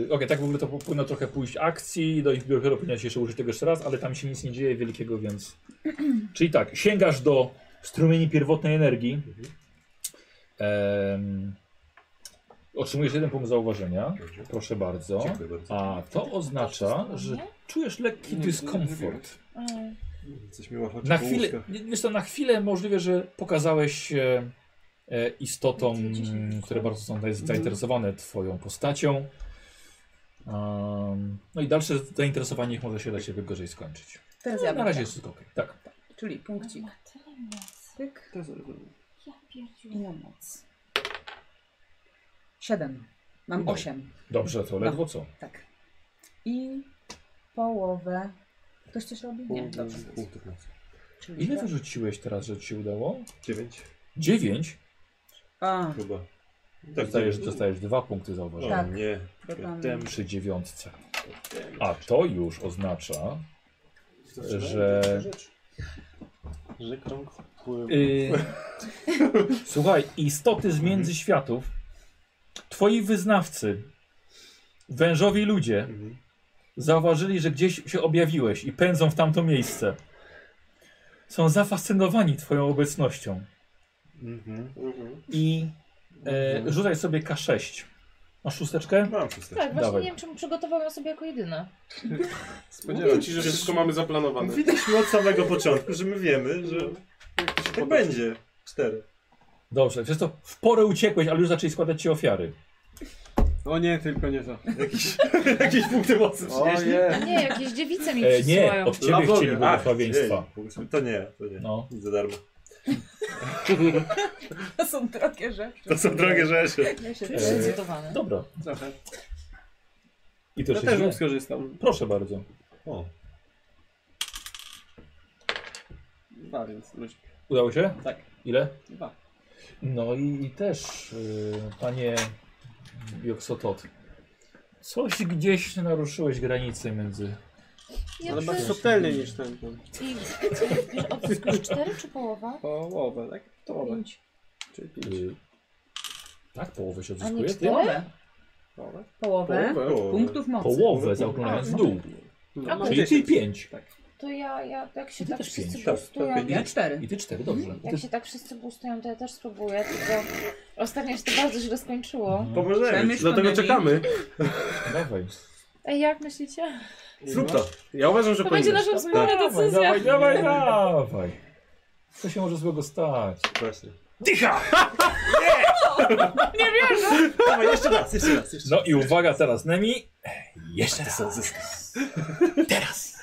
Speaker 1: Yy, Okej, tak w ogóle to powinno trochę pójść akcji, do ich dopiero powinno się jeszcze użyć tego jeszcze raz, ale tam się nic nie dzieje wielkiego, więc... Czyli tak, sięgasz do strumieni pierwotnej energii. Em, otrzymujesz jeden punkt zauważenia. Proszę bardzo.
Speaker 6: Dziękuję bardzo.
Speaker 1: A to oznacza, że czujesz lekki dyskomfort.
Speaker 3: Mm.
Speaker 6: Coś mi łapaczy
Speaker 1: Na
Speaker 6: po
Speaker 1: chwilę,
Speaker 6: łóżkach.
Speaker 1: nie- wiesz co, na chwilę możliwe, że pokazałeś się e, istotom, które bardzo są tutaj
Speaker 8: Mhm.
Speaker 1: zainteresowane twoją postacią. Um, no i dalsze zainteresowanie ich może się dla ciebie gorzej skończyć.
Speaker 8: Teraz
Speaker 1: No,
Speaker 8: ja
Speaker 1: na
Speaker 8: bym
Speaker 1: razie
Speaker 8: tak.
Speaker 1: jest wszystko okej. Tak.
Speaker 8: Czyli
Speaker 3: On
Speaker 8: punkcik.
Speaker 3: ma tyle mocy.
Speaker 8: Tyk
Speaker 2: To zrobię.
Speaker 3: Ja
Speaker 8: i
Speaker 3: pierdziu.
Speaker 8: na moc. Siedem. Mam
Speaker 1: Dobra.
Speaker 8: osiem.
Speaker 1: Dobrze, to ledwo co.
Speaker 8: Tak. I połowę... Ktoś coś robi? Nie, dobrze.
Speaker 6: Punktów mocy.
Speaker 8: Czyli
Speaker 1: Ile
Speaker 8: dwa.
Speaker 1: wyrzuciłeś teraz, że ci się udało?
Speaker 6: Dziewięć
Speaker 1: Dziewięć.
Speaker 8: A,
Speaker 6: chyba. Tak,
Speaker 1: Dostajesz,
Speaker 6: dziewięć.
Speaker 1: dostajesz dwa punkty
Speaker 6: O
Speaker 1: zauważenia
Speaker 8: Tak.
Speaker 6: nie.
Speaker 8: dodam.
Speaker 1: przy dziewiątce. A to już oznacza, że...
Speaker 7: Że krąg wpływu. Mhm.
Speaker 1: Y, Słuchaj, istoty z międzyświatów, twoi wyznawcy, wężowi ludzie,
Speaker 7: Mhm.
Speaker 1: zauważyli, że gdzieś się objawiłeś i pędzą w tamto miejsce. Są zafascynowani twoją obecnością.
Speaker 6: Mhm.
Speaker 1: I
Speaker 7: Mhm.
Speaker 1: e, rzucaj sobie K6. Masz szósteczkę?
Speaker 6: Mam
Speaker 3: Tak,
Speaker 6: szósteczkę.
Speaker 3: właśnie
Speaker 1: Dawaj.
Speaker 3: nie wiem, czemu przygotowałam ją sobie jako jedyna.
Speaker 7: Spodziewam się, że wszystko mamy zaplanowane.
Speaker 6: Widzieliśmy od samego początku, że my wiemy, że
Speaker 1: No.
Speaker 6: tak będzie. Cztery.
Speaker 1: Dobrze, przez to w porę uciekłeś, ale już zaczęli składać ci ofiary.
Speaker 2: O nie, tylko nie to.
Speaker 6: Jakieś, jakieś punkty mocy przynieśli?
Speaker 3: Nie, jakieś dziewice mi
Speaker 1: E, nie,
Speaker 3: przysyłają.
Speaker 1: od ciebie
Speaker 6: Lawowie.
Speaker 1: chcieli
Speaker 6: Ach,
Speaker 1: błogosławieństwa.
Speaker 6: chcieli. To nie, to nie.
Speaker 1: No.
Speaker 6: Nic za darmo.
Speaker 8: To są drogie rzeczy.
Speaker 6: To są drogie rzeczy.
Speaker 8: Ja się
Speaker 1: E,
Speaker 8: zdecydowane.
Speaker 1: Dobra.
Speaker 2: Trochę.
Speaker 1: I to
Speaker 2: Ja
Speaker 1: się
Speaker 2: też
Speaker 1: źle.
Speaker 2: bym skorzystał.
Speaker 1: Proszę bardzo.
Speaker 6: O,
Speaker 2: Dwa, więc luzik.
Speaker 1: Udało się?
Speaker 2: Tak.
Speaker 1: Ile?
Speaker 2: Dwa.
Speaker 1: No i też, y, panie Joksotot, coś gdzieś naruszyłeś granicę między...
Speaker 3: Ja
Speaker 2: Ale
Speaker 3: przy...
Speaker 2: bardziej subtelnie niż ten. ten.
Speaker 3: I co jest bliż- odzyskujesz cztery czy połowa?
Speaker 2: Połowę, tak? Połowę.
Speaker 3: Pięć.
Speaker 2: Czyli pięć.
Speaker 1: Y, tak, połowę się
Speaker 3: A nie
Speaker 1: odzyskuje? Ty?
Speaker 3: cztery?
Speaker 8: Połowę.
Speaker 2: Połowę?
Speaker 8: Połowę
Speaker 6: Połowę.
Speaker 8: punktów mocy.
Speaker 1: Połowę zaokrąglając w dół.
Speaker 3: A, no,
Speaker 1: Czyli ty pięć.
Speaker 2: tak.
Speaker 3: to ja, ja jak się
Speaker 1: Ty
Speaker 3: tak
Speaker 1: też
Speaker 3: wszyscy
Speaker 1: pięć.
Speaker 3: boostują,
Speaker 8: Ja cztery.
Speaker 1: I ty cztery, dobrze. I
Speaker 3: jak
Speaker 1: ty...
Speaker 3: się tak wszyscy boostują, to ja też spróbuję, tylko ostatnio się to bardzo źle skończyło.
Speaker 1: No,
Speaker 6: pomożemy.
Speaker 8: Przemyśl
Speaker 6: ci.
Speaker 5: Dlatego
Speaker 8: Szkoda mi.
Speaker 5: czekamy.
Speaker 1: dawaj.
Speaker 3: Ej, jak myślicie?
Speaker 6: Zrób to.
Speaker 5: Ja uważam, że
Speaker 3: To będzie
Speaker 5: powinieneś.
Speaker 3: nasza wspólna
Speaker 1: Tak. Dawaj,
Speaker 3: decyzja.
Speaker 1: dawaj, dawaj, dawaj. Co się może złego stać?
Speaker 6: Właśnie.
Speaker 1: Dycha!
Speaker 3: Nie wierzę!
Speaker 6: Dawaj, jeszcze raz, jeszcze raz. Jeszcze.
Speaker 1: No i uwaga teraz, Nemi. Jeszcze raz. Teraz.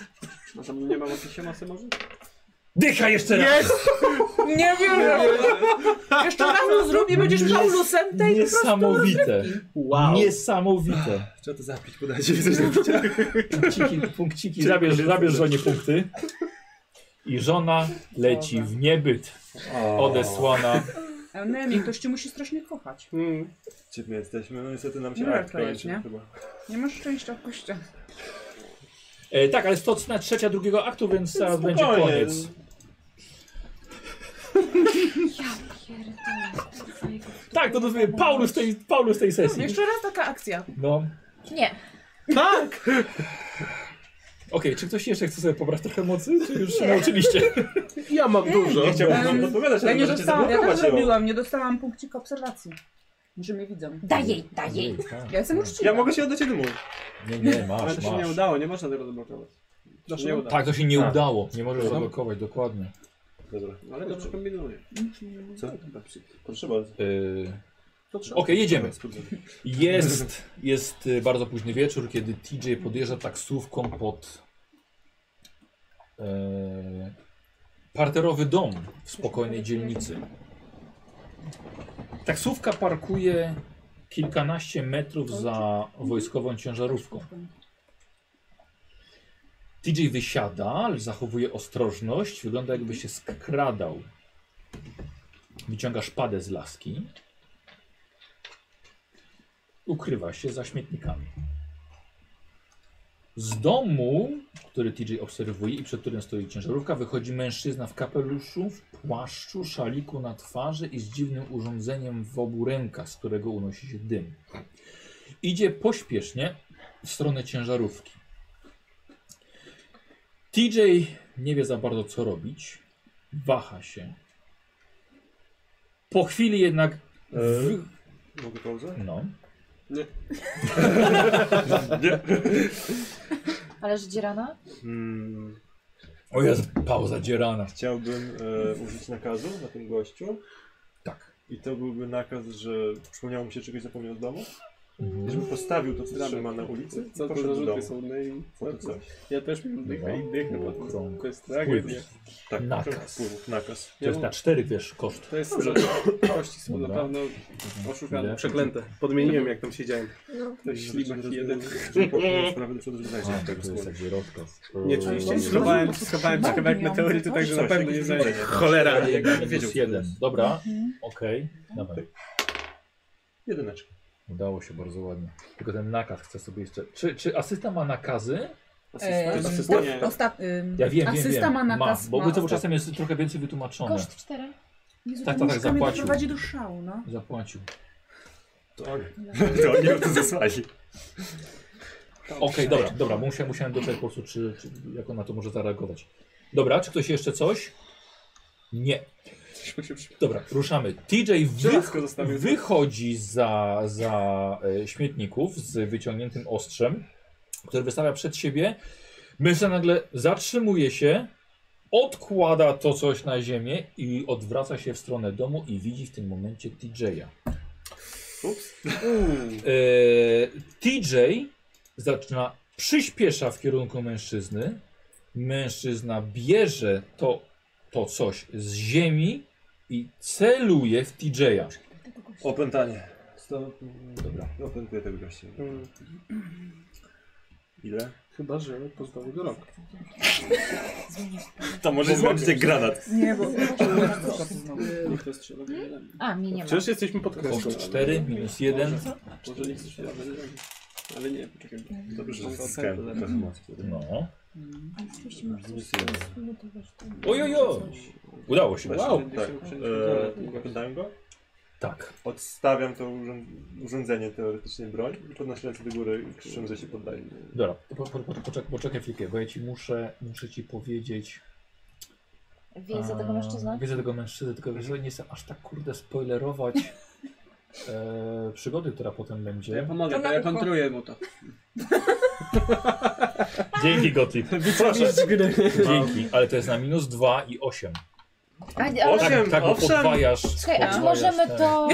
Speaker 2: A tam nie ma opisie masy może?
Speaker 1: Dycha jeszcze raz.
Speaker 8: Nie wierzę. Jeszcze raz to zrobię, będziesz
Speaker 1: Jest
Speaker 8: Paulusem tej
Speaker 1: Niesamowite.
Speaker 5: Wow.
Speaker 1: Niesamowite.
Speaker 6: Trzeba to zapić, podajcie mi coś do picia.
Speaker 1: Punkciki, punkciki. Zabierz, zabierz żonie punkty. I żona leci w niebyt. Odesłana.
Speaker 8: E, Nemi, ktoś cię musi strasznie kochać.
Speaker 7: Mm.
Speaker 6: Gdzie my jesteśmy? No niestety nam się
Speaker 8: Nie,
Speaker 6: akt
Speaker 8: to jest,
Speaker 6: kończy
Speaker 8: nie?
Speaker 6: chyba.
Speaker 8: Nie masz szczęścia w kościach.
Speaker 1: E, tak, ale jest to cena trzecia drugiego aktu, więc zaraz będzie
Speaker 6: Spokojnie.
Speaker 1: koniec.
Speaker 3: Ja pierdolę.
Speaker 1: Tak, to nazywamy Paulus tej, Paulus tej sesji.
Speaker 8: No, Jeszcze raz taka akcja.
Speaker 1: No.
Speaker 3: Nie,
Speaker 5: Tak!
Speaker 1: Okej, czy ktoś jeszcze chce sobie pobrać trochę mocy? Czy już się nauczyliście?
Speaker 5: Ja
Speaker 8: Eee,
Speaker 5: mam dużo.
Speaker 6: Nie chciałbym wam
Speaker 8: Em,
Speaker 6: podpowiadać,
Speaker 8: Ja
Speaker 6: ale
Speaker 8: nie
Speaker 6: możecie
Speaker 8: dostałam, ja też
Speaker 6: zablokować ją.
Speaker 8: zrobiłam, nie dostałam punkcika obserwacji. Może mnie widzą.
Speaker 3: daj jej, daj jej.
Speaker 8: Ja jestem uczciwa.
Speaker 6: Ja mogę się oddać jednemu.
Speaker 1: Nie, nie,
Speaker 2: Ale
Speaker 1: masz,
Speaker 2: to się nie
Speaker 1: masz.
Speaker 2: udało, nie można tego zablokować. To się nie udało. No.
Speaker 1: Tak, to się nie
Speaker 6: A.
Speaker 1: udało. Nie możesz zablokować, dokładnie.
Speaker 6: Dobra.
Speaker 2: Ale dobrze kombinuję.
Speaker 6: Co? Proszę bardzo.
Speaker 1: Yy,
Speaker 7: To trzeba.
Speaker 1: Okej, jedziemy.
Speaker 6: Spróbuj.
Speaker 1: Jest, jest y, bardzo późny wieczór, kiedy TJ podjeżdża taksówką pod e, parterowy dom w spokojnej dzielnicy. Taksówka parkuje kilkanaście metrów za wojskową ciężarówką. TJ wysiada, ale zachowuje ostrożność, wygląda jakby się skradał. Wyciąga szpadę z laski ukrywa się za śmietnikami. Z domu, który TJ obserwuje i przed którym stoi ciężarówka, wychodzi mężczyzna w kapeluszu, w płaszczu, szaliku na twarzy i z dziwnym urządzeniem w obu rękach, z którego unosi się dym. Idzie pośpiesznie w stronę ciężarówki. TJ nie wie za bardzo co robić, waha się. Po chwili jednak. Wy...
Speaker 6: Mogę pauzę?
Speaker 1: No.
Speaker 6: Nie.
Speaker 3: Ale że dzierana?
Speaker 6: Mm,
Speaker 1: O jest pauza dzierana.
Speaker 6: chciałbym e, użyć nakazu na tym gościu.
Speaker 1: Tak.
Speaker 6: I to byłby nakaz, że przypomniało mi się czegoś zapomniał z domu. Żebym postawił to, co
Speaker 2: Dramat.
Speaker 6: trzyma na ulicy i
Speaker 2: Co to
Speaker 6: poszedł
Speaker 2: za
Speaker 6: do domu.
Speaker 2: rzuty są? No i
Speaker 6: No to No. coś.
Speaker 2: ja też miałem dychę i dychę, bo to jest- to jest tragedia.
Speaker 1: Wpływ.
Speaker 6: Tak,
Speaker 1: Nakaz.
Speaker 6: Wpływów, nakaz.
Speaker 1: To jest na cztery, wiesz, koszt.
Speaker 2: To jest dużo. Kości są na
Speaker 1: Dobra.
Speaker 2: pewno oszukane.
Speaker 5: Przeklęte. Podmieniłem jak tam siedziałem.
Speaker 9: No,
Speaker 2: To jest ślimak jeden.
Speaker 6: Żeby popchnąć sprawę do przodu, żeby znaleźć
Speaker 1: A, tak,
Speaker 6: się
Speaker 1: to
Speaker 6: tego
Speaker 1: jest
Speaker 6: słowa.
Speaker 1: jakby rozkaz.
Speaker 5: Nie, oczywiście.
Speaker 2: Schowałem, schowałem się kawałek meteorytu, także na
Speaker 6: Coś,
Speaker 2: pewno nie
Speaker 6: jakieś
Speaker 2: znajdę.
Speaker 6: urządzenie.
Speaker 5: Cholera.
Speaker 6: Ale jakby nie wiedział,
Speaker 1: Minus
Speaker 6: co to jest.
Speaker 1: jeden. Dobra,
Speaker 8: Mhm.
Speaker 1: okej. Dawaj.
Speaker 6: Jedyneczka.
Speaker 1: Udało się bardzo ładnie. Tylko ten nakaz chcę sobie jeszcze... Czy, czy asysta ma nakazy?
Speaker 8: Em,
Speaker 1: Asysta.
Speaker 8: tak, osta- em,
Speaker 1: Ja wiem, wiem,
Speaker 8: asysta
Speaker 1: wiem.
Speaker 8: ma nakaz.
Speaker 1: bo my
Speaker 8: ma
Speaker 1: to
Speaker 8: osta-
Speaker 1: czasem jest trochę więcej wytłumaczone.
Speaker 3: Koszt 4.
Speaker 1: Tak, tak,
Speaker 8: Jezu, tak, tak,
Speaker 1: tak,
Speaker 8: mnie
Speaker 1: zapłacił.
Speaker 8: doprowadzi do szału, no.
Speaker 1: Zapłacił.
Speaker 6: To oni. Tak. To oni to zesłali.
Speaker 1: Okej, dobra, dobra, bo musiałem, musiałem doczekać po prostu, czy, czy jak on na to może zareagować. Dobra, czy ktoś jeszcze coś? Nie. Dobra, ruszamy. TJ wych,
Speaker 2: Żelazko zostawił.
Speaker 1: wychodzi za, za e, śmietników z wyciągniętym ostrzem, które wystawia przed siebie. Mężczyzna nagle zatrzymuje się, odkłada to coś na ziemię i odwraca się w stronę domu i widzi w tym momencie TJ'a. E, TJ zaczyna, przyspiesza w kierunku mężczyzny. Mężczyzna bierze to, to coś z ziemi i celuje w TJ'a.
Speaker 6: Opętanie. Sto...
Speaker 1: Dobra.
Speaker 6: Opętuję tego gościa.
Speaker 7: Mm,
Speaker 6: Ile?
Speaker 7: Chyba, że pozbawię go rąk.
Speaker 6: To może złapać jak granat.
Speaker 8: Nie, bo...
Speaker 4: Niech to strzela.
Speaker 3: A, mi nie ma.
Speaker 7: Wciąż jesteśmy pod kreską.
Speaker 1: Koszt 4, minus 1.
Speaker 2: Może nie chcesz się Ale nie, poczekaj.
Speaker 6: Dobrze, że
Speaker 2: Mam
Speaker 6: zyskałem
Speaker 2: opętę
Speaker 6: trochę
Speaker 2: zaraz.
Speaker 6: mocy wtedy.
Speaker 1: No.
Speaker 11: Ale rzeczywiście masz coś zmutować.
Speaker 1: Ojojo! Udało się.
Speaker 6: Właśnie,
Speaker 1: Wow.
Speaker 6: Tak. Eee, Opętałem go?
Speaker 1: Tak.
Speaker 6: Odstawiam to urząd- urządzenie, teoretycznie broń i podnoszę ręce do góry i krzyczę, że się poddaję.
Speaker 1: Dobra, to po, po, po, poczek- poczekaj chwilkę, bo ja ci muszę, muszę ci powiedzieć.
Speaker 3: Wiedzę tego
Speaker 1: a,
Speaker 3: mężczyznę.
Speaker 1: Wiedzę tego mężczyzny, tylko wiesz, że nie chcę aż tak kurde spoilerować e, przygody, która potem
Speaker 2: Ja
Speaker 1: będzie.
Speaker 2: pomogę,
Speaker 9: To
Speaker 2: to
Speaker 9: na
Speaker 2: ja
Speaker 9: ucho.
Speaker 2: kontruję mu to.
Speaker 1: Dzięki Gotli.
Speaker 6: Proszę!
Speaker 1: Dzięki, ale to jest na minus 2 i 8.
Speaker 3: A, nie, ale...
Speaker 6: Osiem.
Speaker 1: Tak, tak bo
Speaker 6: owszem.
Speaker 1: podwajasz.
Speaker 3: Słuchaj, a czy
Speaker 1: podwajasz,
Speaker 3: możemy
Speaker 1: tak.
Speaker 3: to...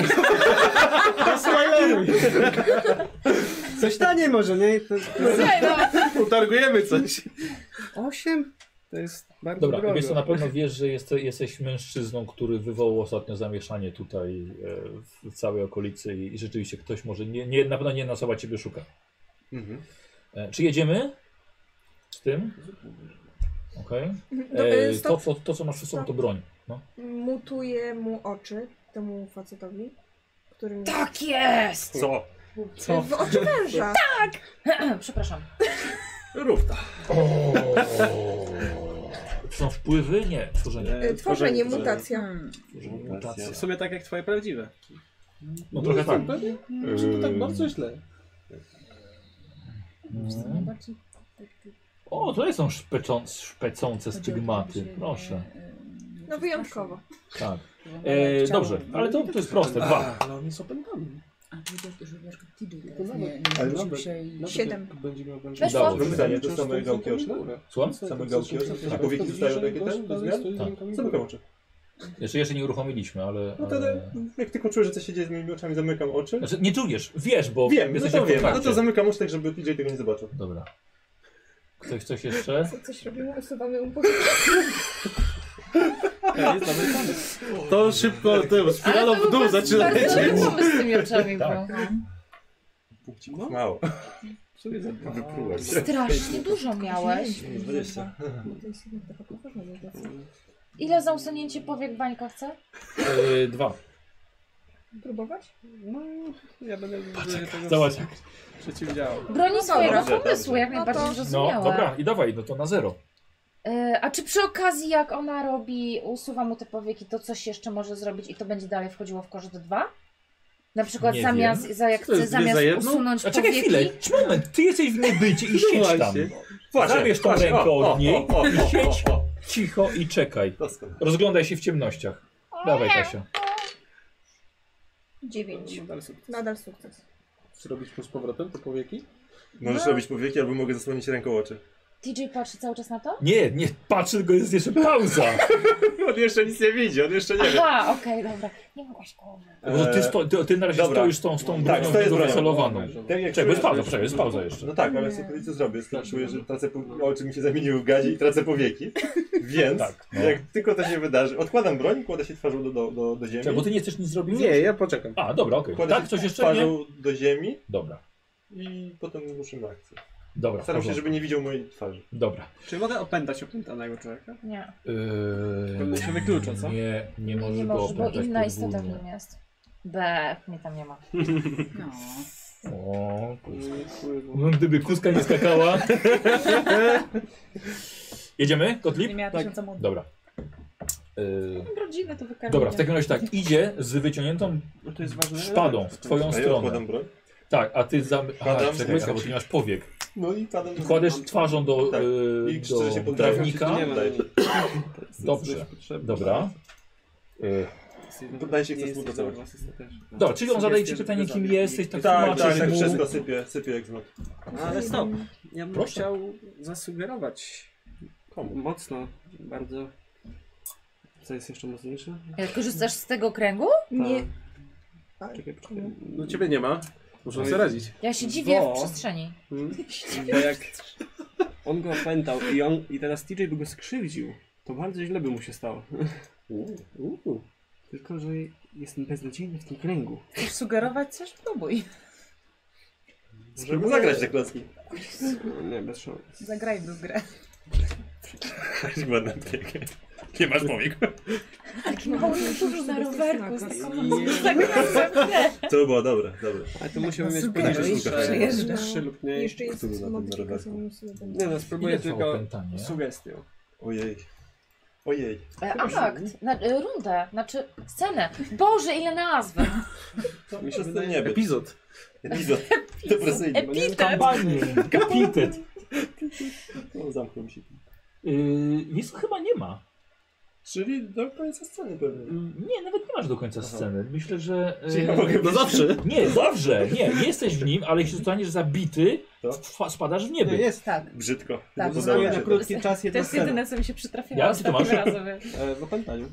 Speaker 4: Coś taniej może, nie? To,
Speaker 3: Słuchaj, no.
Speaker 7: Utargujemy coś.
Speaker 4: Osiem? To jest bardzo
Speaker 1: Dobra,
Speaker 4: drogo.
Speaker 1: wiesz co, na pewno wiesz, że jeste- jesteś mężczyzną, który wywołał ostatnio zamieszanie tutaj e, w całej okolicy i, i rzeczywiście ktoś może, nie, nie, na pewno nie jedna osoba ciebie szuka.
Speaker 6: Mhm.
Speaker 1: E, czy jedziemy z tym? Okej.
Speaker 9: No,
Speaker 1: E,
Speaker 9: y,
Speaker 1: To,
Speaker 9: Stop,
Speaker 1: co- to, co masz przed sobą, to broń. No.
Speaker 9: mutuję mu oczy, temu facetowi, którym...
Speaker 3: Tak jest!
Speaker 6: Co?
Speaker 9: Co? W oczy węża.
Speaker 3: Przepraszam.
Speaker 6: Rówta.
Speaker 1: Czy są wpływy? Nie, tworzenie.
Speaker 9: Y, Tworzenie, mutacja.
Speaker 8: Hmm.
Speaker 1: tworzenie E, mutacja.
Speaker 6: mutacja.
Speaker 2: W sumie tak jak twoje prawdziwe.
Speaker 1: No trochę tak.
Speaker 7: Pewnie? Czy to tak bardzo źle?
Speaker 8: Hmm.
Speaker 1: Mm. O, tutaj są szpecąc, szpecące stygmaty. Proszę.
Speaker 9: No wyjątkowo.
Speaker 1: Tak. E, dobrze, ale to, to jest proste. Dwa.
Speaker 7: A, Ale on jest opętany.
Speaker 8: A powiedział, że wiesz, TJ
Speaker 7: To
Speaker 8: teraz
Speaker 7: nawet-
Speaker 8: nie,
Speaker 6: ale
Speaker 8: nie musi
Speaker 7: nawet-
Speaker 8: się i...
Speaker 7: Nawet
Speaker 9: Siedem.
Speaker 7: jak Będzie miał
Speaker 3: Weszło.
Speaker 1: Udało się.
Speaker 6: Pytanie, to same gałki oczne?
Speaker 1: Słucham?
Speaker 6: Same gałki oczne? A powieki zostają takie ten, bez zmian?
Speaker 1: Tak.
Speaker 6: Zamykam oczy.
Speaker 1: Jeszcze, jeszcze nie uruchomiliśmy, ale...
Speaker 6: No wtedy,
Speaker 1: ale...
Speaker 6: jak tylko czuję, że coś się dzieje z moimi oczami, zamykam oczy.
Speaker 1: Znaczy, nie czujesz, wiesz, bo
Speaker 6: Wiem, no
Speaker 1: jesteście
Speaker 6: to
Speaker 1: w
Speaker 6: wiem. No
Speaker 1: kontakcie.
Speaker 6: to zamykam oczy, tak żeby DJ tego nie zobaczył.
Speaker 1: Dobra. Ktoś coś jeszcze?
Speaker 9: Co, coś robimy? Usuwamy upokorzenie.
Speaker 7: To szybko, to spiralą w dół zaczyna
Speaker 3: Bardzo dobry pomysł z tymi oczami był.
Speaker 6: Punkcików mało. Wyprułem się.
Speaker 3: Strasznie dużo miałeś.
Speaker 6: Minus 20.
Speaker 11: To jest jednak taka poważna mutacja.
Speaker 3: Ile za usunięcie powiek bańka chce?
Speaker 1: E, dwa.
Speaker 11: Próbować?
Speaker 2: No, ja będę tego
Speaker 1: Zobacz.
Speaker 2: przeciwdziałał.
Speaker 3: Broni swojego
Speaker 6: dobrze,
Speaker 3: pomysłu,
Speaker 6: dobrze.
Speaker 3: jak najbardziej
Speaker 9: No to-
Speaker 1: No,
Speaker 3: zrozumiałe.
Speaker 1: dobra, i dawaj, no to na zero.
Speaker 3: E, A czy przy okazji, jak ona robi, usuwa mu te powieki, to coś jeszcze może zrobić i to będzie dalej wchodziło w koszt 2? Na przykład
Speaker 1: Nie
Speaker 3: zamiast, za jak
Speaker 7: Co to jest,
Speaker 3: chce,
Speaker 7: dwie
Speaker 3: zamiast
Speaker 7: za jedną?
Speaker 3: usunąć
Speaker 1: A czekaj
Speaker 3: powieki,
Speaker 1: chwilę, czy moment, ty jesteś w niebycie i siedź tam.
Speaker 7: właśnie.
Speaker 6: Patrz,
Speaker 1: Zabierz tą
Speaker 6: patrz,
Speaker 1: rękę
Speaker 6: o,
Speaker 1: od
Speaker 6: o,
Speaker 1: niej
Speaker 6: o, o,
Speaker 1: i
Speaker 6: o,
Speaker 1: siedź.
Speaker 6: o, o.
Speaker 1: Cicho i czekaj.
Speaker 6: Doskonale.
Speaker 1: Rozglądaj się w ciemnościach. Dawaj, Kasia.
Speaker 9: Dziewięć.
Speaker 7: Nadal sobie
Speaker 9: Nadal sukces.
Speaker 7: Zrobić mu z powrotem te powieki?
Speaker 6: Możesz robić powieki, albo mogę zasłonić ręką oczy.
Speaker 3: TJ patrzy cały czas na to?
Speaker 1: Nie, nie, patrz, tylko jest jeszcze pauza.
Speaker 6: On jeszcze nic nie widzi, on jeszcze nie wie.
Speaker 3: Aha, okej, dobra. Nie mogłaś głowy.
Speaker 1: Bo ty, sto, ty, ty na razie
Speaker 6: E, Dobra.
Speaker 1: stoisz z tą, z tą
Speaker 6: Tak,
Speaker 1: bronią
Speaker 6: stoję z bronią.
Speaker 1: wycelowaną.
Speaker 6: Tak, jak
Speaker 1: Czekaj,
Speaker 6: czuję,
Speaker 1: jest pauza,
Speaker 6: że-
Speaker 1: czekaj, jest pauza jeszcze.
Speaker 6: No tak, ale sobie co zrobię, jest tak czuję, że tracę po... oczy mi się zamieniły w gazie i tracę powieki. Więc
Speaker 1: Tak, no.
Speaker 6: jak tylko to się wydarzy, odkładam broń, kładę się twarzą do, do, do, do ziemi.
Speaker 1: Czekaj, bo ty nie chcesz nic zrobić?
Speaker 7: Nie, ja poczekam.
Speaker 1: A, dobra, okej.
Speaker 6: Kładę
Speaker 1: Tak,
Speaker 6: się
Speaker 1: coś jeszcze nie?
Speaker 6: twarzą do ziemi
Speaker 1: Dobra,
Speaker 6: i potem ruszymy akcję.
Speaker 1: No, dobra.
Speaker 6: Staram się,
Speaker 1: porządku.
Speaker 6: żeby nie widział mojej twarzy.
Speaker 1: Dobra.
Speaker 2: Czy mogę opętać opętanego człowieka?
Speaker 3: Nie,
Speaker 1: Yy,
Speaker 2: Pewnie się wyklucza, co?
Speaker 1: Nie, nie
Speaker 3: nie,
Speaker 1: możesz
Speaker 3: nie
Speaker 1: go
Speaker 3: możesz, bo
Speaker 1: opętać
Speaker 3: inna istota w
Speaker 1: podwójnie.
Speaker 3: nim jest. Be, mnie tam nie ma.
Speaker 8: No.
Speaker 1: O, kuska. No, gdyby kuska nie skakała. Jedziemy, Kotlip?
Speaker 12: Nie miała tysiąca młodych.
Speaker 1: Dobra.
Speaker 3: Yy,
Speaker 1: Y,
Speaker 12: Rodziny to wykarmienie.
Speaker 1: Dobra, w takim razie tak, idzie z wyciągniętą
Speaker 6: No
Speaker 1: szpadą w twoją
Speaker 6: A ja
Speaker 1: stronę.
Speaker 6: układam broń.
Speaker 1: Tak, a ty zam... Aha,
Speaker 6: Wkładam,
Speaker 1: czekaj,
Speaker 6: tak.
Speaker 1: bo ty nie masz powiek.
Speaker 6: No i padam.
Speaker 1: I kładziesz twarzą do,
Speaker 6: Tak.
Speaker 1: y,
Speaker 6: I krzyczę się
Speaker 1: do
Speaker 6: poddaję.
Speaker 1: trawnika.
Speaker 6: Nie ma na niej.
Speaker 1: Dobrze, dobra. Y,
Speaker 6: Poddaję się, chcę współpracować.
Speaker 1: Dobra, czyli on zadaje ci pytanie, kim jesteś, tak
Speaker 6: Tak,
Speaker 1: tłumaczysz
Speaker 6: tak, tak,
Speaker 1: mu.
Speaker 6: wszystko sypię, sypię jak zmot.
Speaker 2: No, Ale stop. Ja bym
Speaker 1: Proszę.
Speaker 2: chciał zasugerować mocno, bardzo. Co jest jeszcze mocniejsze?
Speaker 3: Jak Korzystasz z tego kręgu?
Speaker 2: Nie.
Speaker 13: Czekaj,
Speaker 7: No ciebie nie ma. Muszę
Speaker 2: No
Speaker 7: sobie
Speaker 2: i-
Speaker 7: radzić.
Speaker 3: Ja się dziwię
Speaker 2: Bo-
Speaker 3: w przestrzeni.
Speaker 2: Mm. Bo jak on go opętał i on i teraz TJ by go skrzywdził, to bardzo źle by mu się stało. Tylko, że jestem beznadziejny w tym kręgu.
Speaker 8: Chcesz sugerować coś? Próbuj.
Speaker 6: Żeby zagrać tak- te klocki.
Speaker 2: No, Nie, bez szans.
Speaker 8: Zagraj w grę.
Speaker 6: Ładna piekę. Nie masz powiek.
Speaker 3: Taki mały już na rowerku z
Speaker 1: No
Speaker 3: taką
Speaker 6: To było dobre, dobre.
Speaker 2: Ale to musimy mieć
Speaker 6: Super,
Speaker 2: poniżej
Speaker 6: super.
Speaker 2: trzy-
Speaker 6: Przejeżdża.
Speaker 2: trzy lub mniej.
Speaker 9: Jeszcze jest
Speaker 6: Który na tym rowerku?
Speaker 2: Nie no, spróbuję
Speaker 1: Ile trwa
Speaker 2: tylko
Speaker 1: opętanie?
Speaker 2: sugestią.
Speaker 6: Ojej. Ojej.
Speaker 3: E, Akt, na, e, rundę, znaczy scenę. Boże, ile nazw!
Speaker 2: Mi się
Speaker 6: Przez
Speaker 2: wydaje,
Speaker 6: ten niebie.
Speaker 7: Epizod.
Speaker 6: Epizod. Depresyjny. bo nie-
Speaker 3: Epitet!
Speaker 1: Kapitet.
Speaker 6: No, zamknął mi się.
Speaker 1: Yy, więc chyba nie ma. Y,
Speaker 6: Czyli do końca sceny pewnie.
Speaker 1: Nie, nawet nie masz do końca sceny. Myślę, że. e,
Speaker 6: Czyli ja mogę
Speaker 7: No zawsze.
Speaker 1: Nie, zawsze! Nie, jesteś w nim, ale jeśli zostaniesz zabity,
Speaker 6: To?
Speaker 1: fa- spadasz w niebie.
Speaker 8: Jest tak.
Speaker 6: Brzydko.
Speaker 8: Tak,
Speaker 6: Nie
Speaker 8: zostaje
Speaker 6: podoba mi się
Speaker 8: na
Speaker 6: to.
Speaker 8: krótko.
Speaker 2: Krótki czas,
Speaker 12: To
Speaker 2: jedna
Speaker 12: jest
Speaker 2: scena.
Speaker 12: jedyne, co mi się przytrafiło
Speaker 1: tak. Ja? Ty to masz?
Speaker 12: ostatnim razem.
Speaker 2: E, W opętaniu.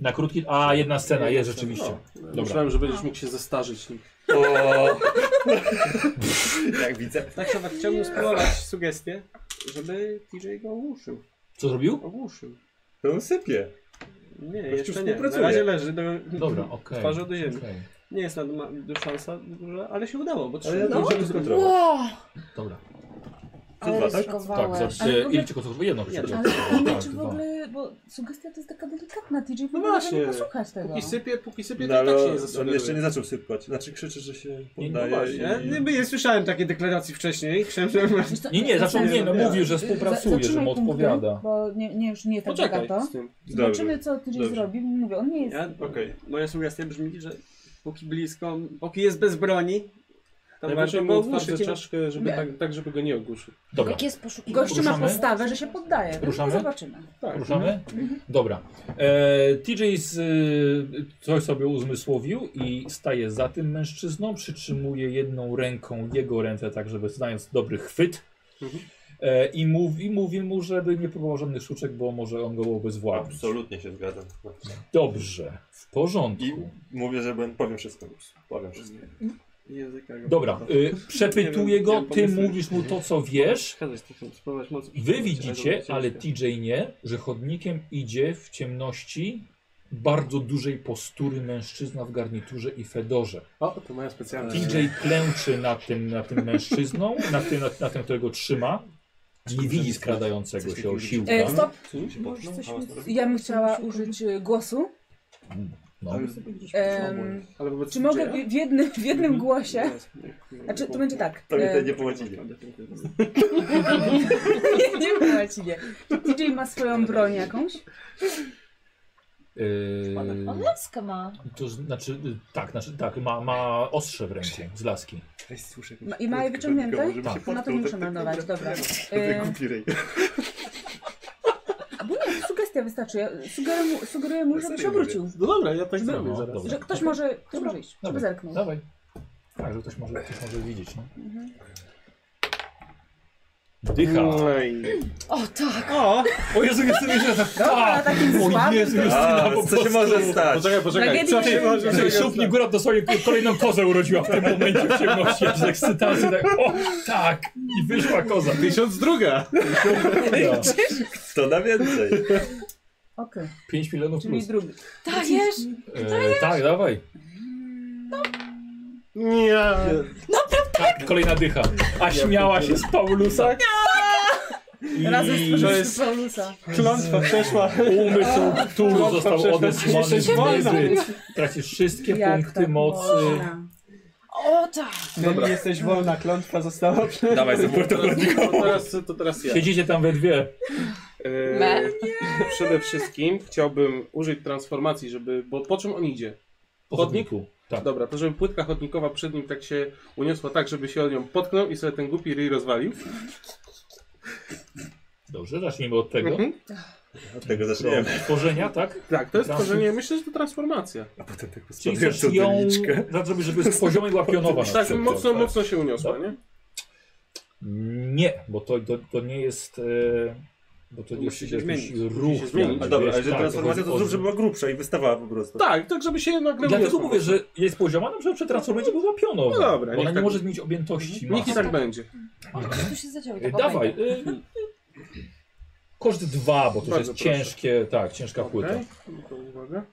Speaker 1: Na krótki. A, jedna scena, jest rzeczywiście.
Speaker 7: no.
Speaker 1: Dobra.
Speaker 7: Myślałem, że będziesz mógł się zestarzyć.
Speaker 6: O! Jak widzę.
Speaker 2: Tak, Sowak, chciałbym spróbować sugestię, żeby TJ go ogłuszył.
Speaker 1: Co zrobił?
Speaker 2: Ogłuszył.
Speaker 6: To on sypie.
Speaker 2: Nie,
Speaker 6: Gościu
Speaker 2: jeszcze nie. Na
Speaker 6: współpracuje.
Speaker 2: razie leży do,
Speaker 1: Dobra, okej.
Speaker 2: twarzą do ziemi.
Speaker 1: okej.
Speaker 2: Nie jest na ma- duża szansa, duża, ale się udało, bo
Speaker 6: Ale ja
Speaker 2: trzy no,
Speaker 6: No, to muszę skontrolować.
Speaker 3: Wow,
Speaker 1: Dobra.
Speaker 3: ale
Speaker 6: dwa, tak?
Speaker 1: Tak,
Speaker 3: ryzykowałeś.
Speaker 1: za,
Speaker 8: Ale w
Speaker 1: e,
Speaker 8: ogóle-
Speaker 1: ile tylko co Jedno
Speaker 2: Jedno.
Speaker 1: przeczytałem.
Speaker 8: Ale nie,
Speaker 1: Tak,
Speaker 8: czy w
Speaker 1: dwa.
Speaker 8: ogóle, bo sugestia to jest taka delikatna, TJ w
Speaker 7: No
Speaker 8: ogóle może nie
Speaker 7: właśnie.
Speaker 8: posłuchać tego.
Speaker 7: Póki sypie, póki sypie,
Speaker 6: No
Speaker 7: to i tak
Speaker 6: ale
Speaker 7: się nie
Speaker 6: on
Speaker 7: zasugeruje.
Speaker 6: jeszcze nie zaczął sypać. Znaczy krzyczy, że się
Speaker 2: No
Speaker 6: poddaje.
Speaker 2: właśnie,
Speaker 6: i-
Speaker 2: nie, nie słyszałem takiej deklaracji wcześniej. Chciałem, żeby...
Speaker 8: Wiesz co,
Speaker 1: Nie, nie, zaczął nie, no
Speaker 6: Nie.
Speaker 1: mówił, że współpracuje, że
Speaker 8: zatrzymaj
Speaker 1: mu
Speaker 8: punkty,
Speaker 1: odpowiada.
Speaker 8: Bo nie, nie, już nie tak
Speaker 7: Poczekaj
Speaker 8: bogato.
Speaker 7: z tym.
Speaker 8: Zobaczymy, co TJ
Speaker 6: Dobrze.
Speaker 8: zrobi. Mówię, on nie jest...
Speaker 2: Ja,
Speaker 6: Okej.
Speaker 2: Moja sugestia brzmi, że póki blisko, póki jest bez broni, to
Speaker 7: Ja
Speaker 2: warto
Speaker 7: bym
Speaker 2: go
Speaker 7: mu otwartą
Speaker 2: ogłuszyć.
Speaker 7: czaszkę, żeby
Speaker 8: Nie.
Speaker 7: tak, tak, żeby go nie ogłuszył.
Speaker 1: Dobra,
Speaker 3: Jak jest poszukiwany?
Speaker 8: Gościu ma
Speaker 1: Ruszamy?
Speaker 8: postawę, że się poddaje. No,
Speaker 1: Ruszamy?
Speaker 8: Zobaczymy.
Speaker 7: Tak.
Speaker 1: ruszamy? Dobra. E, TJ z, e, coś sobie uzmysłowił i staje za tym mężczyzną, przytrzymuje jedną ręką jego ręce, tak żeby znając dobry chwyt.
Speaker 7: Mhm.
Speaker 1: E, I mówi, mówi mu, żeby nie próbował żadnych sztuczek, bo może on go obezwładnić.
Speaker 6: Absolutnie się zgadzam.
Speaker 1: Dobrze, w porządku.
Speaker 6: I mówię, że będę, powiem wszystko. Powiem wszystko.
Speaker 2: Języka go.
Speaker 1: Dobra, y,
Speaker 2: Nie
Speaker 1: przepytuje
Speaker 2: wiem, nie
Speaker 1: go,
Speaker 2: mam
Speaker 1: ty
Speaker 2: pomysłu.
Speaker 1: mówisz mu to, co wiesz.
Speaker 2: Przeszkadzać trochę, spróbować mocno.
Speaker 1: Wy widzicie, ale TJ nie, że chodnikiem idzie w ciemności bardzo dużej postury mężczyzna w garniturze i fedorze.
Speaker 7: O, to moja specjalna.
Speaker 1: TJ klęczy nad tym, nad tym mężczyzną, nad tym, nad, nad tym, którego trzyma. Nie widzi skradającego się o siłkę.
Speaker 8: E, stop,
Speaker 9: Możesz coś mi...
Speaker 8: ja bym chciała użyć e, głosu.
Speaker 1: No.
Speaker 8: Em,
Speaker 2: Ale wobec No,
Speaker 8: czy mogę w w jednym, w jednym głosie?
Speaker 2: Mhm. Nie,
Speaker 8: Znaczy, to będzie tak.
Speaker 6: To mi
Speaker 8: e,
Speaker 6: tutaj nie pomocili.
Speaker 8: nie, nie mówię ci nie. Czy TJ ma swoją broń jakąś?
Speaker 1: Yy,
Speaker 3: On laskę ma.
Speaker 1: to znaczy, y, tak, znaczy, tak, ma, ma ostrze w ręku z laski.
Speaker 8: Ma- No I ma je wyciągnięte?
Speaker 1: Tak.
Speaker 8: No to muszę meldować, dobra. E, Albo nie, sugestia wystarczy. Ja sugeruję mu, sugeruję mu żeby się obrócił.
Speaker 7: No dobra, ja tak zrobię
Speaker 1: No,
Speaker 7: zaraz.
Speaker 1: dobra.
Speaker 8: Że ktoś może, ktoś może iść, żeby
Speaker 1: Dobra. No,
Speaker 8: zerknął.
Speaker 1: Dawaj. Tak, że ktoś może, ktoś może widzieć. No. Dycha.
Speaker 3: O tak!
Speaker 2: O!
Speaker 1: O Jezu, jestem jeszcze tak.
Speaker 8: Dobra, takim
Speaker 1: O
Speaker 8: słabym.
Speaker 1: Jezu,
Speaker 6: A,
Speaker 1: Justyna, po
Speaker 6: co się
Speaker 1: prostu.
Speaker 6: może stać?
Speaker 7: Poczekaj, poczekaj.
Speaker 8: Tragedii
Speaker 7: Co się
Speaker 8: nie
Speaker 7: może
Speaker 1: Że Szupni góra to sobie kolejną kozę urodziła w tym momencie w ciemności, aż z ekscytacji tak, o tak, i wyszła koza.
Speaker 7: Tysiąc druga.
Speaker 6: To na więcej.
Speaker 8: Okej,
Speaker 1: Pięć milionów
Speaker 8: czyli
Speaker 1: plus.
Speaker 8: drugi.
Speaker 3: Dajesz!
Speaker 1: E, tak, dawaj.
Speaker 7: Nie.
Speaker 1: Tak, kolejna dycha. A śmiała się z Paulusa. I
Speaker 8: Razem z
Speaker 7: To
Speaker 8: twarzą
Speaker 7: jest-
Speaker 8: Paulusa.
Speaker 7: Klątwa przeszła.
Speaker 1: umysł, który został
Speaker 7: przeszła.
Speaker 1: odesłany
Speaker 7: Jesteś
Speaker 1: w
Speaker 7: wolna.
Speaker 1: niebyt. Tracisz wszystkie
Speaker 8: Jak
Speaker 1: punkty
Speaker 8: tak
Speaker 1: mocy.
Speaker 8: można?
Speaker 3: O, tak, robota!
Speaker 2: Dobra. Jesteś wolna, klątwa została przed...
Speaker 1: Dawaj, zabór to
Speaker 7: To teraz, to teraz ja.
Speaker 1: Siedzicie tam we dwie.
Speaker 7: Eee,
Speaker 3: Me?
Speaker 7: przede wszystkim chciałbym użyć transformacji, żeby. Bo po czym on idzie?
Speaker 1: Po
Speaker 7: Chodnik?
Speaker 1: chodniku. Tak.
Speaker 7: Dobra, to żeby płytka chodnikowa przed nim tak się uniosła tak, żeby się o nią potknął i sobie ten głupi ryj rozwalił.
Speaker 1: Dobrze, zacznijmy od tego.
Speaker 7: Mhm.
Speaker 6: Od tego zaczniemy.
Speaker 1: Tworzenia, tak?
Speaker 7: Tak, to jest
Speaker 1: Trans-
Speaker 7: tworzenie, myślę, że to transformacja.
Speaker 6: A potem tak
Speaker 1: Czyli
Speaker 6: postawiam
Speaker 1: chcesz
Speaker 6: tą
Speaker 1: ją,
Speaker 6: doniczkę.
Speaker 1: żeby, żeby z poziomu była pionowa. na
Speaker 7: Tak,
Speaker 1: przykład,
Speaker 7: mocno,
Speaker 1: tak?
Speaker 7: mocno się uniosła, nie?
Speaker 1: Nie, bo to, to, to nie jest... E, bo to
Speaker 7: Musi
Speaker 1: jest
Speaker 7: się
Speaker 1: jakiś
Speaker 7: zmienić.
Speaker 1: ruch.
Speaker 7: Musi się zmienić.
Speaker 1: jakby,
Speaker 6: A No, dobra,
Speaker 1: wiesz,
Speaker 6: ale jeżeli
Speaker 1: tak,
Speaker 6: transformacja to
Speaker 1: chodzi o-
Speaker 6: zrób, żeby była grubsza i wystawała po prostu.
Speaker 7: Tak, tak, żeby się nagle
Speaker 1: Dlatego
Speaker 7: uniosła.
Speaker 1: mówię, że jest pozioma, no że przetransformuje, żeby była pionowa.
Speaker 7: No
Speaker 1: bo
Speaker 7: dobra, niech
Speaker 1: ona nie
Speaker 7: tak
Speaker 1: może
Speaker 7: będzie.
Speaker 1: zmienić objętości
Speaker 7: Niech i
Speaker 1: masy.
Speaker 7: tak będzie.
Speaker 3: O, coś tu się zadziało.
Speaker 1: E, Dawaj. Y, koszt dwa, bo to już
Speaker 7: Bardzo
Speaker 1: jest
Speaker 7: proszę.
Speaker 1: ciężkie, tak, ciężka płyta.
Speaker 7: Okej, no to uwaga.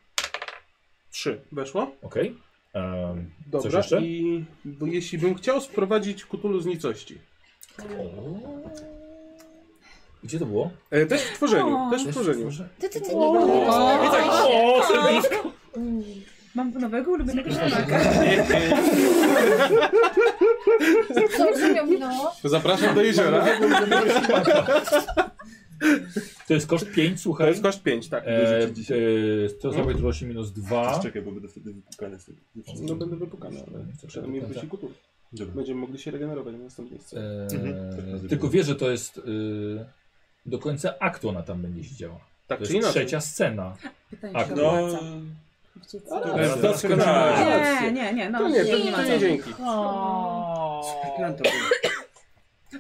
Speaker 7: Trzy, weszło?
Speaker 1: Okej. Em, coś
Speaker 7: Dobra,
Speaker 1: jeszcze?
Speaker 7: i bo jeśli bym chciał sprowadzić Kutulu z nicości.
Speaker 1: O. Gdzie to było?
Speaker 7: E, też w tworzeniu,
Speaker 3: O.
Speaker 7: też w tworzeniu.
Speaker 1: Może-
Speaker 3: Ty, ty, ty.
Speaker 1: O, I tak, o, serduszko.
Speaker 11: Mam nowego ulubionego
Speaker 3: Co, No. co miał minęło?
Speaker 7: Zapraszam do jeziora.
Speaker 1: To jest koszt 5,
Speaker 7: To
Speaker 1: słuchaj.
Speaker 7: jest koszt 5, tak.
Speaker 1: E, e, to sobie trochę minus 2.
Speaker 6: Czekaj, bo będę wtedy wypukany z tego.
Speaker 7: No będę wypukany, ale
Speaker 1: Nie chcę
Speaker 7: przynajmniej
Speaker 1: przegadać.
Speaker 7: wróci Kutulu.
Speaker 6: Dobra.
Speaker 7: Będziemy mogli się regenerować na następnej scenie.
Speaker 1: E, tylko wiesz, że to jest e, do końca aktu ona tam będzie siedziała.
Speaker 7: Tak
Speaker 1: To
Speaker 7: czy
Speaker 1: jest
Speaker 7: inaczej. E,
Speaker 1: trzecia scena.
Speaker 8: Pytanie
Speaker 1: Tak,
Speaker 8: się
Speaker 1: no.
Speaker 8: opłaca.
Speaker 7: Ale
Speaker 6: To jest
Speaker 7: doskonałe.
Speaker 8: Nie, nie, nie, no
Speaker 7: To nie, to,
Speaker 8: nie
Speaker 7: to
Speaker 8: ma
Speaker 7: nie
Speaker 8: co.
Speaker 7: dzięki.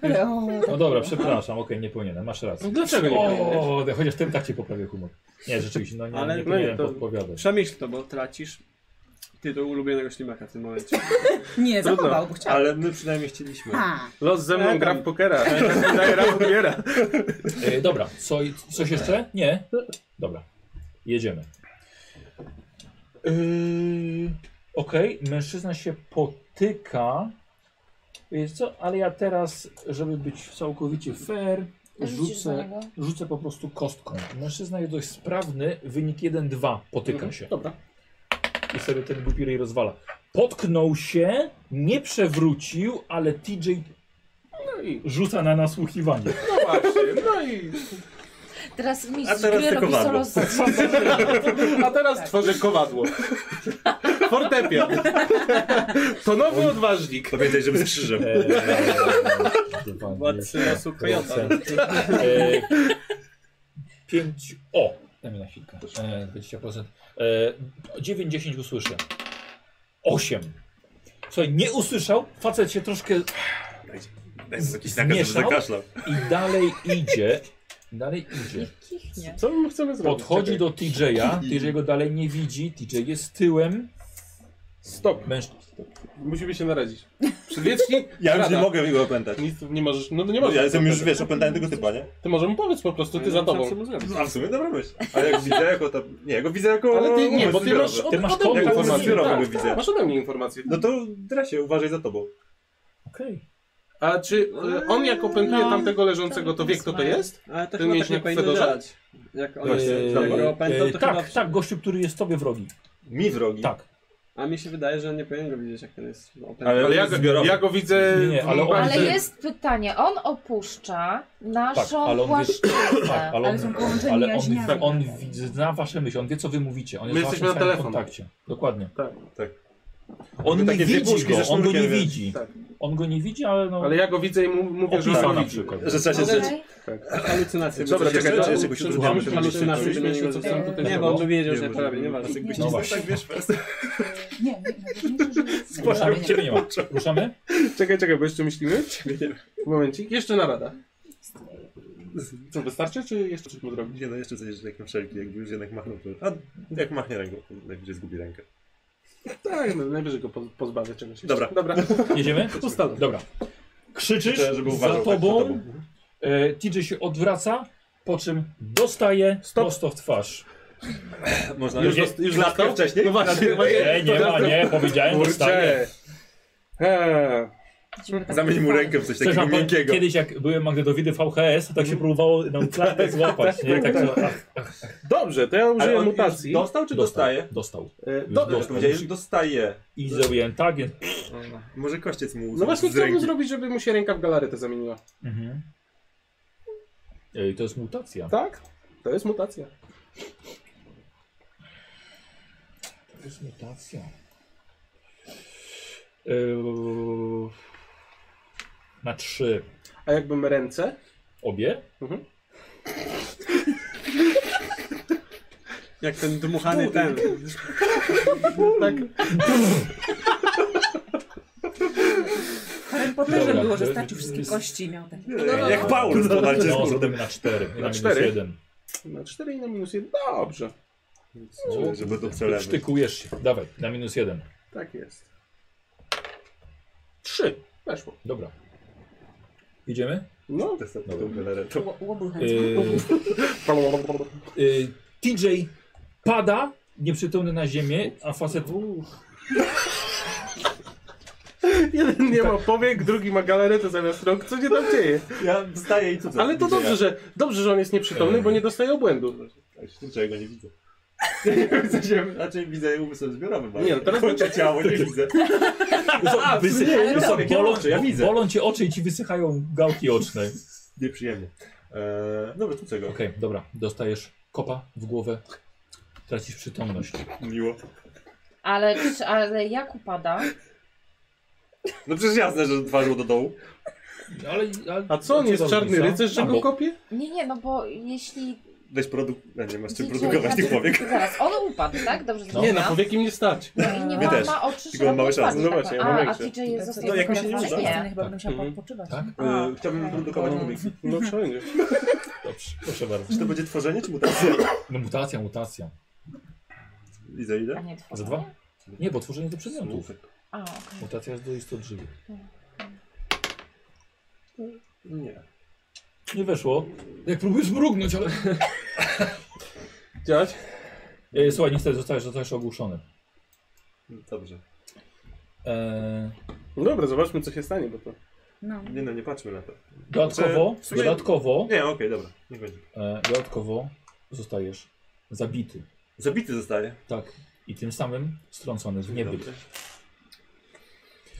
Speaker 8: Ale o,
Speaker 1: No dobra, przepraszam, okej, nie powinienem, masz
Speaker 2: No
Speaker 1: rację.
Speaker 7: Dlaczego nie powinieneś?
Speaker 1: O, chociaż w tym tak ci poprawię humor. Nie, rzeczywiście, no nie,
Speaker 2: Ale-
Speaker 1: nie
Speaker 2: no
Speaker 1: powinienem
Speaker 7: nie, to-
Speaker 1: podpowiadać.
Speaker 2: Przemyśl to, bo tracisz tytuł ulubionego ślimaka w tym momencie.
Speaker 8: Nie,
Speaker 7: Trudno.
Speaker 8: zachował, bo chciał.
Speaker 6: Ale my przynajmniej chcieliśmy.
Speaker 8: Ha.
Speaker 7: Los ze mną
Speaker 2: Egan.
Speaker 7: gra w pokera. Daje raz odbiera.
Speaker 1: E, dobra, co, coś jeszcze? Nie? Dobra, jedziemy. Yy, Okej, mężczyzna się potyka. Wiesz co, ale ja teraz, żeby być całkowicie fair,
Speaker 3: Rzucisz do
Speaker 1: rzucę,
Speaker 3: niego.
Speaker 1: rzucę po prostu kostką. Mężczyzna jest dość sprawny, wynik 1-2, potyka się.
Speaker 7: Dobra.
Speaker 1: I sobie ten głupi ryj rozwala. Potknął się, nie przewrócił, ale TJ
Speaker 7: No i
Speaker 1: rzuca na nasłuchiwanie.
Speaker 7: no właśnie, no i...
Speaker 3: Teraz
Speaker 6: A
Speaker 3: mistrz
Speaker 6: teraz
Speaker 3: gry
Speaker 6: tylko
Speaker 3: robi solo
Speaker 6: wadło.
Speaker 3: z...
Speaker 7: A teraz tworzę kowadło. Fortepian. Tonowy odważnik.
Speaker 6: Pamiętaj, żeby z krzyżem.
Speaker 1: Eee, No,
Speaker 2: Władcy losu Kojota.
Speaker 1: Eee, 5 o. Daj mi na chwilkę. Eee, 20%. Eee, 9, 10 usłyszę. 8. Słuchaj, nie usłyszał, facet się troszkę
Speaker 6: Daj mu jakiś nakaz, żeby
Speaker 1: Zmieszał?
Speaker 6: zakaszlał.
Speaker 1: i dalej idzie. Dalej idzie.
Speaker 14: Niech kichnie.
Speaker 7: Co my chcemy zrobić?
Speaker 1: Podchodzi
Speaker 7: Czekaj.
Speaker 1: do TJ'a, TJ go dalej nie widzi, TJ jest tyłem.
Speaker 7: Stop.
Speaker 1: Męż...
Speaker 7: Musimy się narazić. Przedwieczni?
Speaker 6: Ja już nie
Speaker 7: Rada.
Speaker 6: mogę go opętać.
Speaker 7: Nic nie możesz, no to nie
Speaker 6: No,
Speaker 7: możesz.
Speaker 6: ja jestem już, wiesz, opętany tego typa, nie?
Speaker 7: Ty może mu powiedz po prostu,
Speaker 2: No
Speaker 7: ty za tobą.
Speaker 6: A w sumie dobra myśl. Ale jak widzę jako ta... Nie, ja go widzę jako...
Speaker 7: Ale ty nie, bo ty
Speaker 6: zbiorowy.
Speaker 7: masz, od,
Speaker 1: Ty masz
Speaker 7: ode mnie
Speaker 1: kontakt
Speaker 7: informację.
Speaker 6: zbiorowy,
Speaker 7: Tak,
Speaker 6: widzę.
Speaker 7: tak, Masz ode mnie informację.
Speaker 6: No to drasie, uważaj za tobą.
Speaker 1: Okej.
Speaker 7: A czy e, on jak opętuje
Speaker 2: No.
Speaker 7: tamtego leżącego, to wie kto
Speaker 3: No.
Speaker 7: to jest?
Speaker 2: Ale to
Speaker 7: Ten
Speaker 2: chyba tak
Speaker 7: mięśnik
Speaker 2: nie
Speaker 7: w
Speaker 2: powinno
Speaker 7: Fedorze?
Speaker 2: działać. Jak on
Speaker 6: Właśnie,
Speaker 2: jest,
Speaker 6: dobra.
Speaker 2: jak go opętał,
Speaker 1: Eee,
Speaker 2: to chyba...
Speaker 1: tak, tak, gościu, który jest tobie wrogi.
Speaker 6: Mi wrogi.
Speaker 1: Tak.
Speaker 2: A mi się wydaje, że on nie powinien go widzieć, jak ten jest opętany.
Speaker 6: Ale-
Speaker 7: Ale ja,
Speaker 6: jest zbiorowy.
Speaker 7: ja go widzę...
Speaker 1: Nie, nie,
Speaker 7: w
Speaker 1: ale on-
Speaker 3: Ale
Speaker 7: bardzo-
Speaker 3: jest pytanie, on opuszcza
Speaker 1: Tak,
Speaker 3: naszą
Speaker 1: ale on wie,
Speaker 3: płaszczyznę.
Speaker 1: tak, ale on,
Speaker 8: Ale są połączeni
Speaker 1: ale on,
Speaker 8: jaźniami.
Speaker 1: on wi- zna wasze myśli, on wie co wy mówicie. On jest
Speaker 7: My
Speaker 1: w waszym
Speaker 7: jesteśmy na
Speaker 1: samym
Speaker 7: telefon.
Speaker 1: kontakcie. Dokładnie.
Speaker 7: Tak,
Speaker 6: tak.
Speaker 1: On
Speaker 6: Mamy
Speaker 1: nie
Speaker 6: takie dwie
Speaker 1: widzi
Speaker 6: puszki
Speaker 1: go, on
Speaker 6: ze
Speaker 1: go nie
Speaker 6: sznurkiem, więc-
Speaker 1: widzi.
Speaker 7: tak.
Speaker 1: On go nie widzi, ale no...
Speaker 7: Ale ja go widzę i mu, mówię, że on
Speaker 1: opisał
Speaker 7: go
Speaker 1: na
Speaker 7: widzi.
Speaker 1: przykład.
Speaker 6: Że trzeba się
Speaker 3: Okej.
Speaker 6: zrzec.
Speaker 2: Halucynacje.
Speaker 7: Dobra,
Speaker 2: będą się
Speaker 7: czekaj,
Speaker 2: działy.
Speaker 7: to-
Speaker 6: czy jeszcze
Speaker 2: Przeżyłam
Speaker 7: używamy
Speaker 6: coś
Speaker 2: Halucynacje
Speaker 7: czegoś?
Speaker 2: będą się co są tutaj.
Speaker 1: Nie,
Speaker 2: Nie,
Speaker 1: bo
Speaker 2: bo
Speaker 1: on
Speaker 2: on wiedział,
Speaker 6: że
Speaker 2: że
Speaker 6: prawie,
Speaker 2: prawie, nie
Speaker 6: nieważne.
Speaker 2: ważne.
Speaker 1: No właśnie.
Speaker 6: Tak, wiesz, bez...
Speaker 8: Nie, nie, najważniejsze, że...
Speaker 1: Ruszamy? Ciebie nie ma. Ruszamy?
Speaker 7: Czekaj, czekaj, bo jeszcze myślimy. Momencik, jeszcze narada. Co, wystarczy, czy jeszcze coś mu zrobić?
Speaker 6: Nie no, jeszcze coś, że jak na wszelki, jakby już jednak machnął to... A jak machnie ręką, to najwyżej zgubi rękę.
Speaker 7: Tak, no, najwyżej go poz- pozbawię czegoś. jeszcze.
Speaker 6: Dobra.
Speaker 7: Dobra.
Speaker 1: Jedziemy?
Speaker 7: Ustalmy.
Speaker 1: Dobra. Krzyczysz
Speaker 6: Życzę, żeby uważał
Speaker 1: za
Speaker 6: tak
Speaker 1: tobą,
Speaker 6: za tobą.
Speaker 1: E, TJ się odwraca, po czym dostaje
Speaker 7: Stop.
Speaker 1: prosto w twarz.
Speaker 6: Można
Speaker 7: Już,
Speaker 6: już...
Speaker 7: dost, już
Speaker 6: klatkę
Speaker 7: dostał?
Speaker 6: wcześniej?
Speaker 1: E,
Speaker 7: No właśnie.
Speaker 1: Nie, nie ma, nie, powiedziałem, dostaje.
Speaker 7: Kurczę. Eee,
Speaker 8: tak.
Speaker 6: Zamień mu rękę w coś takiego
Speaker 1: Przepraszam, pan-
Speaker 6: miękkiego.
Speaker 1: Kiedyś jak byłem magnetowidy VHS, to tak się próbowało nam klatę złapać. nie?
Speaker 7: tak,
Speaker 1: Tak,
Speaker 7: tak.
Speaker 1: że- ach,
Speaker 7: Dobrze, to ja
Speaker 6: Ale
Speaker 7: użyję
Speaker 6: on już
Speaker 7: mutacji.
Speaker 6: Dostał czy
Speaker 1: Dostał.
Speaker 6: dostaje?
Speaker 1: Dostał.
Speaker 7: E,
Speaker 1: Już
Speaker 6: Dobrze, że
Speaker 1: dostał.
Speaker 6: powiedziałeś, że dostaje.
Speaker 1: I zrobiłem tak, więc...
Speaker 6: Może kościec mu
Speaker 7: No właśnie
Speaker 6: z
Speaker 7: chciałbym
Speaker 6: ręki.
Speaker 7: zrobić, żeby mu się ręka w galaretę zamieniła.
Speaker 1: Mhm. Ej, to jest mutacja.
Speaker 7: Tak? To jest mutacja.
Speaker 1: To jest mutacja.
Speaker 6: E,
Speaker 1: Eee, Na trzy.
Speaker 7: A jakbym ręce?
Speaker 1: Obie?
Speaker 7: Mhm.
Speaker 4: Jak ten dmuchany ten.
Speaker 7: Tak.
Speaker 11: Harry Potterze
Speaker 1: Dobra,
Speaker 11: było, że
Speaker 1: to-
Speaker 11: starczył wszystkie kości miał takie.
Speaker 6: E, Jak Paulus to walczy z
Speaker 1: No,
Speaker 6: kurdem.
Speaker 1: zrobimy na cztery. i minus
Speaker 7: cztery?
Speaker 1: jeden.
Speaker 7: Na 4 No, i na minus 1. Dobrze.
Speaker 6: Żeby- Żeby to celem.
Speaker 1: Sztykujesz się. Dawaj, na minus jeden.
Speaker 7: Tak jest. 3. Weszło.
Speaker 1: Dobra. Idziemy?
Speaker 7: No.
Speaker 11: Ło- łobuz.
Speaker 1: Eee, Y, TJ pada nieprzytomny na ziemię, a facet
Speaker 7: Jeden nie ma powiek, drugi ma galaretę zamiast rąk. Co się tam dzieje?
Speaker 6: Ja zdaję i cudzę.
Speaker 7: Ale to dobrze, że, dobrze, że on jest nieprzytomny, bo nie dostaje obłędu.
Speaker 6: Kurczę, ja go nie widzę. W sensie, Raczej widzę umysł zbiorowy. bo
Speaker 7: Nie, no teraz-
Speaker 6: kończę ciało, nie widzę.
Speaker 1: A, wysy...
Speaker 6: nie,
Speaker 1: nie,
Speaker 6: nie,
Speaker 1: są,
Speaker 6: nie,
Speaker 1: bolą,
Speaker 6: oczy, ja widzę.
Speaker 1: bolą cię oczy i ci wysychają gałki oczne.
Speaker 6: Nieprzyjemnie. Eee, dobra, tu czego?
Speaker 1: Okej, dobra, dostajesz kopa w głowę, tracisz przytomność.
Speaker 6: Miło.
Speaker 3: Ale, czy- ale jak upada?
Speaker 6: No przecież jasne, że twarzą do dołu.
Speaker 1: Ale, ale,
Speaker 7: A co on jest
Speaker 1: za
Speaker 7: czarny
Speaker 1: różnica?
Speaker 7: rycerz, że
Speaker 1: A,
Speaker 7: go
Speaker 1: bo-
Speaker 7: kopie?
Speaker 3: Nie, nie, no bo jeśli...
Speaker 6: Weź produkt... Nie, nie masz czym
Speaker 3: DJ
Speaker 6: produkować tych
Speaker 3: znaczy-
Speaker 6: powiek.
Speaker 3: Zaraz, on upadł, tak? Dobrze
Speaker 1: No.
Speaker 7: Nie,
Speaker 3: zrozumiałam?
Speaker 7: na powieki mnie stać.
Speaker 3: No i nie
Speaker 6: Mnie
Speaker 3: ma,
Speaker 6: też.
Speaker 3: ma oczy
Speaker 6: Tylko mam mały
Speaker 3: szeroko
Speaker 6: czas.
Speaker 3: otwartych,
Speaker 7: No właśnie, ja
Speaker 3: tak?
Speaker 7: mam
Speaker 3: A, a
Speaker 7: większy.
Speaker 3: TJ
Speaker 11: To
Speaker 3: został
Speaker 11: jest
Speaker 6: jakoś
Speaker 11: taka
Speaker 6: nie
Speaker 11: fajna
Speaker 6: używa.
Speaker 11: scena, Chyba
Speaker 1: Tak.
Speaker 11: będę musiała
Speaker 1: Mhm.
Speaker 11: odpoczywać.
Speaker 1: Tak?
Speaker 6: Eee, chciałbym produkować powieki.
Speaker 7: No wszędzie.
Speaker 1: Dobrze, proszę bardzo.
Speaker 6: Czy to będzie tworzenie, czy mutacja?
Speaker 1: No, mutacja, mutacja.
Speaker 6: Idę,
Speaker 3: A
Speaker 6: idę.
Speaker 3: nie
Speaker 1: Za
Speaker 3: tworzenie?
Speaker 1: dwa? Nie, bo tworzenie do przedmiotów.
Speaker 3: A, okej.
Speaker 1: Mutacja jest do istot żywych.
Speaker 6: Nie.
Speaker 1: Nie weszło. Jak próbujesz mrugnąć, ale...
Speaker 7: Działać?
Speaker 1: E, Słuchaj, niestety zostajesz, zostajesz ogłuszony.
Speaker 6: Dobrze.
Speaker 1: E,
Speaker 7: No dobra, zobaczmy co się stanie, bo to...
Speaker 11: No.
Speaker 6: Nie no, nie patrzmy na to.
Speaker 1: dodatkowo,
Speaker 6: Znaczy, w sumie-
Speaker 1: dodatkowo,
Speaker 6: Nie, okej, dobra. Niech będzie.
Speaker 1: e, dodatkowo zostajesz zabity.
Speaker 6: Zabity zostaje.
Speaker 1: Tak. I tym samym strącony w niebyt.
Speaker 6: Dobrze.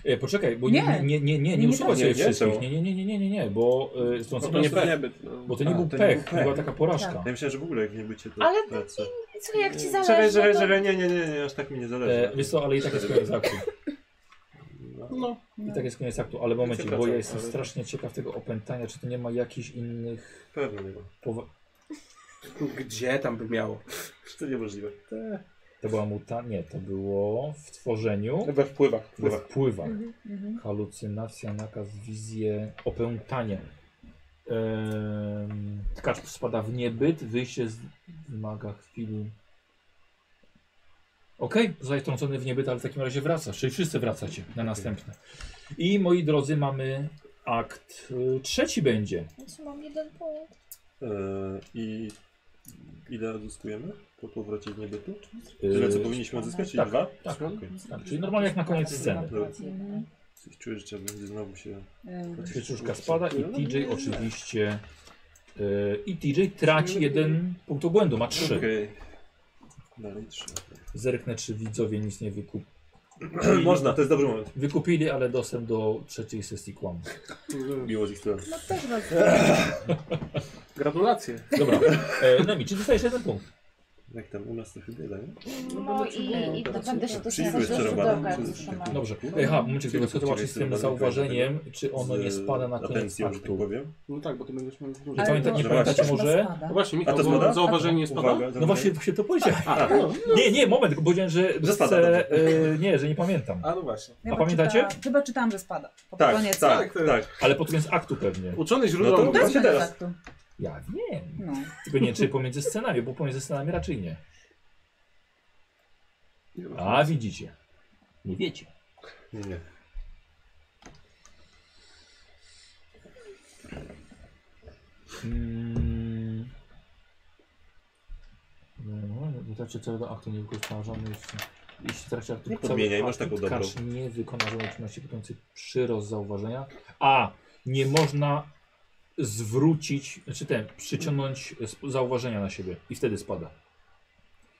Speaker 1: E, poczekaj, bo nie, nie,
Speaker 11: Nie.
Speaker 1: nie, nie, nie, nie,
Speaker 11: Nie, nie
Speaker 1: usuwa
Speaker 11: tak.
Speaker 1: cię
Speaker 6: Nie, nie,
Speaker 1: wszystkich.
Speaker 6: czemu?
Speaker 1: Nie, nie, nie, nie, nie, nie, nie, bo e,
Speaker 4: Po
Speaker 1: strącony
Speaker 4: prostu
Speaker 1: nie pech.
Speaker 4: niebyt. No.
Speaker 1: Bo to nie
Speaker 6: A,
Speaker 1: był
Speaker 6: to nie
Speaker 1: pech, to
Speaker 6: był pech. Tak.
Speaker 1: była taka porażka.
Speaker 6: Ja myślałem, że w ogóle jak nie bycie to...
Speaker 3: Ale
Speaker 6: to co?
Speaker 3: I co, jak ci
Speaker 6: Czekaj,
Speaker 3: zależy, no
Speaker 6: czekaj,
Speaker 3: to...
Speaker 6: czekaj, nie, nie, nie, nie, aż tak mi nie zależy.
Speaker 1: E, wiesz co, ale i tak jest koniec aktu.
Speaker 7: No.
Speaker 1: I tak jest koniec aktu, ale momencik, bo
Speaker 6: wracam,
Speaker 1: ja jestem
Speaker 6: ale-
Speaker 1: strasznie ciekaw tego opętania, czy to nie ma jakichś innych...
Speaker 6: Pewno nie ma.
Speaker 1: Powa-
Speaker 7: Gdzie tam by miało?
Speaker 6: To niemożliwe.
Speaker 1: to była muta... Nie, to było w tworzeniu.
Speaker 7: We wpływach.
Speaker 1: We wpływach.
Speaker 11: Mhm, mhm.
Speaker 1: Halucynacja, nakaz, wizje, opętanie. Ehm, tkacz spada w niebyt, wyjście z... wymaga chwili. Okej, zostałeś trącony w niebyt, ale w takim razie wracasz, czyli wszyscy wracacie na następne. I moi drodzy, mamy akt y, trzeci będzie.
Speaker 3: Jezu, Mam jeden punkt.
Speaker 6: Eee, I ile odzyskujemy po powrocie z niebytu?
Speaker 1: Y,
Speaker 6: Tyle, co powinniśmy odzyskać, czyli
Speaker 1: tak.
Speaker 6: dwa?
Speaker 1: Tak.
Speaker 6: Okej.
Speaker 1: tak, czyli normalnie jak na koniec sceny.
Speaker 3: Mhm.
Speaker 6: Coś Czuję, że trzeba będzie znowu się...
Speaker 8: Ym,
Speaker 1: Świeczuszka spada i TJ oczywiście... y, I TJ traci jeden punkt obłędu, ma trzy.
Speaker 6: Okej. Dalej trzy.
Speaker 1: Zerknę, czy widzowie nic nie wykup...
Speaker 6: Można, to jest dobry moment.
Speaker 1: wykupili, ale dostęp do trzeciej sesji kłam.
Speaker 6: Miło z ich strony.
Speaker 8: No też was.
Speaker 7: Gratulacje.
Speaker 1: Dobra, e, Nemi, czy dostajesz jeden punkt?
Speaker 6: Jak tam u nas trochę bieda, nie?
Speaker 3: No i, i to będę się tu
Speaker 6: Przyjdzie
Speaker 3: starać, że
Speaker 6: jeszcze
Speaker 3: sudoka
Speaker 6: Roman.
Speaker 3: trzymam.
Speaker 1: Dobrze. E, ha, momencie, tylko chcę zobaczyć z tym zauważeniem, czy ono nie
Speaker 6: Z
Speaker 1: spada na koniec
Speaker 6: atencją, że tak
Speaker 1: aktu.
Speaker 6: powiem.
Speaker 7: No tak, bo ty będziesz miał dużo.
Speaker 1: Nie,
Speaker 8: Ale
Speaker 1: pamięta,
Speaker 8: to-
Speaker 1: nie
Speaker 6: że
Speaker 1: pamiętacie
Speaker 8: Chyba
Speaker 1: może?
Speaker 8: spada.
Speaker 7: No właśnie, Michał,
Speaker 6: A to spada?
Speaker 7: bo zauważenie spada?
Speaker 6: Uwaga, tak,
Speaker 1: No właśnie, właśnie to powiedziałem.
Speaker 7: A, no.
Speaker 1: Nie, nie, moment, tylko powiedziałem, że
Speaker 6: Że spada,
Speaker 1: chcę, e, nie, że nie pamiętam.
Speaker 7: A no właśnie.
Speaker 8: Chyba
Speaker 1: pamiętacie?
Speaker 8: Czyta, chyba czytałam, że spada. Pod
Speaker 6: Tak,
Speaker 8: koniec.
Speaker 6: tak,
Speaker 7: Tak.
Speaker 6: tak.
Speaker 1: Ale pod koniec aktu pewnie.
Speaker 7: Uczony
Speaker 6: No
Speaker 7: źródła
Speaker 6: to-
Speaker 7: mówią.
Speaker 8: Też
Speaker 6: Właśnie teraz.
Speaker 8: faktu.
Speaker 1: Ja wiem.
Speaker 8: No.
Speaker 1: Tylko nie, czy pomiędzy scenami, bo pomiędzy scenami raczej nie.
Speaker 7: Nie ma.
Speaker 1: A, widzicie. Nie wiecie.
Speaker 6: Nie.
Speaker 1: Mm. No, Dotarcie celu do aktu nie wykorzystała żadnej z Jeśli w trakcie aktu
Speaker 6: Nie
Speaker 1: cały
Speaker 6: podmieniaj, masz
Speaker 1: akut
Speaker 6: taką dobrą.
Speaker 1: karz nie wykona żadnej czynności podjącej przyrost zauważenia. A, nie można zwrócić, znaczy ten, przyciągnąć sp- zauważenia na siebie i wtedy spada.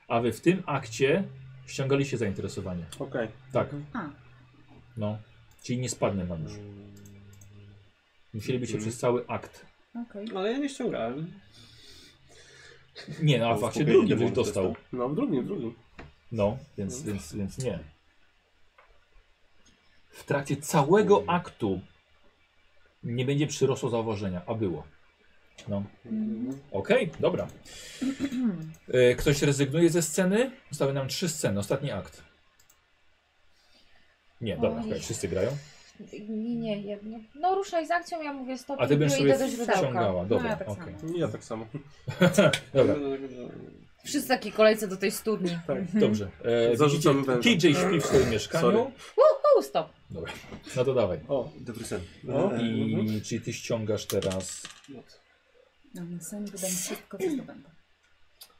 Speaker 1: A wy w tym akcie ściągaliście zainteresowanie.
Speaker 7: Okej.
Speaker 1: Tak.
Speaker 8: A.
Speaker 1: No. Czyli nie spadnie wam już. Musielibyście
Speaker 6: Mhm.
Speaker 1: przez cały akt.
Speaker 8: Okej.
Speaker 2: Ale ja nie ściągałem.
Speaker 1: Nie, no, a w
Speaker 6: Było
Speaker 1: akcie
Speaker 6: spokojnie,
Speaker 1: drugim
Speaker 6: było
Speaker 1: byś dostał.
Speaker 7: No, w drugim, w drugim.
Speaker 1: No, więc, więc, więc nie. W trakcie całego
Speaker 3: Hmm.
Speaker 1: aktu nie będzie przyrosło zauważenia, a było. No. Okej, dobra. E, Ktoś rezygnuje ze sceny? Zostały nam trzy sceny, ostatni akt. Nie, dobra,
Speaker 3: Oj.
Speaker 1: okej, wszyscy grają.
Speaker 3: Nie, nie, jedno. No ruszaj z akcją, ja mówię stop
Speaker 1: A ty
Speaker 3: i
Speaker 1: będziesz
Speaker 3: idę do
Speaker 1: sobie
Speaker 3: źródełka.
Speaker 1: wciągała. Dobra,
Speaker 3: no, ja tak
Speaker 1: okej.
Speaker 3: samo.
Speaker 7: Ja tak samo.
Speaker 1: Dobra,
Speaker 3: Wszyscy takie kolejce do tej studni.
Speaker 1: dobrze. E,
Speaker 7: Zarzucam
Speaker 1: widzicie,
Speaker 7: węża.
Speaker 1: TJ śpi w swoim mieszkaniu.
Speaker 7: Sorry.
Speaker 3: Uhu, stop.
Speaker 1: Dobra, no to dawaj.
Speaker 7: O,
Speaker 6: Dobry sen.
Speaker 7: No.
Speaker 1: I czyli ty ściągasz teraz
Speaker 8: No, na sen wydam wszystko, co zdobędę.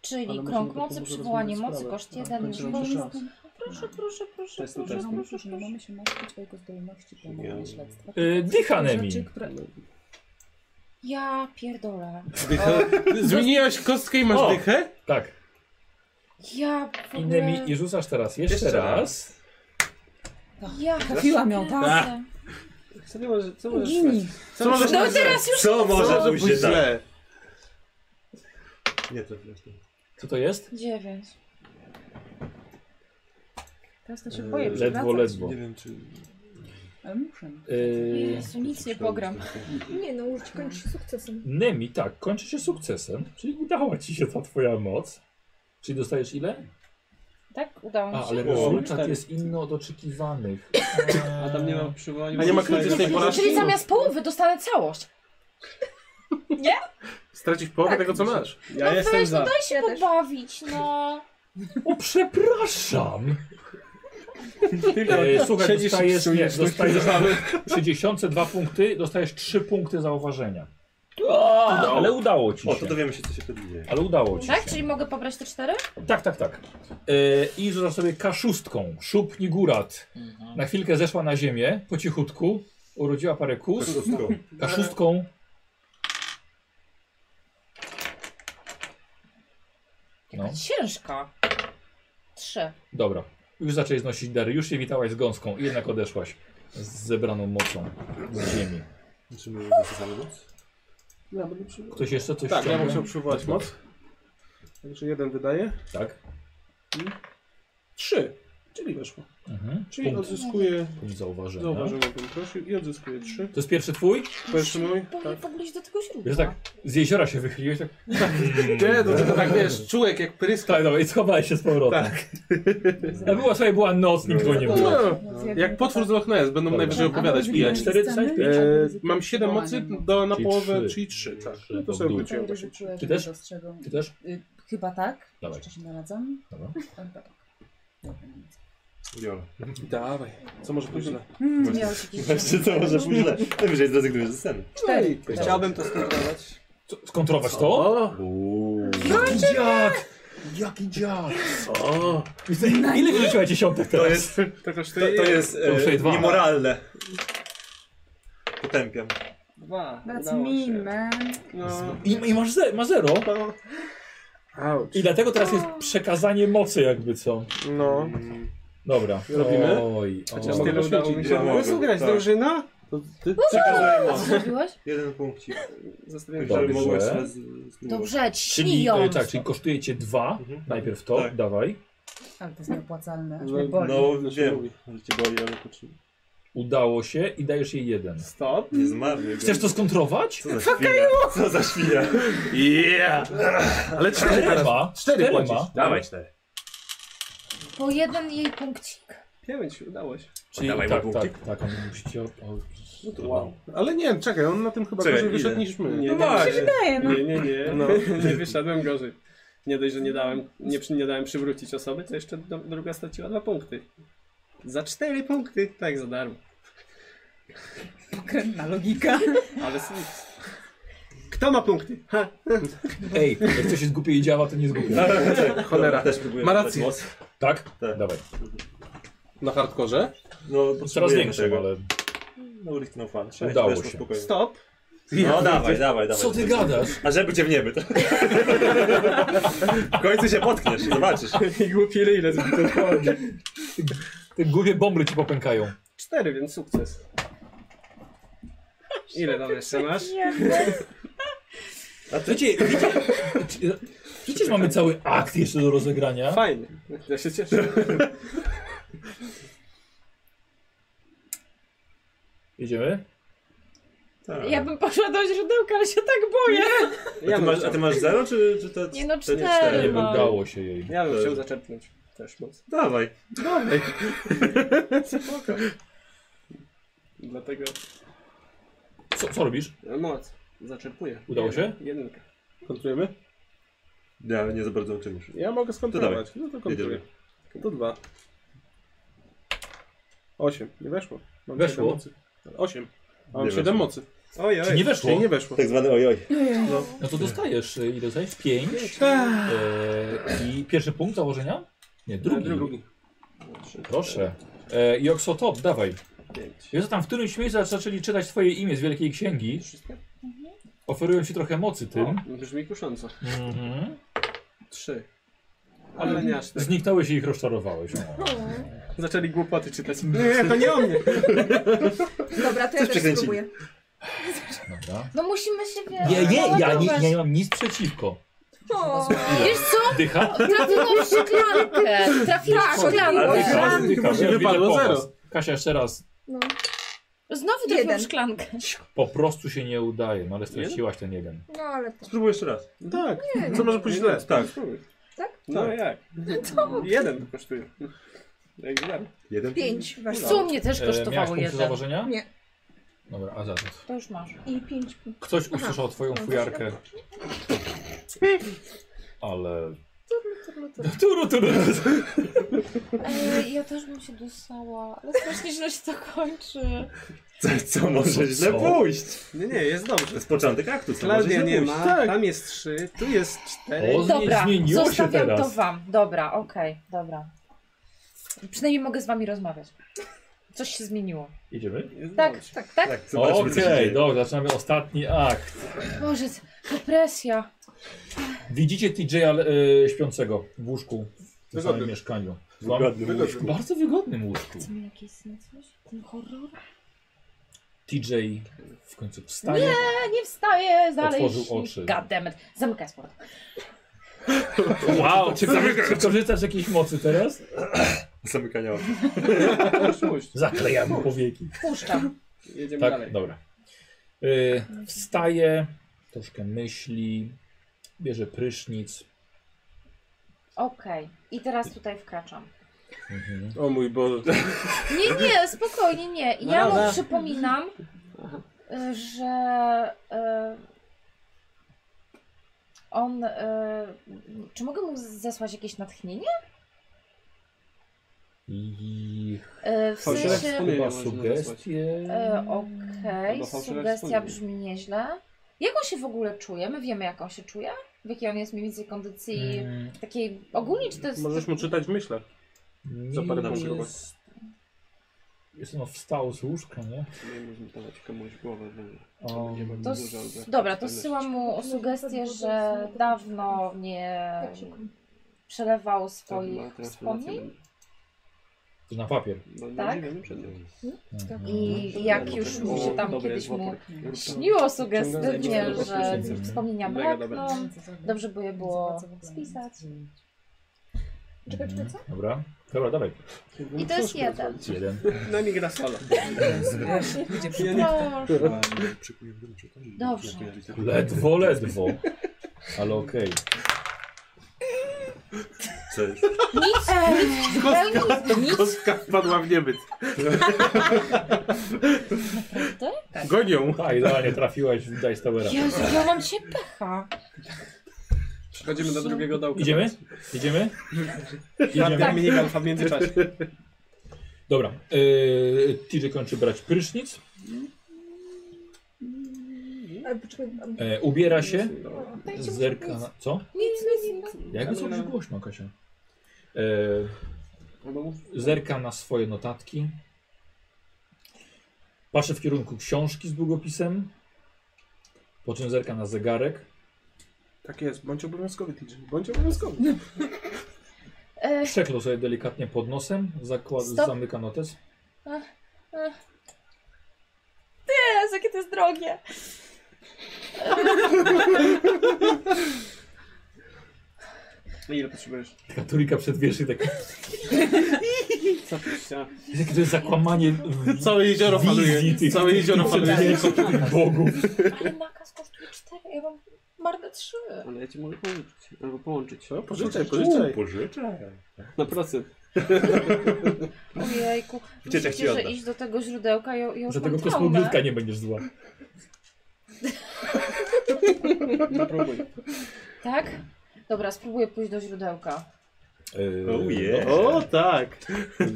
Speaker 3: Czyli
Speaker 7: Ale
Speaker 3: krąg
Speaker 7: musimy to
Speaker 3: mocy,
Speaker 7: pomóc
Speaker 3: przywołanie
Speaker 7: rozwiązać
Speaker 3: mocy,
Speaker 7: sprawę.
Speaker 3: koszt
Speaker 7: Tak,
Speaker 3: 1,
Speaker 7: kończymy
Speaker 3: już
Speaker 7: nasz
Speaker 3: jest.
Speaker 7: czas.
Speaker 3: Proszę, proszę, proszę,
Speaker 7: Testu,
Speaker 3: proszę,
Speaker 7: testu.
Speaker 3: proszę,
Speaker 8: Już nie
Speaker 3: proszę.
Speaker 8: mamy się martwić o jego zdolności planowania śledztwa.
Speaker 1: Yy, dychanemii.
Speaker 8: Rzeczy, które...
Speaker 3: Ja pierdolę.
Speaker 5: Dycha. Zmieniłaś kostkę i masz
Speaker 1: O!
Speaker 5: dychę?
Speaker 1: Tak,
Speaker 3: Ja w ogóle...
Speaker 1: innymi i rzucasz teraz jeszcze,
Speaker 6: Jeszcze
Speaker 1: raz.
Speaker 3: Ja
Speaker 8: Trafiłam ją, tak?
Speaker 3: pierdolę.
Speaker 2: Co nie może, co
Speaker 1: Y,
Speaker 2: możesz
Speaker 8: Gini!
Speaker 5: Co możesz
Speaker 3: No teraz już...
Speaker 6: Co może
Speaker 5: Co
Speaker 6: pójść
Speaker 5: pójść
Speaker 6: tak?
Speaker 5: źle?
Speaker 6: Nie trafiłeś tu.
Speaker 1: Co to jest?
Speaker 3: 9.
Speaker 8: Teraz to się
Speaker 6: Eee,
Speaker 8: boję
Speaker 1: Ledwo,
Speaker 8: przewracać.
Speaker 1: ledwo.
Speaker 6: Nie wiem czy...
Speaker 8: Ale muszę.
Speaker 1: Yy,
Speaker 3: Jezu, nic nie pogram.
Speaker 9: Nie no, już kończy się sukcesem.
Speaker 1: Nemi, tak, kończy się sukcesem, czyli udała ci się ta twoja moc. Czyli dostajesz ile?
Speaker 3: Tak? Udało mi
Speaker 1: A,
Speaker 3: się? Eee.
Speaker 1: ale
Speaker 6: O,
Speaker 1: rezultat
Speaker 2: cztery.
Speaker 1: jest inny od oczekiwanych.
Speaker 2: A tam nie ma przywołania.
Speaker 7: A nie ma
Speaker 2: Możesz-
Speaker 7: krytycznej porażki?
Speaker 3: Czyli zamiast połowy dostanę całość.
Speaker 5: Stracisz połowę tego, co masz.
Speaker 2: Ja jestem za.
Speaker 3: No Daj się
Speaker 9: Ja też.
Speaker 3: pobawić, no.
Speaker 1: O, przepraszam! E,
Speaker 2: Tylko
Speaker 1: słuchaj,
Speaker 2: siedzisz i
Speaker 1: dostajesz, nie,
Speaker 2: psujesz
Speaker 1: dostajesz 62 punkty, dostajesz 3 punkty zauważenia. Ale udało ci
Speaker 6: O, to
Speaker 1: się.
Speaker 6: dowiemy się co się wtedy dzieje.
Speaker 1: Ale udało ci
Speaker 3: Tak?
Speaker 1: się.
Speaker 3: Czyli mogę pobrać te cztery?
Speaker 1: Tak, tak, tak. E, I rzucasz sobie kaszustką, szub nigurat. Na chwilkę zeszła na ziemię, po cichutku, urodziła parę kus.
Speaker 6: Wszystko.
Speaker 1: Kaszustką. No,
Speaker 3: Ciężka. Trzy.
Speaker 1: dobra. Już zaczęli znosić dary, już się witałaś z gąską i jednak odeszłaś z zebraną mocą z ziemi.
Speaker 6: Czy my zasysamy moc?
Speaker 7: Ja będę przywołał.
Speaker 1: Ktoś jeszcze coś
Speaker 7: Tak, ja
Speaker 1: ściąga?
Speaker 7: bym chciał przywołać moc. Także jeden wydaje.
Speaker 1: Tak.
Speaker 7: Trzy. Czyli weszło.
Speaker 1: Mhm.
Speaker 7: Czyli
Speaker 1: Punkt,
Speaker 7: odzyskuję.
Speaker 1: punkt zauważenia.
Speaker 7: Zauważenia bym prosił i odzyskuję trzy.
Speaker 1: To jest pierwszy twój?
Speaker 7: Pierwszy mój.
Speaker 3: Powinien w ogóle iść do tego źródła.
Speaker 1: Wiesz tak, z jeziora się wychyliłeś, tak?
Speaker 5: Nie, to tylko tak wiesz, czułek jak pryska.
Speaker 1: Tak, dobra, i schowałeś się z powrotem. Tak. No była sobie, była noc, nikt go nie
Speaker 7: Tak.
Speaker 1: było.
Speaker 5: No, jak
Speaker 3: tak.
Speaker 5: potwór z Loch Ness, będą
Speaker 1: Dobra.
Speaker 5: najwyżej
Speaker 8: Tak,
Speaker 5: opowiadać pijać.
Speaker 1: Cztery, dostajesz pięć?
Speaker 5: E, mam 7 mocy
Speaker 7: no.
Speaker 8: no.
Speaker 5: do, na
Speaker 1: Czyli
Speaker 5: połowę,
Speaker 1: trzy.
Speaker 5: czyli 3, tak.
Speaker 1: Trzy,
Speaker 5: No
Speaker 1: to
Speaker 5: to
Speaker 1: w
Speaker 5: sobie
Speaker 1: dół.
Speaker 5: wróciłem właśnie.
Speaker 1: Ty
Speaker 8: Czy
Speaker 1: też?
Speaker 8: też?
Speaker 1: Ty też?
Speaker 8: Y, chyba tak.
Speaker 1: Dawaj.
Speaker 8: Jeszcze się naradzam.
Speaker 1: Dobra.
Speaker 8: Ale chyba tak. Dobra, nic.
Speaker 6: Jola.
Speaker 7: Dawaj. Co może pójść źle?
Speaker 8: Mm,
Speaker 6: Właśnie-
Speaker 8: miałeś jakieś-
Speaker 6: Właśnie co może pójść źle. Najwyżej zrezygnujesz ze sceny.
Speaker 8: Cztery.
Speaker 4: Chciałbym to skontrolować.
Speaker 1: Co, skontrować to?
Speaker 6: Uuu.
Speaker 1: Jaki dziad! Jaki dziad!
Speaker 5: O,
Speaker 1: Ile wyrzuciła dziesiątek
Speaker 6: To
Speaker 1: teraz?
Speaker 6: jest, to,
Speaker 4: To kosztuje
Speaker 6: to jest
Speaker 1: kosztuje
Speaker 6: e,
Speaker 1: dwa.
Speaker 6: niemoralne. Potępiam.
Speaker 4: dwa.
Speaker 8: That's
Speaker 4: Udało
Speaker 8: me,
Speaker 4: się.
Speaker 8: man.
Speaker 4: No.
Speaker 1: I, i masz, ze, masz zero.
Speaker 7: Auć.
Speaker 1: I dlatego teraz jest przekazanie mocy jakby co.
Speaker 7: No.
Speaker 1: Dobra.
Speaker 7: Robimy?
Speaker 1: Oj,
Speaker 7: Chociaż
Speaker 1: oj.
Speaker 7: tyle
Speaker 4: udało
Speaker 7: świeci.
Speaker 4: mi
Speaker 6: Ja
Speaker 4: się. Mogę
Speaker 6: mogę,
Speaker 4: słuchać,
Speaker 6: tak.
Speaker 4: drużyna?
Speaker 7: To ty,
Speaker 6: Przekazuję
Speaker 3: A co
Speaker 6: moc.
Speaker 3: zrobiłeś?
Speaker 6: Jeden punkcik.
Speaker 4: Zastanawiam się.
Speaker 1: Dobrze.
Speaker 6: Żeby mogłeś sobie z- spróbować.
Speaker 3: Dobrze,
Speaker 1: Czyli,
Speaker 3: śnij ją.
Speaker 1: e, tak, czyli kosztuje cię dwa.
Speaker 6: Mhm.
Speaker 1: Najpierw to,
Speaker 6: Tak.
Speaker 1: dawaj.
Speaker 8: Ale to jest nieopłacalne. Aż
Speaker 7: No,
Speaker 8: mnie boli.
Speaker 6: No
Speaker 7: się
Speaker 6: wiem,
Speaker 7: mówi.
Speaker 6: że cię boli, ale poczynię.
Speaker 1: Udało się i dajesz jej jeden.
Speaker 4: Stop.
Speaker 6: Nie zmarnuj go.
Speaker 1: Chcesz to skontrować?
Speaker 6: Co za świnia? Co za świnia?
Speaker 5: Yeah! Ale 4 teraz.
Speaker 1: Czterema.
Speaker 5: 4
Speaker 1: Czterema.
Speaker 5: płacisz. Dawaj 4.
Speaker 3: Po jeden jej punkcik.
Speaker 4: Pięć, udało się.
Speaker 1: Czyli
Speaker 6: Dawaj,
Speaker 1: tak,
Speaker 6: mój
Speaker 1: tak, tak, on musi cię... od- od-
Speaker 7: No to wow. Ale nie, czekaj, on na tym chyba
Speaker 6: Czekaj,
Speaker 7: gorzej wyszedł
Speaker 6: ile?
Speaker 7: niż my.
Speaker 4: Nie,
Speaker 6: No
Speaker 4: nie,
Speaker 6: właśnie.
Speaker 8: Daję, no.
Speaker 4: nie, nie, nie.
Speaker 7: No.
Speaker 4: nie wyszedłem gorzej. Nie dość, że nie dałem, nie, przy- nie dałem przywrócić osoby, to jeszcze do, druga straciła dwa punkty. Za cztery punkty, tak za darmo.
Speaker 8: Pokrętna logika.
Speaker 4: Ale s- Kto ma punkty? Ha!
Speaker 6: No, Tak.
Speaker 1: Ej, jak coś jest głupie i działa, to nie jest głupie.
Speaker 6: Cholera.
Speaker 5: Ma rację.
Speaker 1: Tak? Dawaj.
Speaker 5: Na hardkorze?
Speaker 6: No,
Speaker 1: Coraz
Speaker 6: potrzebujemy
Speaker 1: większym,
Speaker 6: tego.
Speaker 1: ale...
Speaker 6: No, urychną fan. Sześć,
Speaker 1: Udało
Speaker 6: weszło
Speaker 1: się.
Speaker 6: spokojnie.
Speaker 4: Stop.
Speaker 6: No dawaj, dawaj, dawaj.
Speaker 1: Co ty gadasz?
Speaker 6: A żeby cię w nieby. w końcu się potkniesz, zobaczysz.
Speaker 4: I głupie ile zbito chodzi.
Speaker 1: Te głupie bomby ci popękają.
Speaker 4: Cztery, więc sukces. Ile tam jeszcze masz?
Speaker 1: A wiecie, wiecie, czy- przecież mamy cały akt jeszcze do rozegrania.
Speaker 4: Fajnie. Ja się cieszę.
Speaker 1: Jedziemy?
Speaker 14: Ja bym poszła do źródełka, ale się tak boję.
Speaker 6: Tak. A ty masz, a ty masz zero, czy, czy to...
Speaker 14: Nie no,
Speaker 6: to
Speaker 14: cztery
Speaker 1: Nie
Speaker 14: mam.
Speaker 1: udało się jej.
Speaker 4: Ja bym chciał zaczerpnąć też moc.
Speaker 6: Dawaj. Dawaj.
Speaker 4: Spoko. Dlatego no
Speaker 1: Co, co robisz?
Speaker 4: moc zaczerpuję.
Speaker 1: Udało się?
Speaker 4: Jedynka.
Speaker 7: Kontrujemy?
Speaker 6: Ja nie za bardzo czym już.
Speaker 7: Ja mogę skontrować.
Speaker 6: dawaj.
Speaker 7: No to kontruję. To dwa. Osiem. Nie weszło. Mam
Speaker 1: Weszło.
Speaker 7: siedem mocy. Osiem. A Mam
Speaker 6: Nie
Speaker 7: siedem
Speaker 6: weszło.
Speaker 7: mocy.
Speaker 4: Ojej.
Speaker 1: Czy nie weszło?
Speaker 7: Czyli nie weszło.
Speaker 6: Tak zwany ojoj.
Speaker 1: No, no to dostajesz, y, ile dostajesz? Pięć. E, I pierwszy punkt założenia? Nie, drugi.
Speaker 7: Drugi.
Speaker 1: Proszę. E, I Oxotop, dawaj.
Speaker 4: Pięć.
Speaker 1: Wiesz, co, tam w którymś miejscu zaczęli czytać twoje imię z Wielkiej Księgi.
Speaker 4: Wszystkie?
Speaker 1: Oferują ci trochę mocy
Speaker 4: O,
Speaker 1: tym.
Speaker 7: no
Speaker 4: brzmi kusząco.
Speaker 1: Mhm.
Speaker 4: Trzy. Ale nie aż tak.
Speaker 1: Zniknąłeś i ich rozczarowałeś. O.
Speaker 4: Zaczęli głupoty czytać. Nie, to nie o mnie.
Speaker 9: Dobra, to ja też
Speaker 6: przekręcili.
Speaker 9: spróbuję.
Speaker 1: Dobra.
Speaker 3: No musimy się wiesz,
Speaker 1: Nie, nie, ja nie, ja
Speaker 3: naładować.
Speaker 1: nie mam nic przeciwko.
Speaker 9: O,
Speaker 3: Wiesz co?
Speaker 1: Dycha?
Speaker 3: Trafiłam w szklankę. Trafiłam
Speaker 9: Tak,
Speaker 3: w
Speaker 6: Ale
Speaker 3: szklankę.
Speaker 6: dycha,
Speaker 1: Dycha, dycha.
Speaker 7: Właśnie
Speaker 1: Ja
Speaker 7: wypadło
Speaker 1: widzę
Speaker 7: zero.
Speaker 1: pomoc. Kasia, jeszcze raz.
Speaker 9: no.
Speaker 14: Znowu trafiłam
Speaker 9: Jeden.
Speaker 14: w szklankę.
Speaker 1: Po prostu się nie udaje, no ale straciłaś ten jeden.
Speaker 9: no ale to.
Speaker 6: Spróbuj jeszcze raz.
Speaker 7: Tak.
Speaker 9: Nie,
Speaker 7: Co może pójść źle?
Speaker 6: Tak.
Speaker 9: tak?
Speaker 4: No jak? Jeden kosztuje. Jak znam.
Speaker 6: Jeden.
Speaker 9: Pięć
Speaker 14: W
Speaker 9: weszło.
Speaker 14: sumie też
Speaker 1: E, miałeś
Speaker 14: kosztowało
Speaker 1: punkty
Speaker 14: jeden.
Speaker 1: założenia?
Speaker 9: Nie.
Speaker 1: Dobra, a za to.
Speaker 14: To już masz.
Speaker 9: I pięć punktów.
Speaker 1: Ktoś usłyszał twoją
Speaker 9: Aha. No
Speaker 1: fujarkę. Ale...
Speaker 9: Turlu, turlu.
Speaker 1: Turu, turu, turu.
Speaker 3: E, ja też bym się dostała, ale strasznie źle się to kończy.
Speaker 6: Co, co może źle
Speaker 1: Co?
Speaker 6: pójść?
Speaker 4: Nie, nie, jest
Speaker 6: To
Speaker 4: dobrze.
Speaker 6: jest początek aktu, co może
Speaker 4: Klaudia
Speaker 6: źle
Speaker 4: nie
Speaker 6: pójść?
Speaker 4: ma,
Speaker 7: Tak.
Speaker 4: tam jest trzy, tu jest cztery.
Speaker 1: O,
Speaker 3: Dobra,
Speaker 1: zmieniło się
Speaker 3: zostawiam to
Speaker 1: teraz.
Speaker 3: wam. Dobra, okej, dobra. Przynajmniej mogę z wami rozmawiać. Coś się zmieniło.
Speaker 1: Idziemy?
Speaker 4: Jest
Speaker 3: Tak,
Speaker 4: dobrze.
Speaker 3: tak, tak.
Speaker 6: Tak, zobaczmy, co się
Speaker 1: Okej,
Speaker 6: dzieje.
Speaker 1: dobra, zaczynamy ostatni akt.
Speaker 3: Boże, to presja.
Speaker 1: Widzicie TJ'a e, śpiącego w łóżku w
Speaker 7: Wygodnym.
Speaker 1: samym mieszkaniu. W
Speaker 6: Wygodnym łóżku.
Speaker 1: bardzo wygodnym łóżku.
Speaker 3: Co mi jakieś sny, coś? Ten horror?
Speaker 1: TJ w końcu wstaje.
Speaker 3: Ja nie wstaję, dalej.
Speaker 1: Otworzył oczy.
Speaker 3: Goddammit. Zamykaj sport.
Speaker 1: Wow, czy, czy korzystasz z jakiejś mocy teraz?
Speaker 6: Zamykania oczu.
Speaker 4: Puść,
Speaker 1: Zaklejam powieki.
Speaker 3: Puszczam.
Speaker 4: jedziemy
Speaker 1: Tak,
Speaker 4: dalej.
Speaker 1: dobra. Y, wstaje, troszkę myśli, bierze prysznic.
Speaker 3: Okej. I teraz tutaj wkraczam.
Speaker 1: Mhm.
Speaker 7: O mój Boże.
Speaker 3: Nie, nie, spokojnie, nie. Ja
Speaker 4: No,
Speaker 3: mu
Speaker 4: no.
Speaker 3: przypominam, y, że y, on. y, Czy mogę mu zesłać jakieś natchnienie?
Speaker 1: I
Speaker 3: Y, W
Speaker 4: Fałszywe
Speaker 3: sensie.
Speaker 4: wspomnienie
Speaker 1: chyba
Speaker 4: można
Speaker 1: sugestie. Hmm.
Speaker 3: y, Okej,
Speaker 4: Albo fałszywe
Speaker 3: sugestia
Speaker 4: wspomnienie.
Speaker 3: brzmi nieźle. Jak on się w ogóle czuje? My wiemy, jak on się czuje? W jakiej on jest mniej więcej kondycji
Speaker 1: Mm,
Speaker 3: takiej ogólnie, czy to jest...
Speaker 7: Hmm. Możesz mu czytać w myślach. Za parę
Speaker 1: nie
Speaker 7: punktów.
Speaker 1: jest... Jest no wstał z łóżka, nie?
Speaker 4: Nie możemy dawać komuś głowę. bo
Speaker 1: O,
Speaker 4: będzie bardzo
Speaker 3: To,
Speaker 4: dużo,
Speaker 3: s-
Speaker 4: ale-
Speaker 3: dobra, to zsyłam mu sugestię, że dawno nie
Speaker 9: Tak
Speaker 3: przelewał
Speaker 4: To
Speaker 7: Tak,
Speaker 4: chyba
Speaker 3: swoich
Speaker 4: teraz
Speaker 3: wspomnień.
Speaker 4: wracamy.
Speaker 1: to na papier.
Speaker 4: Bo nie
Speaker 3: Tak?
Speaker 4: dziwię, przed nią.
Speaker 1: Mhm.
Speaker 3: I
Speaker 4: Dobrze,
Speaker 3: jak
Speaker 4: dobrze.
Speaker 3: już mu
Speaker 4: O,
Speaker 3: się tam
Speaker 4: dobre
Speaker 3: kiedyś
Speaker 4: jest
Speaker 3: mu
Speaker 4: łopot. Rób to.
Speaker 3: śniło sugestywnie,
Speaker 4: Ciągle
Speaker 3: że
Speaker 4: zajmie
Speaker 1: się.
Speaker 3: wspomnienia
Speaker 4: Mega
Speaker 3: brakną, dobrze by je było spisać. Czekaj, czekaj, co?
Speaker 1: Dobra, dobra, dawaj.
Speaker 3: I to jest jeden.
Speaker 1: Jeden.
Speaker 4: No mi gra solo.
Speaker 3: Proszę. Dobrze.
Speaker 1: Ledwo, ledwo. Ale okej.
Speaker 6: Co jest?
Speaker 3: Nic, nic, zupełnie nic.
Speaker 7: Kostka wpadła w niebyt.
Speaker 3: Prawda?
Speaker 7: Gonią.
Speaker 1: Tak, idealnie trafiłaś w Dice Towera.
Speaker 3: Jezu, ja mam cię pecha.
Speaker 4: Przechodzimy do drugiego dołka.
Speaker 1: Idziemy? Idziemy?
Speaker 4: Idziemy.
Speaker 7: tak.
Speaker 3: Tak.
Speaker 1: Idziemy.
Speaker 4: Minigalfa w międzyczasie.
Speaker 1: Dobra. Yy, TJ kończy brać prysznic.
Speaker 9: Ale poczekaj, a-
Speaker 1: E, ubiera się.
Speaker 3: Dajcie mu
Speaker 1: Zerka. Co?
Speaker 3: Nic, nic, nic.
Speaker 1: Jakby co głośno, Kasia. E,
Speaker 4: No
Speaker 1: zerka na swoje notatki. Patrzę w kierunku książki z długopisem. Po czym zerka na zegarek.
Speaker 7: Tak jest, bądź obowiązkowy, TJ. Bądź obowiązkowy.
Speaker 3: E,
Speaker 1: Przeklął sobie delikatnie pod nosem. Zakład,
Speaker 3: Stop.
Speaker 1: zamyka notes.
Speaker 3: Ach, ach. Jezu, jakie to jest drogie.
Speaker 4: No ile potrzebujesz?
Speaker 1: Taka trójka przed wierszy, tak.
Speaker 4: Co ty chciała?
Speaker 1: Jakie to jest zakłamanie. w-
Speaker 5: Całe jezioro
Speaker 1: wizji
Speaker 5: faluje.
Speaker 1: tych-
Speaker 5: Całe jezioro
Speaker 1: tych
Speaker 5: faluje.
Speaker 1: wierszy, tych bogów.
Speaker 3: Ale makas kosztuje 4, ja mam marne 3.
Speaker 4: Ale ja ci mogę pożyczyć. Albo połączyć.
Speaker 7: No, pożyczaj, pożyczaj.
Speaker 6: Pożyczę.
Speaker 4: Na procent.
Speaker 3: Ojejku,
Speaker 6: Gdzie tak ci
Speaker 3: musicie, że
Speaker 6: oddasz?
Speaker 3: iść do tego źródełka, ja, ja już
Speaker 1: Za tego
Speaker 3: mam traumę.
Speaker 1: kosmoglitka nie będziesz zła.
Speaker 4: No próbuj.
Speaker 3: Tak? Dobra, spróbuję pójść do źródełka.
Speaker 1: Yy,
Speaker 6: Oh yeah.
Speaker 7: O tak!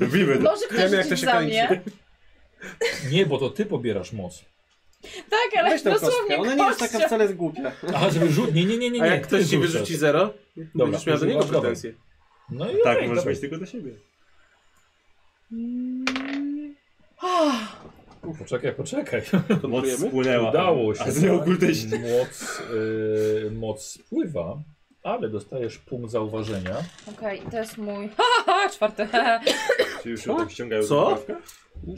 Speaker 6: Lubimy to.
Speaker 3: Może ktoś
Speaker 7: Wiemy, jak to
Speaker 3: rzucić
Speaker 7: się
Speaker 3: za
Speaker 7: kończy.
Speaker 3: mnie.
Speaker 1: tak. Nie, bo to ty pobierasz moc.
Speaker 3: Tak, ale
Speaker 4: Weź tę
Speaker 3: dosłownie
Speaker 4: kostkę. Ona nie jest taka
Speaker 3: kościa.
Speaker 4: wcale głupia.
Speaker 1: Aha, żeby rzut. Nie, nie, nie, nie.
Speaker 5: A
Speaker 1: nie,
Speaker 5: jak
Speaker 1: ty
Speaker 5: ktoś ci
Speaker 1: rzucasz.
Speaker 5: wyrzuci zero,
Speaker 1: Dobra,
Speaker 5: będziesz miał do niego
Speaker 1: używasz, dobra.
Speaker 5: pretensje.
Speaker 1: No i
Speaker 6: Tak,
Speaker 1: okej,
Speaker 6: możesz
Speaker 1: dobra.
Speaker 6: mieć tylko do siebie.
Speaker 3: Mm. Ah,
Speaker 1: Poczekaj, poczekaj.
Speaker 6: Moc spłynęła.
Speaker 1: Udało się.
Speaker 6: A z nią kultyści.
Speaker 1: Moc, yy, moc spływa, ale dostajesz punkt zauważenia.
Speaker 3: Okej, i to jest mój. Ha, ha, ha, czwarty. ha, ha.
Speaker 6: Czy już ją tak ściągają
Speaker 5: Co?
Speaker 6: do kawka?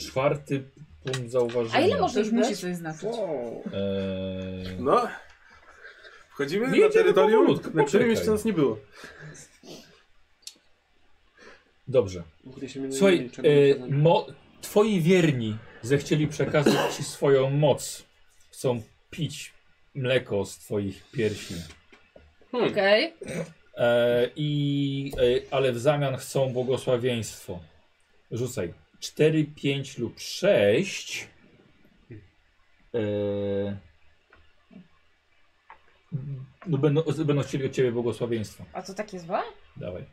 Speaker 1: Czwarty punkt zauważenia.
Speaker 3: A ile może
Speaker 8: To już
Speaker 3: ich być?
Speaker 8: musi coś znaczyć.
Speaker 4: Wow.
Speaker 1: Eee,
Speaker 5: No. Wchodzimy
Speaker 1: Jedziemy
Speaker 5: na terytorium,
Speaker 1: powolutku,
Speaker 5: na którym
Speaker 1: poczekaj.
Speaker 5: jeszcze nas nie było.
Speaker 1: Dobrze.
Speaker 4: Nigdy się mnie nie
Speaker 1: Słuchaj,
Speaker 4: niczego
Speaker 7: y-
Speaker 4: nie
Speaker 1: e,
Speaker 4: kazano.
Speaker 1: mo, twoi wierni zechcieli przekazać ci swoją moc. Chcą pić mleko z twoich piersi.
Speaker 3: Okej.
Speaker 1: E, i, e, ale w zamian chcą błogosławieństwo. Rzucaj. 4, 5 lub 6. E, no będą, będą chcieli od ciebie błogosławieństwo.
Speaker 3: A to takie złe?
Speaker 1: Dawaj.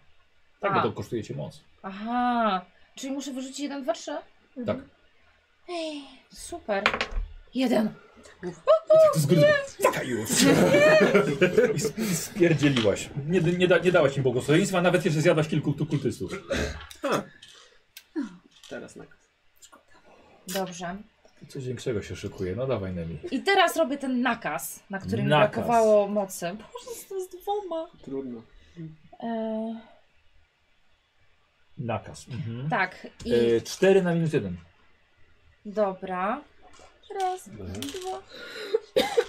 Speaker 1: Tak,
Speaker 3: A.
Speaker 1: bo to kosztuje cię moc.
Speaker 3: Aha. Czyli muszę wyrzucić jeden, dwa, trzy? Mhm.
Speaker 1: Tak.
Speaker 3: Ej, super. Jeden.
Speaker 1: Z góry. tak Taka już. I sp- i spierdzieliłaś. Nie, nie, da, nie dałaś im błogosławieństwa, nawet jeszcze zjadłaś kilku tu kultystów.
Speaker 4: Teraz na koniec.
Speaker 3: Dobrze.
Speaker 1: Coś większego się szykuje. No dawaj, Nemi.
Speaker 3: I teraz robię ten nakaz, na który mi
Speaker 1: Nakaz.
Speaker 3: brakowało mocy. Boże, jestem z dwoma.
Speaker 4: Trudno.
Speaker 3: E,
Speaker 1: Nakaz. Mhm.
Speaker 3: tak, i
Speaker 1: E, 4 na minus 1.
Speaker 3: dobra. Raz, dwa,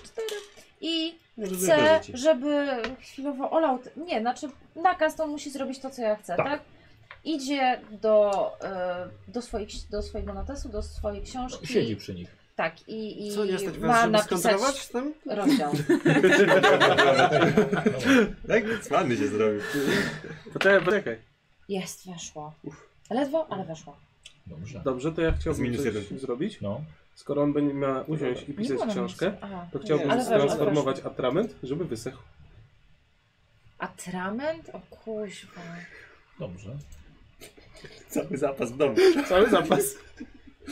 Speaker 3: cztery. I
Speaker 6: Może
Speaker 3: chcę,
Speaker 6: wyobrazić.
Speaker 3: żeby chwilowo olał. t- Nie, znaczy nakaz to on musi zrobić to, co ja chcę, tak? Idzie do, e, do, swoich, do swojego notesu, do swojej książki.
Speaker 1: Siedzi przy nich.
Speaker 3: Tak, i, i
Speaker 4: Co, nie stać was,
Speaker 3: ma
Speaker 4: żeby
Speaker 3: napisać
Speaker 4: skontrolować w tym?
Speaker 3: rozdział.
Speaker 6: Tak, cwany się zrobił.
Speaker 7: Poczekaj, poczekaj.
Speaker 3: Jest, weszło. Ledwo, ale weszło.
Speaker 1: Dobrze.
Speaker 7: Dobrze, to ja
Speaker 6: Z
Speaker 7: chciałbym
Speaker 6: minus
Speaker 7: coś
Speaker 6: jeden.
Speaker 7: zrobić.
Speaker 1: No.
Speaker 7: Skoro on będzie miał usiąść i
Speaker 3: Nie
Speaker 7: pisać
Speaker 3: ma na
Speaker 7: książkę,
Speaker 3: nic. Aha.
Speaker 7: to chciałbym
Speaker 3: Ale weszło,
Speaker 7: transformować atrament, żeby wysechł.
Speaker 3: Atrament? O kuźwa.
Speaker 1: Dobrze.
Speaker 6: Cały zapas w domu.
Speaker 7: Cały zapas.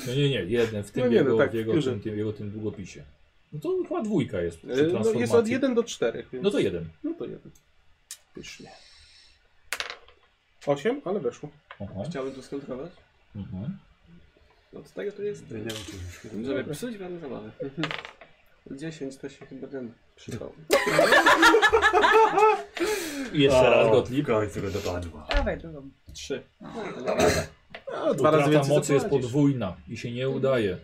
Speaker 1: No nie, nie, jeden w tym
Speaker 7: No nie, no
Speaker 1: jego,
Speaker 7: tak,
Speaker 1: w jego,
Speaker 7: w piórze.
Speaker 1: tym, tym, jego tym długopisie. No to chyba dwójka jest przy
Speaker 7: E, No,
Speaker 1: transformacji.
Speaker 7: jest od 1 do 4. Więc...
Speaker 1: No to jeden.
Speaker 7: No to jeden. Pysznie. 8, ale weszło.
Speaker 1: Aha.
Speaker 4: Chciałbym to skontrolować?
Speaker 1: Mhm.
Speaker 4: No to tego tu jest.
Speaker 6: Ja nie wiem, czy
Speaker 4: Żeby psuć wam zabawę. 10 to się chyba ten przydało.
Speaker 1: I jeszcze raz
Speaker 6: W
Speaker 1: Gottlieb.
Speaker 6: końcu go dopadło.
Speaker 8: Dawaj drugą.
Speaker 4: 3.
Speaker 7: No, dwa razy
Speaker 1: Utrata
Speaker 7: więcej
Speaker 1: mocy jest
Speaker 7: zapłacisz.
Speaker 1: podwójna i się nie udaje.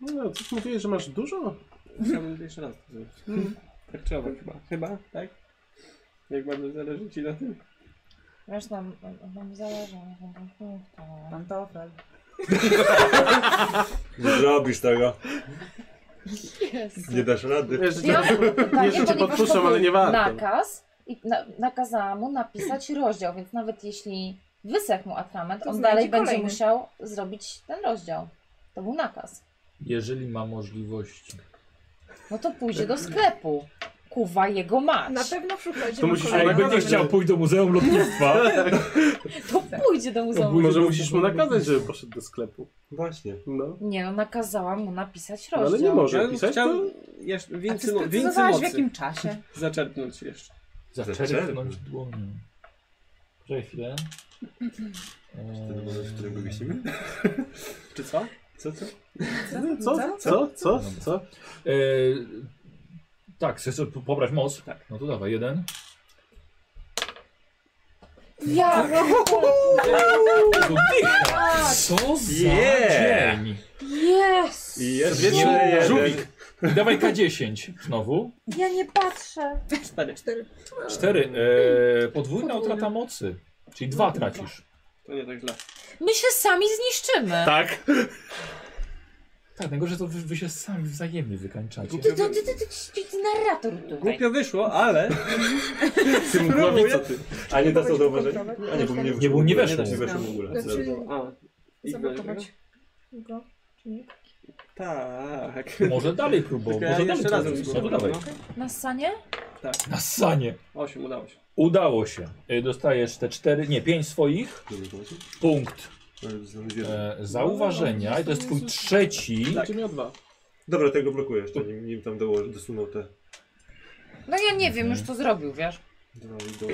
Speaker 7: No, coś mówiłeś, że masz dużo?
Speaker 4: Chciałbym jeszcze raz to zrobić.
Speaker 8: Mhm.
Speaker 4: Tak trzeba chyba. Chyba, tak? Jak bardzo zależy ci na tym.
Speaker 3: Wiesz, nam, nam zależy, nie wiem, tam punktu.
Speaker 8: Pantofel.
Speaker 6: Nie zrobisz tego.
Speaker 3: Jezu.
Speaker 6: Nie dasz rady.
Speaker 7: Wiesz, że
Speaker 3: Ja tak, mam pytanie,
Speaker 7: Jeszcze cię
Speaker 3: ponieważ
Speaker 7: podpuszczą,
Speaker 3: to był
Speaker 7: ale nie warto.
Speaker 3: Nakaz i na, nakazałam mu napisać rozdział, więc nawet jeśli wysechł mu atrament,
Speaker 11: To
Speaker 3: on
Speaker 11: znajdzie
Speaker 3: dalej będzie
Speaker 11: kolejny.
Speaker 3: musiał zrobić ten rozdział. To był nakaz.
Speaker 1: Jeżeli ma możliwości.
Speaker 3: No to pójdzie do sklepu. Kuwa jego mać.
Speaker 9: Na pewno w szufladzie
Speaker 7: To
Speaker 9: ma
Speaker 7: musisz
Speaker 1: A
Speaker 9: kolejny.
Speaker 1: jakby nie
Speaker 7: nakazać,
Speaker 1: chciał
Speaker 7: żeby-
Speaker 1: pójść do Muzeum Lotnictwa,
Speaker 3: To pójdzie do
Speaker 1: To
Speaker 3: muzeum.
Speaker 1: pójdzie-
Speaker 7: Może musisz mu nakazać, żeby poszedł do sklepu.
Speaker 6: Właśnie.
Speaker 7: No.
Speaker 3: Nie no, nakazałam mu napisać
Speaker 7: No, ale
Speaker 3: rozdział.
Speaker 7: nie może.
Speaker 4: Ja bym
Speaker 7: pisać,
Speaker 4: chciał
Speaker 7: to-
Speaker 4: jeszcze
Speaker 8: A ty
Speaker 4: więcej, mo- więcej
Speaker 8: sprecyzowałaś w
Speaker 4: mocy
Speaker 8: jakim czasie?
Speaker 4: zaczerpnąć jeszcze.
Speaker 1: zaczerpnąć dłonią. Czekaj chwilę.
Speaker 6: Wtedy może w którym go wiesimy?
Speaker 2: Czy co?
Speaker 6: Co, co?
Speaker 15: Co? Co? Co? Co?
Speaker 1: E, tak, chcesz po- pobrać moc? Tak. No to dawaj, jeden.
Speaker 16: Ja!
Speaker 1: To dycha! Co za
Speaker 6: Yeah!
Speaker 1: dzień!
Speaker 16: Yes!
Speaker 6: I
Speaker 1: Jeszcze
Speaker 6: jeszcze
Speaker 1: Żółwik. Dawaj K10 znowu.
Speaker 16: Ja nie patrzę.
Speaker 2: Cztery.
Speaker 9: Cztery.
Speaker 1: Cztery. E, podwójna utrata mocy. Czyli dwa tracisz.
Speaker 2: To nie tak źle.
Speaker 3: My się sami zniszczymy.
Speaker 1: Tak. Tak, najgorsze to wy, wy się sami wzajemnie wykańczacie.
Speaker 16: Ty, to, ty, ty, ty, ty, ty narrator tutaj.
Speaker 2: Głupio wyszło, ale...
Speaker 15: Ty mgławica, ty.
Speaker 6: A nie da co zauważyć? A nie, bo mnie
Speaker 1: Nie, bo nie weszło.
Speaker 6: Nie weszło w ogóle.
Speaker 9: Znaczy-
Speaker 2: A, i
Speaker 9: Zablokować go. Czy nie?
Speaker 2: Tak.
Speaker 1: Może dalej próbował.
Speaker 2: Tylko ja
Speaker 1: Może dalej
Speaker 2: jeszcze razem no.
Speaker 1: próbował. No to
Speaker 2: spróbuję,
Speaker 1: dawaj.
Speaker 2: no.
Speaker 3: Na sanie?
Speaker 1: Na sanie.
Speaker 2: Osiem, udało
Speaker 1: Tak.
Speaker 2: się.
Speaker 1: Udało się. E, Dostajesz te cztery, nie, pięć swoich.
Speaker 6: Żeby zobaczyć?
Speaker 1: Punkt
Speaker 6: Ale znamy zwierzę.
Speaker 1: e, zauważenia. I to jest twój trzeci.
Speaker 2: Tak.
Speaker 4: Znaczy,
Speaker 7: Będzie miał dwa.
Speaker 6: Dobra, tego blokuję jeszcze, nim, nim tam dołożę, dosunął te
Speaker 3: No ja nie wiem, już co zrobił, wiesz.
Speaker 6: dwa do tu.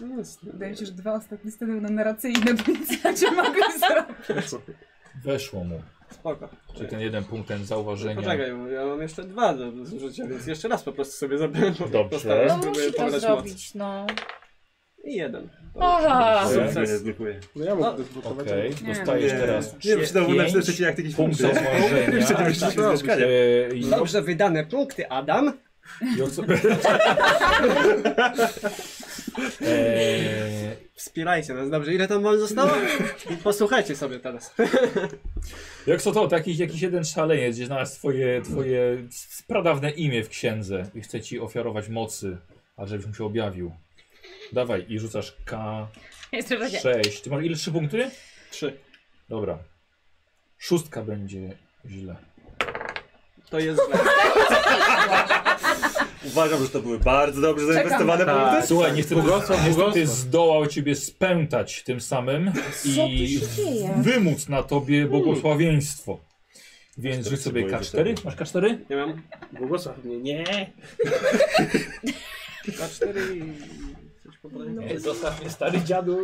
Speaker 8: No, wydaje mi się, że dwa ostatnie stanęły na narracyjne, więc ja cię mogę zrobić.
Speaker 1: Weszło mu.
Speaker 2: Spoko.
Speaker 1: Czyli ten jeden punkt, ten zauważenia.
Speaker 2: Poczekaj, bo ja mam jeszcze dwa do do zużycia, więc jeszcze raz po prostu sobie zabiorę.
Speaker 1: Dobrze.
Speaker 2: Postaram,
Speaker 3: No
Speaker 1: Teraz
Speaker 2: spróbuję
Speaker 3: musi to
Speaker 2: pobrać moc.
Speaker 3: zrobić, no.
Speaker 2: I jeden.
Speaker 3: Aha!
Speaker 6: Ja go
Speaker 2: Sukces.
Speaker 6: nie zblokuję.
Speaker 7: No ja
Speaker 2: No,
Speaker 7: mogę zblokować.
Speaker 1: Okej,
Speaker 8: Nie.
Speaker 1: dostajesz teraz
Speaker 6: Nie wiem, czy znowu
Speaker 1: pięć
Speaker 6: na trzecie jak jakiś
Speaker 1: punkt
Speaker 6: punkt. nie?
Speaker 1: zauważenia.
Speaker 6: Jeszcze nie wyszliśmy z mieszkania.
Speaker 1: E, i-
Speaker 2: Dobrze wydane punkty, Adam.
Speaker 1: i oso- E,
Speaker 2: Wspierajcie nas, dobrze. Ile tam wam zostało? Posłuchajcie sobie teraz.
Speaker 1: Jak co to, taki, jakiś jeden szaleniec, gdzie znalazł twoje, twoje s- pradawne imię w księdze i chce ci ofiarować mocy, ale żebyś mu się objawił. Dawaj i rzucasz K6.
Speaker 3: Jest w razie.
Speaker 1: Ty masz ile? Trzy punkty?
Speaker 2: Trzy.
Speaker 1: Dobra. Szóstka będzie źle.
Speaker 2: To jest źle.
Speaker 6: Uważam, że to były bardzo dobrze zainwestowane punkty.
Speaker 1: Słuchaj, niestety,
Speaker 15: Błogosław,
Speaker 1: niestety
Speaker 15: błogosław.
Speaker 1: zdołał ciebie spętać tym samym
Speaker 16: Co
Speaker 1: i
Speaker 16: tu się dzieje?
Speaker 1: wymóc na tobie błogosławieństwo. Więc
Speaker 6: Teraz
Speaker 1: rzuć
Speaker 6: się
Speaker 1: sobie
Speaker 6: boję, że
Speaker 1: K4.
Speaker 6: tak.
Speaker 1: Masz K4?
Speaker 2: Nie mam.
Speaker 7: Błogosław mnie. Nie.
Speaker 2: Dwa, cztery i... Coś pobrałem.
Speaker 1: Zostaw mnie stary dziadu.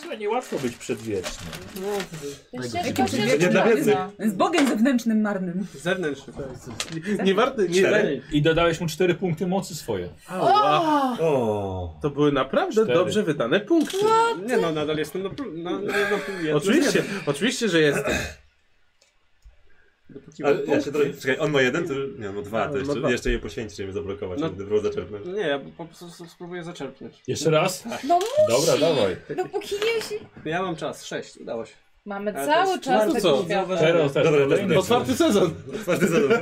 Speaker 1: Słuchaj, niełatwo być przedwiecznym.
Speaker 3: Jeszcze
Speaker 8: Jakim
Speaker 3: tylko się
Speaker 8: cudem?
Speaker 6: Nie dla wiedzy.
Speaker 3: no.
Speaker 8: Z Bogiem zewnętrznym marnym.
Speaker 2: Zewnętrzny.
Speaker 7: Nie, nie warto, nie
Speaker 6: Tak. Cztery.
Speaker 7: dalej.
Speaker 1: I dodałeś mu 4 punkty mocy swoje.
Speaker 7: Ała.
Speaker 6: O.
Speaker 15: To były naprawdę
Speaker 1: Cztery.
Speaker 15: dobrze wydane punkty.
Speaker 2: Nie no, nadal jestem na plu- na, na, na, na
Speaker 15: Oczywiście, oczywiście, że jest.
Speaker 2: Dopóki
Speaker 6: Ale ja się trochę... Czekaj, on ma jeden, to... Nie, on ma dwa,
Speaker 15: No,
Speaker 6: to jeszcze,
Speaker 15: dwa.
Speaker 6: jeszcze je poświęcić, żeby zablokować,
Speaker 2: No.
Speaker 6: żeby było zaczerpnąć.
Speaker 2: Nie, ja po prostu spróbuję zaczerpnąć.
Speaker 1: Jeszcze raz?
Speaker 3: No
Speaker 1: Dobra, dawaj.
Speaker 3: Dopóki No, nie się...
Speaker 2: Ja mam czas, sześć, udało się.
Speaker 3: Mamy
Speaker 2: Ale to
Speaker 3: cały
Speaker 2: jest-
Speaker 3: czas
Speaker 7: no to
Speaker 3: taki
Speaker 7: co?
Speaker 3: świat.
Speaker 1: Teraz, teraz.
Speaker 6: Dobra,
Speaker 1: kolejny.
Speaker 6: teraz
Speaker 7: Otwarty sezon.
Speaker 6: Otwarty za dużo.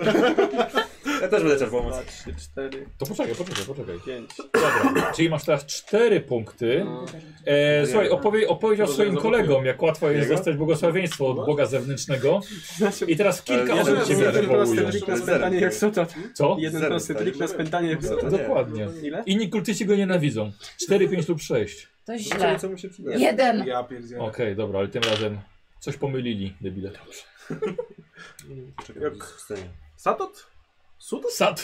Speaker 6: Ja też będę czerpał moc.
Speaker 2: Dwa, trzy, cztery,
Speaker 1: To poczekaj, poczekaj, poczekaj.
Speaker 2: pięć.
Speaker 1: Dobra. Czyli masz teraz 4 punkty.
Speaker 2: No.
Speaker 1: E, słuchaj, opowie, opowiedział swoim kolegom, jak łatwo jest
Speaker 6: Jego?
Speaker 1: dostać błogosławieństwo od Boga zewnętrznego. I teraz kilka
Speaker 6: Ale nie,
Speaker 1: osób
Speaker 6: że
Speaker 1: ciebie
Speaker 6: jeden
Speaker 2: Jeden prosty
Speaker 1: wywołuje.
Speaker 6: wywołuję.
Speaker 2: trik na spętanie jak sota.
Speaker 1: Co?
Speaker 2: Jeden
Speaker 6: Zero,
Speaker 2: prosty
Speaker 6: tak,
Speaker 2: trik na
Speaker 6: nie?
Speaker 2: spętanie jak sota.
Speaker 6: Nie.
Speaker 1: Dokładnie.
Speaker 2: Ile?
Speaker 1: Inni kultyści go nienawidzą. 4, 5 lub 6.
Speaker 3: To
Speaker 6: Zobaczymy,
Speaker 3: źle.
Speaker 6: No co mu się przyda.
Speaker 3: Jeden.
Speaker 7: Ja pierdzielę.
Speaker 1: Okej, dobra, ale tym razem coś pomylili, debile.
Speaker 6: Czekaj, jak w scenie.
Speaker 7: Satot? Sutos?
Speaker 1: Sad,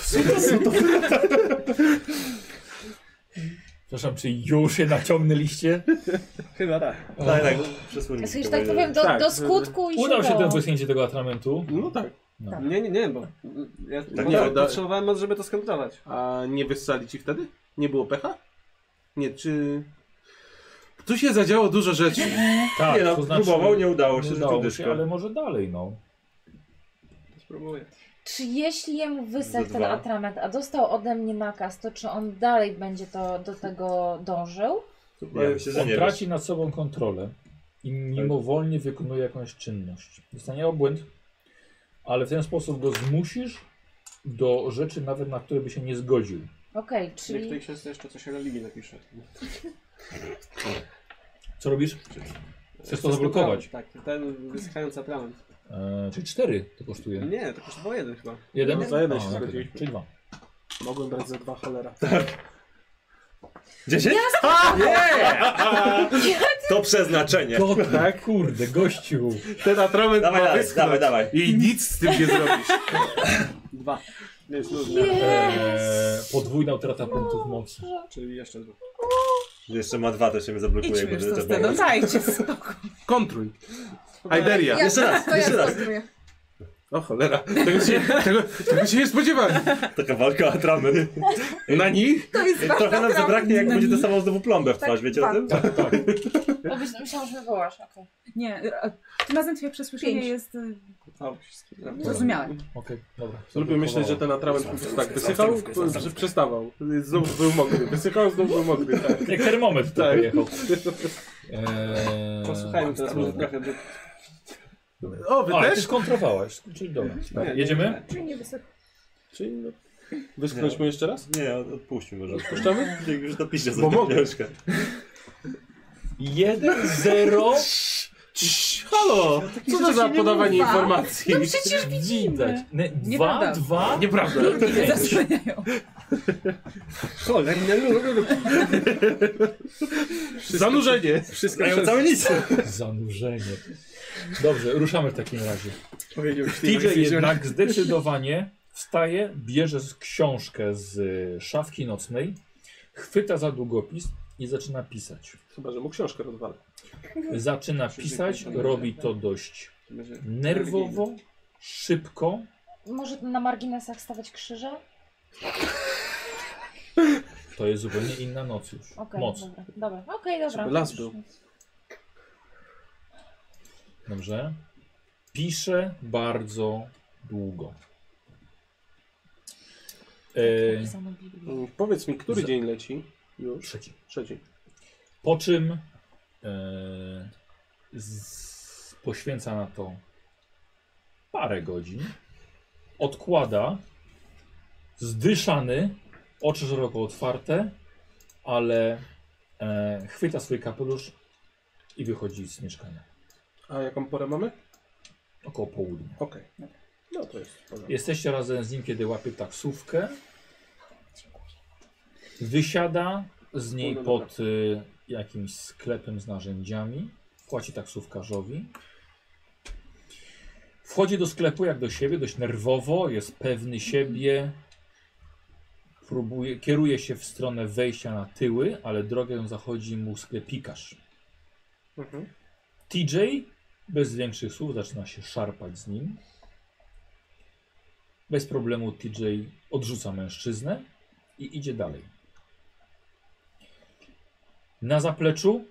Speaker 1: Przepraszam, czy już je naciągnęliście?
Speaker 2: Chyba tak.
Speaker 6: Tak, tak, przesłonię.
Speaker 3: Ja sobie, że tak powiem, do,
Speaker 7: Tak.
Speaker 3: do skutku i
Speaker 1: Udał się
Speaker 3: udało.
Speaker 1: ten wysunięcie tego atramentu.
Speaker 7: No tak.
Speaker 2: Nie, nie, nie, bo ja
Speaker 6: Tak,
Speaker 2: bo
Speaker 15: nie,
Speaker 2: tak,
Speaker 15: da-
Speaker 2: potrzebowałem moc, żeby to skontrować.
Speaker 7: A nie wyssali ci wtedy? Nie było pecha? Nie, czy... Tu się zadziało dużo rzeczy.
Speaker 1: Tak,
Speaker 6: Nie no,
Speaker 1: to znaczy,
Speaker 6: próbował, nie udało się,
Speaker 1: nie
Speaker 6: że
Speaker 1: udało
Speaker 6: to
Speaker 1: się,
Speaker 6: dyszka.
Speaker 1: ale może dalej, no.
Speaker 2: Spróbuję.
Speaker 3: Czy jeśli jemu wysek
Speaker 6: Za
Speaker 3: ten
Speaker 6: dwa.
Speaker 3: atrament, a dostał ode mnie nakaz, to czy on dalej będzie to, do tego dążył?
Speaker 6: Ja myślę, że
Speaker 1: On
Speaker 6: nie.
Speaker 1: traci nad sobą kontrolę i mimowolnie wykonuje jakąś czynność. Zostanie obłęd, ale w ten sposób go zmusisz do rzeczy nawet na które by się nie zgodził.
Speaker 3: Okej,
Speaker 2: Niech w tej
Speaker 3: czyli
Speaker 2: książce jeszcze coś o religii napisze.
Speaker 1: Co robisz? Chcesz to
Speaker 2: Coś
Speaker 1: zablokować?
Speaker 2: Tak, ten wyskający atrament.
Speaker 1: Eee, czyli cztery to kosztuje.
Speaker 2: Nie, to kosztowało jeden chyba.
Speaker 1: Jeden?
Speaker 7: No, za jeden
Speaker 1: A,
Speaker 7: się
Speaker 1: okej,
Speaker 7: zgodziliśmy.
Speaker 1: Czyli dwa.
Speaker 7: Mogłem brać za dwa cholera.
Speaker 6: Dziesięć? To przeznaczenie.
Speaker 1: To tak, kurde, gościu.
Speaker 15: Ten atrament
Speaker 6: Dawaj
Speaker 15: ma
Speaker 6: dalej,
Speaker 15: wyschnąć.
Speaker 6: dawaj, dawaj.
Speaker 15: I nic z tym nie zrobisz.
Speaker 2: Dwa.
Speaker 4: Jest nudne.
Speaker 1: Eee, podwójna utrata punktów mocy.
Speaker 4: Czyli jeszcze dwa.
Speaker 6: Jeszcze ma dwa, to się mnie zablokuje.
Speaker 11: Idźmy już
Speaker 6: bo-
Speaker 11: to
Speaker 6: bo-
Speaker 11: z tego, dajcie spokój.
Speaker 5: Kontruj. Hyderia.
Speaker 9: Ja,
Speaker 6: Jeszcze raz,
Speaker 9: to
Speaker 6: jeszcze
Speaker 9: ja
Speaker 6: raz.
Speaker 9: kontruję.
Speaker 5: O cholera, tego się, tego, tego się nie spodziewałem.
Speaker 6: Taka walka atramy.
Speaker 5: Na nich?
Speaker 9: To jest wasza
Speaker 3: tak,
Speaker 6: Trochę nam
Speaker 9: prawda.
Speaker 6: zabraknie, jak będzie to samo znowu plombę w
Speaker 9: Tak,
Speaker 6: twarz, wiecie o tym?
Speaker 14: Bo myśl- myślałam, że wywołasz, okej.
Speaker 8: Nie, a tym razem twoje przesłyszenie
Speaker 9: Pięć.
Speaker 8: jest y,
Speaker 4: O, wszystkie.
Speaker 2: No,
Speaker 8: zrozumiałe.
Speaker 1: Okej, dobra.
Speaker 7: Lubię myśleć, że ten atrament po prostu tak wysychał, że przestawał. Znowu był mokry, wysychał, znowu był mokry. Tak.
Speaker 1: Jak termometr tak
Speaker 7: Tak.
Speaker 1: wyjechał. Eee,
Speaker 4: Posłuchajmy teraz może trochę. do-
Speaker 5: O, wy
Speaker 1: A, ty
Speaker 5: też?
Speaker 1: skontrowałaś, czyli dobra.
Speaker 4: Nie, nie,
Speaker 1: Jedziemy?
Speaker 9: Czyli nie wysoko.
Speaker 7: Czyli no, wyschnąćmy jeszcze raz?
Speaker 6: Nie, od- odpuśćmy może.
Speaker 7: Puszczamy?
Speaker 6: Jak już napiszę
Speaker 7: Bo
Speaker 6: za
Speaker 7: mogę.
Speaker 6: pieniążkę.
Speaker 1: 1-0
Speaker 5: Cii, Halo! Co to za podawanie informacji?
Speaker 1: No przecież widać.
Speaker 11: Nieprawda.
Speaker 1: 2-2?
Speaker 5: Nieprawda.
Speaker 11: Nie zasłaniają.
Speaker 4: Cholerne lulu.
Speaker 5: Zanurzenie.
Speaker 4: Wszystko
Speaker 6: Mają całe nic.
Speaker 1: Zanurzenie. Dobrze, ruszamy w takim razie.
Speaker 4: powiedział.
Speaker 1: TJ jednak zdecydowanie wstaje, bierze z- książkę z y, szafki nocnej, chwyta za długopis i zaczyna pisać.
Speaker 7: Chyba, że mu książkę rozwalę.
Speaker 14: Mhm.
Speaker 1: Zaczyna pisać, robi to dość nerwowo, szybko.
Speaker 14: Może na marginesach stawiać krzyże?
Speaker 1: To jest zupełnie inna noc już.
Speaker 14: Okej,
Speaker 1: Moc.
Speaker 14: dobra. Dobra, okej, dobra.
Speaker 7: Żeby las był.
Speaker 1: Dobrze. Pisze bardzo długo.
Speaker 14: Tak,
Speaker 1: E,
Speaker 14: Napisano Biblię.
Speaker 7: Mm, Powiedz mi, który
Speaker 1: Za-
Speaker 7: dzień leci? Już?
Speaker 1: trzeci.
Speaker 7: Trzeci.
Speaker 1: Po czym e, z, poświęca na to parę godzin. Odkłada. Zdyszany, oczy szeroko otwarte, ale e, chwyta swój kapelusz i wychodzi z mieszkania.
Speaker 7: A jaką porę mamy?
Speaker 1: Około południa.
Speaker 7: Okej. No to jest w porządku.
Speaker 1: Jesteście razem z nim, kiedy łapie taksówkę. Wysiada z niej
Speaker 4: Kurde, dobra.
Speaker 1: pod y, jakimś sklepem z narzędziami. Płaci taksówkarzowi. Wchodzi do sklepu jak do siebie, dość nerwowo, jest pewny siebie. Próbuje, kieruje się w stronę wejścia na tyły, ale drogę zachodzi mu sklepikarz.
Speaker 7: Mhm.
Speaker 1: TJ bez większych słów zaczyna się szarpać z nim. Bez problemu TJ odrzuca mężczyznę i idzie dalej. Na zapleczu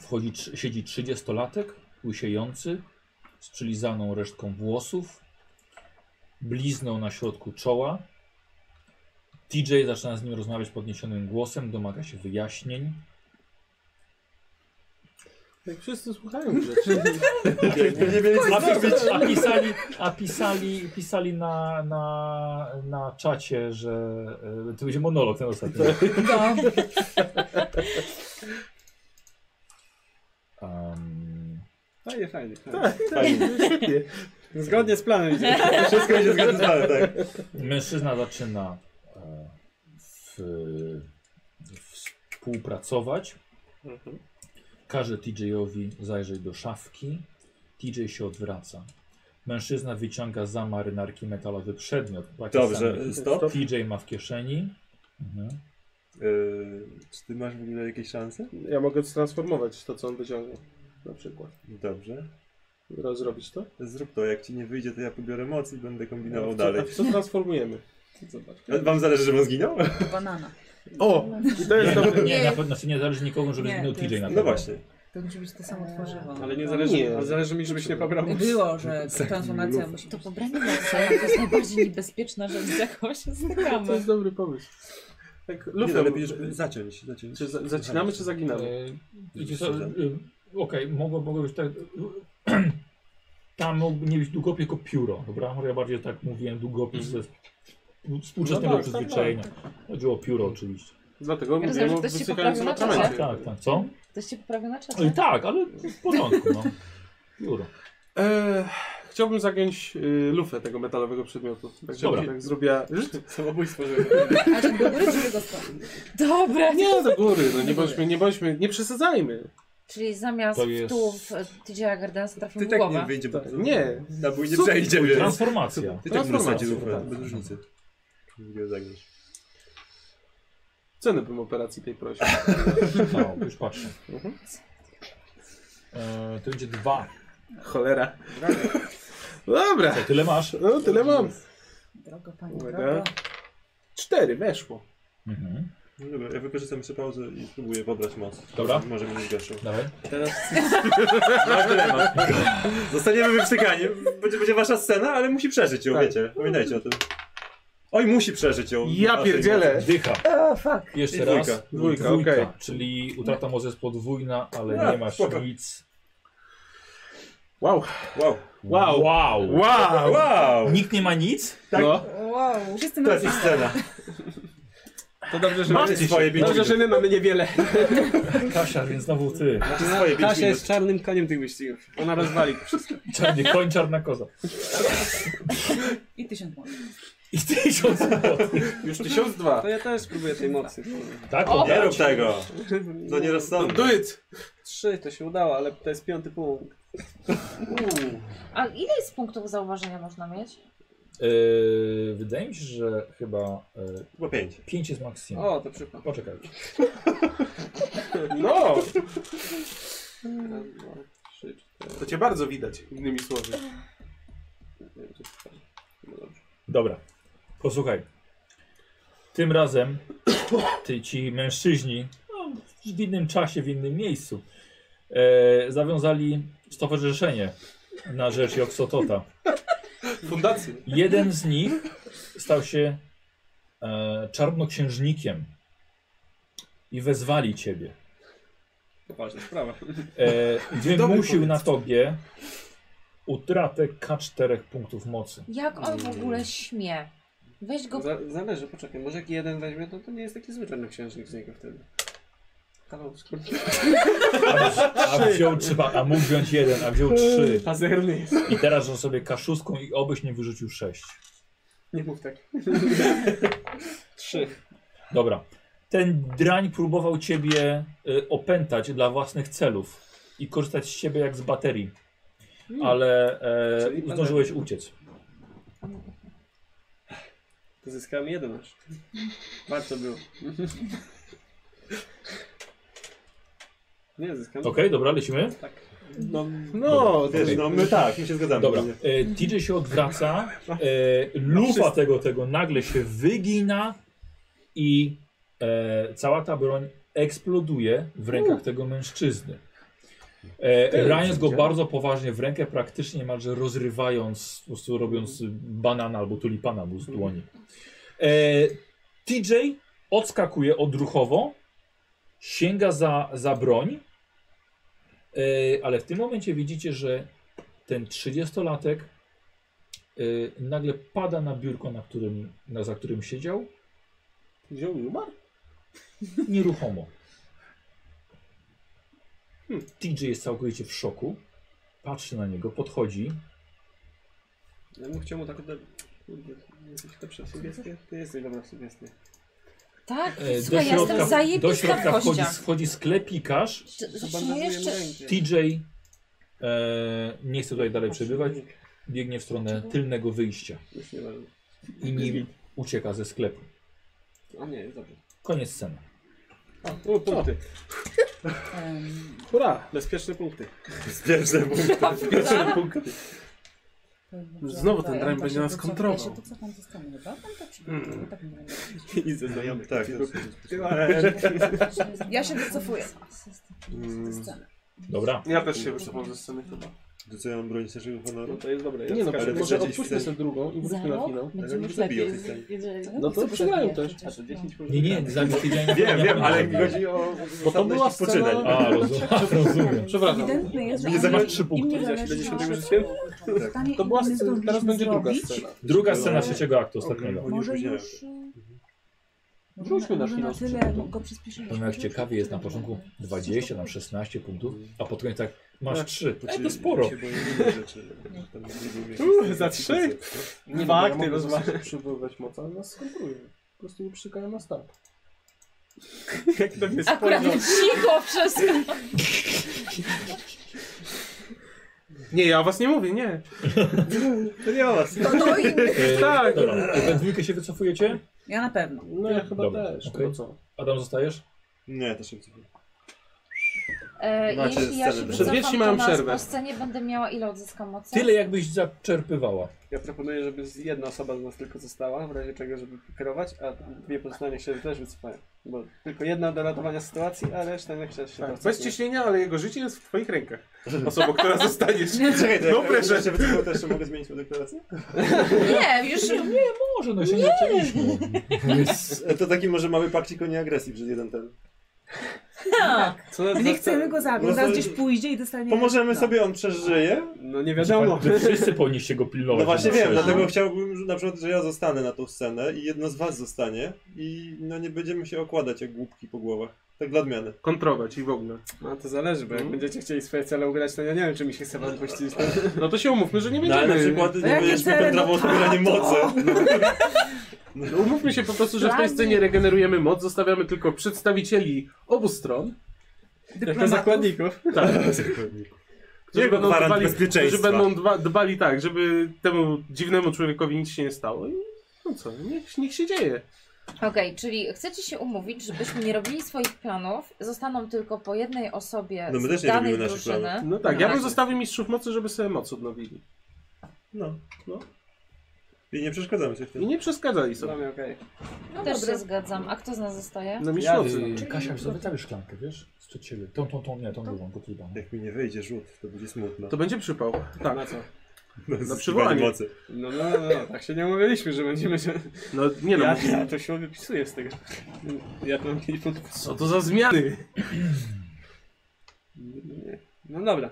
Speaker 1: wchodzi, trz- siedzi 30-latek, łysiejący, z przylizaną resztką włosów, blizną na środku czoła. TJ zaczyna z nim rozmawiać podniesionym głosem, domaga się wyjaśnień.
Speaker 7: Jak wszyscy słuchają rzeczy.
Speaker 6: Jakby nie mieli
Speaker 1: A,
Speaker 6: zrobić.
Speaker 1: pisa- a pisali, a pisali, pisali na, na, na czacie, że e, to będzie monolog ten ostatni. Um,
Speaker 4: Fajnie, fajnie. fajnie.
Speaker 7: Tak.
Speaker 6: Fajnie.
Speaker 4: Zgodnie z planem idzie.
Speaker 6: Wszystko będzie zgodne z planem, tak.
Speaker 1: mężczyzna zaczyna e, w, współpracować.
Speaker 7: Mhm.
Speaker 1: Każe TJ-owi zajrzeć do szafki. TJ się odwraca. Mężczyzna wyciąga za marynarki metalowy przedmiot. taki sam
Speaker 6: Dobrze,
Speaker 1: jak
Speaker 6: stop.
Speaker 1: TJ ma w kieszeni. Mhm.
Speaker 6: Yy, czy ty masz w ogóle jakieś szanse?
Speaker 7: Ja mogę transformować to, co on wyciągnie. Na przykład.
Speaker 6: No Dobrze.
Speaker 7: Rozrobić to?
Speaker 6: Zrób to, jak ci nie wyjdzie, to ja pobiorę moc i będę
Speaker 7: A
Speaker 6: kombinował
Speaker 7: w No, co-
Speaker 6: dalej.
Speaker 7: a w Co transformujemy? Zobacz.
Speaker 6: A Wam zależy, żebym zginął? No
Speaker 11: Banana.
Speaker 7: O! I to jest
Speaker 1: Nie,
Speaker 7: dobre.
Speaker 1: nie, na pewno znaczy nie zależy nikomu, żeby
Speaker 11: Nie,
Speaker 1: zginął
Speaker 11: to
Speaker 1: TJ na
Speaker 11: jest-
Speaker 1: pewno.
Speaker 6: No właśnie.
Speaker 11: To musi być to samo tworzywo.
Speaker 4: Ale nie
Speaker 11: To-
Speaker 4: zależy,
Speaker 7: Nie.
Speaker 4: ale zależy mi, żebyś nie pobrał.
Speaker 11: Było, że transformacja musi
Speaker 14: To
Speaker 11: być.
Speaker 14: pobranie nosa to jest najbardziej niebezpieczna rzecz, z jaką się
Speaker 7: To
Speaker 14: stykamy.
Speaker 7: jest dobry pomysł. Tak,
Speaker 6: Nie,
Speaker 7: lufę.
Speaker 6: no, lepiej, żeby zaciąć. zaciąć.
Speaker 7: Czy za, zacinamy, czy zaginamy?
Speaker 1: E, wiecie co, e, Okej, mogło, mogło być tak. Tam mógłby nie być długopis, tylko pióro. Dobra, może ja bardziej tak mówiłem, długopis ze współczesnego
Speaker 7: Mhm. No tak,
Speaker 1: przyzwyczajenia. Chodziło o pióro oczywiście.
Speaker 7: Dlatego
Speaker 14: Rozumiem,
Speaker 7: mówiłem
Speaker 14: że
Speaker 7: o
Speaker 14: ktoś się
Speaker 7: wysychającym
Speaker 14: poprawił na
Speaker 1: Tak,
Speaker 7: atramencie.
Speaker 1: tak, tak. Co?
Speaker 14: Ktoś się poprawił na
Speaker 1: E,
Speaker 14: czacie.
Speaker 1: tak, ale w porządku. No. Pióro.
Speaker 4: tak.
Speaker 7: E, chciałbym zagiąć y, lufę tego metalowego przedmiotu. Tak,
Speaker 1: Dobra.
Speaker 7: żeby tak zrobiła...
Speaker 4: Samobójstwo, że
Speaker 8: Ale do góry czy tylko stąd?
Speaker 14: Dobre!
Speaker 7: Nie, do góry, no nie bądźmy, nie bądźmy, nie przesadzajmy.
Speaker 3: Czyli zamiast e,
Speaker 1: To jest-
Speaker 3: tu w tydziela Gardensa trafił
Speaker 6: Ty
Speaker 3: w
Speaker 6: tak
Speaker 3: głowę.
Speaker 6: nie wyjdzie, bo
Speaker 7: Tak, nie.
Speaker 6: Na bój nie
Speaker 7: Super
Speaker 6: przejdzie,
Speaker 7: pójdzie.
Speaker 6: więc.
Speaker 1: Transformacja.
Speaker 6: Ty tak w zasadzie
Speaker 7: Transformacja,
Speaker 6: zupełnie,
Speaker 7: tak.
Speaker 6: bez różnicy. Nie zagrasz.
Speaker 7: Cenę bym operacji tej prosił. Mhm.
Speaker 1: No, już patrzę. E, to będzie dwa.
Speaker 7: Cholera. Dobra.
Speaker 1: To tyle masz.
Speaker 7: No tyle mam.
Speaker 8: Drogo, pani, drogo.
Speaker 7: Uwaga. Cztery, weszło.
Speaker 1: Mhm.
Speaker 6: No dobra, ja wykorzystam jeszcze pauzę i spróbuję pobrać moc.
Speaker 1: Dobra.
Speaker 6: Może być gorszą.
Speaker 1: Dawaj.
Speaker 6: Masz dylemat. Zostaniemy wyprzykani. Będzie, będzie wasza scena, ale musi przeżyć ją,
Speaker 7: Tak.
Speaker 6: wiecie. Pamiętajcie o tym. Oj, musi przeżyć ją.
Speaker 7: Ja pierdzielę.
Speaker 1: Dycha.
Speaker 8: O, fuck.
Speaker 1: Jeszcze
Speaker 6: I dwójka.
Speaker 1: raz.
Speaker 7: Dwójka,
Speaker 1: Dwójka,
Speaker 7: okej.
Speaker 1: czyli utrata może jest podwójna, ale
Speaker 6: Ja,
Speaker 1: nie masz
Speaker 6: spoko.
Speaker 1: nic.
Speaker 7: Wow.
Speaker 6: Wow.
Speaker 1: Wow. wow.
Speaker 7: Wow.
Speaker 6: Wow!
Speaker 1: Nikt nie ma nic?
Speaker 6: Tak.
Speaker 7: No.
Speaker 8: Wow. Wszyscy
Speaker 6: To
Speaker 8: mamy
Speaker 6: jest ich scena.
Speaker 7: To dobrze, że
Speaker 6: Macie
Speaker 7: mamy-
Speaker 6: swoje pięć
Speaker 7: Dobrze,
Speaker 6: minut.
Speaker 7: że my No, mamy niewiele.
Speaker 1: Kasia, więc znowu ty.
Speaker 6: Macie swoje pięć
Speaker 2: Kasia
Speaker 6: minut.
Speaker 2: jest czarnym koniem tych wyścigów. Ona rozwali to wszystko.
Speaker 1: Czarny koń, czarna koza.
Speaker 17: I tysiąc monet.
Speaker 1: I tysiąc złotych.
Speaker 7: Już tysiąc dwa.
Speaker 2: To ja też spróbuję tej mocy.
Speaker 1: Tak, o,
Speaker 6: Nie rób tego. No nie rozsądnie.
Speaker 7: Do it.
Speaker 2: Trzy, to się udało, ale to jest piąty punkt.
Speaker 3: A ile jest punktów zauważenia można mieć?
Speaker 1: Yy, wydaje mi się, że chyba yy,
Speaker 6: Chyba pięć.
Speaker 1: 5 jest maksimum.
Speaker 2: O, to przypadek.
Speaker 1: Poczekaj.
Speaker 7: No.
Speaker 2: Raz, dwa, trzy, cztery.
Speaker 7: To cię bardzo widać, innymi słowy.
Speaker 2: pięć, sześć, siedem. No dobrze.
Speaker 1: Dobra. Posłuchaj. Tym razem ty ci mężczyźni no, w innym czasie, w innym miejscu e, zawiązali stowarzyszenie na rzecz Joksotota.
Speaker 7: Fundację.
Speaker 1: Jeden z nich stał się e, czarnoksiężnikiem i wezwali ciebie.
Speaker 2: To ważna sprawa.
Speaker 1: E, wymusił
Speaker 7: pomysł.
Speaker 1: na tobie utratę K4 punktów mocy.
Speaker 3: Jak on
Speaker 1: Mm.
Speaker 3: w ogóle śmie? Weź go.
Speaker 2: Za- Zależy, poczekaj, może jak jeden weźmie, to to nie jest taki zwyczajny księżnik z niego wtedy. Halo, skrót.
Speaker 1: A, a wziął trzeba, a mógł wziąć jeden, a wziął trzy.
Speaker 2: Pazerny jest.
Speaker 1: I teraz on sobie kaszuską i obyś nie wyrzucił 6.
Speaker 2: Nie mów tak. Trzy.
Speaker 1: Dobra. Ten drań próbował ciebie y, opętać dla własnych celów i korzystać z ciebie jak z baterii. Ale
Speaker 2: Hmm. Czyli
Speaker 1: e, zdążyłeś uciec.
Speaker 2: To zyskałem jeden aż. Warto było. Nie, zyskałem.
Speaker 1: Okej, dobra, lecimy.
Speaker 2: Tak.
Speaker 6: No,
Speaker 7: No, to
Speaker 6: wiesz, no my tak, my się zgadzamy.
Speaker 1: Dobra.
Speaker 6: Nie.
Speaker 1: E, TJ się odwraca, e, lufa tego, tego nagle się wygina i e, cała ta broń eksploduje w rękach tego mężczyzny. E, raniąc go bardzo poważnie w rękę, praktycznie niemalże rozrywając, po prostu robiąc banana albo tulipana mu z dłoni. E, TJ odskakuje odruchowo, sięga za, za broń, e, ale w tym momencie widzicie, że ten 30-latek y, nagle pada na biurko, na którym, na, za którym siedział,
Speaker 7: Wziął i umarł.
Speaker 1: nieruchomo. Hmm. TJ jest całkowicie w szoku, patrzy na niego, podchodzi.
Speaker 2: Ja bym chciał mu tak oddać. Kurde, jesteś dobra w sugestie? Ty jesteś dobra w sugestie.
Speaker 3: Tak,
Speaker 1: e,
Speaker 3: słuchaj, ja jestem
Speaker 1: do
Speaker 3: zajebista w
Speaker 1: środka wchodzi,
Speaker 3: kościach.
Speaker 1: wchodzi sklepikarz.
Speaker 3: Z- Zatrzymujesz
Speaker 2: Zabandagujemy
Speaker 3: jeszcze.
Speaker 2: rękę.
Speaker 1: TJ e, nie chce tutaj dalej przebywać, biegnie w stronę tylnego wyjścia
Speaker 2: Już nie ważne.
Speaker 1: i nim ucieka ze sklepu.
Speaker 2: A nie, jest dobrze.
Speaker 1: Koniec sceny.
Speaker 2: O, punkty.
Speaker 8: Em,
Speaker 7: Hurra.
Speaker 2: Bezpieczne punkty.
Speaker 6: Zbierzne punkty.
Speaker 7: Pierwsze punkty.
Speaker 8: to w ogóle
Speaker 7: Znowu ten
Speaker 8: wydaje,
Speaker 7: drań
Speaker 8: ja
Speaker 7: będzie
Speaker 8: się
Speaker 7: nas
Speaker 8: tu cof-
Speaker 7: kontrolował. Mm.
Speaker 8: Ja się tu cofam ze sceny, dobra? Tam to przyjdzie, tak nie będę robić.
Speaker 2: I ze znajomych.
Speaker 6: Tak,
Speaker 8: Ja się wycofuję.
Speaker 7: No
Speaker 8: Ze
Speaker 6: Mm.
Speaker 8: sceny.
Speaker 1: Dobra.
Speaker 7: Ja też się wycofam ze sceny chyba.
Speaker 6: to co ja mam bronić naszego
Speaker 2: No
Speaker 6: honoru?
Speaker 2: to jest dobre. Ja
Speaker 7: Nie no,
Speaker 6: Ale
Speaker 7: może
Speaker 2: skażę-
Speaker 6: trzeciej
Speaker 7: odpuśćmy
Speaker 6: świtem.
Speaker 7: sobie drugą i
Speaker 3: Za
Speaker 7: wróćmy na
Speaker 3: rok
Speaker 7: finał.
Speaker 3: będzie
Speaker 6: Ale
Speaker 3: już
Speaker 6: to biją
Speaker 3: lepiej.
Speaker 6: system.
Speaker 3: Jeżeli-
Speaker 7: No to
Speaker 8: Co
Speaker 7: przegrają
Speaker 8: przebiję
Speaker 7: też.
Speaker 2: A
Speaker 8: przecież,
Speaker 2: to
Speaker 8: no.
Speaker 2: 10 może
Speaker 1: Nie, nie,
Speaker 2: tak.
Speaker 1: zabił TJ na
Speaker 6: Wiem, wiem, ale mi
Speaker 1: nie.
Speaker 6: chodzi o
Speaker 7: Bo to była
Speaker 6: zasadność poczynań.
Speaker 7: scena...
Speaker 1: A, rozumiem. rozumiem.
Speaker 7: Przepraszam.
Speaker 8: Ewidentny jest, że
Speaker 1: Nie
Speaker 8: oni-
Speaker 1: zobacz trzy punkty.
Speaker 8: im nie zależy
Speaker 2: Będzie się
Speaker 8: na-
Speaker 2: tego życiem?
Speaker 8: na stanie
Speaker 7: To była
Speaker 8: i my
Speaker 7: scena, teraz
Speaker 8: zdążyliśmy
Speaker 7: będzie druga
Speaker 8: zrobić.
Speaker 7: scena.
Speaker 1: Druga scena trzeciego aktu ostatniego.
Speaker 8: Może
Speaker 6: Później.
Speaker 8: już... y, może
Speaker 7: Wróćmy na
Speaker 8: może
Speaker 7: chwilę
Speaker 8: na
Speaker 7: z
Speaker 8: tyle
Speaker 7: przodu.
Speaker 8: go przyspieszyliśmy.
Speaker 1: Powiem jak
Speaker 8: że-
Speaker 1: ciekawie jest na początku 20, tam 16 punktów, a pod koniec tak masz 3. E, to
Speaker 6: Poczy-
Speaker 1: sporo.
Speaker 6: Znaczy, się boję innych rzeczy. Tam nie było
Speaker 2: Uuu,
Speaker 6: miejsca.
Speaker 2: za trzy?
Speaker 7: Nie
Speaker 2: Dwa
Speaker 7: no,
Speaker 2: akty
Speaker 7: ja mogę
Speaker 2: rozmawiać.
Speaker 7: zacząć przywoływać moc, ale nas skontroluje. Po prostu nie przykają na start.
Speaker 18: Jak na mnie
Speaker 3: Akurat
Speaker 18: spojrzał.
Speaker 3: cicho wszystko.
Speaker 7: Nie, ja o was nie mówię, nie.
Speaker 18: To nie o was.
Speaker 9: To do innych.
Speaker 1: E,
Speaker 7: Tak.
Speaker 1: Dobra, we dwójkę się wycofujecie?
Speaker 8: Ja na pewno.
Speaker 19: No ja chyba
Speaker 1: Dobra,
Speaker 19: też.
Speaker 1: okej.
Speaker 19: No co?
Speaker 1: Adam, zostajesz?
Speaker 6: Nie, też nie chcę.
Speaker 3: E,
Speaker 6: Macie
Speaker 3: jeśli ja się
Speaker 6: scenę.
Speaker 3: wycofam,
Speaker 7: Przedwieści
Speaker 3: to
Speaker 7: mają
Speaker 3: na
Speaker 7: przerwę.
Speaker 3: Po scenie będę miała ile odzyskam mocy?
Speaker 1: Tyle jakbyś zaczerpywała.
Speaker 2: Ja proponuję, żeby z- jedna osoba z nas tylko została, w razie czego, żeby kierować, a dwie pozostałe niech się też wycofają. Bo tylko jedna do ratowania sytuacji, a reszta niech się się
Speaker 7: Tak,
Speaker 2: tam
Speaker 7: bez ciśnienia, ale jego życie jest w twoich rękach. Osoba, która zostaniesz.
Speaker 6: Czekaj, to
Speaker 7: Dobre
Speaker 6: jak
Speaker 7: rzeczy.
Speaker 6: się wycofał, to jeszcze mogę zmienić moją deklarację?
Speaker 3: Nie, już
Speaker 1: Może, no się nie zaczęliśmy.
Speaker 6: E, To taki może mały pakcik o nieagresji przez jeden ten.
Speaker 8: Tak.
Speaker 2: Co nas
Speaker 8: Nie
Speaker 2: za-
Speaker 8: chcemy go zabić.
Speaker 6: No
Speaker 8: Zaraz
Speaker 6: to-
Speaker 8: gdzieś pójdzie i dostanie...
Speaker 6: Pomożemy
Speaker 8: no.
Speaker 6: sobie, on przeżyje.
Speaker 2: No nie wiadomo.
Speaker 1: Wy Wszyscy powinniście go pilnować.
Speaker 6: No właśnie
Speaker 1: żeby
Speaker 6: wiem,
Speaker 1: przeżył.
Speaker 6: dlatego chciałbym że na przykład, że ja zostanę na tą scenę i jedno z was zostanie i no nie będziemy się okładać jak głupki po głowach. Tak dla odmiany.
Speaker 7: Kontrować i w ogóle.
Speaker 2: No to zależy, bo jak będziecie chcieli swoje cele ugrać, to ja nie wiem, czy mi się chce wam pościć.
Speaker 7: No to się umówmy, że nie
Speaker 6: No ale
Speaker 7: będziemy.
Speaker 6: na przykład nie
Speaker 8: jakie
Speaker 6: będziesz
Speaker 8: cele?
Speaker 6: pędrawał
Speaker 8: No
Speaker 6: odbieranie mocy.
Speaker 7: Umówmy się po prostu, że w tej
Speaker 8: Plany.
Speaker 7: scenie regenerujemy moc, zostawiamy tylko przedstawicieli obu stron.
Speaker 8: No.
Speaker 7: Tak.
Speaker 2: Jako zakładników.
Speaker 7: Którzy
Speaker 6: Jego
Speaker 7: będą,
Speaker 6: gwarant
Speaker 7: dbali,
Speaker 6: bezpieczeństwa.
Speaker 7: którzy będą dba, dbali tak, żeby temu dziwnemu człowiekowi nic się nie stało. I no co, niech, niech się dzieje.
Speaker 3: Okej, czyli chcecie się umówić, żebyśmy nie robili swoich planów, zostaną tylko po jednej osobie
Speaker 6: No my też
Speaker 3: z
Speaker 6: nie
Speaker 3: danej
Speaker 6: robimy naszych
Speaker 3: drużyny.
Speaker 7: No tak, ja bym
Speaker 3: właśnie.
Speaker 7: zostawił mistrzów mocy, żeby sobie moc odnowili.
Speaker 6: No, no. I nie przeszkadzamy się w
Speaker 7: I
Speaker 6: tym.
Speaker 7: nie przeszkadzali
Speaker 2: Dla
Speaker 7: sobie.
Speaker 2: mnie okej.
Speaker 3: No Też się zgadzam. A kto z nas zostaje?
Speaker 7: No mistrz
Speaker 2: Ja-
Speaker 7: mocy.
Speaker 1: Yy, Kasia, wiesz co, wystawisz szklankę, wiesz? Z przed siebie. Tą, tą, tą, nie, tą drugą, to chyba.
Speaker 6: Jak mi nie wyjdzie rzut, to będzie smutno.
Speaker 7: To będzie przypał.
Speaker 2: Na
Speaker 7: Tak.
Speaker 2: co?
Speaker 6: Zyskiwanie
Speaker 7: przywołanie.
Speaker 6: mocy.
Speaker 2: No, no, no, no, tak się nie mówiliśmy, że będziemy się...
Speaker 7: No nie no.
Speaker 2: Ja, ja to się wypisuję z tego. Ja to mam kiedyś punktów.
Speaker 7: Co to za zmiany?
Speaker 2: Nie. No dobra.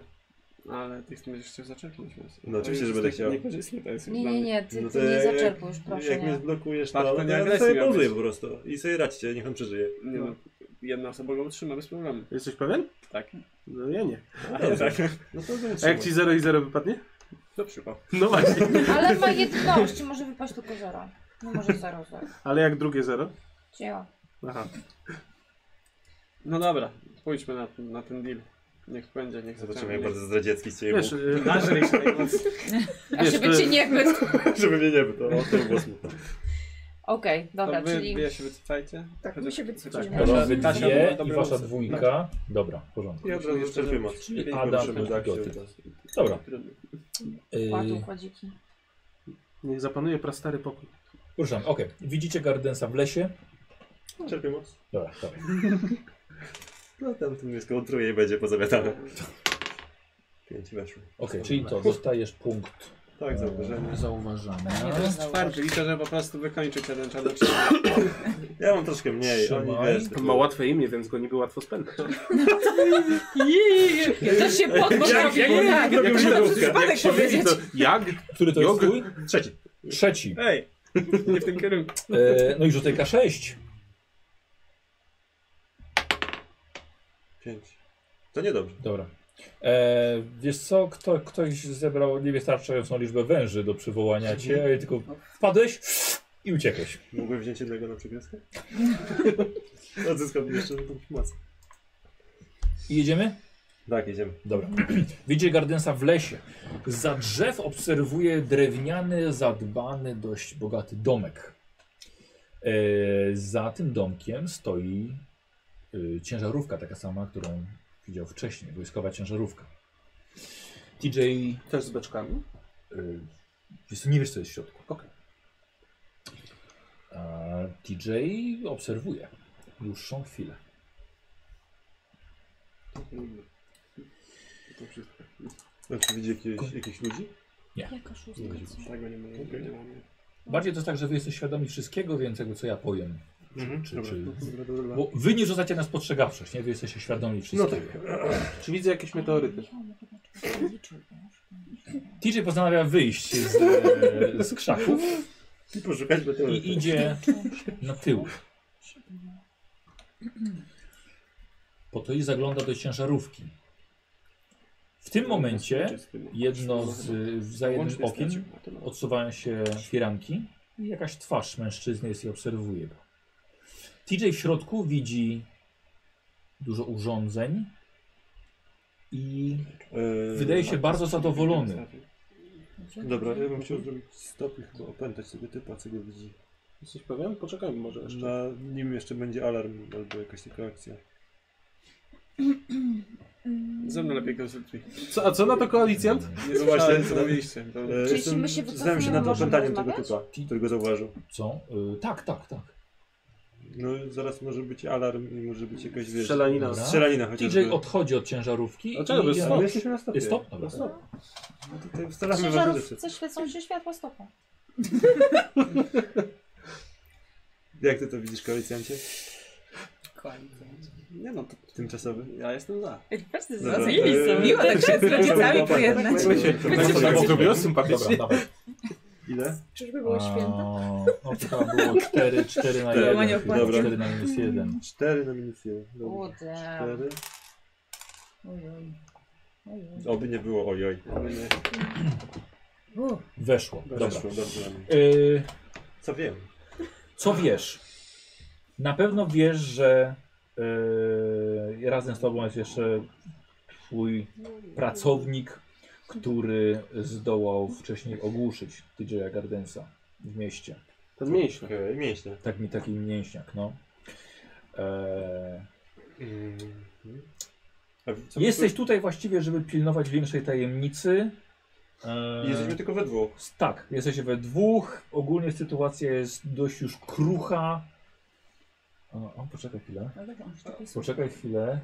Speaker 2: Ale ty będziesz chciał zaczerpnąć moc.
Speaker 6: No oczywiście,
Speaker 2: To
Speaker 6: że
Speaker 2: jest
Speaker 6: będę
Speaker 2: tak
Speaker 6: chciał.
Speaker 2: Niekorzystnie to jest już
Speaker 3: Nie,
Speaker 2: dla
Speaker 3: nie,
Speaker 2: mnie.
Speaker 3: nie, ty,
Speaker 6: No
Speaker 3: ty
Speaker 6: to
Speaker 3: nie
Speaker 6: jak-
Speaker 3: zablokujesz, proszę
Speaker 6: Jak mnie
Speaker 3: nie.
Speaker 6: zblokujesz,
Speaker 2: Tak,
Speaker 6: to,
Speaker 2: to
Speaker 6: to
Speaker 2: nie
Speaker 6: ja
Speaker 2: agresji
Speaker 6: sobie
Speaker 2: miał
Speaker 6: pauzuję
Speaker 2: być.
Speaker 6: po prostu. I sobie radźcie, niech on przeżyje.
Speaker 2: Nie no, jedna osoba go utrzyma bez problemu.
Speaker 7: Jesteś pewien?
Speaker 2: Tak.
Speaker 7: No ja nie.
Speaker 2: Ale tak.
Speaker 6: No to będę
Speaker 7: A jak ci 0 i 0 wypadnie?
Speaker 2: To przypał.
Speaker 7: No właśnie.
Speaker 3: Ale ma jedność, może wypaść tylko zero. Nie może zero, zero.
Speaker 7: Ale jak drugie 0?
Speaker 3: Dzieła.
Speaker 7: Aha.
Speaker 2: No dobra, pójdźmy na, na ten deal. Niech będzie, niech
Speaker 6: Zobaczymy,
Speaker 2: zaczniemy,
Speaker 6: jak bardzo zdradziecki z ciebie
Speaker 7: Wiesz,
Speaker 6: był.
Speaker 7: y,
Speaker 2: Nażryj się tej mocy.
Speaker 3: A
Speaker 7: Wiesz,
Speaker 3: żeby
Speaker 7: to-
Speaker 3: cię nie był.
Speaker 6: Żeby mnie nie było, to było smutne.
Speaker 3: Okej, dobra,
Speaker 2: To wy,
Speaker 3: czyli...
Speaker 2: wy się wycofajcie.
Speaker 9: Tak,
Speaker 2: Chociaż-
Speaker 9: my się
Speaker 2: chociaż
Speaker 9: wycofujemy.
Speaker 2: Kasia-
Speaker 1: Dobra, wy
Speaker 2: Kasia
Speaker 1: dwie
Speaker 2: była
Speaker 1: i
Speaker 2: dobrym
Speaker 1: wasza
Speaker 2: losem.
Speaker 1: dwójka. Dobra, w porządku.
Speaker 6: Ja od razu czerpię moc.
Speaker 1: Czyli
Speaker 6: Pięć
Speaker 1: Adam
Speaker 6: potrzebny
Speaker 1: i
Speaker 6: do akcji
Speaker 1: Goty.
Speaker 6: od razu.
Speaker 1: Dobra.
Speaker 2: Trudno.
Speaker 1: Yy,
Speaker 3: Kładł kładziki.
Speaker 7: niech zapanuje prastary pokój.
Speaker 1: ruszam, okej. Widzicie Gardensa w lesie?
Speaker 6: Czerpię moc.
Speaker 1: Dobra, dobra.
Speaker 6: No tam tu mnie skontruje i będzie pozawiadane. Pięć weszło.
Speaker 1: Okej, czyli to, dostajesz punkt
Speaker 6: Tak, zauważenie.
Speaker 1: e,
Speaker 8: Nie,
Speaker 1: zauważania.
Speaker 8: to jest zauważ-
Speaker 2: Czwarty, i to, że po prostu wykończyć jeden czarny
Speaker 6: Ja mam troszkę mniej, oni
Speaker 1: Trzymaj.
Speaker 6: wiesz...
Speaker 7: On ma łatwe imię, więc go niby łatwo spędzać.
Speaker 3: To się podnosi.
Speaker 7: jak, jak, się, jak
Speaker 8: przypadek
Speaker 7: się myli, to jak?
Speaker 1: Który to jest
Speaker 7: Jogurt.
Speaker 1: twój?
Speaker 6: Trzeci.
Speaker 1: Trzeci.
Speaker 2: Ej, nie w tym kierunku.
Speaker 1: E, no i rzucaj K6.
Speaker 6: Pięć. To niedobrze.
Speaker 1: Dobra. E, wiesz co, Kto, ktoś zebrał niewystarczającą liczbę węży do przywołania cię i tylko wpadłeś i uciekłeś.
Speaker 6: Mogłem wziąć jednego na przegryzkę? Odzyskam jeszcze punkt mocy.
Speaker 1: I jedziemy?
Speaker 6: Tak, jedziemy.
Speaker 1: Dobra. Widzicie Gardensa w lesie. Za drzew obserwuje drewniany, zadbany, dość bogaty domek. E, za tym domkiem stoi e, ciężarówka, taka sama, którą widział wcześniej, wojskowa ciężarówka. TJ, e,
Speaker 7: Też z beczkami.
Speaker 1: wiesz co, nie wiesz co jest w środku.
Speaker 7: Okej.
Speaker 1: A TJ obserwuje dłuższą chwilę.
Speaker 2: To wszystko.
Speaker 6: Znaczy widzi jakieś, jakichś ludzi?
Speaker 3: Jaka szóstka? co?
Speaker 2: Tego nie mamy.
Speaker 6: Okej.
Speaker 2: nie mamy.
Speaker 1: Bardziej to jest tak, że wy jesteście świadomi wszystkiego, więc jakby co ja powiem.
Speaker 6: Mhm.
Speaker 1: Czy,
Speaker 6: Dobra.
Speaker 1: czy,
Speaker 6: Dobra, dobra, No tak. dobra.
Speaker 1: Bo wy nie rzucacie nas postrzegawczość, nie? Wy jesteście świadomi wszystkiego.
Speaker 7: Czy widzę jakieś meteoryty?
Speaker 1: TJ postanawia wyjść z, e, z krzaków
Speaker 6: I poszukać meteorytu.
Speaker 1: i idzie na tył. Po to i zagląda do ciężarówki. W tym momencie jedno z, za jednym okiem odsuwają się firanki i jakaś twarz mężczyzny jest i obserwuje go. TJ w środku widzi dużo urządzeń i wydaje się bardzo zadowolony.
Speaker 6: Dobra, ja bym chciał zrobić stop i chyba opętać sobie typa, co go widzi.
Speaker 7: Jesteś pewien? Poczekajmy może jeszcze.
Speaker 6: Na nim jeszcze będzie alarm albo jakaś taka akcja.
Speaker 2: Ze mną lepiej konsultuj.
Speaker 7: Co, a co na to koalicjant?
Speaker 2: Nie zobaczyłem, co
Speaker 6: Słyszałem,
Speaker 2: mówiliście. Dobra.
Speaker 6: E, jestem-
Speaker 3: my się wycofujemy,
Speaker 6: Znam się nad
Speaker 3: możemy
Speaker 6: opętaniem tego
Speaker 3: rozmawiać?
Speaker 6: typa, którego zauważył.
Speaker 1: Co? Y, tak, tak, tak.
Speaker 6: No zaraz może być alarm i może być jakaś wiesz,
Speaker 7: Strzelanina.
Speaker 1: Dobra.
Speaker 6: Strzelanina
Speaker 1: TJ
Speaker 6: chociażby.
Speaker 1: odchodzi od ciężarówki.
Speaker 7: Dlaczego?
Speaker 1: i-
Speaker 7: To jest
Speaker 1: ja-
Speaker 7: stop.
Speaker 6: Ale jesteśmy na stopie.
Speaker 1: Jest stop? Dobra.
Speaker 7: Stop.
Speaker 6: No tutaj ustalamy ważne rzeczy.
Speaker 3: Ciężarówce świecą się światła stopą.
Speaker 6: Jak ty to widzisz, koalicjancie?
Speaker 2: Nie no, to
Speaker 6: Tymczasowy?
Speaker 2: ja jestem za.
Speaker 20: Wszyscy
Speaker 6: Dobra,
Speaker 20: zrozumieli
Speaker 6: to-
Speaker 20: są. Miło tak się z rodzicami pojednać.
Speaker 1: Dobra,
Speaker 7: Tak
Speaker 1: dobra,
Speaker 7: zrobiło
Speaker 1: dobra.
Speaker 7: sympatycznie.
Speaker 1: Dobra, dawaj.
Speaker 6: Ile?
Speaker 9: Czyżby było święto?
Speaker 1: A, No to tam było 4, 4 na
Speaker 6: Cztery,
Speaker 1: 1.
Speaker 20: dobra.
Speaker 1: 4 na minus 1.
Speaker 6: 4 na minus 1.
Speaker 3: Kurde.
Speaker 6: 4. Oby nie było ojoj.
Speaker 20: U,
Speaker 1: Weszło. Dobra.
Speaker 6: Weszło, dobrze.
Speaker 1: Y,
Speaker 6: Co wiem?
Speaker 1: Co wiesz? Na pewno wiesz, że yy, razem z tobą jest jeszcze twój pracownik, który zdołał wcześniej ogłuszyć TJ'a Gardensa w mieście.
Speaker 7: Ten mięśnie.
Speaker 6: Okej, mięśnie.
Speaker 1: Tak mi taki mięśniak, no. E,
Speaker 6: A w- co-
Speaker 1: jesteś tutaj właściwie, żeby pilnować większej tajemnicy. E,
Speaker 6: Jesteśmy tylko we dwóch.
Speaker 1: S- Tak, jesteście we dwóch. Ogólnie sytuacja jest dość już krucha. O, o poczekaj chwilę.
Speaker 8: No dobra, on już tak jest.
Speaker 1: Poczekaj chwilę.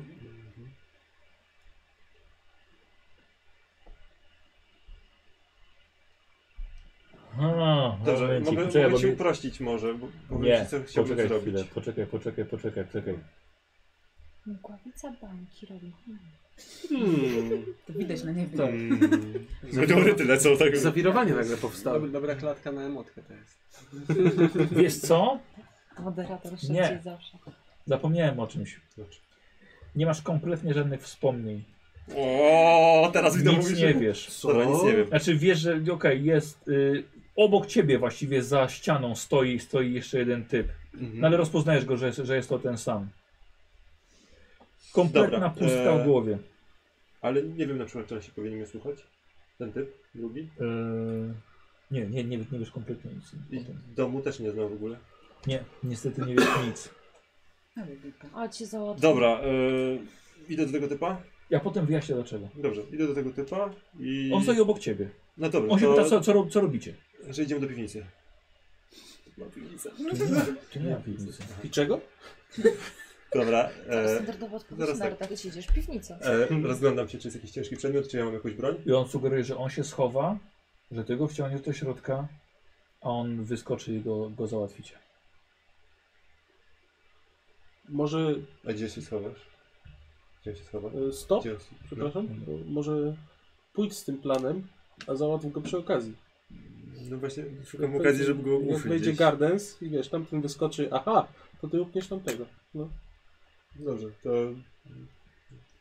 Speaker 1: Ha,
Speaker 6: Dobrze,
Speaker 1: momencik,
Speaker 6: mogę,
Speaker 1: poczekaj,
Speaker 6: mogę ci
Speaker 1: bo mi-
Speaker 6: uprościć może, bo, bo wiem,
Speaker 1: Nie,
Speaker 6: co chciałbym
Speaker 1: poczekaj
Speaker 6: zrobić.
Speaker 1: chwilę, poczekaj, poczekaj, poczekaj, poczekaj.
Speaker 3: Mgławica bańki robi. Hmm.
Speaker 7: Hmm.
Speaker 8: To widać na niebie.
Speaker 6: Mm. Meteoryty lecą tak.
Speaker 7: Zawirowanie nagle powstało.
Speaker 2: Dobra, dobra klatka na emotkę to jest.
Speaker 1: Wiesz co?
Speaker 3: Moderator
Speaker 1: Nie.
Speaker 3: szybciej zawsze.
Speaker 1: Zapomniałem o czymś. Nie masz kompletnie żadnych wspomnień.
Speaker 6: O, teraz widzę
Speaker 1: Nic nie wiesz.
Speaker 6: Dobra, nic nie wiem.
Speaker 1: Znaczy wiesz, że okej, jest y, obok ciebie właściwie za ścianą stoi, stoi jeszcze jeden typ.
Speaker 6: Mhm.
Speaker 1: No ale rozpoznajesz go, że, że jest to ten sam. Kompletna
Speaker 6: Dobra,
Speaker 1: pustka
Speaker 6: e,
Speaker 1: w głowie.
Speaker 6: Ale nie wiem na przykład, czy on się powinien mnie słuchać. Ten typ, drugi.
Speaker 1: E, nie, nie, nie, nie wiesz kompletnie nic.
Speaker 6: I
Speaker 1: tak.
Speaker 6: domu też nie znam w ogóle.
Speaker 1: Nie, niestety nie wiesz nic.
Speaker 8: Ale lipa.
Speaker 3: A cię załatwię.
Speaker 6: Dobra, e, idę do tego typa.
Speaker 1: Ja potem wyjaśnię dlaczego.
Speaker 6: Dobrze, idę do tego typa i...
Speaker 1: On stoi obok ciebie.
Speaker 6: No dobra,
Speaker 1: On się pyta,
Speaker 6: to,
Speaker 1: co, co, rob- co robicie?
Speaker 6: że idziemy do piwnicy.
Speaker 1: Czy nie ma piwnicy?
Speaker 7: I czego?
Speaker 6: Dobra,
Speaker 3: To
Speaker 6: e,
Speaker 3: standardowa odpowiedź
Speaker 6: zaraz
Speaker 3: na
Speaker 6: tak.
Speaker 3: tak. siedzisz w piwnicy.
Speaker 6: e, rozglądam się, czy jest jakiś ciężki przedmiot, czy ja mam jakąś broń.
Speaker 1: I on sugeruje, że on się schowa, że ty go wciągniesz do środka, a on wyskoczy i go, go załatwicie.
Speaker 7: Może
Speaker 6: A gdzie się schowasz? Gdzie się schowasz?
Speaker 1: No,
Speaker 7: e, stop?
Speaker 6: Gdzie...
Speaker 7: Przepraszam? Bo może pójdź z tym planem, a załatw go przy okazji.
Speaker 6: No właśnie, szukam okazji, żeby go
Speaker 7: Jak
Speaker 6: ufyć
Speaker 7: wejdzie
Speaker 6: gdzieś.
Speaker 7: Gardens i wiesz, tamten wyskoczy, aha, to ty upniesz tamtego. No.
Speaker 6: Dobrze, to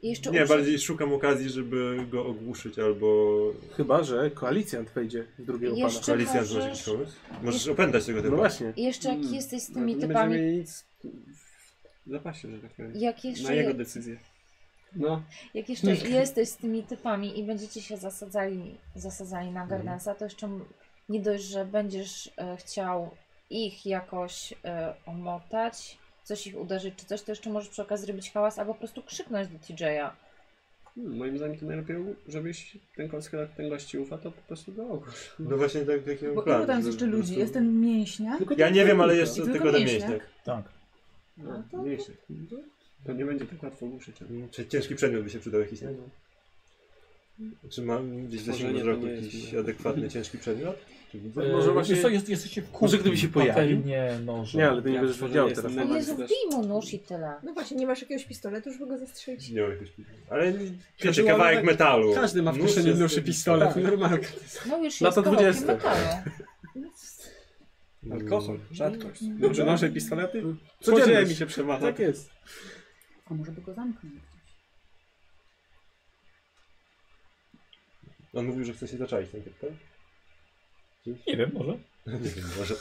Speaker 3: I jeszcze
Speaker 6: Nie,
Speaker 3: uszy-
Speaker 6: bardziej szukam okazji, żeby go ogłuszyć albo...
Speaker 7: Chyba, że koalicjant wejdzie z drugiego
Speaker 3: Jeszcze-
Speaker 7: pana.
Speaker 6: Koalicja może
Speaker 3: możesz-
Speaker 6: jakiś pomysł? Możesz opętać tego
Speaker 7: No
Speaker 6: typa.
Speaker 7: właśnie.
Speaker 3: I jeszcze jak
Speaker 2: Mm,
Speaker 3: jesteś z
Speaker 2: No,
Speaker 3: tymi
Speaker 2: nie
Speaker 3: typami,
Speaker 2: będziemy mieli nic w zapasie, że tak powiem.
Speaker 3: jak
Speaker 2: Na
Speaker 3: jeszcze,
Speaker 2: jego decyzję. No,
Speaker 3: jak jeszcze jesteś z tymi typami i będziecie się zasadzali, zasadzali na Gardensa, to jeszcze m- nie dość, że będziesz e, chciał ich jakoś e, omotać, coś ich uderzyć czy coś, to jeszcze możesz przy okazji zrobić hałas albo po prostu krzyknąć do TJ'a.
Speaker 2: hmm, moim zdaniem to najlepiej, żebyś ten konskret, ten gości ufa, to po prostu go ogórz.
Speaker 6: No właśnie tak, taki mam
Speaker 8: Bo
Speaker 6: plan.
Speaker 8: ilu tam jest
Speaker 6: że
Speaker 8: jeszcze
Speaker 6: po
Speaker 8: ludzi?
Speaker 6: prostu-
Speaker 8: Jest ten mięśniak?
Speaker 7: Tylko
Speaker 6: Ja
Speaker 7: ten
Speaker 6: nie wiem, ale
Speaker 7: tylko.
Speaker 6: jeszcze
Speaker 8: I
Speaker 6: tylko,
Speaker 8: tylko
Speaker 6: ten
Speaker 8: mięśniak?
Speaker 6: mięśniak.
Speaker 1: Tak.
Speaker 2: No,
Speaker 8: to-
Speaker 2: mniejszy. To nie będzie tak łatwo ogłuszyć. ale-
Speaker 6: Czy ciężki przedmiot by się przydał jakiś, nie? Czy mam gdzieś w zasięgu
Speaker 2: Tworzenie to
Speaker 6: wzroku
Speaker 2: nie jest
Speaker 6: jakiś
Speaker 2: dobre.
Speaker 6: adekwatny ciężki przedmiot? Czy widzę?
Speaker 7: E, Może właśnie-
Speaker 1: Wiesz co, jest, jesteście w kuchni.
Speaker 7: Może gdyby się pojawił?
Speaker 1: Patelnie, noże.
Speaker 7: Nie, ale ty nie
Speaker 2: Ja
Speaker 7: będziesz
Speaker 2: tworzę,
Speaker 7: wiedział
Speaker 2: jestem
Speaker 7: teraz.
Speaker 3: O
Speaker 2: najbardziej
Speaker 3: Jezu,
Speaker 2: też-
Speaker 3: wbij mu nóż i tyle.
Speaker 9: No właśnie, nie masz jakiegoś pistoletu, żeby go zastrzelić?
Speaker 6: Nie mam jakiegoś Ale wiecie,
Speaker 2: Każdy ma-
Speaker 6: kawałek metalu.
Speaker 2: Każdy ma w
Speaker 6: Nóż
Speaker 2: kieszeni
Speaker 6: jest-
Speaker 2: duszy pistolet,
Speaker 7: Tak.
Speaker 2: normalnie.
Speaker 3: No już
Speaker 7: Lata
Speaker 3: jest kawałkiem
Speaker 7: 20.
Speaker 3: metalu.
Speaker 6: Mm.
Speaker 2: Alkohol, rzadkość. Dobrze, nosze pistolety? Codziennie mi
Speaker 7: Codzienność.
Speaker 2: się przemacha.
Speaker 7: Tak jest.
Speaker 8: A może by go zamknął?
Speaker 6: On mówił, że chce się zaczaić ten typ, tak?
Speaker 1: Nie wiem, może.
Speaker 6: Nie wiem, może.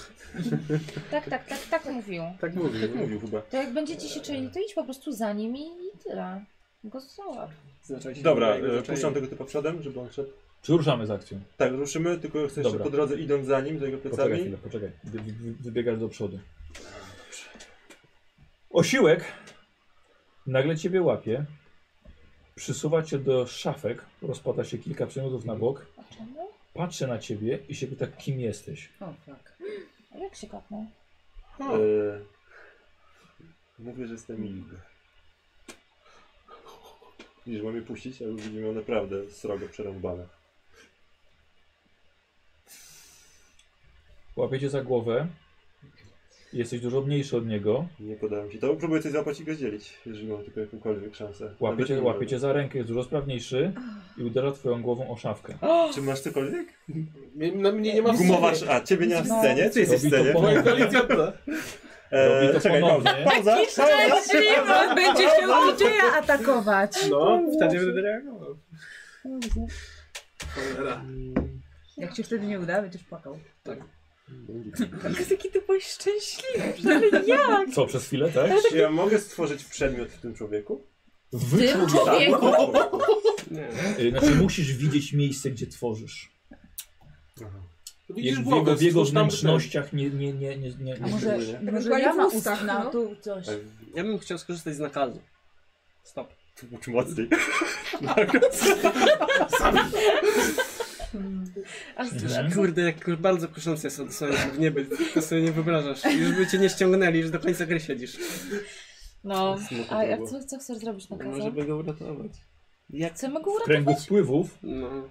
Speaker 3: Tak, tak, tak, tak mówił.
Speaker 7: Tak mówił.
Speaker 21: Tak mówił chyba.
Speaker 3: To jak będziecie się czuli, to idź po prostu za nim i i tyle. Go zobacz.
Speaker 22: Zaczęliśmy
Speaker 6: Dobra,
Speaker 22: jego
Speaker 6: e,
Speaker 22: zaczęli-
Speaker 6: puszczam tego typa przodem, żeby on szedł.
Speaker 1: Czy ruszamy z akcją?
Speaker 6: Tak, ruszymy, tylko jeszcze
Speaker 1: Dobra.
Speaker 6: po drodze idąc za nim, za jego
Speaker 1: Poczekaj
Speaker 6: plecami.
Speaker 1: chwilę, poczekaj. Wy, wy, wy- wybiegasz do przodu. Osiłek nagle ciebie łapie, przysuwa cię do szafek, rozpada się kilka przedmiotów na bok,
Speaker 3: A czemu?
Speaker 1: patrzy na ciebie i się pyta, kim jesteś.
Speaker 8: O, tak.
Speaker 3: A Jak się kapnął?
Speaker 6: E, mówię, że jestem Ilg. I że mam je puścić, ale widzimy ją naprawdę srogo przerąbane.
Speaker 1: Łapie cię za głowę, jesteś dużo mniejszy od niego,
Speaker 6: Nie podałem ci to. Próbuję coś zapłacić i go zdzielić, jeżeli mam tylko jakąkolwiek szansę.
Speaker 1: łapie
Speaker 6: Nawet
Speaker 1: cię,
Speaker 6: nie
Speaker 1: łapie
Speaker 6: mam.
Speaker 1: cię za rękę, jest dużo sprawniejszy i uderza twoją głową o szafkę.
Speaker 6: Czy masz cokolwiek?
Speaker 7: Nie-
Speaker 2: no,
Speaker 7: Na mnie nie ma w
Speaker 6: Gumowasz, a ciebie nie ma w
Speaker 3: No.
Speaker 6: scenie? Ty jesteś w
Speaker 1: Robi to
Speaker 6: scenie?
Speaker 1: ponownie. Robi to
Speaker 6: Eee, czekaj, pauza,
Speaker 1: ponownie.
Speaker 6: pauza, pauza.
Speaker 8: Szymon będzie się uczyła atakować.
Speaker 7: No, wtedy będę reagował. Cholera.
Speaker 8: Jak się wtedy nie uda, będziesz płakał.
Speaker 9: Jaki ty byłeś szczęśliwy, ale ja!
Speaker 1: Co, przez chwilę, tak?
Speaker 6: Czy ja mogę stworzyć przedmiot w tym człowieku? Tak.
Speaker 1: Wy...
Speaker 3: Tym człowieku!
Speaker 1: y, Znaczy musisz widzieć miejsce, gdzie tworzysz.
Speaker 7: Widzisz
Speaker 1: Jego, w jego,
Speaker 7: głowę,
Speaker 1: w jego
Speaker 7: stwórz tam
Speaker 1: wnętrznościach nie, nie, nie, nie, nie,
Speaker 8: A
Speaker 1: nie
Speaker 8: może,
Speaker 1: szczególnie.
Speaker 8: może
Speaker 23: Ewentualnie
Speaker 8: ja
Speaker 23: w
Speaker 8: ma
Speaker 23: ustach,
Speaker 8: ustna,
Speaker 23: no.
Speaker 8: tu coś.
Speaker 2: Ja bym chciał skorzystać z nakazu. Stop.
Speaker 6: Ucz mocniej.
Speaker 3: Aż
Speaker 1: Mhm.
Speaker 2: Kurde, jak kur- bardzo kuszące jest odesłanie w niebie. To sobie nie wyobrażasz. Już by cię nie ściągnęli, już do końca gry siedzisz.
Speaker 3: No,
Speaker 6: Smutno
Speaker 3: a
Speaker 6: to
Speaker 3: jak
Speaker 6: było.
Speaker 3: co, co chcesz zrobić na
Speaker 2: No,
Speaker 3: kazę?
Speaker 2: żeby go uratować. Jak?
Speaker 3: Chcemy go
Speaker 1: W kręgu
Speaker 3: uratować?
Speaker 1: wpływów
Speaker 2: No.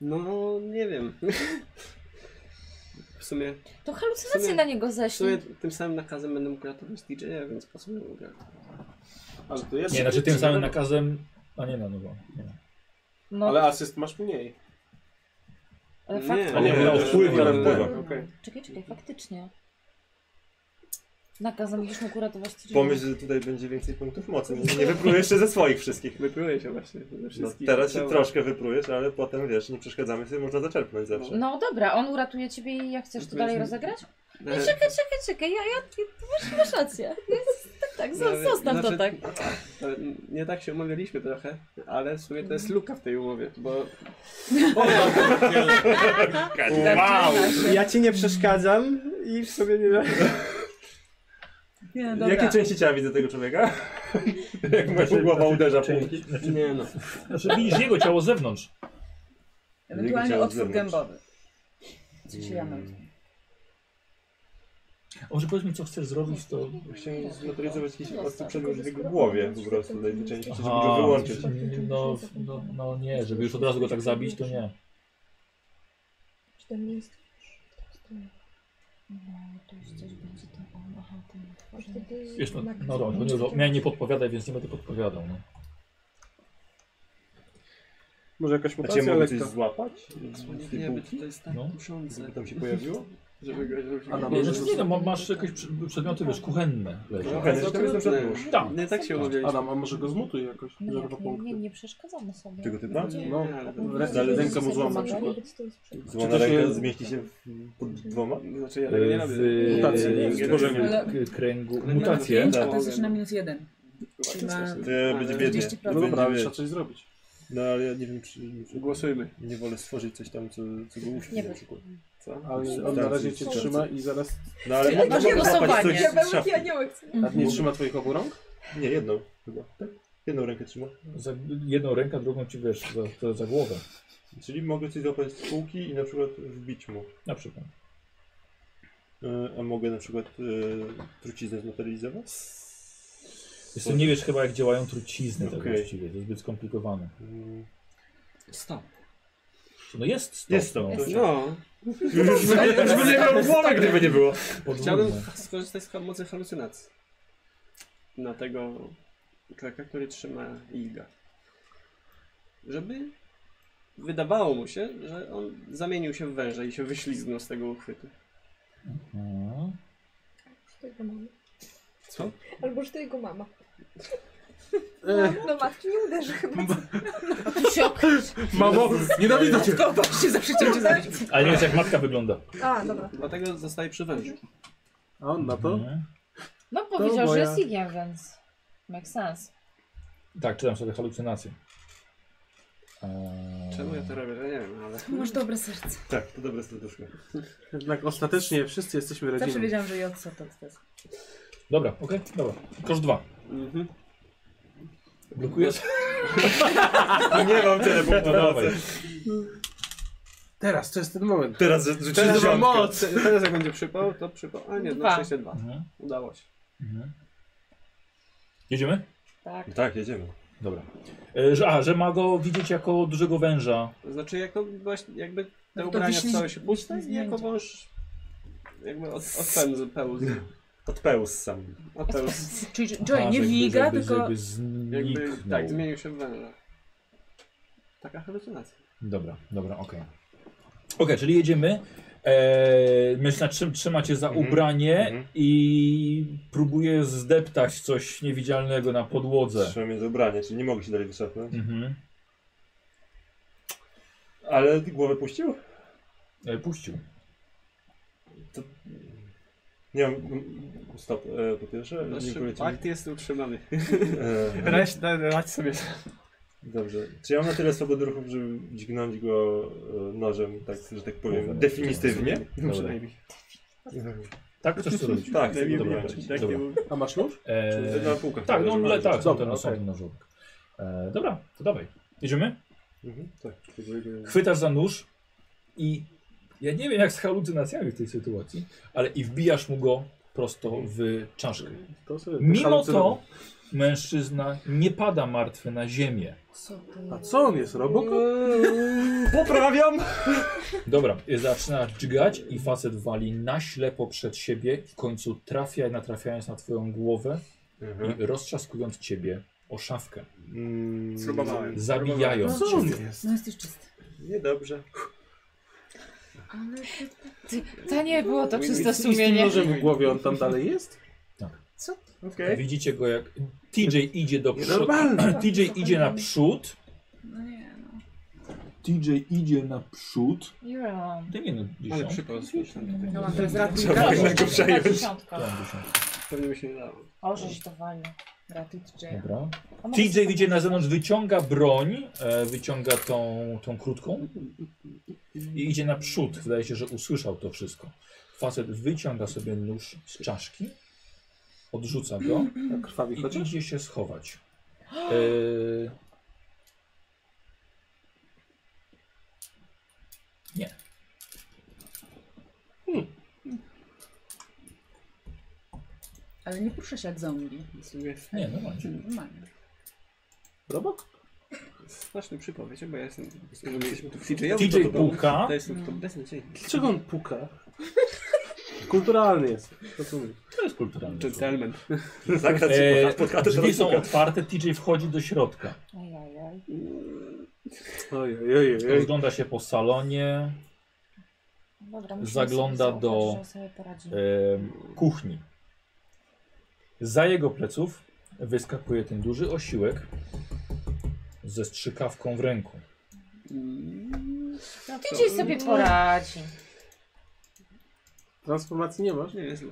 Speaker 2: No, nie wiem. W sumie,
Speaker 3: To
Speaker 2: w
Speaker 3: halucynacje
Speaker 2: sumie-
Speaker 3: na niego
Speaker 2: w sumie
Speaker 3: ześlij.
Speaker 2: tym samym nakazem będę mógł ratować DJ-a, więc po co bym go
Speaker 7: Ale to jest.
Speaker 1: Nie, znaczy tym samym
Speaker 7: No,
Speaker 1: nakazem. A nie, no, no bo. Nie.
Speaker 3: No,
Speaker 7: Ale asyst masz mniej.
Speaker 3: ale
Speaker 2: nie.
Speaker 3: fakt...
Speaker 1: A nie,
Speaker 7: Nie,
Speaker 1: na
Speaker 7: nie,
Speaker 1: wpływ,
Speaker 7: nie,
Speaker 1: na
Speaker 7: nie,
Speaker 1: wpływ.
Speaker 7: nie, okej.
Speaker 3: Czekaj, czekaj, faktycznie. Nakazem będziesz mógł uratować ci
Speaker 6: Pomyśl, że tutaj będzie więcej punktów mocy. Nie nie wypruję jeszcze ze swoich wszystkich.
Speaker 2: Wypłyłeś się właśnie ze
Speaker 6: No,
Speaker 2: wszystkich.
Speaker 6: teraz się
Speaker 2: Ciała.
Speaker 6: troszkę wyprujesz, ale potem wiesz, nie przeszkadzamy sobie, można zaczerpnąć zawsze.
Speaker 3: No dobra, on uratuje ciebie i jak chcesz to dalej
Speaker 2: Powiedzmy-
Speaker 3: rozegrać? Nie,
Speaker 2: E,
Speaker 3: czekaj, czekaj, czekaj, ja, ja, ty- ty masz, masz rację. Jest- Tak, tak, zo-
Speaker 2: Nawet-
Speaker 3: zostaw to
Speaker 2: znaczy,
Speaker 3: tak.
Speaker 2: e, Nie tak się umawialiśmy trochę, ale w sumie to jest luka w tej umowie, bo
Speaker 6: Wow!
Speaker 2: ja ci nie przeszkadzam i w sumie nie...
Speaker 8: Nie, no dobra.
Speaker 6: Jakie części ciała widzę tego człowieka? Jak moja głowa uderza w punkt.
Speaker 2: Nie no.
Speaker 1: Znaczy widzisz jego ciało z zewnątrz.
Speaker 6: Jego
Speaker 8: Ewentualnie
Speaker 6: ciało z
Speaker 8: otwór
Speaker 6: zewnątrz.
Speaker 8: gębowy. Co się ja mam?
Speaker 1: A Może powiedz mi, co chcesz zrobić, to.
Speaker 6: Chciałem zmaterializować jakiś ostrz przedmiot w jego głowie po prostu, na tej części, żeby go
Speaker 1: Aha,
Speaker 6: wyłączyć.
Speaker 1: No, no, no nie, żeby już od razu go tak zabić, to nie.
Speaker 9: Czy tam nie jest?
Speaker 3: No, to już coś będzie to on, aha, ten otworzony.
Speaker 9: Wtedy
Speaker 1: Wiesz, no,
Speaker 9: nakaz-
Speaker 1: no dobra, bo nie, miałem nie podpowiadać, więc nie będę podpowiadał. No.
Speaker 7: Może jakaś
Speaker 6: A cię
Speaker 7: mutacja
Speaker 6: mogę coś
Speaker 7: lekka.
Speaker 6: złapać? y,
Speaker 2: Nie
Speaker 6: Z tej
Speaker 2: wiemy,
Speaker 6: półki?
Speaker 2: czy to jest tak
Speaker 1: No.
Speaker 2: kuszące,
Speaker 6: Co tam się pojawiło?
Speaker 2: żeby go...
Speaker 7: A na
Speaker 1: Nie,
Speaker 7: może
Speaker 1: znaczy, nie no, ma- masz jakieś przy- przedmioty, wiesz, kuchenne. leżą.
Speaker 6: Okej, no, tam jest na przykład nóż.
Speaker 1: Tam.
Speaker 2: Nie tak się umawialiśmy.
Speaker 7: Adam, a może go zmutuj jakoś?
Speaker 3: No
Speaker 7: Zero
Speaker 3: jak,
Speaker 7: dwa
Speaker 3: nie, nie,
Speaker 7: punkty.
Speaker 3: nie przeszkadzamy sobie.
Speaker 6: Tego typa?
Speaker 7: No,
Speaker 2: Nie, ale to-
Speaker 7: re- rękę mu złam na przykład.
Speaker 6: Złona
Speaker 7: Czy to się-
Speaker 6: ręka zmieści się w- pod dwoma?
Speaker 2: Znaczy ja tak nie
Speaker 1: W,
Speaker 2: robię.
Speaker 7: Mutacje,
Speaker 2: Nie, nie,
Speaker 7: stworzenie.
Speaker 2: nie.
Speaker 8: Ale
Speaker 1: w y, kręgu.
Speaker 2: Ale-
Speaker 1: Mutacje.
Speaker 8: pięć fantastyczne na minus jeden.
Speaker 2: Chyba
Speaker 8: Ma-
Speaker 2: coś-
Speaker 6: Ty, będzie biednie.
Speaker 8: 40%.
Speaker 7: No dobra, ale
Speaker 6: Będzie
Speaker 7: trzeba
Speaker 6: biednie.
Speaker 7: coś zrobić.
Speaker 6: No ale ja nie wiem, czy...
Speaker 2: Głosujmy.
Speaker 6: Nie wolę stworzyć coś tam, co, co go uśpi
Speaker 3: Nie
Speaker 6: na
Speaker 3: wiem.
Speaker 6: przykład.
Speaker 2: Co?
Speaker 7: Ale on na razie cię trzyma i zaraz.
Speaker 6: No ale nie
Speaker 3: Macie
Speaker 6: mogę złapać coś
Speaker 3: głosowanie.
Speaker 6: z szafki.
Speaker 7: A nie trzyma twoich obu rąk?
Speaker 6: Nie, jedną chyba. Tak? Jedną rękę trzyma.
Speaker 1: Za, jedną rękę, drugą ci wiesz, za, za, za głowę.
Speaker 6: Czyli mogę coś złapać z półki i na przykład wbić mu.
Speaker 1: Na przykład.
Speaker 6: E, A mogę na przykład e, truciznę zmaterializować?
Speaker 1: Wiesz, co, nie wiesz chyba, jak działają trucizny tak
Speaker 6: Okej.
Speaker 1: właściwie. To jest zbyt skomplikowane.
Speaker 6: Mm,
Speaker 2: Stop.
Speaker 1: No jest stop.
Speaker 6: Jest stop.
Speaker 1: No,
Speaker 6: Jest
Speaker 2: No,
Speaker 6: Już by nie- już by nie miał głowy, gdyby nie było.
Speaker 1: podwójne.
Speaker 2: chciałbym skorzystać z mocy halucynacji. Na tego człowieka, który trzyma Ilga. Żeby wydawało mu się, że on zamienił się w węża i się wyśliznął z tego uchwytu.
Speaker 1: Mhm.
Speaker 9: Czy to jego mama?
Speaker 2: Co?
Speaker 9: Albo że to jego mama.
Speaker 6: E.
Speaker 9: No, no matki nie uderzy chyba.
Speaker 3: Tu się
Speaker 7: Mamo, nienawidzę cię!
Speaker 8: Skąd się zawsze cię
Speaker 1: Ale nie wiesz jak matka wygląda.
Speaker 9: A, dobra.
Speaker 2: Dlatego zostaje przy wężu.
Speaker 7: A on na to?
Speaker 1: Nie?
Speaker 3: No powiedział, że
Speaker 7: moja-
Speaker 3: jest igiem, więc makes sense.
Speaker 1: Tak, czytam sobie halucynacje. Eee,
Speaker 2: Czemu ja to robię? Ja nie wiem, ale...
Speaker 8: Masz dobre serce.
Speaker 6: Tak, to dobre serduszko.
Speaker 7: Jednak ostatecznie wszyscy jesteśmy
Speaker 8: Zawsze
Speaker 7: rodziną.
Speaker 8: wiedziałam, że Jotso to jest.
Speaker 1: Dobra, okej, dobra. Kosz dwa.
Speaker 2: Mhm.
Speaker 1: Blokujesz?
Speaker 6: Nie mam tyle
Speaker 1: No dawaj.
Speaker 7: Teraz, to jest ten moment.
Speaker 6: Teraz rzuciłem
Speaker 7: Teraz mam
Speaker 6: dziesiątkę.
Speaker 7: moc!
Speaker 2: Teraz jak będzie przypał, to przypał. A nie,
Speaker 3: Dwa.
Speaker 2: na szczęście dwa.
Speaker 1: Mhm.
Speaker 2: Udało się.
Speaker 1: Mhm. Jedziemy?
Speaker 3: Tak.
Speaker 6: Tak, jedziemy.
Speaker 1: Dobra. E, że, a, że ma go widzieć jako dużego węża.
Speaker 2: To Znaczy jako właśnie, jakby te
Speaker 8: to
Speaker 2: ubrania
Speaker 8: wiśni-
Speaker 2: wstały się puste i
Speaker 8: wiśni
Speaker 2: jako
Speaker 8: zdjęcia.
Speaker 2: wąż jakby od, od pełzy, pełzy,
Speaker 6: Odpełz sam.
Speaker 2: od pełzy.
Speaker 8: Czyli Joy,
Speaker 1: Aha,
Speaker 8: nie
Speaker 1: że jakby-
Speaker 8: wiga,
Speaker 1: żeby-
Speaker 8: tylko
Speaker 1: Żeby zniknął.
Speaker 2: Jakby, tak, zmienił się w węża. Taka halucynacja.
Speaker 1: Dobra, dobra, okej. Okej, czyli jedziemy. Eee, mężczyzna trzy- trzyma cię za
Speaker 6: Mhm,
Speaker 1: ubranie
Speaker 6: mhm.
Speaker 1: i próbuje zdeptać coś niewidzialnego na podłodze.
Speaker 6: Trzymam je za ubranie, czyli nie mogę się dalej wyszarpnąć.
Speaker 1: Mhm.
Speaker 6: Ale głowę puścił?
Speaker 1: E, puścił.
Speaker 6: To... Nie mam... Stop, e, po pierwsze.
Speaker 1: No,
Speaker 2: Nasz
Speaker 6: Dziękuję ci.
Speaker 2: pakt jest utrzymany.
Speaker 6: E,
Speaker 2: Reszta, radź sobie.
Speaker 6: Dobrze. Czy ja mam na tyle swobody ruchów, żeby dźgnąć go e, nożem, tak, że tak powiem,
Speaker 1: Dobra.
Speaker 6: definitywnie?
Speaker 1: Dobra.
Speaker 2: Przynajmniej.
Speaker 1: Tak, chcesz to robić?
Speaker 6: No Tak, chcę
Speaker 2: Najmniej
Speaker 6: go
Speaker 1: dobra,
Speaker 6: wyłączyć.
Speaker 2: Tak,
Speaker 1: dobra.
Speaker 2: nie było.
Speaker 7: A masz nóż?
Speaker 1: Eee,
Speaker 6: Na półkach.
Speaker 1: tak, no le, tak, są
Speaker 7: Dobra,
Speaker 1: ten osobny
Speaker 7: okej.
Speaker 1: nożówek. Eee, dobra, to dawaj. Jedziemy?
Speaker 6: Mhm, tak.
Speaker 1: chwytasz za nóż i ja nie wiem jak z halucynacjami w tej sytuacji, ale i wbijasz mu go prosto w czaszkę.
Speaker 7: To sobie
Speaker 1: Mimo
Speaker 7: halucynował.
Speaker 1: to mężczyzna nie pada martwy na ziemię.
Speaker 3: Co to
Speaker 7: A
Speaker 3: jest?
Speaker 7: co on jest, Robocop?
Speaker 6: Poprawiam!
Speaker 1: Dobra, zaczyna dźgać i facet wali na ślepo przed siebie i w końcu trafia, natrafiając na twoją głowę i roztrzaskując ciebie o szafkę,
Speaker 6: Mm,
Speaker 2: Spróbowałem.
Speaker 1: zabijając
Speaker 7: Co on
Speaker 1: cię.
Speaker 7: jest?
Speaker 8: no jesteś czysty.
Speaker 6: Niedobrze.
Speaker 3: To nie było to czyste
Speaker 7: I z tym
Speaker 3: sumienie.
Speaker 7: nożem w głowie on tam dalej jest?
Speaker 6: Okej.
Speaker 1: Widzicie go jak TJ idzie do przodu.
Speaker 7: Normalnie.
Speaker 1: TJ idzie naprzód.
Speaker 8: No nie no.
Speaker 1: TJ idzie naprzód.
Speaker 3: You're
Speaker 1: Ty nie no,
Speaker 2: Ale
Speaker 1: dziesiąt.
Speaker 2: przypał słyszałem.
Speaker 8: No mam teraz ratuj
Speaker 7: Tak,
Speaker 6: Trzeba
Speaker 8: Joy.
Speaker 6: jednak go przejąć.
Speaker 1: Tam dziesiąt.
Speaker 2: Pewnie by się nie dało.
Speaker 3: O, żeś to walił.
Speaker 8: Ratuj Joya.
Speaker 1: Dobra.
Speaker 3: A może
Speaker 1: TJ
Speaker 3: sobie-
Speaker 1: idzie na zewnątrz, wyciąga broń, e, wyciąga tą, tą krótką i idzie naprzód. Wydaje się, że usłyszał to wszystko. Facet wyciąga sobie nóż z czaszki, odrzuca go
Speaker 7: A krwawi
Speaker 1: i
Speaker 7: chociaż?
Speaker 1: idzie się schować. E, nie.
Speaker 8: Ale nie rusza się jak zombie.
Speaker 2: Jest
Speaker 1: Nie, no, normalnie.
Speaker 8: Normalnie.
Speaker 7: Robocop?
Speaker 2: straszny przypał, wiecie, bo ja jestem...
Speaker 1: TJ puka.
Speaker 2: To jestem w top 10.
Speaker 7: Dlaczego on puka? Kulturalny jest. Rozumiem.
Speaker 1: To jest kulturalne.
Speaker 2: Gentleman.
Speaker 6: Zakradł
Speaker 1: E,
Speaker 6: się pod chatę,
Speaker 1: Drzwi są otwarte, TJ wchodzi do środka.
Speaker 3: Ajajaj.
Speaker 7: Ojej, ojej, ojej.
Speaker 1: Rozgląda się po salonie.
Speaker 3: Dobra, musimy
Speaker 1: Zagląda
Speaker 3: sobie
Speaker 1: do-
Speaker 3: zaufać, że sobie poradzimy.
Speaker 1: em, kuchni. Za jego pleców wyskakuje ten duży osiłek ze strzykawką w ręku.
Speaker 3: TJ sobie poradzi.
Speaker 7: Transformacji nie masz?
Speaker 2: Nie jest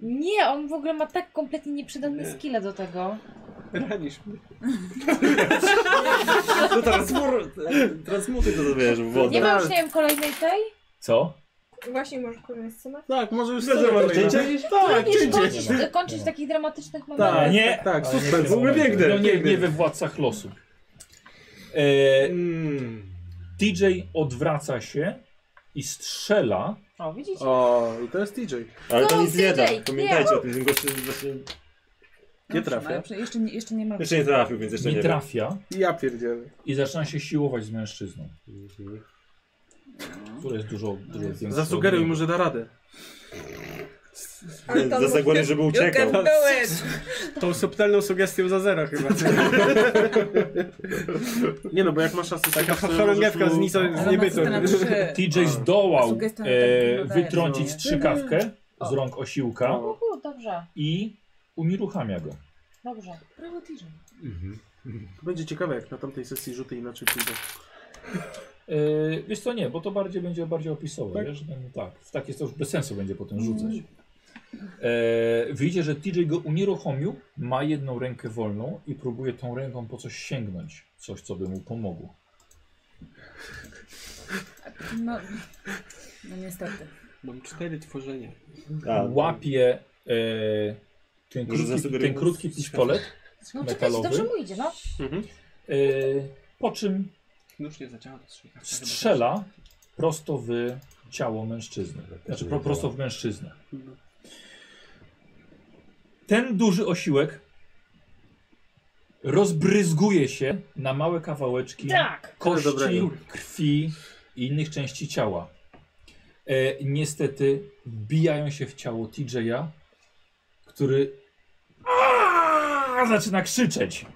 Speaker 3: Nie, on w ogóle ma tak kompletnie nieprzydatne
Speaker 2: Nie.
Speaker 3: skille do tego.
Speaker 2: Ranisz mnie.
Speaker 6: To transmur... Transmuty to wiesz, w wodę.
Speaker 3: Nie ma już, nie wiem, kolejnej tej?
Speaker 1: Co?
Speaker 9: Właśnie może kolejna scena?
Speaker 7: Tak, może już
Speaker 6: Wiesz, że masz cięcie?
Speaker 7: Tak,
Speaker 6: No
Speaker 3: Lubisz
Speaker 7: cięcie.
Speaker 3: kończyć,
Speaker 1: Nie ma.
Speaker 3: kończyć takich dramatycznych momentów.
Speaker 7: Tak,
Speaker 1: Nie.
Speaker 7: tak, tak,
Speaker 1: Ale nie w
Speaker 7: suspens.
Speaker 1: tym momencie.
Speaker 6: piękne,
Speaker 1: No nie,
Speaker 6: piękne.
Speaker 1: nie we władcach losu. E,
Speaker 6: Mm.
Speaker 1: DJ odwraca się i strzela.
Speaker 3: O, widzicie?
Speaker 7: O, i to jest TJ.
Speaker 6: Ale
Speaker 3: No,
Speaker 6: to nic nie da.
Speaker 3: DJ,
Speaker 6: Pamiętajcie o tym, że gościu właśnie...
Speaker 7: Nie trafia.
Speaker 8: ale prze- Jeszcze nie, jeszcze nie ma.
Speaker 6: Jeszcze nie trafił, więc jeszcze nie,
Speaker 1: Nie
Speaker 6: wiem.
Speaker 1: trafia
Speaker 7: Ja pierdzielę.
Speaker 1: i zaczyna się siłować z mężczyzną,
Speaker 6: Mhm.
Speaker 1: który jest dużo, dużo większy.
Speaker 7: Zasugeruj mu, że da radę.
Speaker 9: Ale to
Speaker 6: Za zagłady, żeby uciekał.
Speaker 2: Tą subtelną sugestią za zero chyba.
Speaker 7: Nie no, bo jak masz asystentka,
Speaker 2: Taka
Speaker 7: to
Speaker 2: chorągiewka
Speaker 7: możesz
Speaker 2: z
Speaker 7: mu-
Speaker 2: nico, z
Speaker 8: Ale ma
Speaker 2: niebytu.
Speaker 8: scena trzy.
Speaker 1: TJ zdołał
Speaker 8: Sugestia na
Speaker 1: e,
Speaker 8: tak wygląda,
Speaker 1: wytrącić
Speaker 7: no.
Speaker 1: strzykawkę z rąk osiłka
Speaker 7: O,
Speaker 3: U, dobrze,
Speaker 1: i unieruchamia go.
Speaker 3: dobrze.
Speaker 8: Brawo, TJ.
Speaker 7: Będzie ciekawe, jak na tamtej sesji rzuty inaczej pójdą.
Speaker 1: Yy, wiesz co, nie, bo to bardziej będzie bardziej opisowe, tak? wiesz? No, tak, w takie to już bez sensu będzie potem
Speaker 8: Mm.
Speaker 1: rzucać. Yy, widzicie, że TJ go unieruchomił, ma jedną rękę wolną i próbuje tą ręką po coś sięgnąć, coś co by mu pomogło.
Speaker 8: No, no niestety.
Speaker 2: Mam cztery tworzenia.
Speaker 6: A,
Speaker 1: Łapie yy, ten,
Speaker 6: Może
Speaker 1: krótki,
Speaker 6: zasugeruję
Speaker 1: ten
Speaker 6: mu-
Speaker 1: krótki pistolet,
Speaker 3: No czekaj,
Speaker 1: Metalowy?
Speaker 3: dobrze mu idzie, no.
Speaker 1: yy, po czym
Speaker 2: Nóż nie zaczęła strzykać.
Speaker 1: strzela prosto w ciało mężczyzny. Znaczy pro, prosto w mężczyznę. Ten duży osiłek rozbryzguje się na małe kawałeczki
Speaker 3: Tak!
Speaker 1: kości,
Speaker 7: Dobrego.
Speaker 1: krwi i innych części ciała. E, niestety wbijają się w ciało TJ'a, który Aaaa! zaczyna krzyczeć.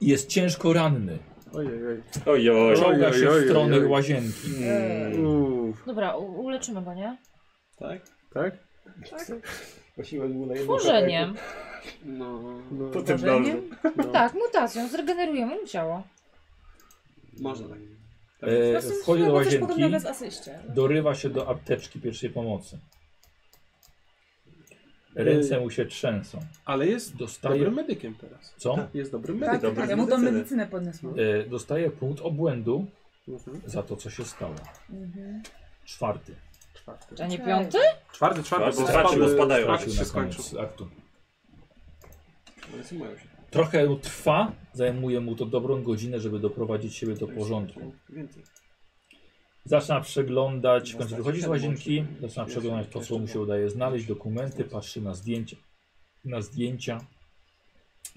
Speaker 1: Jest ciężko ranny.
Speaker 7: Ojej, ojej.
Speaker 6: Ojoj.
Speaker 1: Czołga się w
Speaker 7: ojej,
Speaker 1: stronę
Speaker 7: ojej.
Speaker 1: łazienki.
Speaker 6: Mm.
Speaker 7: Uff,
Speaker 3: Dobra, u- uleczymy go, nie?
Speaker 2: Tak?
Speaker 7: tak?
Speaker 6: Posiłek był na jednym
Speaker 3: Tworzeniem.
Speaker 2: No.
Speaker 7: No,
Speaker 6: Po tym
Speaker 8: Tworzeniem?
Speaker 6: nożu.
Speaker 7: no.
Speaker 3: Tak, mutacją, zregenerujemy mu ciało.
Speaker 2: Można tak.
Speaker 1: E,
Speaker 24: Zresztą
Speaker 1: wchodzi do
Speaker 24: było coś
Speaker 1: łazienki,
Speaker 24: podobnego z asyście.
Speaker 1: dorywa się do apteczki pierwszej pomocy. Ręce mu się trzęsą.
Speaker 7: Ale jest
Speaker 1: Dostaje,
Speaker 7: dobrym medykiem teraz.
Speaker 1: co?
Speaker 7: Jest dobrym
Speaker 8: Tak,
Speaker 7: medykiem.
Speaker 8: tak,
Speaker 6: Dobra,
Speaker 8: tak. Ja mu tą
Speaker 6: medycynę.
Speaker 8: medycynę podniosłam.
Speaker 1: E, dostaje punkt obłędu
Speaker 7: Mhm.
Speaker 1: za to, co się stało.
Speaker 8: Mhm.
Speaker 1: Czwarty.
Speaker 7: Czwarty.
Speaker 3: A nie
Speaker 8: Okej.
Speaker 3: piąty?
Speaker 7: Czwarty, czwarty, bo
Speaker 6: Stracił, bo spadają.
Speaker 7: strach
Speaker 1: Tracił
Speaker 7: się
Speaker 1: na
Speaker 7: skończył.
Speaker 1: koniec aktu.
Speaker 2: Ale sumają się.
Speaker 1: Trochę mu trwa, zajmuje mu to dobrą godzinę, żeby doprowadzić siebie do porządku.
Speaker 2: Więcej.
Speaker 1: Zaczyna przeglądać,
Speaker 2: Dostać
Speaker 1: kończy wychodzi z łazienki, zaczyna przeglądać to, co mu się
Speaker 2: Jeszcze
Speaker 1: udaje znaleźć, dokumenty, patrzy na zdjęcia, na zdjęcia,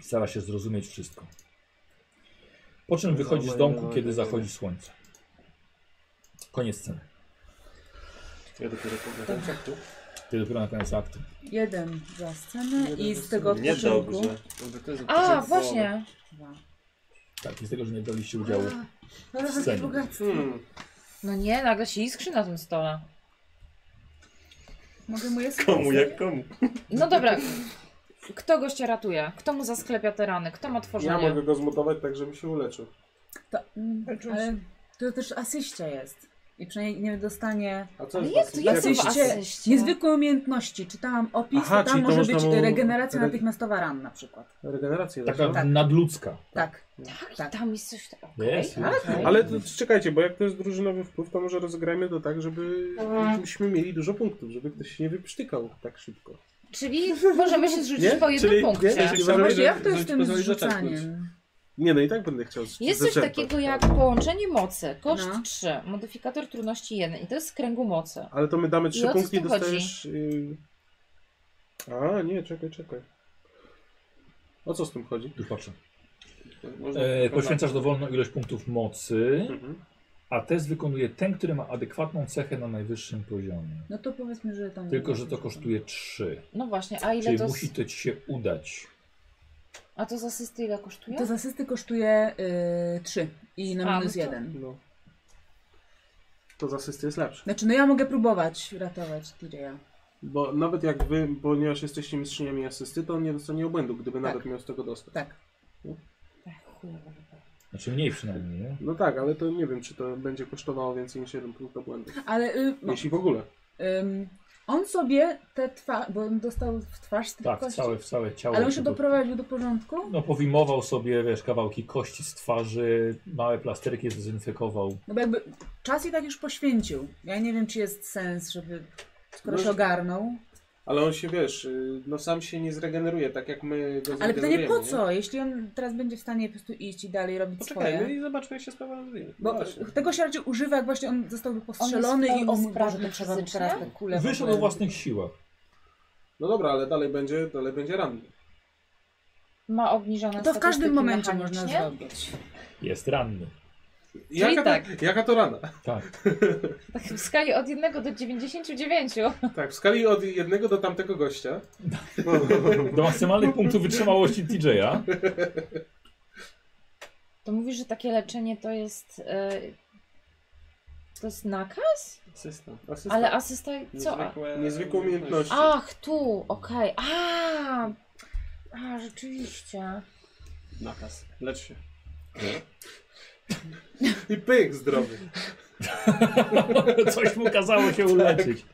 Speaker 1: stara się zrozumieć wszystko. Po czym wychodzi z domku, kiedy zachodzi słońce. Koniec sceny.
Speaker 6: Ja dopiero powiem.
Speaker 1: Ty dopiero na koniec aktu.
Speaker 8: Jeden za scenę i z tego odpoczynku...
Speaker 6: Niedobrze.
Speaker 2: Dobra, to jest
Speaker 3: A,
Speaker 2: odpoczynek
Speaker 3: właśnie.
Speaker 8: Dwa.
Speaker 1: Tak, i z tego, że nie braliście udziału.
Speaker 8: A, ale
Speaker 1: Sceny.
Speaker 8: jakie bogactwo.
Speaker 7: Hmm.
Speaker 3: No nie, nagle się iskrzy na tym stole.
Speaker 8: Mogę mu je
Speaker 6: Komu jak komu?
Speaker 3: No dobra, kto gościa ratuje? Kto mu zasklepia te rany? Kto ma
Speaker 7: Ja
Speaker 3: tworzenie?
Speaker 7: mogę go zmutować tak, żeby się uleczył.
Speaker 8: To, mm, ale to też asyścia jest. I przynajmniej nie dostanie
Speaker 7: A co
Speaker 3: Ale
Speaker 7: jest
Speaker 3: No jak to
Speaker 7: was-
Speaker 3: jest
Speaker 8: Jakiś
Speaker 3: w
Speaker 8: cie-
Speaker 3: asyście?
Speaker 8: niezwykłe umiejętności. Czytałam opis,
Speaker 7: Aha,
Speaker 8: to tam
Speaker 7: czyli to
Speaker 8: może
Speaker 7: można
Speaker 8: być
Speaker 7: mu-
Speaker 8: regeneracja
Speaker 7: reg-
Speaker 8: natychmiastowa ran na przykład.
Speaker 7: Regenerację.
Speaker 1: Taka
Speaker 7: tak.
Speaker 8: Tak.
Speaker 1: nadludzka.
Speaker 8: Tak.
Speaker 3: Tak, i tam jest coś takiego. Okay.
Speaker 1: Jest, jest.
Speaker 3: okej.
Speaker 7: Ale to, czekajcie, bo jak to jest drużynowy wpływ, to może rozegrajmy to tak, żeby żebyśmy mieli dużo punktów, żeby ktoś się nie wyprztykał tak szybko.
Speaker 3: Czyli możemy się zrzucić
Speaker 7: Nie?
Speaker 3: po jednym
Speaker 7: Czyli-
Speaker 3: punkcie.
Speaker 7: nie? Czyli
Speaker 2: Chciałbym,
Speaker 7: możemy-
Speaker 8: Może jak to
Speaker 2: żeby-
Speaker 8: jest tym
Speaker 2: żeby zaczerpnąć.
Speaker 8: zrzucaniem?
Speaker 7: Nie, no i tak będę chciał z-
Speaker 3: Jest coś
Speaker 7: zaczerpać.
Speaker 3: takiego jak połączenie mocy. Koszt
Speaker 8: No.
Speaker 3: 3, modyfikator trudności 1 i to jest z kręgu mocy.
Speaker 7: Ale to my damy trzy
Speaker 3: o co
Speaker 7: punkty i
Speaker 3: tu chodzi?
Speaker 7: dostajesz... y, A, nie, czekaj, czekaj. O co z tym chodzi?
Speaker 1: Już patrzę.
Speaker 2: Można
Speaker 1: E,
Speaker 2: tylko
Speaker 1: poświęcasz dowolną ilość punktów mocy,
Speaker 7: Mhm.
Speaker 1: a test wykonuje ten, który ma adekwatną cechę na najwyższym poziomie.
Speaker 8: No to powiedzmy, że tam...
Speaker 1: Tylko, że to kosztuje 3.
Speaker 3: No właśnie, a ile
Speaker 1: Czyli
Speaker 3: to. z-
Speaker 1: musi to ci się udać.
Speaker 3: A to z asysty ile kosztuje?
Speaker 8: To z asysty kosztuje 3 i
Speaker 3: A,
Speaker 8: na
Speaker 3: no
Speaker 8: minus
Speaker 3: to-
Speaker 8: 1.
Speaker 7: No. To z asysty jest lepsze.
Speaker 8: Znaczy, no ja mogę próbować ratować TJ'a.
Speaker 7: Bo nawet jak wy, ponieważ jesteście mistrzyniami asysty, to on nie dostanie obłędu, gdyby
Speaker 8: Tak.
Speaker 7: nawet miał z tego dostać.
Speaker 8: Tak.
Speaker 3: Ach, chujowe.
Speaker 1: Znaczy mniej przynajmniej, nie?
Speaker 7: No tak, ale to nie wiem, czy to będzie kosztowało więcej niż jeden punkt obłędu.
Speaker 8: Ale y, no,
Speaker 7: Jeśli w ogóle.
Speaker 8: ym, on sobie te twarz, bo on dostał w twarz tych
Speaker 1: Tak,
Speaker 8: kości,
Speaker 1: całe, całe ciało.
Speaker 8: ale on się
Speaker 1: się do-
Speaker 8: doprowadził do porządku?
Speaker 1: No powimował sobie, wiesz, kawałki kości z twarzy, małe plasterki zdezynfekował.
Speaker 8: No bo jakby czas i tak już poświęcił. Ja nie wiem, czy jest sens, żeby skoro
Speaker 7: No,
Speaker 8: się ogarnął.
Speaker 7: Ale on się, wiesz, y, no sam się nie zregeneruje, tak jak my go
Speaker 8: Ale pytanie
Speaker 7: zregenerujemy,
Speaker 8: po
Speaker 7: nie?
Speaker 8: co? Jeśli on teraz będzie w stanie po prostu iść i dalej robić
Speaker 2: Poczekajmy
Speaker 8: swoje.
Speaker 2: no i zobaczmy, jak się sprawa rozwinie.
Speaker 8: Bo
Speaker 7: Właśnie.
Speaker 8: tego się raczej używa, jak właśnie on zostałby postrzelony i o mój Boże,
Speaker 3: pełnosprawny
Speaker 8: to trzeba mu
Speaker 3: fizycznie?
Speaker 8: teraz te kule. w
Speaker 1: Wyszedł o
Speaker 8: ogóle.
Speaker 1: własnych siłach.
Speaker 7: No dobra, ale dalej będzie, dalej będzie ranny.
Speaker 3: Ma obniżone
Speaker 8: To w każdym
Speaker 3: statystyki
Speaker 8: momencie
Speaker 3: mechanicznie?
Speaker 8: można zrobić.
Speaker 1: Jest ranny.
Speaker 7: Jaka,
Speaker 3: tak.
Speaker 7: to, jaka to rana?
Speaker 1: Tak.
Speaker 3: Tak, w skali od 1 do 99.
Speaker 7: Tak, w skali od jednego do tamtego gościa.
Speaker 1: Do maksymalnych punktów wytrzymałości TJ'a.
Speaker 3: To mówisz, że takie leczenie to jest. e, To jest nakaz?
Speaker 2: System.
Speaker 7: Asysta.
Speaker 3: Ale asysta. Co? A-
Speaker 2: Niezwykłe,
Speaker 7: Niezwykłe umiejętności.
Speaker 3: Ach, tu, okej. A, a, rzeczywiście.
Speaker 2: Nakaz. Lecz się.
Speaker 7: I pyk zdrowy.
Speaker 1: Coś mu kazało się uleczyć.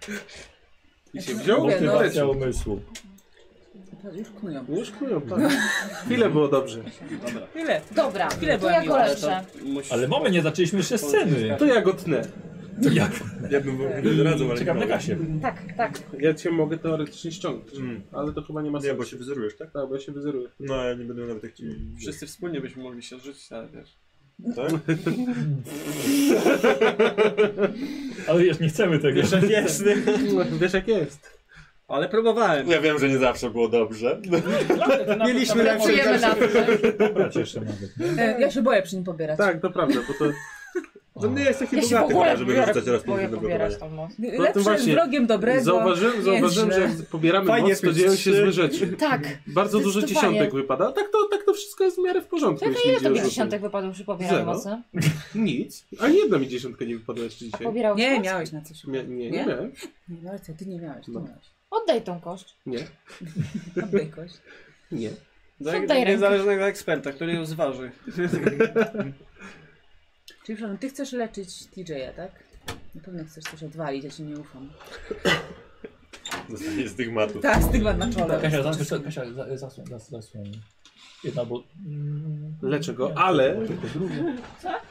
Speaker 7: I się wziął?
Speaker 8: Mówię, no.
Speaker 1: Motywacja umysłu.
Speaker 8: Już knują.
Speaker 7: Już knują,
Speaker 8: No.
Speaker 7: tak. Chwilę było dobrze.
Speaker 2: Dobra.
Speaker 3: Ile? Dobra,
Speaker 2: Ile
Speaker 3: to
Speaker 2: była
Speaker 3: ja
Speaker 2: miła,
Speaker 3: go
Speaker 2: ale
Speaker 3: leczę.
Speaker 2: to musisz-
Speaker 1: Ale mamy, nie zaczęliśmy jeszcze sceny.
Speaker 7: To ja go tnę.
Speaker 1: Jak?
Speaker 6: Ja bym wam radzał, ale
Speaker 1: Czekam
Speaker 6: nie
Speaker 1: na
Speaker 6: mogę.
Speaker 1: Kasię.
Speaker 3: Tak, tak.
Speaker 7: Ja cię mogę teoretycznie ściągnąć,
Speaker 6: Mm.
Speaker 7: ale to chyba nie ma sensu.
Speaker 6: Nie, bo się wyzerujesz, tak?
Speaker 7: Tak, bo ja się wyzeruję.
Speaker 6: No, ja nie będę nawet chciał.
Speaker 2: Wszyscy wspólnie byśmy mogli się rzucić, ale wiesz.
Speaker 6: Tak?
Speaker 1: Ale wiesz, nie chcemy tego.
Speaker 2: Wieczny.
Speaker 7: Wiesz jak jest.
Speaker 2: Ale próbowałem.
Speaker 6: Ja wiem, że nie zawsze było dobrze.
Speaker 2: Mieliśmy
Speaker 3: Pracujemy nad tym.
Speaker 1: Dobra, cieszę nawet.
Speaker 8: E, ja się boję przy nim pobierać.
Speaker 7: Tak, to prawda, bo to...
Speaker 6: No nie jest taki
Speaker 3: Ja się w
Speaker 6: bogaty,
Speaker 3: ogóle
Speaker 6: żeby
Speaker 3: biorę-
Speaker 6: rzucać raz
Speaker 3: boję
Speaker 6: punkt do
Speaker 3: pobierać
Speaker 6: blokowania.
Speaker 3: tą moc.
Speaker 7: No to
Speaker 8: Lepszy jest
Speaker 7: właśnie.
Speaker 8: wrogiem dobrego.
Speaker 7: Zauważyłem, zauważyłem że
Speaker 8: Więźle.
Speaker 7: jak pobieramy
Speaker 2: Fajnie
Speaker 7: moc, to
Speaker 2: pić
Speaker 7: dzieją się
Speaker 2: trzy.
Speaker 7: złe rzeczy.
Speaker 3: Tak.
Speaker 7: Bardzo dużo
Speaker 3: Zdecydowanie. Tak,
Speaker 7: dziesiątek wypada. A Tak to, tak to wszystko jest w miarę w porządku.
Speaker 3: Jak
Speaker 7: jeśli
Speaker 3: ile
Speaker 7: idzie o
Speaker 3: tobie
Speaker 7: rzuty.
Speaker 3: dziesiątek wypadło przy pobieraniu
Speaker 7: Zero.
Speaker 3: mocy?
Speaker 7: Nic. Ani jedna mi dziesiątka nie wypadła jeszcze dzisiaj.
Speaker 3: Pobierałeś
Speaker 8: Nie
Speaker 3: moc?
Speaker 8: miałeś na coś.
Speaker 7: Nie, nie, nie
Speaker 8: Nie?
Speaker 7: miałem.
Speaker 8: Nie, no ale co, ty nie miałeś, ty
Speaker 7: No.
Speaker 8: miałeś. No,
Speaker 3: Oddaj tą kość.
Speaker 7: Nie,
Speaker 8: Oddaj kość.
Speaker 7: nie.
Speaker 2: Do,
Speaker 3: Są
Speaker 2: do
Speaker 3: tajemnice.
Speaker 2: niezależnego eksperta, który ją zważy.
Speaker 8: Czyli przepraszam, ty chcesz leczyć TJ-a, tak? Na pewno chcesz coś odwalić, ja ci nie ufam.
Speaker 6: Zostanie stygmatów.
Speaker 8: Tak, stygmat na czole.
Speaker 1: Kasia, zasłoń, Kasia, za- zasłoń, zas- zasłoń. Jedna, bo... Mm,
Speaker 7: Leczę go,
Speaker 1: nie,
Speaker 7: ale-
Speaker 1: to tylko drugie. Dobra.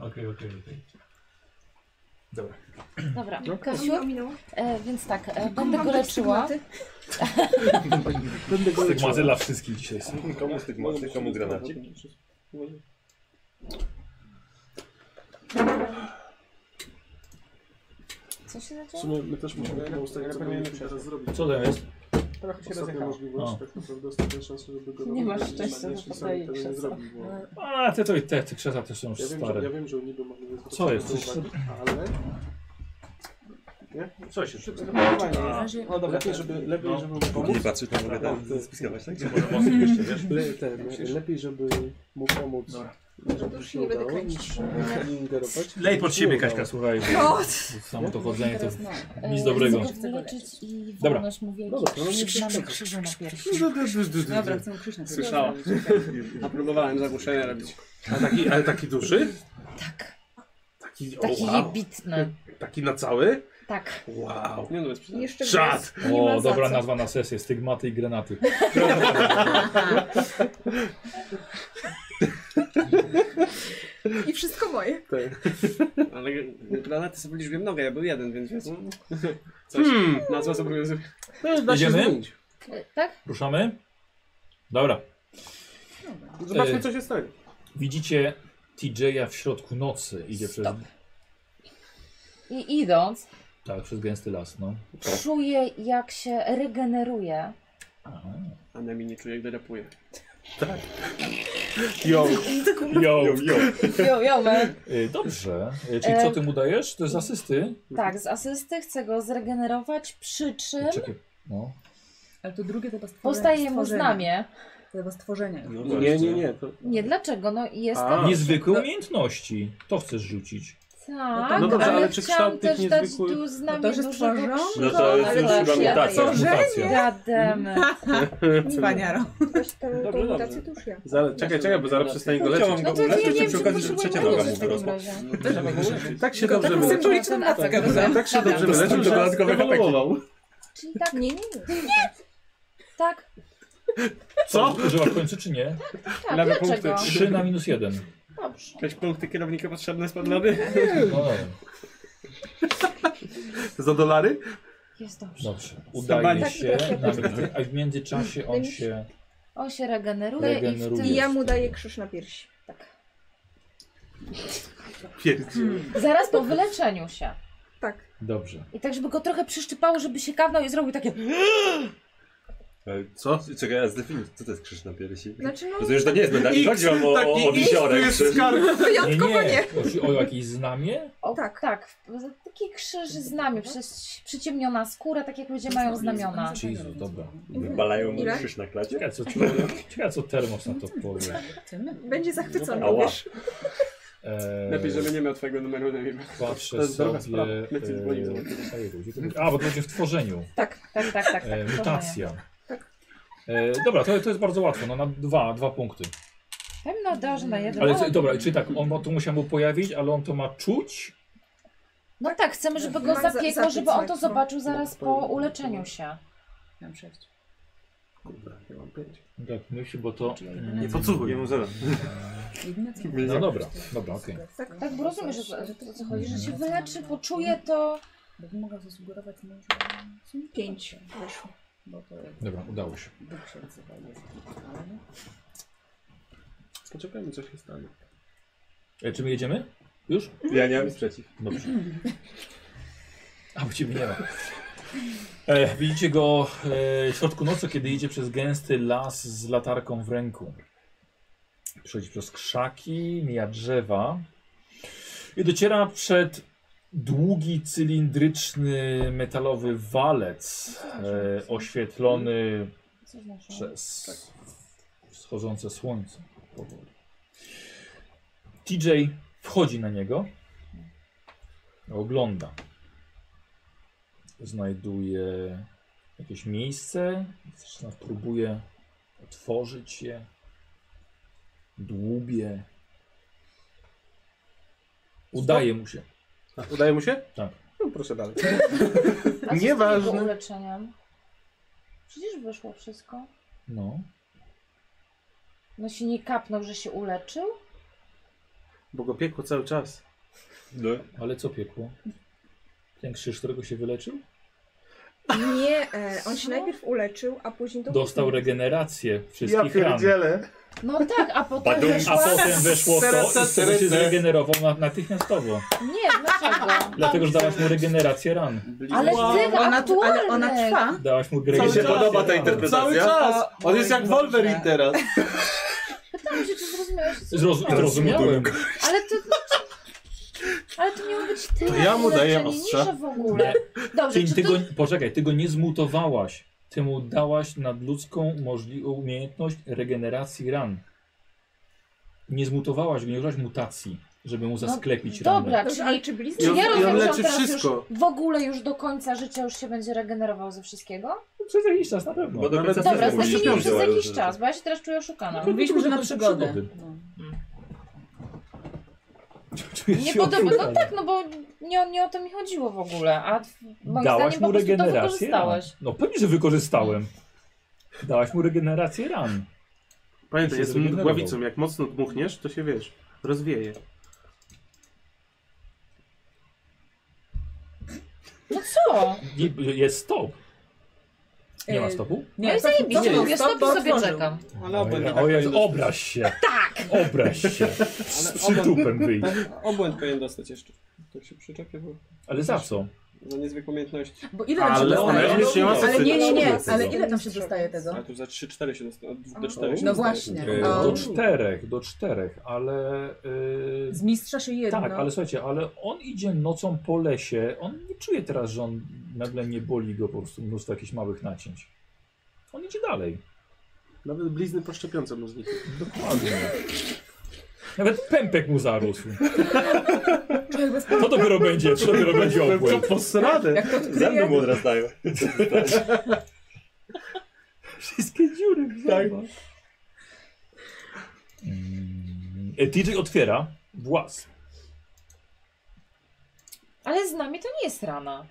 Speaker 1: Okej, okej, okej. Dobra.
Speaker 3: Dobra,
Speaker 9: Kasiu?
Speaker 3: Kasiu,
Speaker 9: Ominął.
Speaker 3: e, więc tak, e,
Speaker 9: Komu
Speaker 3: będę
Speaker 9: mam
Speaker 3: go
Speaker 9: dać
Speaker 3: leczyła.
Speaker 9: stygmaty?
Speaker 7: Będę go leczył.
Speaker 1: Stygmaty dla wszystkich dzisiaj są.
Speaker 6: Komu stygmaty, komu granaci?
Speaker 3: Co się
Speaker 7: W
Speaker 3: zaczęło?
Speaker 7: sumie my też musimy no, ustalić, co powinniśmy teraz zrobić.
Speaker 1: Co to jest?
Speaker 7: Trochę się
Speaker 25: rozjechało.
Speaker 7: możliwość,
Speaker 1: O.
Speaker 7: tak naprawdę ostatnia szansa, żeby go
Speaker 3: Nie masz
Speaker 7: robić,
Speaker 3: szczęścia
Speaker 7: jeśli
Speaker 3: do
Speaker 7: sam
Speaker 3: tej
Speaker 7: tego nie
Speaker 3: krzesa.
Speaker 7: zrobi, bo-
Speaker 9: No.
Speaker 1: A, te, to i te, te krzesła też są już
Speaker 7: Ja wiem, że, ja
Speaker 1: stare.
Speaker 7: wiem, że niby mogli nie zwracać
Speaker 1: Co jest?
Speaker 7: na to
Speaker 1: Coś-
Speaker 7: uwagi, ale... Nie?
Speaker 1: Coś jeszcze.
Speaker 8: Na razie
Speaker 7: No dobra, lepiej, żeby, lepiej,
Speaker 1: No.
Speaker 7: żeby mu pomóc.
Speaker 6: Nie patrzeć na mogę
Speaker 7: Tak,
Speaker 6: tam
Speaker 7: tak.
Speaker 6: spiskować, tak?
Speaker 7: Le, ten, lepiej, żeby mu pomóc,
Speaker 1: Dobra.
Speaker 7: żeby
Speaker 9: Już
Speaker 7: się
Speaker 9: nie będę
Speaker 7: udało,
Speaker 9: kręcić.
Speaker 7: niż e, ingerować.
Speaker 1: Lej pod siebie,
Speaker 7: Nie udało.
Speaker 1: Kaśka, słuchaj.
Speaker 9: No.
Speaker 1: bo Samo to chodzenie to
Speaker 8: Teraz no.
Speaker 1: nic dobrego.
Speaker 3: Chcę go leczyć i
Speaker 1: Dobra.
Speaker 3: wolność mu wielki.
Speaker 7: Dobra, to no nie
Speaker 3: Przytrzymamy
Speaker 7: przeszkadza.
Speaker 3: krzyżu na piersi.
Speaker 7: No, d- d- d- d-
Speaker 8: Dobra,
Speaker 7: d-
Speaker 8: chcę krzyż na ciebie.
Speaker 2: Słyszała. A próbowałem zagłuszenie robić.
Speaker 7: A taki, ale taki duży?
Speaker 3: Tak,
Speaker 7: Taki, o,
Speaker 3: taki
Speaker 7: wow.
Speaker 3: jebitny.
Speaker 7: taki na cały?
Speaker 3: Tak.
Speaker 7: Wow.
Speaker 2: Nie no, bez przesady.
Speaker 9: Jeszcze
Speaker 7: Szat!
Speaker 9: Nie ma
Speaker 1: O,
Speaker 9: za
Speaker 1: dobra
Speaker 9: co.
Speaker 1: nazwa na sesję. Stygmaty i granaty.
Speaker 9: gwiazd. I wszystko moje.
Speaker 2: Ale granaty sobie liczbiłem nogę, ja był jeden, więc wiesz. Coś.
Speaker 7: Hmm.
Speaker 2: Nazwa zobowiązuje.
Speaker 7: No, da się
Speaker 1: Idziemy?
Speaker 7: zmienić.
Speaker 3: E, Tak?
Speaker 1: Ruszamy? Dobra.
Speaker 7: Zobaczmy,
Speaker 1: E,
Speaker 7: co się stanie.
Speaker 1: Widzicie TJ'a w środku nocy. Idzie przez,
Speaker 3: Stop. I idąc,
Speaker 1: tak, przez gęsty las, no.
Speaker 3: czuję jak się regeneruje.
Speaker 1: Aha.
Speaker 2: Anemi nie czuje, gdy rapuje.
Speaker 7: Yo.
Speaker 1: Yo.
Speaker 3: Jo, jo, man.
Speaker 1: Y, Dobrze. Y, Czyli
Speaker 9: E,
Speaker 1: co ty mu dajesz? To jest asysty?
Speaker 3: Tak, z asysty chcę go zregenerować, przy czym
Speaker 1: Czekaj. No.
Speaker 8: Ale to drugie to chyba stworzenie.
Speaker 3: postaje mu znamie.
Speaker 8: To chyba stworzenie.
Speaker 6: No
Speaker 7: Nie, nie, nie. To...
Speaker 3: Nie, dlaczego? No jestem...
Speaker 7: A,
Speaker 1: Niezwykłe umiejętności. To chcesz rzucić.
Speaker 3: Tak,
Speaker 7: No dobrze, ale
Speaker 3: ale
Speaker 7: czy
Speaker 3: chciałam
Speaker 7: kształt tych
Speaker 3: też dać
Speaker 7: niezwykłych-
Speaker 3: tu znamie
Speaker 8: No to, że
Speaker 3: dużego
Speaker 8: stworzą?
Speaker 6: No to jest
Speaker 3: ale
Speaker 6: już
Speaker 3: tak
Speaker 6: chyba
Speaker 3: się
Speaker 6: mutacja.
Speaker 3: daje.
Speaker 1: mutacja.
Speaker 3: Gademy.
Speaker 8: Cwaniaro.
Speaker 9: Weź tą, tą
Speaker 2: Dobrze,
Speaker 9: mutację to już ja.
Speaker 7: Zaraz, czekaj, czekaj, bo zaraz przestanie go leczyć.
Speaker 3: No to
Speaker 6: Ulecz,
Speaker 3: nie,
Speaker 6: to
Speaker 3: nie
Speaker 6: ci
Speaker 3: wiem,
Speaker 6: przy
Speaker 3: czy
Speaker 6: okazji, że
Speaker 3: potrzebuję
Speaker 6: trzecia
Speaker 3: mu
Speaker 6: noga
Speaker 3: coś
Speaker 6: mu
Speaker 3: w takim
Speaker 6: wyrosła.
Speaker 3: razie.
Speaker 7: Tak się dobrze
Speaker 8: Taką
Speaker 7: wyleczył.
Speaker 8: symboliczną matkę.
Speaker 7: Tak się dobrze
Speaker 6: Dostałem
Speaker 7: wyleczył, że
Speaker 6: dodatkowe efekty.
Speaker 7: ewoluował.
Speaker 3: Czyli tak,
Speaker 9: Nie, nie, nie.
Speaker 3: tak,
Speaker 7: Co?
Speaker 1: Używasz kończy czy nie?
Speaker 3: tak,
Speaker 2: Lewe
Speaker 3: dlaczego?
Speaker 2: punkty.
Speaker 1: 3 na minus 1.
Speaker 3: Dobrze.
Speaker 2: Jakieś punkty kierownika potrzebne jest pan lody?
Speaker 1: No dobra.
Speaker 7: Za dolary?
Speaker 3: Jest dobrze.
Speaker 1: Dobrze.
Speaker 2: Stawali.
Speaker 1: Udaje się. nawet- A w międzyczasie on się.
Speaker 3: On się regeneruje, i w
Speaker 1: Regeneruje.
Speaker 9: I
Speaker 3: tym...
Speaker 9: ja mu daję krzyż na piersi.
Speaker 3: Tak.
Speaker 7: Pierdziel.
Speaker 3: Zaraz po wyleczeniu się.
Speaker 9: Tak.
Speaker 1: Dobrze.
Speaker 3: I tak, żeby go trochę przyszczypało, żeby się kawnął i zrobił takie...
Speaker 7: Co?
Speaker 6: E, Czekaj, ja zdefiniuję, co to jest krzyż na piersi?
Speaker 9: Znaczy no,
Speaker 6: Rozumiem, że to nie jest medal, nie chodzi wam o, o, o wisiorek.
Speaker 7: jest skarb.
Speaker 1: Nie,
Speaker 9: wyjątkowo nie.
Speaker 1: nie. Chodzi o jakieś znamie?
Speaker 3: O,
Speaker 9: Tak.
Speaker 3: Tak, taki krzyż z nami, przez przyciemniona skóra, tak jak ludzie mają znamiona.
Speaker 1: Jezu, dobra.
Speaker 6: Wybalają mu
Speaker 9: Ile?
Speaker 6: krzyż na klacie.
Speaker 1: Ciekawe co, ciekawe, co termos na to powie.
Speaker 9: Będzie zachwycony,
Speaker 6: Ała.
Speaker 9: wiesz.
Speaker 1: Eee,
Speaker 2: Lepiej, żeby nie miał twojego numeru na imię.
Speaker 1: Patrzę
Speaker 7: To jest droga
Speaker 1: sobie... e,
Speaker 7: sprawa.
Speaker 2: Lepiej dzwonić
Speaker 1: Eee, ojej, gdzie to będzie? A, bo to będzie w tworzeniu.
Speaker 3: Tak, tak, tak, tak. tak
Speaker 1: Eee,
Speaker 3: proszę.
Speaker 1: mutacja. E, dobra, to, to jest bardzo łatwe, no na dwa, dwa punkty.
Speaker 3: Pewno dasz
Speaker 9: Mm.
Speaker 3: na jeden.
Speaker 1: Ale
Speaker 3: no,
Speaker 1: co- dobra, czy tak, on ma- to musiał mu pojawić, ale on to ma czuć?
Speaker 3: no tak, chcemy, żeby go
Speaker 9: Ma za- no.
Speaker 3: zapiekło,
Speaker 9: zapiec
Speaker 3: żeby on to
Speaker 9: lekko.
Speaker 3: zobaczył zaraz po uleczeniu się.
Speaker 8: Mam sześć.
Speaker 7: Kurwa, ja mam pięć.
Speaker 1: Tak, myśl, bo to...
Speaker 26: Znaczy,
Speaker 1: e,
Speaker 26: Nie podsłuchuj.
Speaker 6: Jemu zero.
Speaker 8: Jedyne co
Speaker 1: No dobra, dobra, okej.
Speaker 9: Tak,
Speaker 3: Tak, bo rozumiesz, że, że to o co chodzi,
Speaker 1: Mm.
Speaker 3: że się wyleczy, poczuje to.
Speaker 8: Bo mogę zasugerować może
Speaker 9: Pięć wyszło.
Speaker 8: Bo to
Speaker 1: Dobra, udało się.
Speaker 8: Bóg się odzywa jest.
Speaker 7: Poczekajmy, co się stanie.
Speaker 1: E, czy my jedziemy? Już?
Speaker 6: Ja nie mam nic przeciw.
Speaker 1: Dobrze. A bo ciebie nie ma. E, widzicie go e, w środku nocy, kiedy idzie przez gęsty las z latarką w ręku. Przechodzi przez krzaki, mija drzewa i dociera przed długi, cylindryczny, metalowy walec e, oświetlony
Speaker 3: Co znaczy?
Speaker 1: przez wschodzące słońce. powoli. TJ wchodzi na niego, ogląda. Znajduje jakieś miejsce, zaczyna, próbuje otworzyć je, dłubie. Udaje mu się.
Speaker 7: Udaje mu się?
Speaker 1: Tak.
Speaker 7: No proszę dalej.
Speaker 3: A co z
Speaker 7: Nieważne.
Speaker 3: tym jego uleczeniem? Przecież wyszło wszystko.
Speaker 1: No.
Speaker 3: No się nie kapnął, że się uleczył?
Speaker 7: Bo go piekło cały czas.
Speaker 6: No,
Speaker 1: Ale co piekło? Ten krzyż, którego się wyleczył?
Speaker 9: Nie, e, on się najpierw uleczył, a później to
Speaker 1: Dostał regenerację wszystkich ran.
Speaker 3: No tak, a potem
Speaker 1: Badum,
Speaker 3: wyszła...
Speaker 1: a potem weszło to i wtedy się zregenerował na- natychmiastowo.
Speaker 3: Nie, dlaczego?
Speaker 1: Dlatego, że dałaś mu regenerację ran.
Speaker 3: Ale z tych
Speaker 8: Ona tu, ale ona
Speaker 3: aktualnych.
Speaker 8: trwa.
Speaker 1: Dałaś mu
Speaker 26: Mi
Speaker 1: regenerację
Speaker 26: się
Speaker 1: ran.
Speaker 26: podoba ta
Speaker 7: Cały
Speaker 26: interpretacja.
Speaker 7: czas! On jest jak Wolverine teraz.
Speaker 3: Pytałam się, czy zrozumiałeś, co
Speaker 1: Zrozum-
Speaker 3: powiedziałam.
Speaker 1: Zrozumiałem.
Speaker 3: Ale to... Ale to miało być tyle
Speaker 26: ja mu daję
Speaker 3: uleczeń,
Speaker 26: ostrza.
Speaker 3: niż w ogóle. Dobrze,
Speaker 1: Ty,
Speaker 3: czy
Speaker 1: ty
Speaker 3: to...
Speaker 1: go, poczekaj, ty go nie zmutowałaś. Ty mu dałaś nadludzką możli- umiejętność regeneracji ran. Nie zmutowałaś go, nie użyłaś mutacji, żeby mu zasklepić ranę.
Speaker 3: No, Dobra,
Speaker 9: Dobrze,
Speaker 3: czyli
Speaker 9: ale czy blizny?
Speaker 3: Czy
Speaker 7: I on-
Speaker 3: ja
Speaker 7: i on
Speaker 3: rozumiem, że on
Speaker 7: leczy
Speaker 3: teraz
Speaker 7: wszystko.
Speaker 3: już w ogóle już do końca życia już się będzie regenerował ze wszystkiego?
Speaker 1: Przez jakiś czas na pewno.
Speaker 6: Bo do
Speaker 26: Nawet-
Speaker 6: końca
Speaker 26: Dobra,
Speaker 3: Dobra,
Speaker 6: filmu
Speaker 3: znaczy
Speaker 6: musisz
Speaker 3: nie
Speaker 6: tam
Speaker 3: już przez
Speaker 6: działać,
Speaker 3: jakiś
Speaker 6: że-
Speaker 3: czas, bo ja się teraz czuję oszukana.
Speaker 8: Mówiliśmy, że na
Speaker 1: Przygody.
Speaker 8: przygodę. No.
Speaker 1: Czuję się
Speaker 3: Nie podoba, no
Speaker 1: oszukany.
Speaker 3: tak, no bo nie, nie o to mi chodziło w ogóle, a w- moim
Speaker 1: Dałaś
Speaker 3: zdaniem
Speaker 1: mu
Speaker 3: po prostu to
Speaker 1: regenerację ran.
Speaker 3: wykorzystałeś.
Speaker 1: No pewnie, że wykorzystałem. Dałaś mu regenerację ran.
Speaker 7: Pamiętaj,
Speaker 1: Się
Speaker 7: jest
Speaker 1: zregenerował.
Speaker 7: głowicą. Jak mocno dmuchniesz, to się wiesz, rozwieje.
Speaker 3: No co?
Speaker 1: I- Jest stop. Nie ma stopu?
Speaker 3: No i zajebiście,
Speaker 8: to-
Speaker 3: mówię,
Speaker 8: Tak, to-
Speaker 3: stop
Speaker 8: to
Speaker 3: i sobie
Speaker 8: otworzył.
Speaker 3: czekam.
Speaker 2: Ale obłęd nie tak
Speaker 1: Ojej,
Speaker 2: może dostać.
Speaker 1: obraź się. Tak! Obraź się. Z przytupem wyjdź.
Speaker 2: Tak, Obłęd powinien dostać jeszcze. Tak się przyczepię, bo
Speaker 1: Ale za co?
Speaker 2: za niezwykłą umiejętności.
Speaker 8: Bo ile tam się
Speaker 7: Ale
Speaker 8: dostaje?
Speaker 7: ona już nie ma
Speaker 8: Ale nie, nie, nie,
Speaker 1: sensu.
Speaker 8: ale ile tam się dostaje tego?
Speaker 2: A tu za 3-4 się dostaje, od 2 do
Speaker 9: A.
Speaker 2: 4 się
Speaker 8: No
Speaker 2: dostaje.
Speaker 8: właśnie.
Speaker 1: E,
Speaker 8: O.
Speaker 1: Do czterech, do czterech, ale... y,
Speaker 8: Z mistrza się jedno.
Speaker 3: No.
Speaker 1: tak, ale słuchajcie, ale on idzie nocą po lesie, on nie czuje teraz, że on nagle nie boli go po prostu mnóstwo jakichś małych nacięć. On idzie dalej.
Speaker 7: Nawet blizny po szczepionce mu znikły.
Speaker 1: Dokładnie. Nawet pępek mu zarósł.
Speaker 8: Człowiek bez
Speaker 1: To dopiero będzie, to dopiero będzie obłęd.
Speaker 26: posradę.
Speaker 8: Jak to odkryje?
Speaker 6: Zęby mu odrastają.
Speaker 1: Wszystkie dziury w tak. Mm, e, TJ otwiera włas.
Speaker 3: Ale z nami to nie jest rana.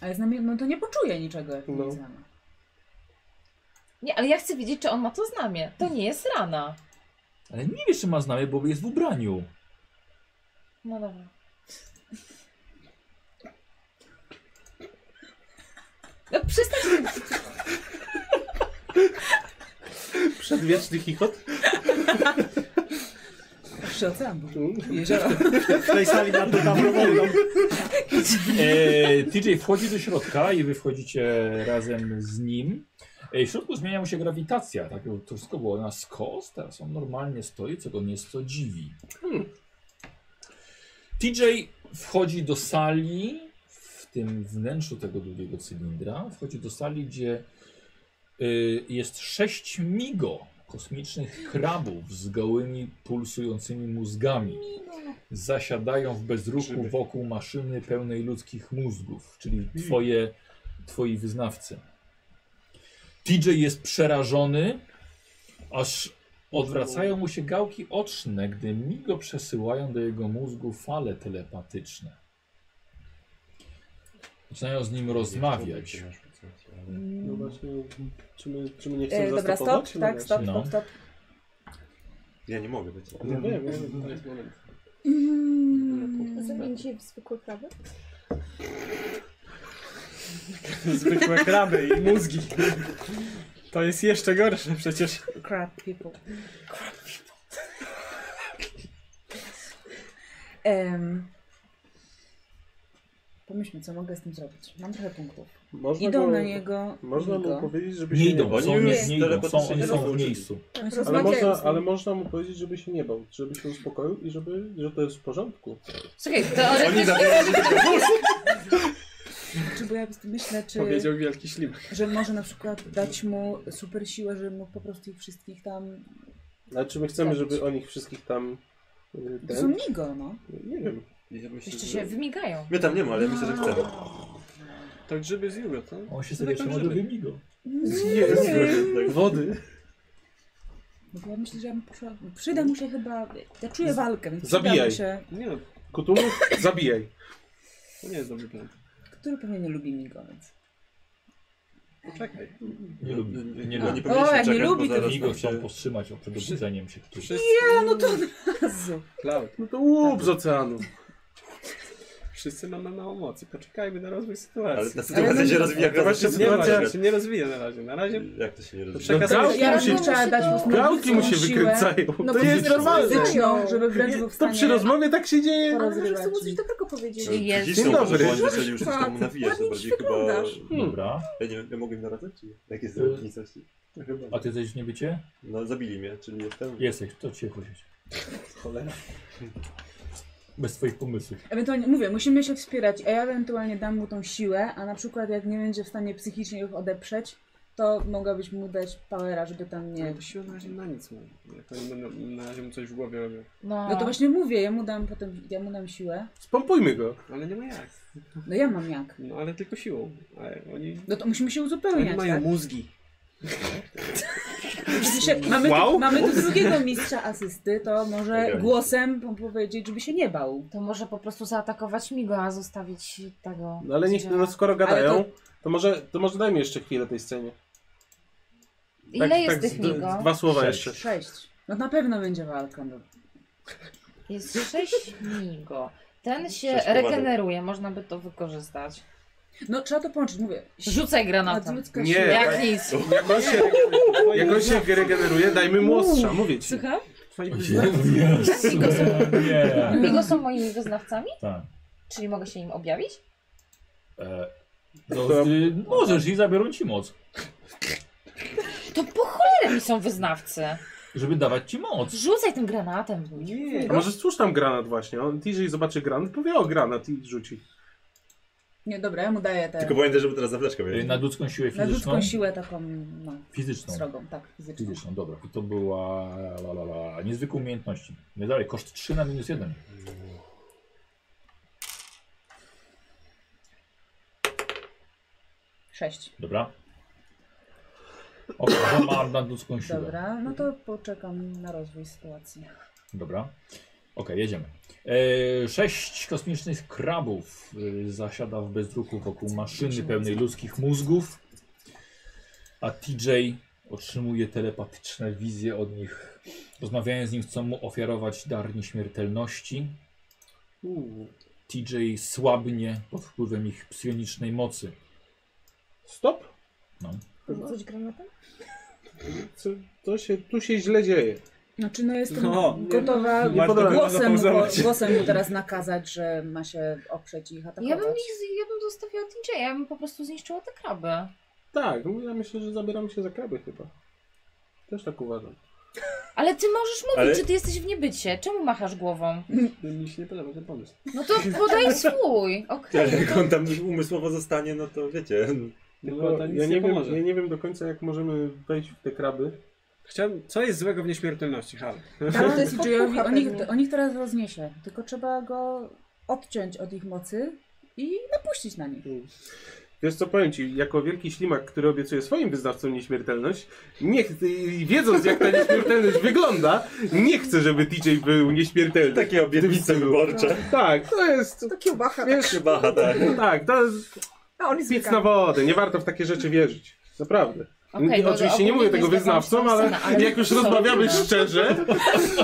Speaker 8: Ale z nami, no to nie poczuje niczego, jak
Speaker 7: No.
Speaker 8: nie jest z nami.
Speaker 3: Nie, ale ja chcę wiedzieć, czy on ma to znamie. To nie jest rana.
Speaker 1: Ale nie wiesz, czy ma znamie, bo jest w ubraniu.
Speaker 3: No dobra. No przestań
Speaker 7: Przedwieczny chichot?
Speaker 8: Przy oceanu. Jezioro.
Speaker 2: W tej sali na to tam wolno.
Speaker 1: E, TJ wchodzi do środka i wy wchodzicie razem z nim. E, w środku zmienia mu się grawitacja. Tak, to wszystko było na skos, teraz on normalnie stoi, co go nieco dziwi. TJ wchodzi do sali, w tym wnętrzu tego długiego cylindra, wchodzi do sali, gdzie y, jest sześć migo kosmicznych krabów z gołymi, pulsującymi mózgami. Zasiadają w bezruchu wokół maszyny pełnej ludzkich mózgów, czyli twoje, twoi wyznawcy. TJ jest przerażony, aż odwracają mu się gałki oczne, gdy migo przesyłają do jego mózgu fale telepatyczne. Zaczynają z nim rozmawiać.
Speaker 7: No właśnie, czy my, czy my nie chcemy
Speaker 8: E, dobra, stop,
Speaker 7: zastopować? No
Speaker 8: tak, stop,
Speaker 1: No.
Speaker 8: stop, stop.
Speaker 6: Ja nie mogę być.
Speaker 2: No
Speaker 7: właśnie. Nie wiem, nie wiem, to jest moment.
Speaker 9: Zamień się w zwykłe krawy.
Speaker 2: Zwykłe kraby i mózgi. To jest jeszcze gorsze przecież.
Speaker 8: Crap people. Crap people. Em, pomyślmy, co mogę z tym zrobić. Mam trochę punktów.
Speaker 7: Można
Speaker 8: Idą
Speaker 7: mu-
Speaker 8: na niego.
Speaker 7: Można mu
Speaker 8: Migo.
Speaker 7: powiedzieć, żeby się
Speaker 1: Nie
Speaker 7: nie,
Speaker 1: idą,
Speaker 7: bał.
Speaker 1: są, nie,
Speaker 9: już
Speaker 1: nie idą, są, oni
Speaker 6: telepatycznie
Speaker 1: są w
Speaker 6: rozłączyli.
Speaker 1: miejscu.
Speaker 9: Tak,
Speaker 7: Ale
Speaker 9: Rozmawiają
Speaker 7: można,
Speaker 9: z nim.
Speaker 7: ale można mu powiedzieć, żeby się nie bał, żeby się uspokoił i żeby, że to jest w porządku.
Speaker 3: Słuchaj, teoretycznie...
Speaker 8: Czy bo ja myślę, czy,
Speaker 2: Powiedział wielki ślimak.
Speaker 8: że może na przykład dać mu super siłę, żeby mógł po prostu ich wszystkich tam.
Speaker 7: Ale czy my chcemy,
Speaker 8: Zabić.
Speaker 7: żeby o nich wszystkich tam... y,
Speaker 8: To są
Speaker 7: Ten?
Speaker 8: Migo, no.
Speaker 7: Nie wiem.
Speaker 6: Ja myślę,
Speaker 3: Jeszcze
Speaker 6: że-
Speaker 3: się wymigają.
Speaker 6: My tam nie ma, ale myślę, że chcemy.
Speaker 2: To grzyby Tak, z jugo, co?
Speaker 1: On się sobie
Speaker 2: tak,
Speaker 1: trzyma do wymigo.
Speaker 7: Wody.
Speaker 8: No bo ja myślę, że ja bym poszła. Przyda mu się chyba. Ja czuję walkę, więc przyda
Speaker 7: Zabijaj.
Speaker 8: mu się.
Speaker 2: Nie no,
Speaker 7: Kutumów, zabijaj.
Speaker 2: to nie jest dobry plan.
Speaker 8: Który pewnie nie lubi Migo, więc.
Speaker 2: Czekaj.
Speaker 1: Nie lubi. Nie
Speaker 6: No,
Speaker 1: lubi.
Speaker 6: nie powinniśmy
Speaker 8: jak nie
Speaker 6: czekać,
Speaker 8: lubi,
Speaker 6: bo
Speaker 8: to
Speaker 6: zaraz
Speaker 1: Migo
Speaker 6: nam
Speaker 1: chciał
Speaker 6: się-
Speaker 1: powstrzymać o przed obudzeniem się któryś.
Speaker 2: Wszyscy.
Speaker 8: No to od razu.
Speaker 2: Cloud.
Speaker 7: No to łup z oceanu.
Speaker 2: Wszyscy mamy mało mocy. Poczekajmy na rozwój
Speaker 6: Ale
Speaker 2: sytuacji.
Speaker 6: ta sytuacja się rozwija,
Speaker 7: Ale właśnie
Speaker 2: no
Speaker 6: każda
Speaker 2: Nie, ma,
Speaker 6: sytuacja.
Speaker 2: ona się nie rozwija na razie. Na razie
Speaker 6: Jak to się nie rozwija?
Speaker 7: No,
Speaker 2: przekazałeś-
Speaker 7: gałki mu
Speaker 8: Ja
Speaker 7: się,
Speaker 8: bym chciała dać mu
Speaker 7: gałki mu się
Speaker 8: siłę.
Speaker 7: wykręcają.
Speaker 8: No
Speaker 7: to
Speaker 8: bo
Speaker 7: jest
Speaker 8: fizyczną,
Speaker 7: normalne.
Speaker 8: fizyczną, żeby wręcz był w
Speaker 7: To
Speaker 8: stanie...
Speaker 7: przy rozmowie tak się dzieje.
Speaker 8: Poroz-
Speaker 9: Ale może chcą mu coś
Speaker 8: Rozrywać.
Speaker 9: dobrego powiedzieć.
Speaker 3: Czyli jest.
Speaker 6: Dziś
Speaker 7: Dzień
Speaker 6: to
Speaker 7: dobry.
Speaker 6: może oni zaczęli już coś tam nawijać, to
Speaker 9: ładnie
Speaker 6: bardziej
Speaker 9: ci
Speaker 6: chyba...
Speaker 9: wyglądasz.
Speaker 1: Dobra.
Speaker 6: Ja nie wiem, ja mogę im naradzać? Czy nie? Jak jest
Speaker 1: Y.
Speaker 6: rocznicości?
Speaker 1: A ty jesteś w niebycie?
Speaker 6: No zabili mnie, czyli jestem...
Speaker 1: Jesteś, to cię chodzi.
Speaker 7: Cholera.
Speaker 1: Bez twoich pomysłów.
Speaker 8: Ewentualnie, mówię, musimy się wspierać, a ja ewentualnie dam mu tą siłę, a na przykład jak nie będzie w stanie psychicznie ich odeprzeć, to mogłabyś mu dać powera, żeby tam
Speaker 2: Nie,
Speaker 8: nie...
Speaker 7: Tak.
Speaker 2: to siłę na razie na nic mam. Jak oni będą na razie mu coś w głowie robią.
Speaker 3: No,
Speaker 8: No to właśnie mówię, ja mu dam potem, ja mu dam siłę.
Speaker 7: Spompujmy go.
Speaker 2: Ale nie ma jak.
Speaker 8: No ja mam jak.
Speaker 2: No ale tylko siłą. Ale oni...
Speaker 8: No to musimy się
Speaker 2: Oni
Speaker 8: uzupełniać,
Speaker 2: mają
Speaker 8: tak?
Speaker 2: mózgi.
Speaker 8: Jeśli się, mamy, tu,
Speaker 7: Wow.
Speaker 8: mamy tu drugiego mistrza asysty, to może
Speaker 6: Zagraliśmy.
Speaker 8: głosem po- powiedzieć, żeby się nie bał.
Speaker 3: to może po prostu zaatakować Migo, a zostawić tego...
Speaker 7: No ale niech,
Speaker 3: Siedziała.
Speaker 7: no skoro
Speaker 8: Ale
Speaker 7: gadają, to... może, to może dajmy jeszcze chwilę tej scenie.
Speaker 3: Ile jest tych
Speaker 7: tak z- d-
Speaker 3: Migo?
Speaker 7: Dwa słowa
Speaker 1: Sześć.
Speaker 7: jeszcze.
Speaker 8: Sześć. No na pewno będzie walka. No.
Speaker 3: Jest sześć Migo. Ten się
Speaker 6: Sześć kowadów.
Speaker 3: regeneruje, można by to wykorzystać.
Speaker 8: no trzeba to połączyć, mówię.
Speaker 3: Rzucaj granatem.
Speaker 8: Nadludzka
Speaker 7: Nie.
Speaker 8: siła.
Speaker 3: Jak nic.
Speaker 7: Jak on się, jak on się regeneruje, dajmy mu ostrza, mówię ci.
Speaker 8: Słucham?
Speaker 1: Jezu, nie.
Speaker 3: Migo są moimi wyznawcami?
Speaker 1: Tak.
Speaker 3: Czyli mogę się im objawić?
Speaker 1: E, to, y, możesz i zabiorą ci moc.
Speaker 3: To po cholerę mi są wyznawcy.
Speaker 1: Żeby dawać ci moc.
Speaker 3: Rzucaj tym granatem.
Speaker 7: A może stłóż tam granat właśnie. On TJ zobaczy granat, powie o granat i rzuci.
Speaker 8: Nie, dobra, ja mu daję tę
Speaker 6: Tylko pamiętaj, żeby teraz zawleczkę
Speaker 1: Y,
Speaker 6: mieli.
Speaker 1: Na ludzką siłę fizyczną.
Speaker 8: nadludzką siłę taką, no,
Speaker 1: Fizyczną.
Speaker 8: srogą, tak, fizyczną.
Speaker 1: Fizyczną, dobra. I to była la, la, la, niezwykłe umiejętności. Nie dalej, koszt 3 na minus 1.
Speaker 8: Sześć.
Speaker 1: Dobra. O, ja mam nadludzką siłę. Dobra.
Speaker 8: Dobra, no to poczekam na rozwój sytuacji.
Speaker 1: Okej, jedziemy. E, sześć kosmicznych krabów e, zasiada w bezruchu wokół maszyny pełnej ludzkich mózgów, a TJ otrzymuje telepatyczne wizje od nich. Rozmawiając z nim chcą mu ofiarować dar nieśmiertelności.
Speaker 7: Uuu.
Speaker 1: TJ słabnie pod wpływem ich psionicznej mocy.
Speaker 7: Stop.
Speaker 1: No.
Speaker 9: Rzucać granatem?
Speaker 7: Co, to się, tu się źle dzieje.
Speaker 8: Znaczy, no jestem
Speaker 2: No,
Speaker 8: gotowa
Speaker 7: nie podoba-
Speaker 8: głosem, mu,
Speaker 2: zapauzować.
Speaker 8: głosem mu teraz nakazać, że ma się oprzeć i ich atakować.
Speaker 3: Ja bym, ich, ja bym zostawiła TJ, ja bym po prostu zniszczyła te kraby.
Speaker 7: Tak, no ja myślę, że zabieramy się za kraby chyba. Też tak uważam.
Speaker 3: Ale ty możesz mówić,
Speaker 6: Ale-
Speaker 3: że ty jesteś w niebycie. Czemu machasz głową?
Speaker 2: Mi się nie podoba ten pomysł.
Speaker 3: No to podaj swój.
Speaker 6: Ale
Speaker 3: Okej.
Speaker 6: jak on tam niech umysłowo zostanie, no to wiecie.
Speaker 2: Tylko
Speaker 4: No,
Speaker 7: Tylko
Speaker 2: to nic
Speaker 7: No, ja
Speaker 2: nie
Speaker 7: nie, wiem,
Speaker 2: pomoże.
Speaker 7: ja nie wiem do końca jak możemy wejść w te kraby.
Speaker 2: Chciałem... Co jest złego w nieśmiertelności, Hal?
Speaker 8: Tak,
Speaker 9: to jest
Speaker 8: Jojowi,
Speaker 9: podpucha
Speaker 8: on, ich,
Speaker 9: pewnie.
Speaker 8: on ich teraz rozniesie, tylko trzeba go odciąć od ich mocy i napuścić na nich.
Speaker 7: Wiesz co, powiem ci, jako wielki ślimak, który obiecuje swoim wyznawcom nieśmiertelność, nie ch- i wiedząc jak ta nieśmiertelność wygląda, nie chcę, żeby TJ był nieśmiertelny.
Speaker 6: Takie obietnice
Speaker 7: W tym stylu.
Speaker 6: wyborcze.
Speaker 7: Tak, to jest...
Speaker 9: To kiełbacha. tak.
Speaker 7: Wiesz,
Speaker 6: Chyba, tak.
Speaker 7: tak, to jest
Speaker 9: A on jest
Speaker 7: pic
Speaker 9: wegan.
Speaker 7: na wodę, nie warto w takie rzeczy wierzyć. Naprawdę.
Speaker 14: Okej,
Speaker 7: Nie-
Speaker 14: no,
Speaker 7: oczywiście
Speaker 14: ogólnie
Speaker 7: nie mówię
Speaker 14: to
Speaker 7: tego
Speaker 14: jest taka
Speaker 7: wyznawcom, ale
Speaker 14: scena, ale
Speaker 7: jak już
Speaker 14: są
Speaker 7: rozmawiamy
Speaker 14: inne.
Speaker 7: szczerze,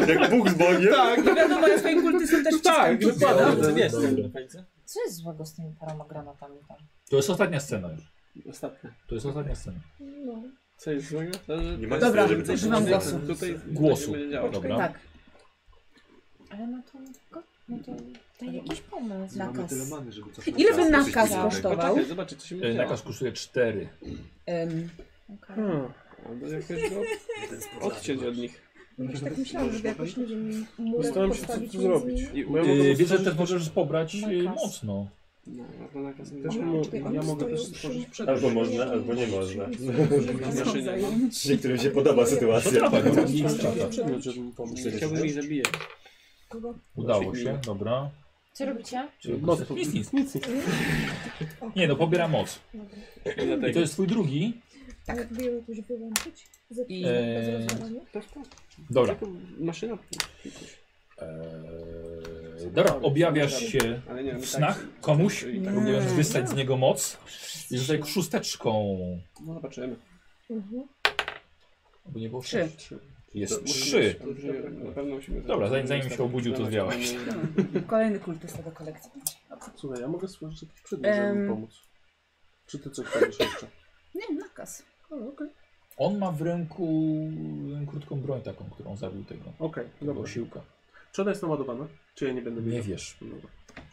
Speaker 6: Jak Bóg dzwoni.
Speaker 7: tak,
Speaker 8: Nie No wiadomo, ja swoim kultystom też
Speaker 7: tak,
Speaker 8: wciskam.
Speaker 7: dokładnie.
Speaker 4: Czy wiesz, co do końca?
Speaker 14: Co jest złego z tymi paroma granatami tam?
Speaker 1: To jest ostatnia scena już.
Speaker 4: Ostatnia.
Speaker 1: To jest ostatnia scena.
Speaker 9: No.
Speaker 4: Co jest złego? To, że-
Speaker 6: Nie ma
Speaker 4: to-
Speaker 8: Dobra,
Speaker 6: nic, żeby coś
Speaker 8: używam
Speaker 6: powiedzieć.
Speaker 8: głosu.
Speaker 4: Tutaj
Speaker 1: Głosu.
Speaker 4: będzie działo.
Speaker 1: Dobra.
Speaker 8: Tak,
Speaker 14: Ale no to, no to daj jakiś
Speaker 3: no.
Speaker 14: pomysł.
Speaker 8: nakaz.
Speaker 6: many, żeby coś
Speaker 8: Ile by
Speaker 6: napisać,
Speaker 8: nakaz
Speaker 6: coś
Speaker 8: kosztował?
Speaker 4: Poczekaj, zobaczcie, co się
Speaker 1: E,
Speaker 4: będzie działo.
Speaker 1: Nakaz kosztuje 4.
Speaker 8: Em,
Speaker 14: Okej.
Speaker 7: Hmm.
Speaker 4: Albo jakoś go odciąć od nich.
Speaker 9: Już tak myślałam, żeby jakoś, nie wiem, murek
Speaker 7: Zastanawiam się, co
Speaker 9: postawić
Speaker 7: tu
Speaker 9: między
Speaker 7: zrobić.
Speaker 9: nimi.
Speaker 7: Ja mogę
Speaker 1: Yy,
Speaker 7: też-
Speaker 1: wiesz, że też możesz pobrać yy,
Speaker 14: Nakaz.
Speaker 1: mocno.
Speaker 4: No, albo nakaz nie
Speaker 7: też
Speaker 4: ma.
Speaker 7: mo-
Speaker 9: Czekaj,
Speaker 7: ja
Speaker 9: oni
Speaker 7: mogę też
Speaker 9: stoją
Speaker 7: stworzyć
Speaker 9: przy-
Speaker 7: przedmiot.
Speaker 6: Albo można, albo nie można.
Speaker 9: Muszą zająć.
Speaker 6: Niektórym się podoba sytuacja.
Speaker 1: No tak, no.
Speaker 7: I stworzyć przedmiot, żeby mu pomóc.
Speaker 4: Chciałbym ich zabijać.
Speaker 9: Kogo?
Speaker 1: Udało się, dobra.
Speaker 14: Co robicie?
Speaker 1: Czyli
Speaker 7: Moc-
Speaker 1: nic, nic.
Speaker 7: Nic, nic.
Speaker 1: Nie no, pobiera moc. I to
Speaker 4: Dlatego.
Speaker 1: jest twój drugi.
Speaker 9: Tak. Jakby ją jakoś wyłączyć? Zapisać
Speaker 1: Eee.
Speaker 6: e,
Speaker 9: bez rozwiązania?
Speaker 4: Tak, tak.
Speaker 1: Dobra.
Speaker 4: Taką Maszyna.
Speaker 1: Eee, dobra, objawiasz się
Speaker 4: Ale nie wiem,
Speaker 1: w
Speaker 4: tak-
Speaker 1: snach komuś,
Speaker 4: i tak-
Speaker 1: próbując wystać z niego moc. I rzucaj szósteczką.
Speaker 4: No zobaczymy.
Speaker 9: Mhm.
Speaker 1: Bo nie było
Speaker 8: Trzy.
Speaker 1: sześć. Jest
Speaker 4: Musimy-
Speaker 1: trzy.
Speaker 4: Dobrze, na pewno musimy
Speaker 1: Dobra, zanim- zanim się obudził, to zwiałeś.
Speaker 8: Kolejny kultysta do kolekcji.
Speaker 7: Słuchaj, ja mogę stworzyć jakiś przedmiot, żeby
Speaker 8: Em.
Speaker 7: mu pomóc. Czy ty coś powiesz jeszcze?
Speaker 8: Nie, nakaz.
Speaker 1: On ma w ręku y, krótką broń taką, którą zabił tego.
Speaker 7: Okej,
Speaker 1: Tego
Speaker 7: dobra.
Speaker 1: siłka.
Speaker 7: Czy ona jest naładowana? Czy ja nie będę
Speaker 1: Nie
Speaker 7: wiedział?
Speaker 1: wiesz.
Speaker 7: Dobra.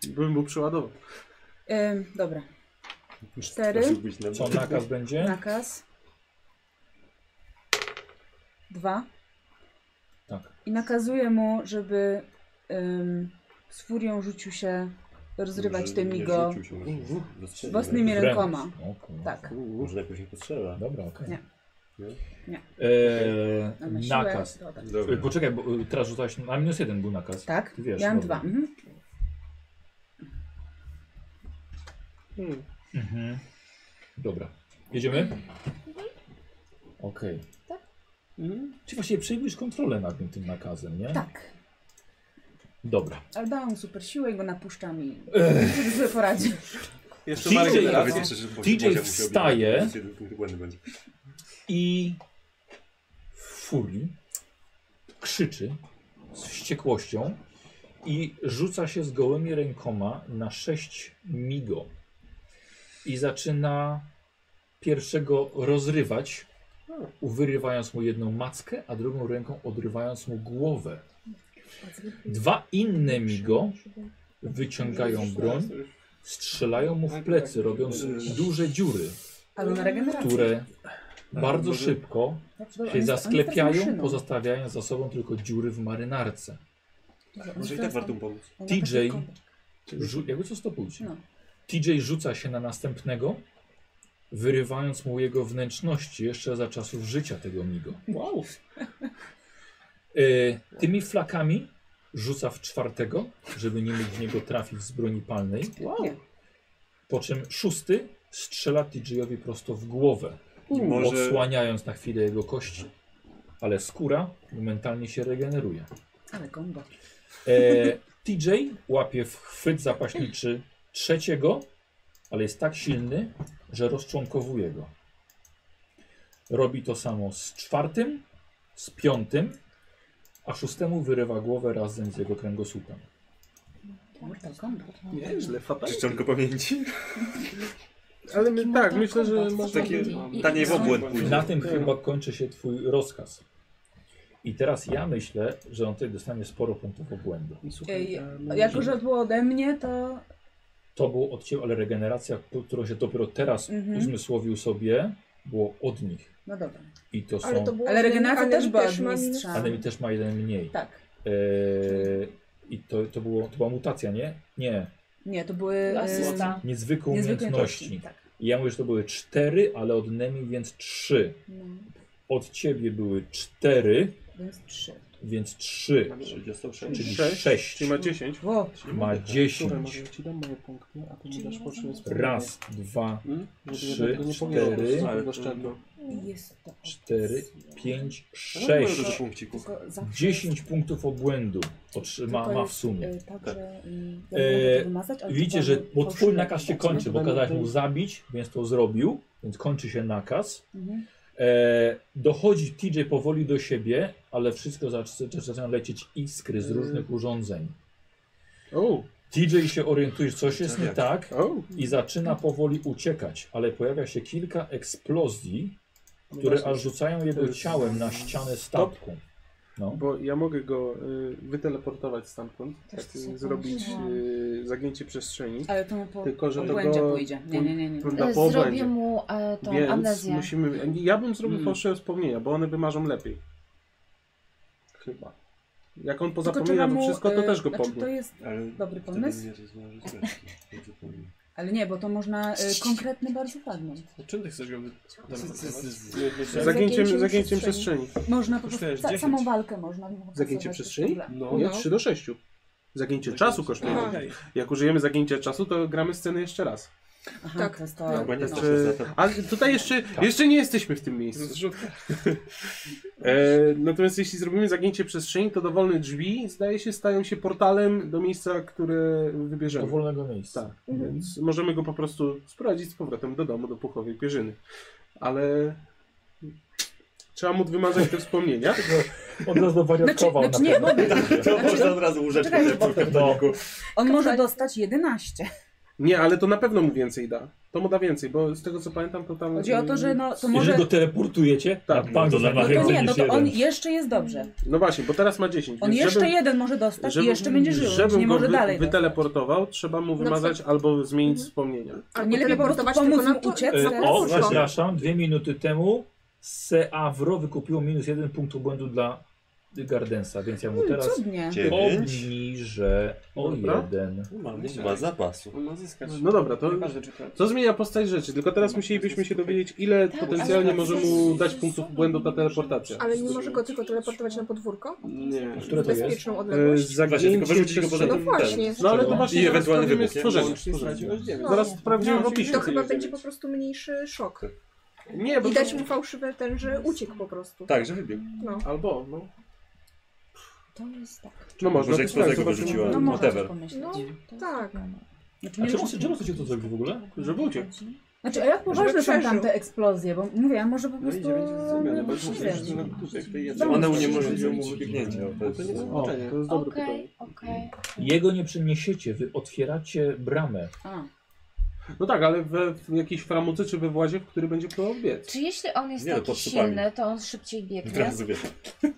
Speaker 7: Bym mu przyładował.
Speaker 8: Em, dobra, Cztery.
Speaker 6: Musi być na-
Speaker 1: Co nakaz będzie?
Speaker 8: nakaz. Dwa.
Speaker 1: Tak.
Speaker 8: I nakazuje mu, żeby ym, z furią rzucił się rozrywać
Speaker 6: Może
Speaker 8: tym
Speaker 6: nie
Speaker 8: jego
Speaker 6: rzucił się, może
Speaker 7: Mhm.
Speaker 6: zastrzelił.
Speaker 8: własnymi
Speaker 1: Wręcz.
Speaker 8: rękoma.
Speaker 1: O kurwa.
Speaker 8: Tak.
Speaker 6: Może najpierw się postrzela.
Speaker 1: Dobra, okej.
Speaker 8: Nie.
Speaker 6: Nie?
Speaker 8: Nie.
Speaker 1: Eee,
Speaker 8: A na siłę
Speaker 1: nakaz.
Speaker 8: to tak.
Speaker 1: Y,
Speaker 6: Dobra.
Speaker 1: Poczekaj, bo y, teraz rzucałeś na minus jeden był nakaz.
Speaker 8: Tak?
Speaker 1: Ty wiesz,
Speaker 8: ja mam
Speaker 1: dobra.
Speaker 8: dwa. Mhm.
Speaker 7: Hmm.
Speaker 1: Mhm. Dobra. Jedziemy?
Speaker 8: Mhm.
Speaker 1: Okej.
Speaker 8: Tak.
Speaker 4: Mhm.
Speaker 1: Czy właściwie przejmujesz kontrolę nad tym, tym nakazem, nie?
Speaker 8: Tak.
Speaker 1: Dobra.
Speaker 8: Ale dałam mu super siłę i go napuszczam i sobie sobie poradzi.
Speaker 7: Jeszcze
Speaker 1: Czyli-
Speaker 7: Marek
Speaker 1: Czyli-
Speaker 7: teraz.
Speaker 6: Powiedz szczerze, bo-
Speaker 1: DJ
Speaker 6: Bozia musi
Speaker 1: wstaje.
Speaker 6: objąć. Więc jeden błędy będzie.
Speaker 1: I w furii krzyczy z wściekłością i rzuca się z gołymi rękoma na sześć migo. I zaczyna pierwszego rozrywać, wyrywając mu jedną mackę, a drugą ręką odrywając mu głowę. Dwa inne migo wyciągają broń, strzelają mu w plecy, robiąc duże dziury,
Speaker 8: Albo na regenerację. Tak,
Speaker 1: które bardzo szybko
Speaker 8: Dobrze, dobra,
Speaker 1: się
Speaker 8: on jest- on jest teraz
Speaker 1: zasklepiają,
Speaker 8: maszyną.
Speaker 1: pozostawiając za sobą tylko dziury w marynarce.
Speaker 8: Dobrze, on
Speaker 6: Może i
Speaker 8: teraz
Speaker 6: tak warto
Speaker 8: tam-
Speaker 6: mu pomóc.
Speaker 8: on
Speaker 1: TJ.
Speaker 8: na taką kombę.
Speaker 1: Rzu- jakby co stopujcie.
Speaker 8: No.
Speaker 1: TJ rzuca się na następnego, wyrywając mu jego wnętrzności jeszcze za czasów życia tego migo.
Speaker 7: Wow.
Speaker 1: E, tymi flakami rzuca w czwartego, żeby nie mógł w niego trafić z broni palnej.
Speaker 8: Nie.
Speaker 1: Po czym szósty strzela TJ-owi prosto w głowę,
Speaker 6: I może
Speaker 1: odsłaniając na chwilę jego kości. Ale skóra momentalnie się regeneruje.
Speaker 8: Ale kombo.
Speaker 1: E, TJ łapie w chwyt zapaśniczy trzeciego, ale jest tak silny, że rozczłonkowuje go. Robi to samo z czwartym, z piątym, a szóstemu wyrywa głowę razem z jego kręgosłupem.
Speaker 8: Mortal
Speaker 3: Tak.
Speaker 8: kombo.
Speaker 7: Nieźle, fatalnie.
Speaker 6: czcionko pamięci.
Speaker 7: Ale my, tak, myślę, że
Speaker 14: Kombat,
Speaker 7: może...
Speaker 6: takie
Speaker 14: i- i-
Speaker 6: Taniej w obłęd
Speaker 1: Na
Speaker 6: pójdzie.
Speaker 1: tym chyba kończy się twój rozkaz. I teraz ja myślę, że on tutaj dostanie sporo punktów obłędu.
Speaker 8: Ej,
Speaker 7: Słuchaj, a
Speaker 8: Jako,
Speaker 1: e,
Speaker 8: że było ode mnie, to
Speaker 1: To było od ciebie, ale regeneracja, którą się dopiero teraz
Speaker 8: Mhm.
Speaker 1: uzmysłowił sobie, było od nich.
Speaker 8: no dobra.
Speaker 1: I to są...
Speaker 9: Ale to było...
Speaker 8: Ale regeneracja
Speaker 9: ale
Speaker 8: też była
Speaker 9: ma
Speaker 8: od
Speaker 9: minus-
Speaker 8: mistrza.
Speaker 1: Anemi też ma jeden mniej.
Speaker 8: Tak.
Speaker 1: Eee, I to, to, było, to była mutacja, nie? Nie.
Speaker 8: Nie, to były
Speaker 14: Asysta.
Speaker 8: e,
Speaker 1: Niezwykłe
Speaker 8: niezwykłe
Speaker 1: umiejętności.
Speaker 8: umiejętności. Tak.
Speaker 1: I ja mówię, że to były cztery, ale od Nemi więc trzy.
Speaker 8: No,
Speaker 1: Od ciebie były cztery,
Speaker 8: Tak, więc trzy.
Speaker 1: Więc 3, czyli 6.
Speaker 7: Czyli ma 10.
Speaker 8: Wow.
Speaker 1: Ma
Speaker 7: Słuchaj,
Speaker 1: 10.
Speaker 7: może ja ci dam moje punkty, a ty mi
Speaker 14: Czyli
Speaker 7: dasz
Speaker 14: ja
Speaker 7: po czym
Speaker 14: razem-
Speaker 7: jest
Speaker 1: Raz, dwa,
Speaker 7: Hmm?
Speaker 1: trzy,
Speaker 7: Tego nie
Speaker 1: cztery,
Speaker 7: Ale oszczędno.
Speaker 8: Jest to.
Speaker 1: cztery, pięć, sześć.
Speaker 6: Dużo punkcików.
Speaker 8: Tylko zawsze
Speaker 1: 10 punktów obłędu otrzyma,
Speaker 8: Tylko
Speaker 1: ma w
Speaker 8: jest,
Speaker 1: sumie.
Speaker 8: y, Tak, że y, ja
Speaker 1: E,
Speaker 8: mogę to wymazać, ale
Speaker 1: Widzicie,
Speaker 8: to
Speaker 1: że
Speaker 8: mamy
Speaker 1: bo twój
Speaker 8: fałszywe
Speaker 1: nakaz się
Speaker 8: dane.
Speaker 1: kończy, bo kazałeś mu zabić, więc to zrobił, więc kończy się nakaz.
Speaker 8: Mhm.
Speaker 1: E, dochodzi TJ powoli do siebie, ale wszystko zaczyna zaczyna lecieć iskry z różnych urządzeń.
Speaker 7: O,
Speaker 1: TJ się orientuje, coś jest nie tak
Speaker 7: o.
Speaker 1: i zaczyna powoli uciekać, ale pojawia się kilka eksplozji, które aż rzucają
Speaker 7: To
Speaker 1: jego
Speaker 7: jest-
Speaker 1: ciałem na ścianę statku. No.
Speaker 7: Bo ja mogę go y, wyteleportować stamtąd,
Speaker 8: Też
Speaker 7: tak,
Speaker 8: to są
Speaker 7: y, zrobić
Speaker 8: fajne.
Speaker 7: y, zagięcie przestrzeni.
Speaker 8: Ale to mu po
Speaker 7: Tylko, że to
Speaker 8: obłędzie
Speaker 7: go-
Speaker 8: pójdzie. Nie, nie, nie. nie.
Speaker 7: Trudno
Speaker 14: E,
Speaker 7: po
Speaker 14: Zrobię
Speaker 7: obłędzie.
Speaker 14: mu e, tą
Speaker 7: Więc
Speaker 14: amnezję.
Speaker 7: musimy. Ja bym zrobił
Speaker 2: Mm.
Speaker 7: fałszywe wspomnienia, bo one wymarzą lepiej. Chyba. Jak on
Speaker 8: Tylko
Speaker 7: pozapomina
Speaker 8: trzeba
Speaker 7: to
Speaker 8: mu,
Speaker 7: wszystko, to
Speaker 8: y,
Speaker 7: też go
Speaker 8: znaczy,
Speaker 7: pomnie.
Speaker 8: to jest
Speaker 6: Ale
Speaker 8: dobry
Speaker 6: wtedy
Speaker 8: pomysł,
Speaker 6: nie rozważy zresztą. Nie zapomnij.
Speaker 8: ale nie, bo to można y, konkretny bardzo fragment.
Speaker 4: No Czym ty chcesz go wy-
Speaker 7: Zagięciem,
Speaker 11: Zagięciem
Speaker 7: zagięciem przestrzeni.
Speaker 8: Można po prostu
Speaker 4: Kosztujesz
Speaker 8: ca-
Speaker 4: 10.
Speaker 8: samą walkę można. było
Speaker 7: Zagięcie
Speaker 8: stosować,
Speaker 7: przestrzeni?
Speaker 8: bez problemu.
Speaker 4: No.
Speaker 7: Nie,
Speaker 11: No.
Speaker 7: 3 do 6. Zagięcie czasu kosztuje.
Speaker 9: Aha.
Speaker 7: dziewięć. Jak użyjemy zagięcia czasu, to gramy sceny jeszcze raz.
Speaker 8: Aha,
Speaker 9: Tak.
Speaker 8: to jest
Speaker 9: No,
Speaker 8: to.
Speaker 6: Chyba nie
Speaker 8: no.
Speaker 6: straszne za to.
Speaker 7: Ale tutaj jeszcze, jeszcze nie jesteśmy w tym miejscu. E, natomiast jeśli zrobimy zagięcie przestrzeni, to dowolne drzwi, zdaje się, stają się portalem do miejsca, które
Speaker 1: Do
Speaker 7: wybierzemy.
Speaker 1: wolnego miejsca.
Speaker 7: Tak, więc możemy go po prostu sprowadzić z powrotem do domu, do puchowej pierzyny. Ale trzeba mu wymazać te wspomnienia.
Speaker 1: On nas dowariatkował
Speaker 8: Znaczy- znaczy nie,
Speaker 1: naprawdę.
Speaker 6: To można od razu łóżeczkę
Speaker 8: Czekaj,
Speaker 6: zepsuć w domu.
Speaker 8: On może dostać 11.
Speaker 7: Nie, ale to na pewno mu więcej da. To mu da więcej, bo z tego co pamiętam, to tam...
Speaker 8: Chodzi o to, że no to może.
Speaker 1: Jeżeli go teleportujecie,
Speaker 7: Tak,
Speaker 1: na
Speaker 7: no
Speaker 1: bank
Speaker 6: to
Speaker 1: dostanie
Speaker 6: na
Speaker 8: No to
Speaker 1: więcej
Speaker 8: nie, no
Speaker 1: niż
Speaker 8: to on
Speaker 1: jeden.
Speaker 8: jeszcze jest dobrze.
Speaker 7: No właśnie, bo teraz ma 10.
Speaker 8: On
Speaker 7: więc
Speaker 8: jeszcze
Speaker 7: żeby-
Speaker 8: jeden może dostać
Speaker 7: żeby-
Speaker 8: Tak, i jeszcze będzie żył. więc
Speaker 7: Żebym
Speaker 8: nie
Speaker 7: go
Speaker 8: może
Speaker 7: wy,
Speaker 8: dalej. tak
Speaker 7: wyteleportował, trzeba mu wymazać albo zmienić wspomnienia.
Speaker 8: A nie lepiej po prostu
Speaker 9: teleportować
Speaker 8: pomóc
Speaker 9: tylko
Speaker 8: mu
Speaker 9: na to-
Speaker 8: uciec
Speaker 9: na
Speaker 1: E,
Speaker 8: teraz?
Speaker 1: O,
Speaker 9: Poszło.
Speaker 1: przepraszam, dwie minuty temu Seavro wykupiło minus jeden punkt błędu dla Gardensa, więc ja mu
Speaker 8: dostać.
Speaker 1: teraz
Speaker 8: Hmm, Cudnie.
Speaker 6: Dziewięć.
Speaker 1: obniżę o
Speaker 7: Dobra.
Speaker 1: jeden.
Speaker 6: Mam chyba zapasu.
Speaker 4: On ma zyskać.
Speaker 7: No dobra, to,
Speaker 4: Nieważne, czy to-
Speaker 7: to zmienia postać rzeczy, tylko teraz musielibyśmy się dowiedzieć, ile potencjalnie
Speaker 14: ale-
Speaker 7: może mu dać punktów błędu ta teleportacja.
Speaker 9: Ale nie może go tylko teleportować na podwórko?
Speaker 4: Nie.
Speaker 1: Które
Speaker 9: Z
Speaker 1: to jest?
Speaker 9: bezpieczną
Speaker 7: E,
Speaker 9: odległość?
Speaker 6: Właśnie,
Speaker 7: Zagięcie
Speaker 6: tylko wyrzucić go poza
Speaker 9: No
Speaker 7: przestrzeni.
Speaker 6: ten-
Speaker 9: właśnie.
Speaker 7: No ale to
Speaker 1: I
Speaker 7: właśnie zaraz
Speaker 6: ewentualny
Speaker 7: sprawdzimy
Speaker 6: wybuch, nie?
Speaker 7: stworzenie.
Speaker 4: Łącznie stracił aż dziewięć.
Speaker 7: Zaraz sprawdzimy w opisie.
Speaker 9: no, To chyba będzie po prostu mniejszy szok.
Speaker 7: Nie, bo
Speaker 9: I dać mu fałszywe ten, że uciekł po prostu.
Speaker 6: Tak, że wybiegł.
Speaker 9: No.
Speaker 7: Albo, no.
Speaker 14: To jest tak.
Speaker 7: No można.
Speaker 6: Może
Speaker 7: to
Speaker 6: eksplozja
Speaker 7: tak,
Speaker 6: go
Speaker 7: zobaczymy.
Speaker 6: wyrzuciła.
Speaker 14: No można
Speaker 6: Whatever.
Speaker 14: tak pomyśleć.
Speaker 9: No,
Speaker 3: E,
Speaker 14: To jest
Speaker 9: tak.
Speaker 14: normalne.
Speaker 8: Znaczy,
Speaker 1: A
Speaker 8: nie-
Speaker 1: czemu czemu chcecie to zrobić w ogóle?
Speaker 7: Żeby uciekł.
Speaker 8: Znaczy, a jak poważne są
Speaker 9: przeżył.
Speaker 8: tamte eksplozje? Bo mówię, a może po
Speaker 4: No i
Speaker 8: prostu...
Speaker 4: dziewięć jest
Speaker 8: no,
Speaker 4: zmiany, bo
Speaker 8: nie
Speaker 4: mówisz, że
Speaker 8: wiem.
Speaker 4: na tutaj w tej jednej-
Speaker 8: Zdążył.
Speaker 6: One uniemożliwią mu wybiegnięcie. o, to
Speaker 4: No to nie
Speaker 6: jest-
Speaker 4: ma
Speaker 7: O, to
Speaker 4: znaczenia.
Speaker 7: jest dobre pytanie.
Speaker 14: Okej, okej.
Speaker 1: Jego nie przeniesiecie, wy otwieracie bramę.
Speaker 8: A,
Speaker 7: No tak, ale we, w jakiejś framuce czy we włazie, w który będzie próbował biec.
Speaker 14: Czy jeśli on jest
Speaker 6: Nie, no,
Speaker 14: taki
Speaker 6: pod stopami.
Speaker 14: silny, to on szybciej
Speaker 6: Od
Speaker 14: biegnie?
Speaker 6: razu wiesz.
Speaker 1: Eee,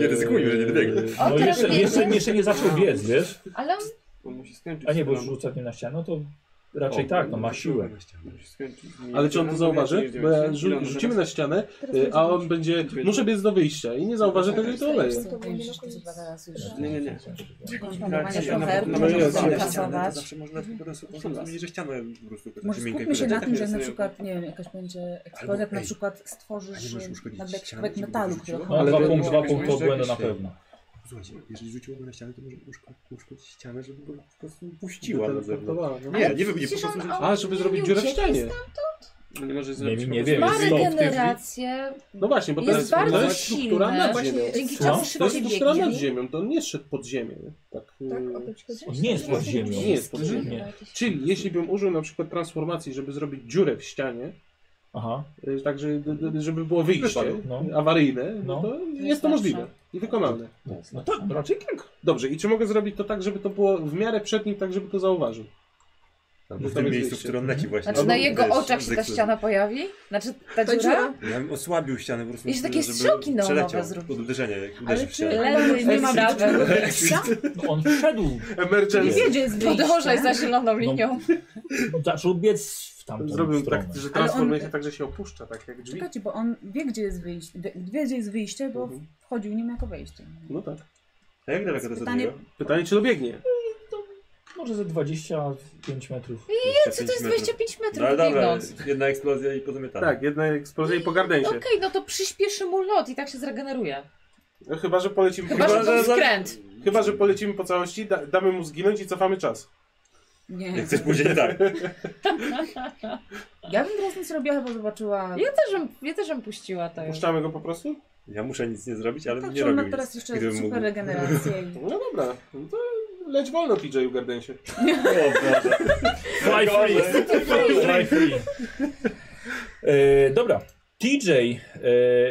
Speaker 6: Nie ryzykujmy, że nie dobiegnę.
Speaker 14: O,
Speaker 1: No
Speaker 14: teraz
Speaker 1: jeszcze,
Speaker 14: biegnie?
Speaker 1: jeszcze, jeszcze nie zaczął biec, wiesz?
Speaker 14: Ale on
Speaker 4: On musi skończyć.
Speaker 1: A nie, bo
Speaker 4: z-
Speaker 1: rzuca mnie na ścianę, no to raczej tak, no ma siłę.
Speaker 4: musi skończyć z- No
Speaker 7: Ale czy on to zauważy? Bo ja rzu-
Speaker 4: tak
Speaker 7: rzucimy na ścianę, y,
Speaker 9: tak,
Speaker 7: a on będzie, muszę biec do wyjścia i nie zauważy tego i to
Speaker 9: To
Speaker 7: oleje.
Speaker 9: jest-
Speaker 14: będziesz to chyba teraz już.
Speaker 4: Nie, nie, nie.
Speaker 14: Kontrolowanie
Speaker 4: Tak, ja na-
Speaker 14: trochę,
Speaker 4: na-
Speaker 6: No
Speaker 14: możesz
Speaker 7: na-
Speaker 14: to
Speaker 7: na-
Speaker 14: pasować.
Speaker 6: Zawsze można tylko teraz zmienić, że ścianę po prostu taką
Speaker 8: może
Speaker 6: miękką
Speaker 8: skupmy się
Speaker 6: kulę.
Speaker 8: na tym, że
Speaker 4: jest
Speaker 8: na
Speaker 4: sobie-
Speaker 8: przykład, nie wiem, jakaś będzie eksplozja, jak na
Speaker 6: ej,
Speaker 8: przykład
Speaker 6: a nie
Speaker 8: stworzysz
Speaker 6: możesz
Speaker 8: y,
Speaker 6: uszkodzić
Speaker 8: nagle
Speaker 6: ściany,
Speaker 8: kawałek
Speaker 6: żeby
Speaker 8: metalu,
Speaker 6: wyrzuciło?
Speaker 8: który
Speaker 6: No,
Speaker 1: Ale
Speaker 7: Ale
Speaker 1: dwa
Speaker 7: to-
Speaker 1: punkty, dwa
Speaker 4: jakieś
Speaker 1: punkty
Speaker 4: jeszcze
Speaker 1: błędu na
Speaker 4: jakieś-
Speaker 1: pewno.
Speaker 6: Słuchajcie, jeżeli rzuciłoby na ścianę, to może uszko- uszkodzić ścianę, żeby go po prostu puściła na zewnątrz.
Speaker 7: Teleportowała, no.
Speaker 6: Nie, nie wybiegnie, po
Speaker 14: Przecież
Speaker 6: prostu,
Speaker 14: on-
Speaker 6: żeby...
Speaker 14: on
Speaker 7: A, żeby
Speaker 14: nie
Speaker 7: zrobić dziurę w
Speaker 14: uciekł
Speaker 7: ścianie.
Speaker 4: No nie może
Speaker 1: Nie,
Speaker 4: zrobić.
Speaker 1: nie
Speaker 4: po
Speaker 1: wiem.
Speaker 14: Ma
Speaker 1: Jest stop w tej chwili.
Speaker 14: regenerację,
Speaker 7: No właśnie, bo to
Speaker 14: Jest
Speaker 7: jest,
Speaker 14: bardzo
Speaker 7: to jest struktura
Speaker 14: silny.
Speaker 7: nad
Speaker 9: Właśnie-
Speaker 7: ziemią.
Speaker 14: dzięki
Speaker 1: Co?
Speaker 14: czemu
Speaker 7: To jest
Speaker 14: szybciej
Speaker 7: struktura nad
Speaker 14: biegnie.
Speaker 7: ziemią, to on nie szedł pod ziemię. Tak, y,
Speaker 9: Tak, o to ci chodzi?
Speaker 1: On nie jest pod ziemią.
Speaker 7: Nie jest pod ziemią.
Speaker 1: Nie.
Speaker 7: Czyli jeśli bym użył na przykład transformacji, żeby zrobić dziurę w ścianie,
Speaker 1: Aha.
Speaker 7: y, tak że- d- d- żeby było wyjście
Speaker 1: No.
Speaker 7: awaryjne, no
Speaker 1: No.
Speaker 7: to jest
Speaker 14: jest lepsze.
Speaker 7: to możliwe i wykonalne.
Speaker 1: No tak, no raczej tak.
Speaker 7: Dobrze, i czy mogę zrobić to tak, żeby to było w miarę przed nim, tak żeby to zauważył?
Speaker 6: Albo w tym miejscu, w którym leci właśnie.
Speaker 14: Znaczy na
Speaker 6: Albo,
Speaker 14: jego
Speaker 6: wiesz,
Speaker 14: oczach się ta
Speaker 6: zygzak.
Speaker 14: ściana pojawi? Znaczy ta
Speaker 9: Ta
Speaker 14: dziura?
Speaker 9: dziura?
Speaker 6: Ja bym osłabił ścianę po prostu,
Speaker 14: Jeszcze takie
Speaker 6: żeby
Speaker 14: strzałki neonowe
Speaker 6: przeleciał
Speaker 14: zrobił.
Speaker 6: Pod uderzenie, jak uderzy
Speaker 8: Ale
Speaker 6: w
Speaker 8: czy
Speaker 6: ścianę.
Speaker 8: Lewy nie ma
Speaker 14: Exit.
Speaker 8: prawa?
Speaker 1: No on wszedł.
Speaker 8: Nie
Speaker 7: Emergency.
Speaker 8: wie, gdzie jest
Speaker 14: Podążaj
Speaker 8: wyjście.
Speaker 14: za zieloną linią.
Speaker 7: No,
Speaker 1: Zaczął biec w tamtą
Speaker 7: Zrobił
Speaker 1: stronę.
Speaker 7: tak, że
Speaker 8: Ale
Speaker 7: transformuje
Speaker 8: on-
Speaker 7: się tak, że się opuszcza, tak jak drzwi.
Speaker 8: Czekajcie, bo on wie, gdzie jest wyjście, wie, wie, gdzie jest wyjście bo
Speaker 7: Mhm.
Speaker 8: wchodził nim jako wejście.
Speaker 7: No tak.
Speaker 6: A jak daleko to jest
Speaker 8: Pytanie-
Speaker 6: od niego?
Speaker 7: Pytanie, czy dobiegnie?
Speaker 1: Może ze 25 metrów.
Speaker 14: Co to jest 25
Speaker 6: No ale
Speaker 14: metrów
Speaker 6: dobra,
Speaker 14: biegnąc?
Speaker 6: jedna eksplozja i pozamiatanie.
Speaker 7: Tak, jedna eksplozja i pogarnięcie.
Speaker 14: Okej, no to przyspieszy mu lot i tak się zregeneruje.
Speaker 7: No, chyba, że polecimy...
Speaker 3: Chyba, że to
Speaker 7: za-
Speaker 3: skręt.
Speaker 7: Chyba, że polecimy po całości, da, damy mu zginąć i cofamy czas.
Speaker 6: Jak
Speaker 8: Nie.
Speaker 6: coś pójdzie nie tak.
Speaker 8: Ja bym teraz nic robiła, bo zobaczyła.
Speaker 3: Ja też bym, ja też bym puściła
Speaker 4: Tak.
Speaker 3: to już.
Speaker 7: Puszczamy go po prostu?
Speaker 6: Ja muszę nic nie zrobić, ale
Speaker 8: Tak,
Speaker 6: nie
Speaker 8: że
Speaker 6: robię
Speaker 8: ona
Speaker 6: nic,
Speaker 8: teraz jeszcze
Speaker 6: gdybym
Speaker 8: super
Speaker 6: mógł.
Speaker 8: regenerację. i-
Speaker 7: No dobra, no to leć wolno PJ Gardensie.
Speaker 6: O Boże.
Speaker 1: Fly free! Fly free! E, dobra. TJ e,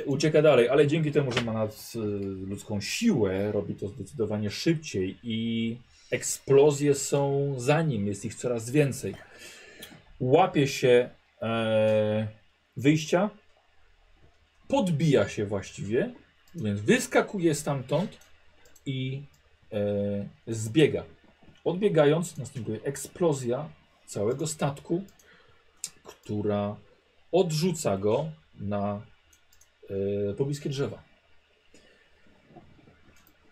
Speaker 1: ucieka dalej, ale dzięki temu, że ma nad, e, ludzką siłę, robi to zdecydowanie szybciej i eksplozje są za nim, jest ich coraz więcej. Łapie się e, wyjścia, podbija się właściwie, więc wyskakuje stamtąd i e, zbiega. Odbiegając następuje eksplozja całego statku, która odrzuca go na e, pobliskie drzewa.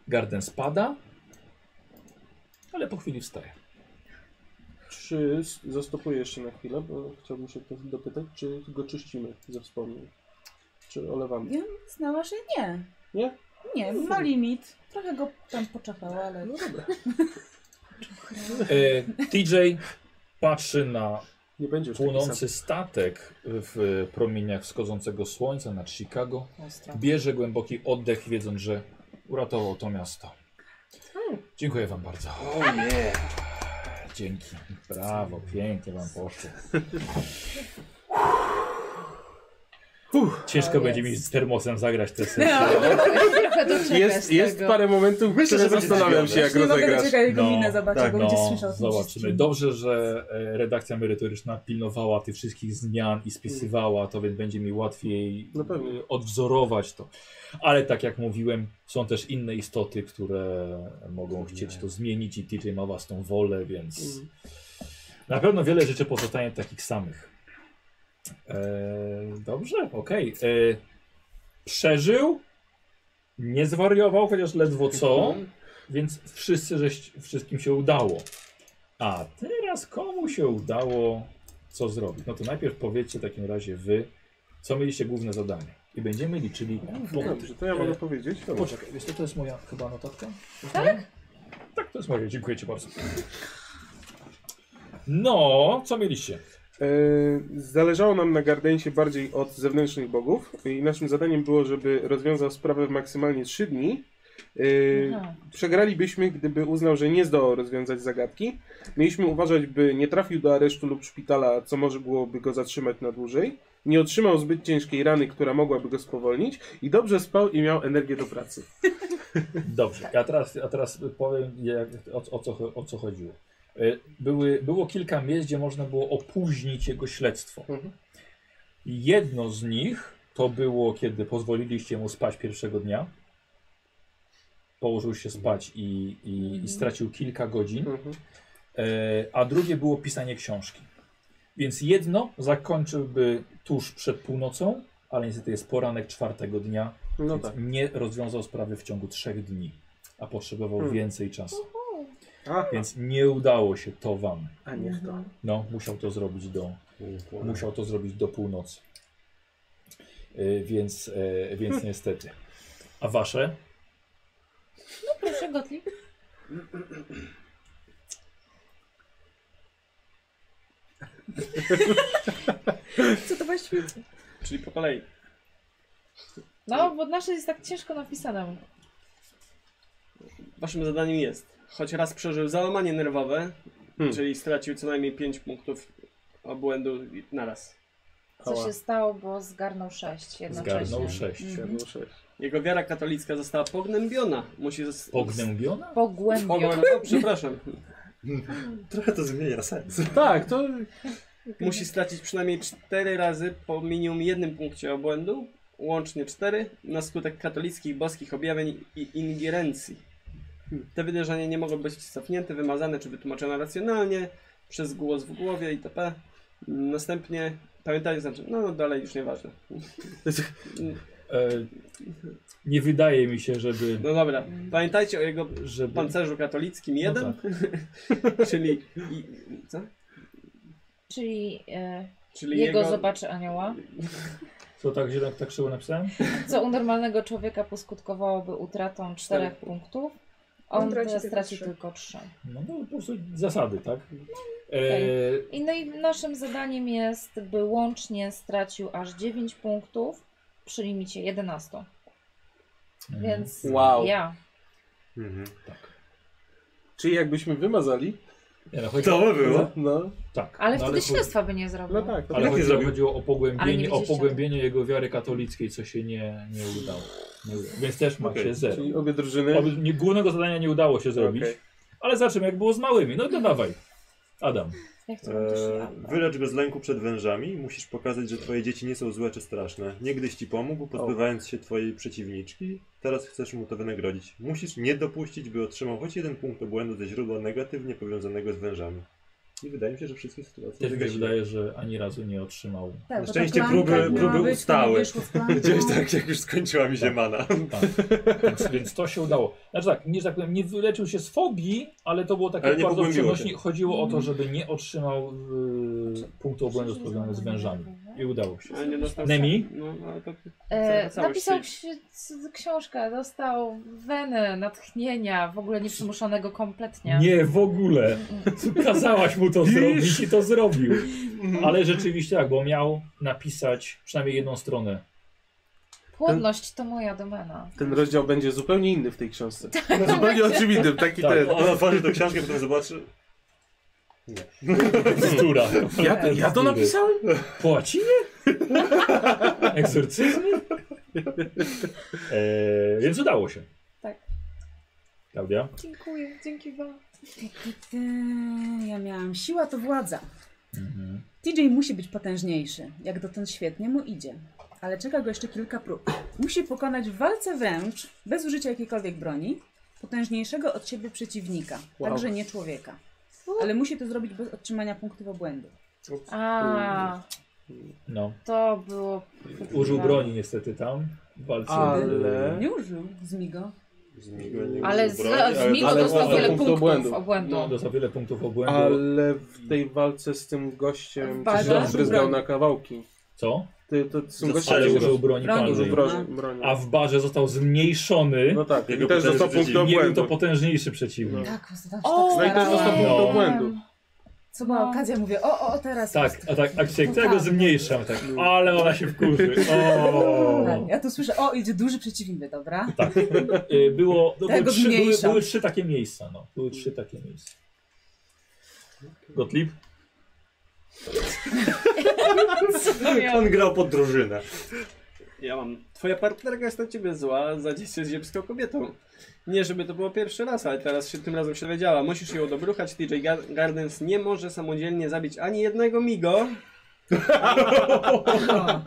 Speaker 1: Garden spada, ale po chwili wstaje.
Speaker 7: Czy s- zastopuję jeszcze na chwilę, bo chciałbym się też dopytać, czy go czyścimy ze wspomnień? Czy olewamy?
Speaker 8: Ja bym znała, że nie.
Speaker 7: Nie?
Speaker 6: No
Speaker 8: Nie, ma limit. Trochę go tam poczekała, ale.
Speaker 7: No dobra,
Speaker 1: E, TJ patrzy na
Speaker 7: nie będzie już taki sam.
Speaker 1: płonący statek w promieniach wschodzącego słońca nad Chicago.
Speaker 8: Ostro.
Speaker 1: Bierze głęboki oddech, wiedząc, że uratował to miasto.
Speaker 8: Hmm.
Speaker 1: Dziękuję Wam bardzo. Dzięki. Brawo, pięknie Wam poszło. Ciężko
Speaker 3: To
Speaker 1: będzie mi
Speaker 3: jest.
Speaker 1: z termosem zagrać te sesje.
Speaker 3: Trochę to czeka z
Speaker 7: Jest,
Speaker 3: tego.
Speaker 7: jest parę momentów,
Speaker 6: Myślę,
Speaker 7: które
Speaker 6: że będzie
Speaker 7: zastanawiam się,
Speaker 6: zdziwiony.
Speaker 7: jak
Speaker 8: Nie mogę
Speaker 7: rozegrasz.
Speaker 8: doczekać jego
Speaker 1: No,
Speaker 8: minę, zobaczę,
Speaker 6: tak,
Speaker 8: bo będzie słyszał o tym
Speaker 1: zobaczymy.
Speaker 8: wszystkim.
Speaker 1: Dobrze, że e, redakcja merytoryczna pilnowała tych wszystkich zmian i spisywała to, więc będzie mi łatwiej
Speaker 7: No pewnie.
Speaker 1: e, odwzorować to. Ale tak jak mówiłem, są też inne istoty, które mogą chcieć to zmienić i TJ ma własną wolę, więc
Speaker 7: Mhm.
Speaker 1: na pewno wiele rzeczy pozostanie takich samych. E, dobrze, okej. E, Przeżył, nie zwariował, chociaż ledwo co. Więc wszyscy, żeś, wszystkim się udało. A teraz komu się udało co zrobić? No to najpierw powiedzcie w takim razie wy, co mieliście główne zadanie. I będziemy liczyli punkty.
Speaker 7: Dobrze, to ja mogę
Speaker 1: E,
Speaker 7: powiedzieć.
Speaker 1: To Poczekaj, wiesz co, to jest moja chyba notatka? Tak? Tak, to jest moja, dziękuję ci bardzo. No, co mieliście?
Speaker 7: E, Zależało nam na Gardensie bardziej od zewnętrznych bogów i naszym zadaniem było, żeby rozwiązał sprawę w maksymalnie 3 dni. E,
Speaker 3: Aha.
Speaker 7: przegralibyśmy, gdyby uznał, że nie zdołał rozwiązać zagadki. Mieliśmy uważać, by nie trafił do aresztu lub szpitala, co może byłoby go zatrzymać na dłużej. Nie otrzymał zbyt ciężkiej rany, która mogłaby go spowolnić i dobrze spał i miał energię do pracy.
Speaker 1: Dobrze,
Speaker 7: Tak.
Speaker 1: a teraz, a teraz powiem jak, o, o, co, cho- o co chodziło. E, Były, było kilka miejsc, gdzie można było opóźnić jego śledztwo.
Speaker 7: Mhm.
Speaker 1: Jedno z nich to było, kiedy pozwoliliście mu spać pierwszego dnia. Położył się spać i, i, i stracił kilka godzin.
Speaker 7: Mhm.
Speaker 1: E, a drugie było pisanie książki. Więc jedno zakończyłby tuż przed północą, ale niestety jest poranek czwartego dnia,
Speaker 7: No
Speaker 1: więc
Speaker 7: tak.
Speaker 1: nie rozwiązał sprawy w ciągu trzech dni, a potrzebował
Speaker 7: Hmm.
Speaker 1: więcej czasu.
Speaker 7: A,
Speaker 1: Więc nie udało się to wam.
Speaker 7: a niech
Speaker 3: Mhm.
Speaker 7: to.
Speaker 1: No, musiał to zrobić do, musiał to zrobić do północy. Y, więc, y,
Speaker 7: Hmm.
Speaker 1: więc niestety. A wasze?
Speaker 3: Proszę, Gotli.
Speaker 27: Co to właściwie?
Speaker 2: Czyli po kolei.
Speaker 3: No, bo nasze jest tak ciężko napisane.
Speaker 2: Waszym zadaniem jest, choć raz przeżył załamanie nerwowe,
Speaker 7: Hmm.
Speaker 2: czyli stracił co najmniej 5 punktów obłędu i- naraz.
Speaker 3: Co się stało, bo zgarnął sześć jednocześnie.
Speaker 1: Zgarnął sześć.
Speaker 3: Mhm.
Speaker 7: Siadło sześć.
Speaker 2: Jego wiara katolicka została pognębiona. Musi zostać.
Speaker 1: Pognębiona?
Speaker 3: Pogłębiona.
Speaker 2: Przepraszam.
Speaker 6: Trochę to zmienia sens.
Speaker 7: Tak, to
Speaker 2: Musi stracić przynajmniej 4 razy po minimum jednym punkcie obłędu, łącznie 4, na skutek katolickich boskich objawień i ingerencji. Te wydarzenia nie mogą być cofnięte, wymazane czy wytłumaczone racjonalnie, przez głos w głowie itp. Następnie, pamiętajcie, znaczy, no, no dalej już nieważne.
Speaker 1: E, nie wydaje mi się, żeby.
Speaker 2: No dobra, pamiętajcie o jego
Speaker 1: żeby...
Speaker 2: pancerzu katolickim
Speaker 1: No
Speaker 2: 1, czyli, i, co?
Speaker 3: Czyli e,
Speaker 2: czyli
Speaker 3: jego zobaczy anioła.
Speaker 1: Co tak źle, tak krzywo napisałem?
Speaker 3: Co u normalnego człowieka poskutkowałoby utratą czterech punktów. On,
Speaker 9: On traci
Speaker 3: teraz
Speaker 9: tylko
Speaker 3: straci
Speaker 9: trzy.
Speaker 3: tylko trzy.
Speaker 1: No, no po prostu zasady, tak? E,
Speaker 3: I no i naszym zadaniem jest, by łącznie stracił aż 9 punktów przy limicie 11. Więc
Speaker 2: Wow.
Speaker 3: ja.
Speaker 6: Mhm.
Speaker 7: Czyli jakbyśmy wymazali,
Speaker 1: Tak. Nie, no, chodzi,
Speaker 6: To by było.
Speaker 7: no,
Speaker 1: tak,
Speaker 3: Ale
Speaker 1: no,
Speaker 3: wtedy śledztwa by nie zrobił.
Speaker 7: no tak. To
Speaker 1: Ale
Speaker 6: Jak nie
Speaker 1: chodziło,
Speaker 6: zrobił?
Speaker 1: chodziło o
Speaker 3: Ale nie
Speaker 1: pogłębienie, o
Speaker 3: widzieliście.
Speaker 1: pogłębienie jego wiary katolickiej, co się nie, nie, udało. nie udało. Więc też macie
Speaker 6: Okej,
Speaker 1: zero.
Speaker 7: Czyli obie drużyny.
Speaker 1: Oby- nie, głównego zadania nie udało się zrobić,
Speaker 7: Okej.
Speaker 1: ale zobaczymy jak było z małymi. No
Speaker 3: Mhm.
Speaker 1: to dawaj, Adam.
Speaker 3: Ja chciałam też
Speaker 6: E,
Speaker 3: ja.
Speaker 6: wylecz go z lęku przed wężami. Musisz pokazać, że twoje dzieci nie są złe czy straszne. Niegdyś ci pomógł, pozbywając się twojej przeciwniczki. Teraz chcesz mu to wynagrodzić. Musisz nie dopuścić, by otrzymał choć jeden punkt obłędu ze źródła negatywnie powiązanego z wężami. I wydaje mi się, że wszystkie sytuacje
Speaker 1: Też mi się
Speaker 6: wygasiły.
Speaker 1: wydaje, że ani razu nie otrzymał.
Speaker 8: Tak,
Speaker 6: Na
Speaker 8: bo ta
Speaker 6: szczęście
Speaker 8: klamka
Speaker 6: próby-
Speaker 8: miała być,
Speaker 6: próby
Speaker 8: to nie
Speaker 6: ustały.
Speaker 8: wyszło z klamką.
Speaker 6: Gdzieś tak, jak już skończyła mi się mana.
Speaker 1: Tak. Więc, więc to się udało. Znaczy tak, nie, że tak powiem, nie wyleczył się z fobii, ale to było takie
Speaker 6: Ale nie
Speaker 1: bardzo
Speaker 6: pogłębiło się.
Speaker 1: przenośnie. Chodziło o
Speaker 3: Mhm.
Speaker 1: to, żeby nie otrzymał y, punktu obłędu związanego z wężami. I udało się.
Speaker 28: Ale nie dostał.
Speaker 1: Nemi?
Speaker 28: No, ale to
Speaker 3: E,
Speaker 28: cały
Speaker 3: napisał
Speaker 28: szczyt.
Speaker 3: ksi- książkę, dostał wenę, natchnienia, w ogóle nieprzymuszonego kompletnie.
Speaker 1: Nie, w ogóle. Kazałaś mu to zrobić i to zrobił.
Speaker 7: Mhm.
Speaker 1: Ale rzeczywiście tak, bo miał napisać przynajmniej jedną stronę.
Speaker 3: Płodność to moja domena.
Speaker 7: Ten rozdział będzie zupełnie inny w tej książce. zupełnie oczywisty, taki
Speaker 1: Tak.
Speaker 7: ten.
Speaker 6: Ona otworzy tą książkę, potem zobaczy.
Speaker 1: Bzdura.
Speaker 7: Ja,
Speaker 1: Tak.
Speaker 7: ja to napisałem?
Speaker 1: Płacimy? Egzorcyzmy? E, więc udało się.
Speaker 3: Tak.
Speaker 1: Klaudia?
Speaker 29: Dziękuję, dzięki wam.
Speaker 8: Ty, Ja miałam siła to władza.
Speaker 7: Mhm.
Speaker 8: TJ musi być potężniejszy. Jak dotąd świetnie mu idzie. Ale czeka go jeszcze kilka prób. Musi pokonać w walce wręcz, bez użycia jakiejkolwiek broni, potężniejszego od siebie przeciwnika.
Speaker 7: Wow.
Speaker 8: Także nie człowieka. Ale musi to zrobić bez otrzymania punktów obłędu.
Speaker 3: A,
Speaker 1: No.
Speaker 3: to było.
Speaker 1: Użył
Speaker 3: Tak.
Speaker 1: broni niestety tam w walce.
Speaker 7: Ale-
Speaker 8: Nie użył zmigo.
Speaker 6: Zmigo, nie
Speaker 3: Ale z,
Speaker 6: użył broni, ale
Speaker 3: z Migo
Speaker 6: dostał
Speaker 3: dostał
Speaker 7: ale
Speaker 3: wiele
Speaker 7: punktów
Speaker 3: punktów obłędu.
Speaker 7: obłędu.
Speaker 1: No, dostał wiele punktów obłędu.
Speaker 7: Ale w tej walce z tym gościem
Speaker 8: Walka?
Speaker 7: coś tam zryzgał na kawałki.
Speaker 1: Co?
Speaker 7: Ty, to z tym gościem
Speaker 1: Ale
Speaker 7: co
Speaker 1: użył broni
Speaker 8: Broni.
Speaker 7: użył
Speaker 1: palnej.
Speaker 7: broni. broni.
Speaker 1: A w barze został zmniejszony.
Speaker 7: No tak,
Speaker 6: Jego
Speaker 7: i też dostał
Speaker 6: potężny
Speaker 7: punkt
Speaker 1: nie był
Speaker 7: obłędu.
Speaker 1: to potężniejszy przeciwnik.
Speaker 8: Tak, po prostu tam się
Speaker 3: O,
Speaker 7: No i
Speaker 8: tak
Speaker 7: też dostał
Speaker 8: starałam.
Speaker 1: nie.
Speaker 7: punkt
Speaker 1: No.
Speaker 7: obłędu.
Speaker 8: Co była
Speaker 3: No.
Speaker 8: okazja, mówię, o, o, teraz.
Speaker 1: Tak, a tak, a się
Speaker 8: No
Speaker 1: ja go
Speaker 8: tak.
Speaker 1: zmniejszam, tak. Ale ona się wkurzy. O.
Speaker 8: Tak, Ja tu słyszę, o, idzie duży przeciwnik, dobra?
Speaker 1: Tak. Y, Było, no, były,
Speaker 8: Tego
Speaker 1: trzy, były,
Speaker 8: zmniejszam.
Speaker 1: były trzy takie miejsca. No. Były trzy takie miejsca. Gottlieb?
Speaker 6: On grał pod drużynę.
Speaker 2: Ja mam. Twoja partnerka jest na ciebie zła, za dziś jest ziemską kobietą. Nie, żeby to było pierwszy raz, ale teraz się tym razem się dowiedziała. Musisz ją dobruchać. TJ Gar- Gardens nie może samodzielnie zabić ani jednego migo,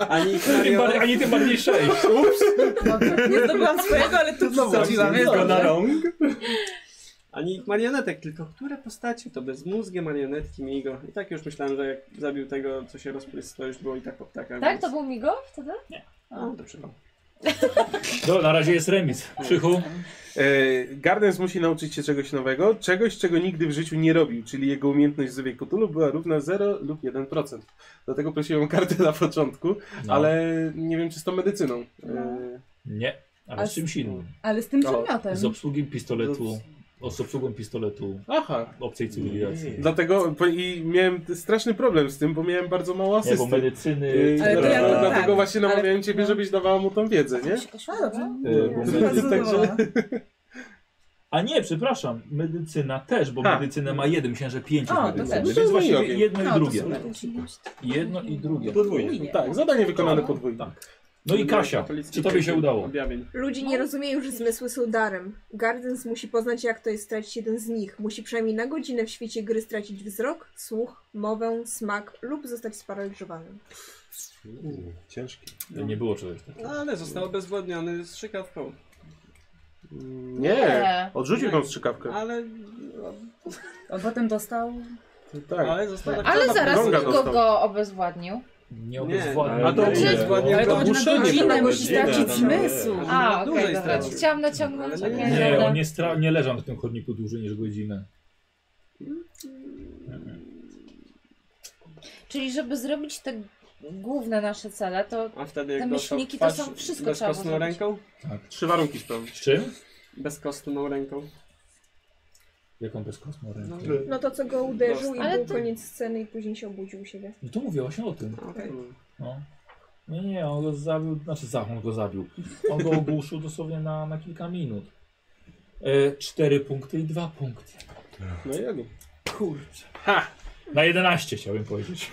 Speaker 2: ani
Speaker 1: Tym
Speaker 2: Kario.
Speaker 1: bardziej, ani tym bardziej sześć.
Speaker 8: Dobrze, nie zdobyłam swojego, ale tu przesadziłam. jest
Speaker 6: Tylko na
Speaker 8: dobrze.
Speaker 6: rąk.
Speaker 2: Ani ich marionetek, tylko które postacie to bezmózgie marionetki Migo. I tak już myślałem, że jak zabił tego, co się rozpłysł, to już było i tak po ptakach.
Speaker 3: Tak,
Speaker 2: więc-
Speaker 3: to był Migo wtedy?
Speaker 2: A, to przypał.
Speaker 1: No, na razie jest remis. Krzychu?
Speaker 7: E, Gardens musi nauczyć się czegoś nowego, czegoś, czego nigdy w życiu nie robił, czyli jego umiejętność z wieku Cthulhu była równa 0 lub 1%. Dlatego prosiłem o kartę na początku,
Speaker 1: No.
Speaker 7: ale nie wiem, czy z tą medycyną.
Speaker 8: No.
Speaker 7: E,
Speaker 1: Nie, ale
Speaker 8: A
Speaker 1: z czymś innym.
Speaker 8: Ale z tym
Speaker 7: O,
Speaker 8: przedmiotem.
Speaker 1: Z obsługiem pistoletu. O, z obsługą pistoletu
Speaker 7: aha,
Speaker 1: obcej cywilizacji.
Speaker 7: Dlatego po- i miałem t- straszny problem z tym, bo miałem bardzo mało
Speaker 1: Nie, bo
Speaker 7: asysty.
Speaker 1: medycyny.
Speaker 7: Yy,
Speaker 8: Ale to
Speaker 7: dlatego-
Speaker 8: ja to tak,
Speaker 7: dlatego właśnie
Speaker 8: ale- no.
Speaker 7: namawiałem ciebie, żebyś dawała mu tą wiedzę, Tak, nie?
Speaker 8: A, dobrze.
Speaker 1: Yy, bo
Speaker 8: Jestem
Speaker 1: medy-
Speaker 8: bardzo
Speaker 7: Także-
Speaker 8: zadowolona.
Speaker 1: A nie, przepraszam, medycyna też, bo
Speaker 7: Ha.
Speaker 1: medycyna ma jeden, myślałem, że pięć
Speaker 8: O,
Speaker 1: jest
Speaker 8: to
Speaker 1: medycyny.
Speaker 8: też.
Speaker 1: Więc
Speaker 7: No
Speaker 1: właśnie
Speaker 7: i ogień.
Speaker 1: jedno
Speaker 8: No,
Speaker 1: i
Speaker 8: to
Speaker 1: drugie.
Speaker 8: super.
Speaker 1: Jedno i drugie.
Speaker 6: Podwójnie.
Speaker 7: Tak, zadanie wykonane podwójnie.
Speaker 1: No i Kasia, czy tobie się udało?
Speaker 2: Objawień.
Speaker 9: Ludzi nie rozumieją, że zmysły są darem. Gardens musi poznać, jak to jest stracić jeden z nich. Musi przynajmniej na godzinę w świecie gry stracić wzrok, słuch, mowę, smak lub zostać sparaliżowanym.
Speaker 6: Uuu, Ciężki.
Speaker 1: Nie było czegoś takiego.
Speaker 2: No, ale został bezwładniony z szykawką.
Speaker 7: Mm, Nie, odrzucił tą strzykawkę.
Speaker 2: Ale,
Speaker 8: On potem dostał...
Speaker 7: Tak.
Speaker 2: ale został tak.
Speaker 3: Ale zaraz
Speaker 7: Gonga
Speaker 3: Migo
Speaker 7: dostał.
Speaker 3: go obezwładnił.
Speaker 1: Nie
Speaker 6: A
Speaker 1: obezwładnił. Nie.
Speaker 6: to obezwładnił.
Speaker 8: Ale to chodzi na
Speaker 7: ogłuszenie
Speaker 8: godzinę,
Speaker 7: było,
Speaker 8: musi
Speaker 6: godzinę
Speaker 8: stracić
Speaker 6: tam,
Speaker 8: zmysł.
Speaker 6: wiesz.
Speaker 3: A,
Speaker 2: no,
Speaker 3: okej,
Speaker 2: dłużej
Speaker 3: dobra.
Speaker 2: stracił.
Speaker 3: Chciałam naciągnąć.
Speaker 2: Ale
Speaker 3: okej,
Speaker 2: nie,
Speaker 1: Nie,
Speaker 3: dobra.
Speaker 1: on nie, stra- nie leżał na tym chodniku dłużej niż godzinę.
Speaker 3: Czyli żeby zrobić te
Speaker 14: główne nasze cele, to
Speaker 2: A wtedy jak
Speaker 14: Te
Speaker 2: dostał
Speaker 14: myślniki to
Speaker 2: twarz
Speaker 14: są- wszystko trzeba
Speaker 2: bezkostną
Speaker 14: było zrobić.
Speaker 2: ręką?
Speaker 7: Tak. Trzy warunki spełnić.
Speaker 1: Z czym?
Speaker 2: Bezkostną ręką.
Speaker 1: Jaką bezkostną ręką?
Speaker 9: No to co go uderzył i
Speaker 14: Ale
Speaker 9: był
Speaker 14: to-
Speaker 9: koniec sceny i później się obudził u siebie.
Speaker 1: No to mówię właśnie o tym.
Speaker 2: Okej.
Speaker 1: No. Nie, nie, on go zabił, znaczy za, on go zabił. On go ogłuszył dosłownie na, na kilka minut. E, cztery punkty i dwa punkty.
Speaker 7: No i oni.
Speaker 1: Kurczę. Ha! Na 11 chciałbym powiedzieć.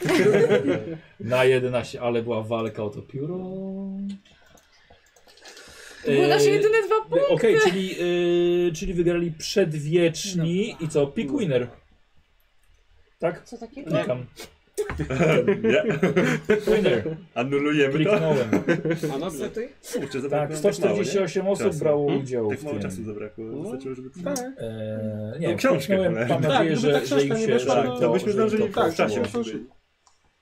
Speaker 1: na 11, ale była walka o to pióro.
Speaker 14: to były nasze
Speaker 1: E,
Speaker 14: jedyne dwa punkty.
Speaker 1: Okej, czyli, e, czyli wygrali przedwieczni
Speaker 14: No.
Speaker 1: i co? Pick winner. Tak?
Speaker 14: Co takiego?
Speaker 1: Klikam.
Speaker 6: Nie,
Speaker 1: Winner.
Speaker 6: anulujemy to.
Speaker 1: Kliknąłem.
Speaker 2: A dobrze.
Speaker 9: Sortuj.
Speaker 6: Kurczę,
Speaker 1: Tak,
Speaker 6: zabrakło nam tak mało, nie?
Speaker 1: 148 osób
Speaker 6: Czasu.
Speaker 1: brało
Speaker 7: Hmm?
Speaker 1: udział
Speaker 6: Tak
Speaker 1: w
Speaker 6: mało
Speaker 1: tym.
Speaker 6: czasu zabrakło.
Speaker 7: No.
Speaker 6: Wystarczyło, żeby...
Speaker 7: Tak.
Speaker 8: tak.
Speaker 1: Eee,
Speaker 6: Tą
Speaker 1: nie,
Speaker 6: książkę
Speaker 1: książkę
Speaker 6: cholerną.
Speaker 1: Mam nadzieję,
Speaker 7: gdyby
Speaker 1: że,
Speaker 7: ta
Speaker 1: że
Speaker 7: no
Speaker 1: im
Speaker 7: tak książka nie
Speaker 1: się
Speaker 7: wyszła,
Speaker 1: że
Speaker 7: to-
Speaker 1: to,
Speaker 6: to byśmy
Speaker 1: że im
Speaker 6: zdążyli-
Speaker 1: to
Speaker 7: Tak,
Speaker 1: poszło.
Speaker 7: tak, się zdążyli.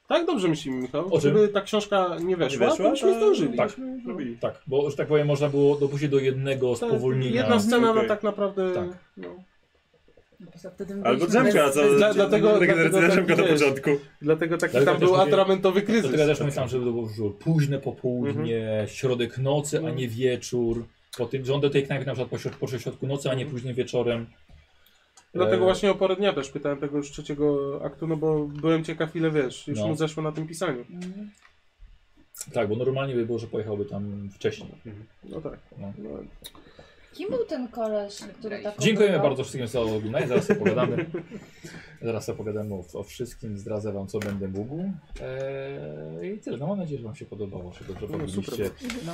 Speaker 7: tak dobrze myślimy, Michał.
Speaker 1: O czym?
Speaker 7: Gdyby ta książka nie weszła,
Speaker 6: weszła,
Speaker 7: to byśmy
Speaker 6: to-
Speaker 7: zdążyli.
Speaker 1: Tak. Tak, bo że tak powiem, można było dopuścić do jednego
Speaker 7: Tak,
Speaker 1: spowolnienia.
Speaker 8: Mhm.
Speaker 7: Jedna scena, no
Speaker 6: Okej.
Speaker 7: tak naprawdę...
Speaker 1: Tak.
Speaker 7: No.
Speaker 6: Albo drzemka, co?
Speaker 7: Dla- dlatego-
Speaker 6: Regeneracja
Speaker 7: dlatego
Speaker 6: drzemka na
Speaker 7: taki, wiesz,
Speaker 6: początku.
Speaker 7: Dlatego taki
Speaker 1: Dlatego
Speaker 7: tam
Speaker 1: też
Speaker 7: był
Speaker 1: mówię-
Speaker 7: atramentowy
Speaker 1: To
Speaker 7: kryzys.
Speaker 1: ja też myślałem, że to było że późne popołudnie,
Speaker 6: Mhm.
Speaker 1: środek nocy,
Speaker 7: Mhm.
Speaker 1: a nie wieczór. Po tym, że on do tej knajpy na przykład pośród, poszedł w środku nocy, a nie późnym wieczorem.
Speaker 7: Mhm. Dlatego
Speaker 1: E,
Speaker 7: właśnie o porę dnia też pytałem tego już trzeciego aktu, no bo byłem ciekaw ile wiesz, już
Speaker 1: No.
Speaker 7: mu zeszło na tym pisaniu.
Speaker 1: Tak, bo normalnie by było, że pojechałby tam wcześniej.
Speaker 7: No tak.
Speaker 1: No.
Speaker 7: No.
Speaker 14: Kim był ten koleś, który tak
Speaker 1: Dziękujemy
Speaker 14: opływał?
Speaker 1: bardzo wszystkim za oglądanie. Zaraz opowiadamy. Zaraz opowiadamy o, o wszystkim, zdradzę wam co będę mógł. Eee, I tyle. No, mam nadzieję, że wam się podobało, że dobrze
Speaker 7: No,
Speaker 1: bawiliście.
Speaker 7: super.
Speaker 8: No.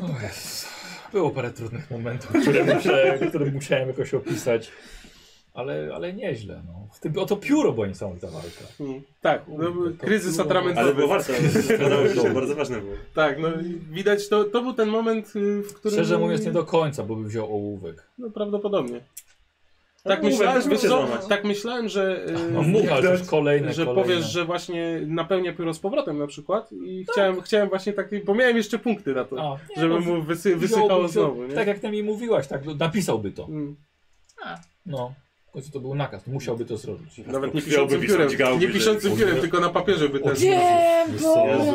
Speaker 1: O Jezus. Było parę trudnych momentów, które, muszę, które musiałem jakoś opisać. Ale, ale nieźle. No. W tym, o to pióro była niesamowita walka.
Speaker 7: Mm. Tak, no,
Speaker 1: Kurde, to
Speaker 7: kryzys
Speaker 1: było-
Speaker 7: atramentowy.
Speaker 6: Ale było warto, zgadzało się, to bardzo ważne było.
Speaker 7: Tak, no i widać, to, to był ten moment, y, w którym...
Speaker 1: Szczerze mówiąc, nie do końca, bo bym wziął ołówek.
Speaker 7: No prawdopodobnie. Tak
Speaker 6: mówię,
Speaker 7: myślałem,
Speaker 6: też by
Speaker 7: wiesz
Speaker 6: się
Speaker 7: co,
Speaker 6: złamać.
Speaker 7: tak myślałem, że... y,
Speaker 1: No, mucha, że już kolejne,
Speaker 7: że
Speaker 1: kolejne.
Speaker 7: powiesz, że właśnie napełnia pióro z powrotem na przykład i chciałem, chciałem właśnie taki, bo miałem jeszcze punkty na to,
Speaker 1: A, nie,
Speaker 7: żeby
Speaker 1: no,
Speaker 7: mu wysy,
Speaker 1: wziąłby-
Speaker 7: wysypało znowu, nie?
Speaker 1: Tak jak ty mi mówiłaś, tak no, napisałby to.
Speaker 7: Mm.
Speaker 1: No. W końcu to był nakaz, musiałby to zrobić. No,
Speaker 7: Nawet nie
Speaker 6: Chciałby
Speaker 7: piszącym
Speaker 6: pisać
Speaker 7: piórem,
Speaker 6: gałby,
Speaker 7: nie
Speaker 6: że-
Speaker 7: piszącym piórem, tylko na papierze by ten...
Speaker 14: Nie, Boże!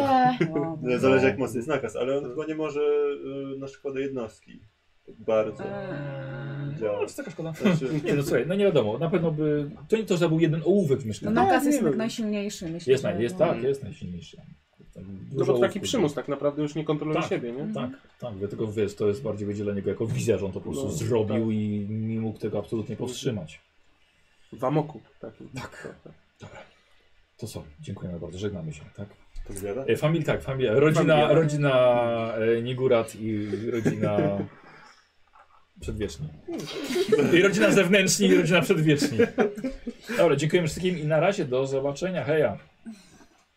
Speaker 8: Wow.
Speaker 6: Zależy jak mocny jest nakaz, ale on chyba nie może y, na przykład do jednostki. Tak Bardzo.
Speaker 1: No,
Speaker 6: Działa.
Speaker 1: jest taka szkoda.
Speaker 6: Znaczy,
Speaker 1: Nie no słuchaj, no nie wiadomo, na pewno by... To nie to, że był jeden ołówek w
Speaker 8: No
Speaker 1: mieszkaniu.
Speaker 8: nakaz
Speaker 7: nie
Speaker 8: jest
Speaker 7: wiem.
Speaker 8: jednak najsilniejszy, myślę.
Speaker 1: Jest,
Speaker 8: że-
Speaker 1: naj, jest
Speaker 8: no.
Speaker 1: tak, jest najsilniejszy. Tam
Speaker 7: No
Speaker 1: dużo
Speaker 7: bo to taki
Speaker 1: ołówków
Speaker 7: przymus tak naprawdę już nie kontroluje
Speaker 1: Tak.
Speaker 7: siebie, nie?
Speaker 1: Tak, tak, dlatego wiesz, to jest bardziej wydzielenie go jako wizja, że on to po prostu
Speaker 7: No,
Speaker 1: zrobił
Speaker 7: tak.
Speaker 1: i nie mógł tego absolutnie powstrzymać.
Speaker 7: W amoku takim.
Speaker 1: Tak. To co, dziękujemy bardzo, żegnamy się, tak?
Speaker 6: to zgadza?
Speaker 1: E, famil, tak, familia, rodzina,
Speaker 7: Familia.
Speaker 1: rodzina e, Nigurat i rodzina przedwieczni. I rodzina zewnętrzni i rodzina przedwieczni. Dobra, dziękujemy wszystkim i na razie do zobaczenia, heja!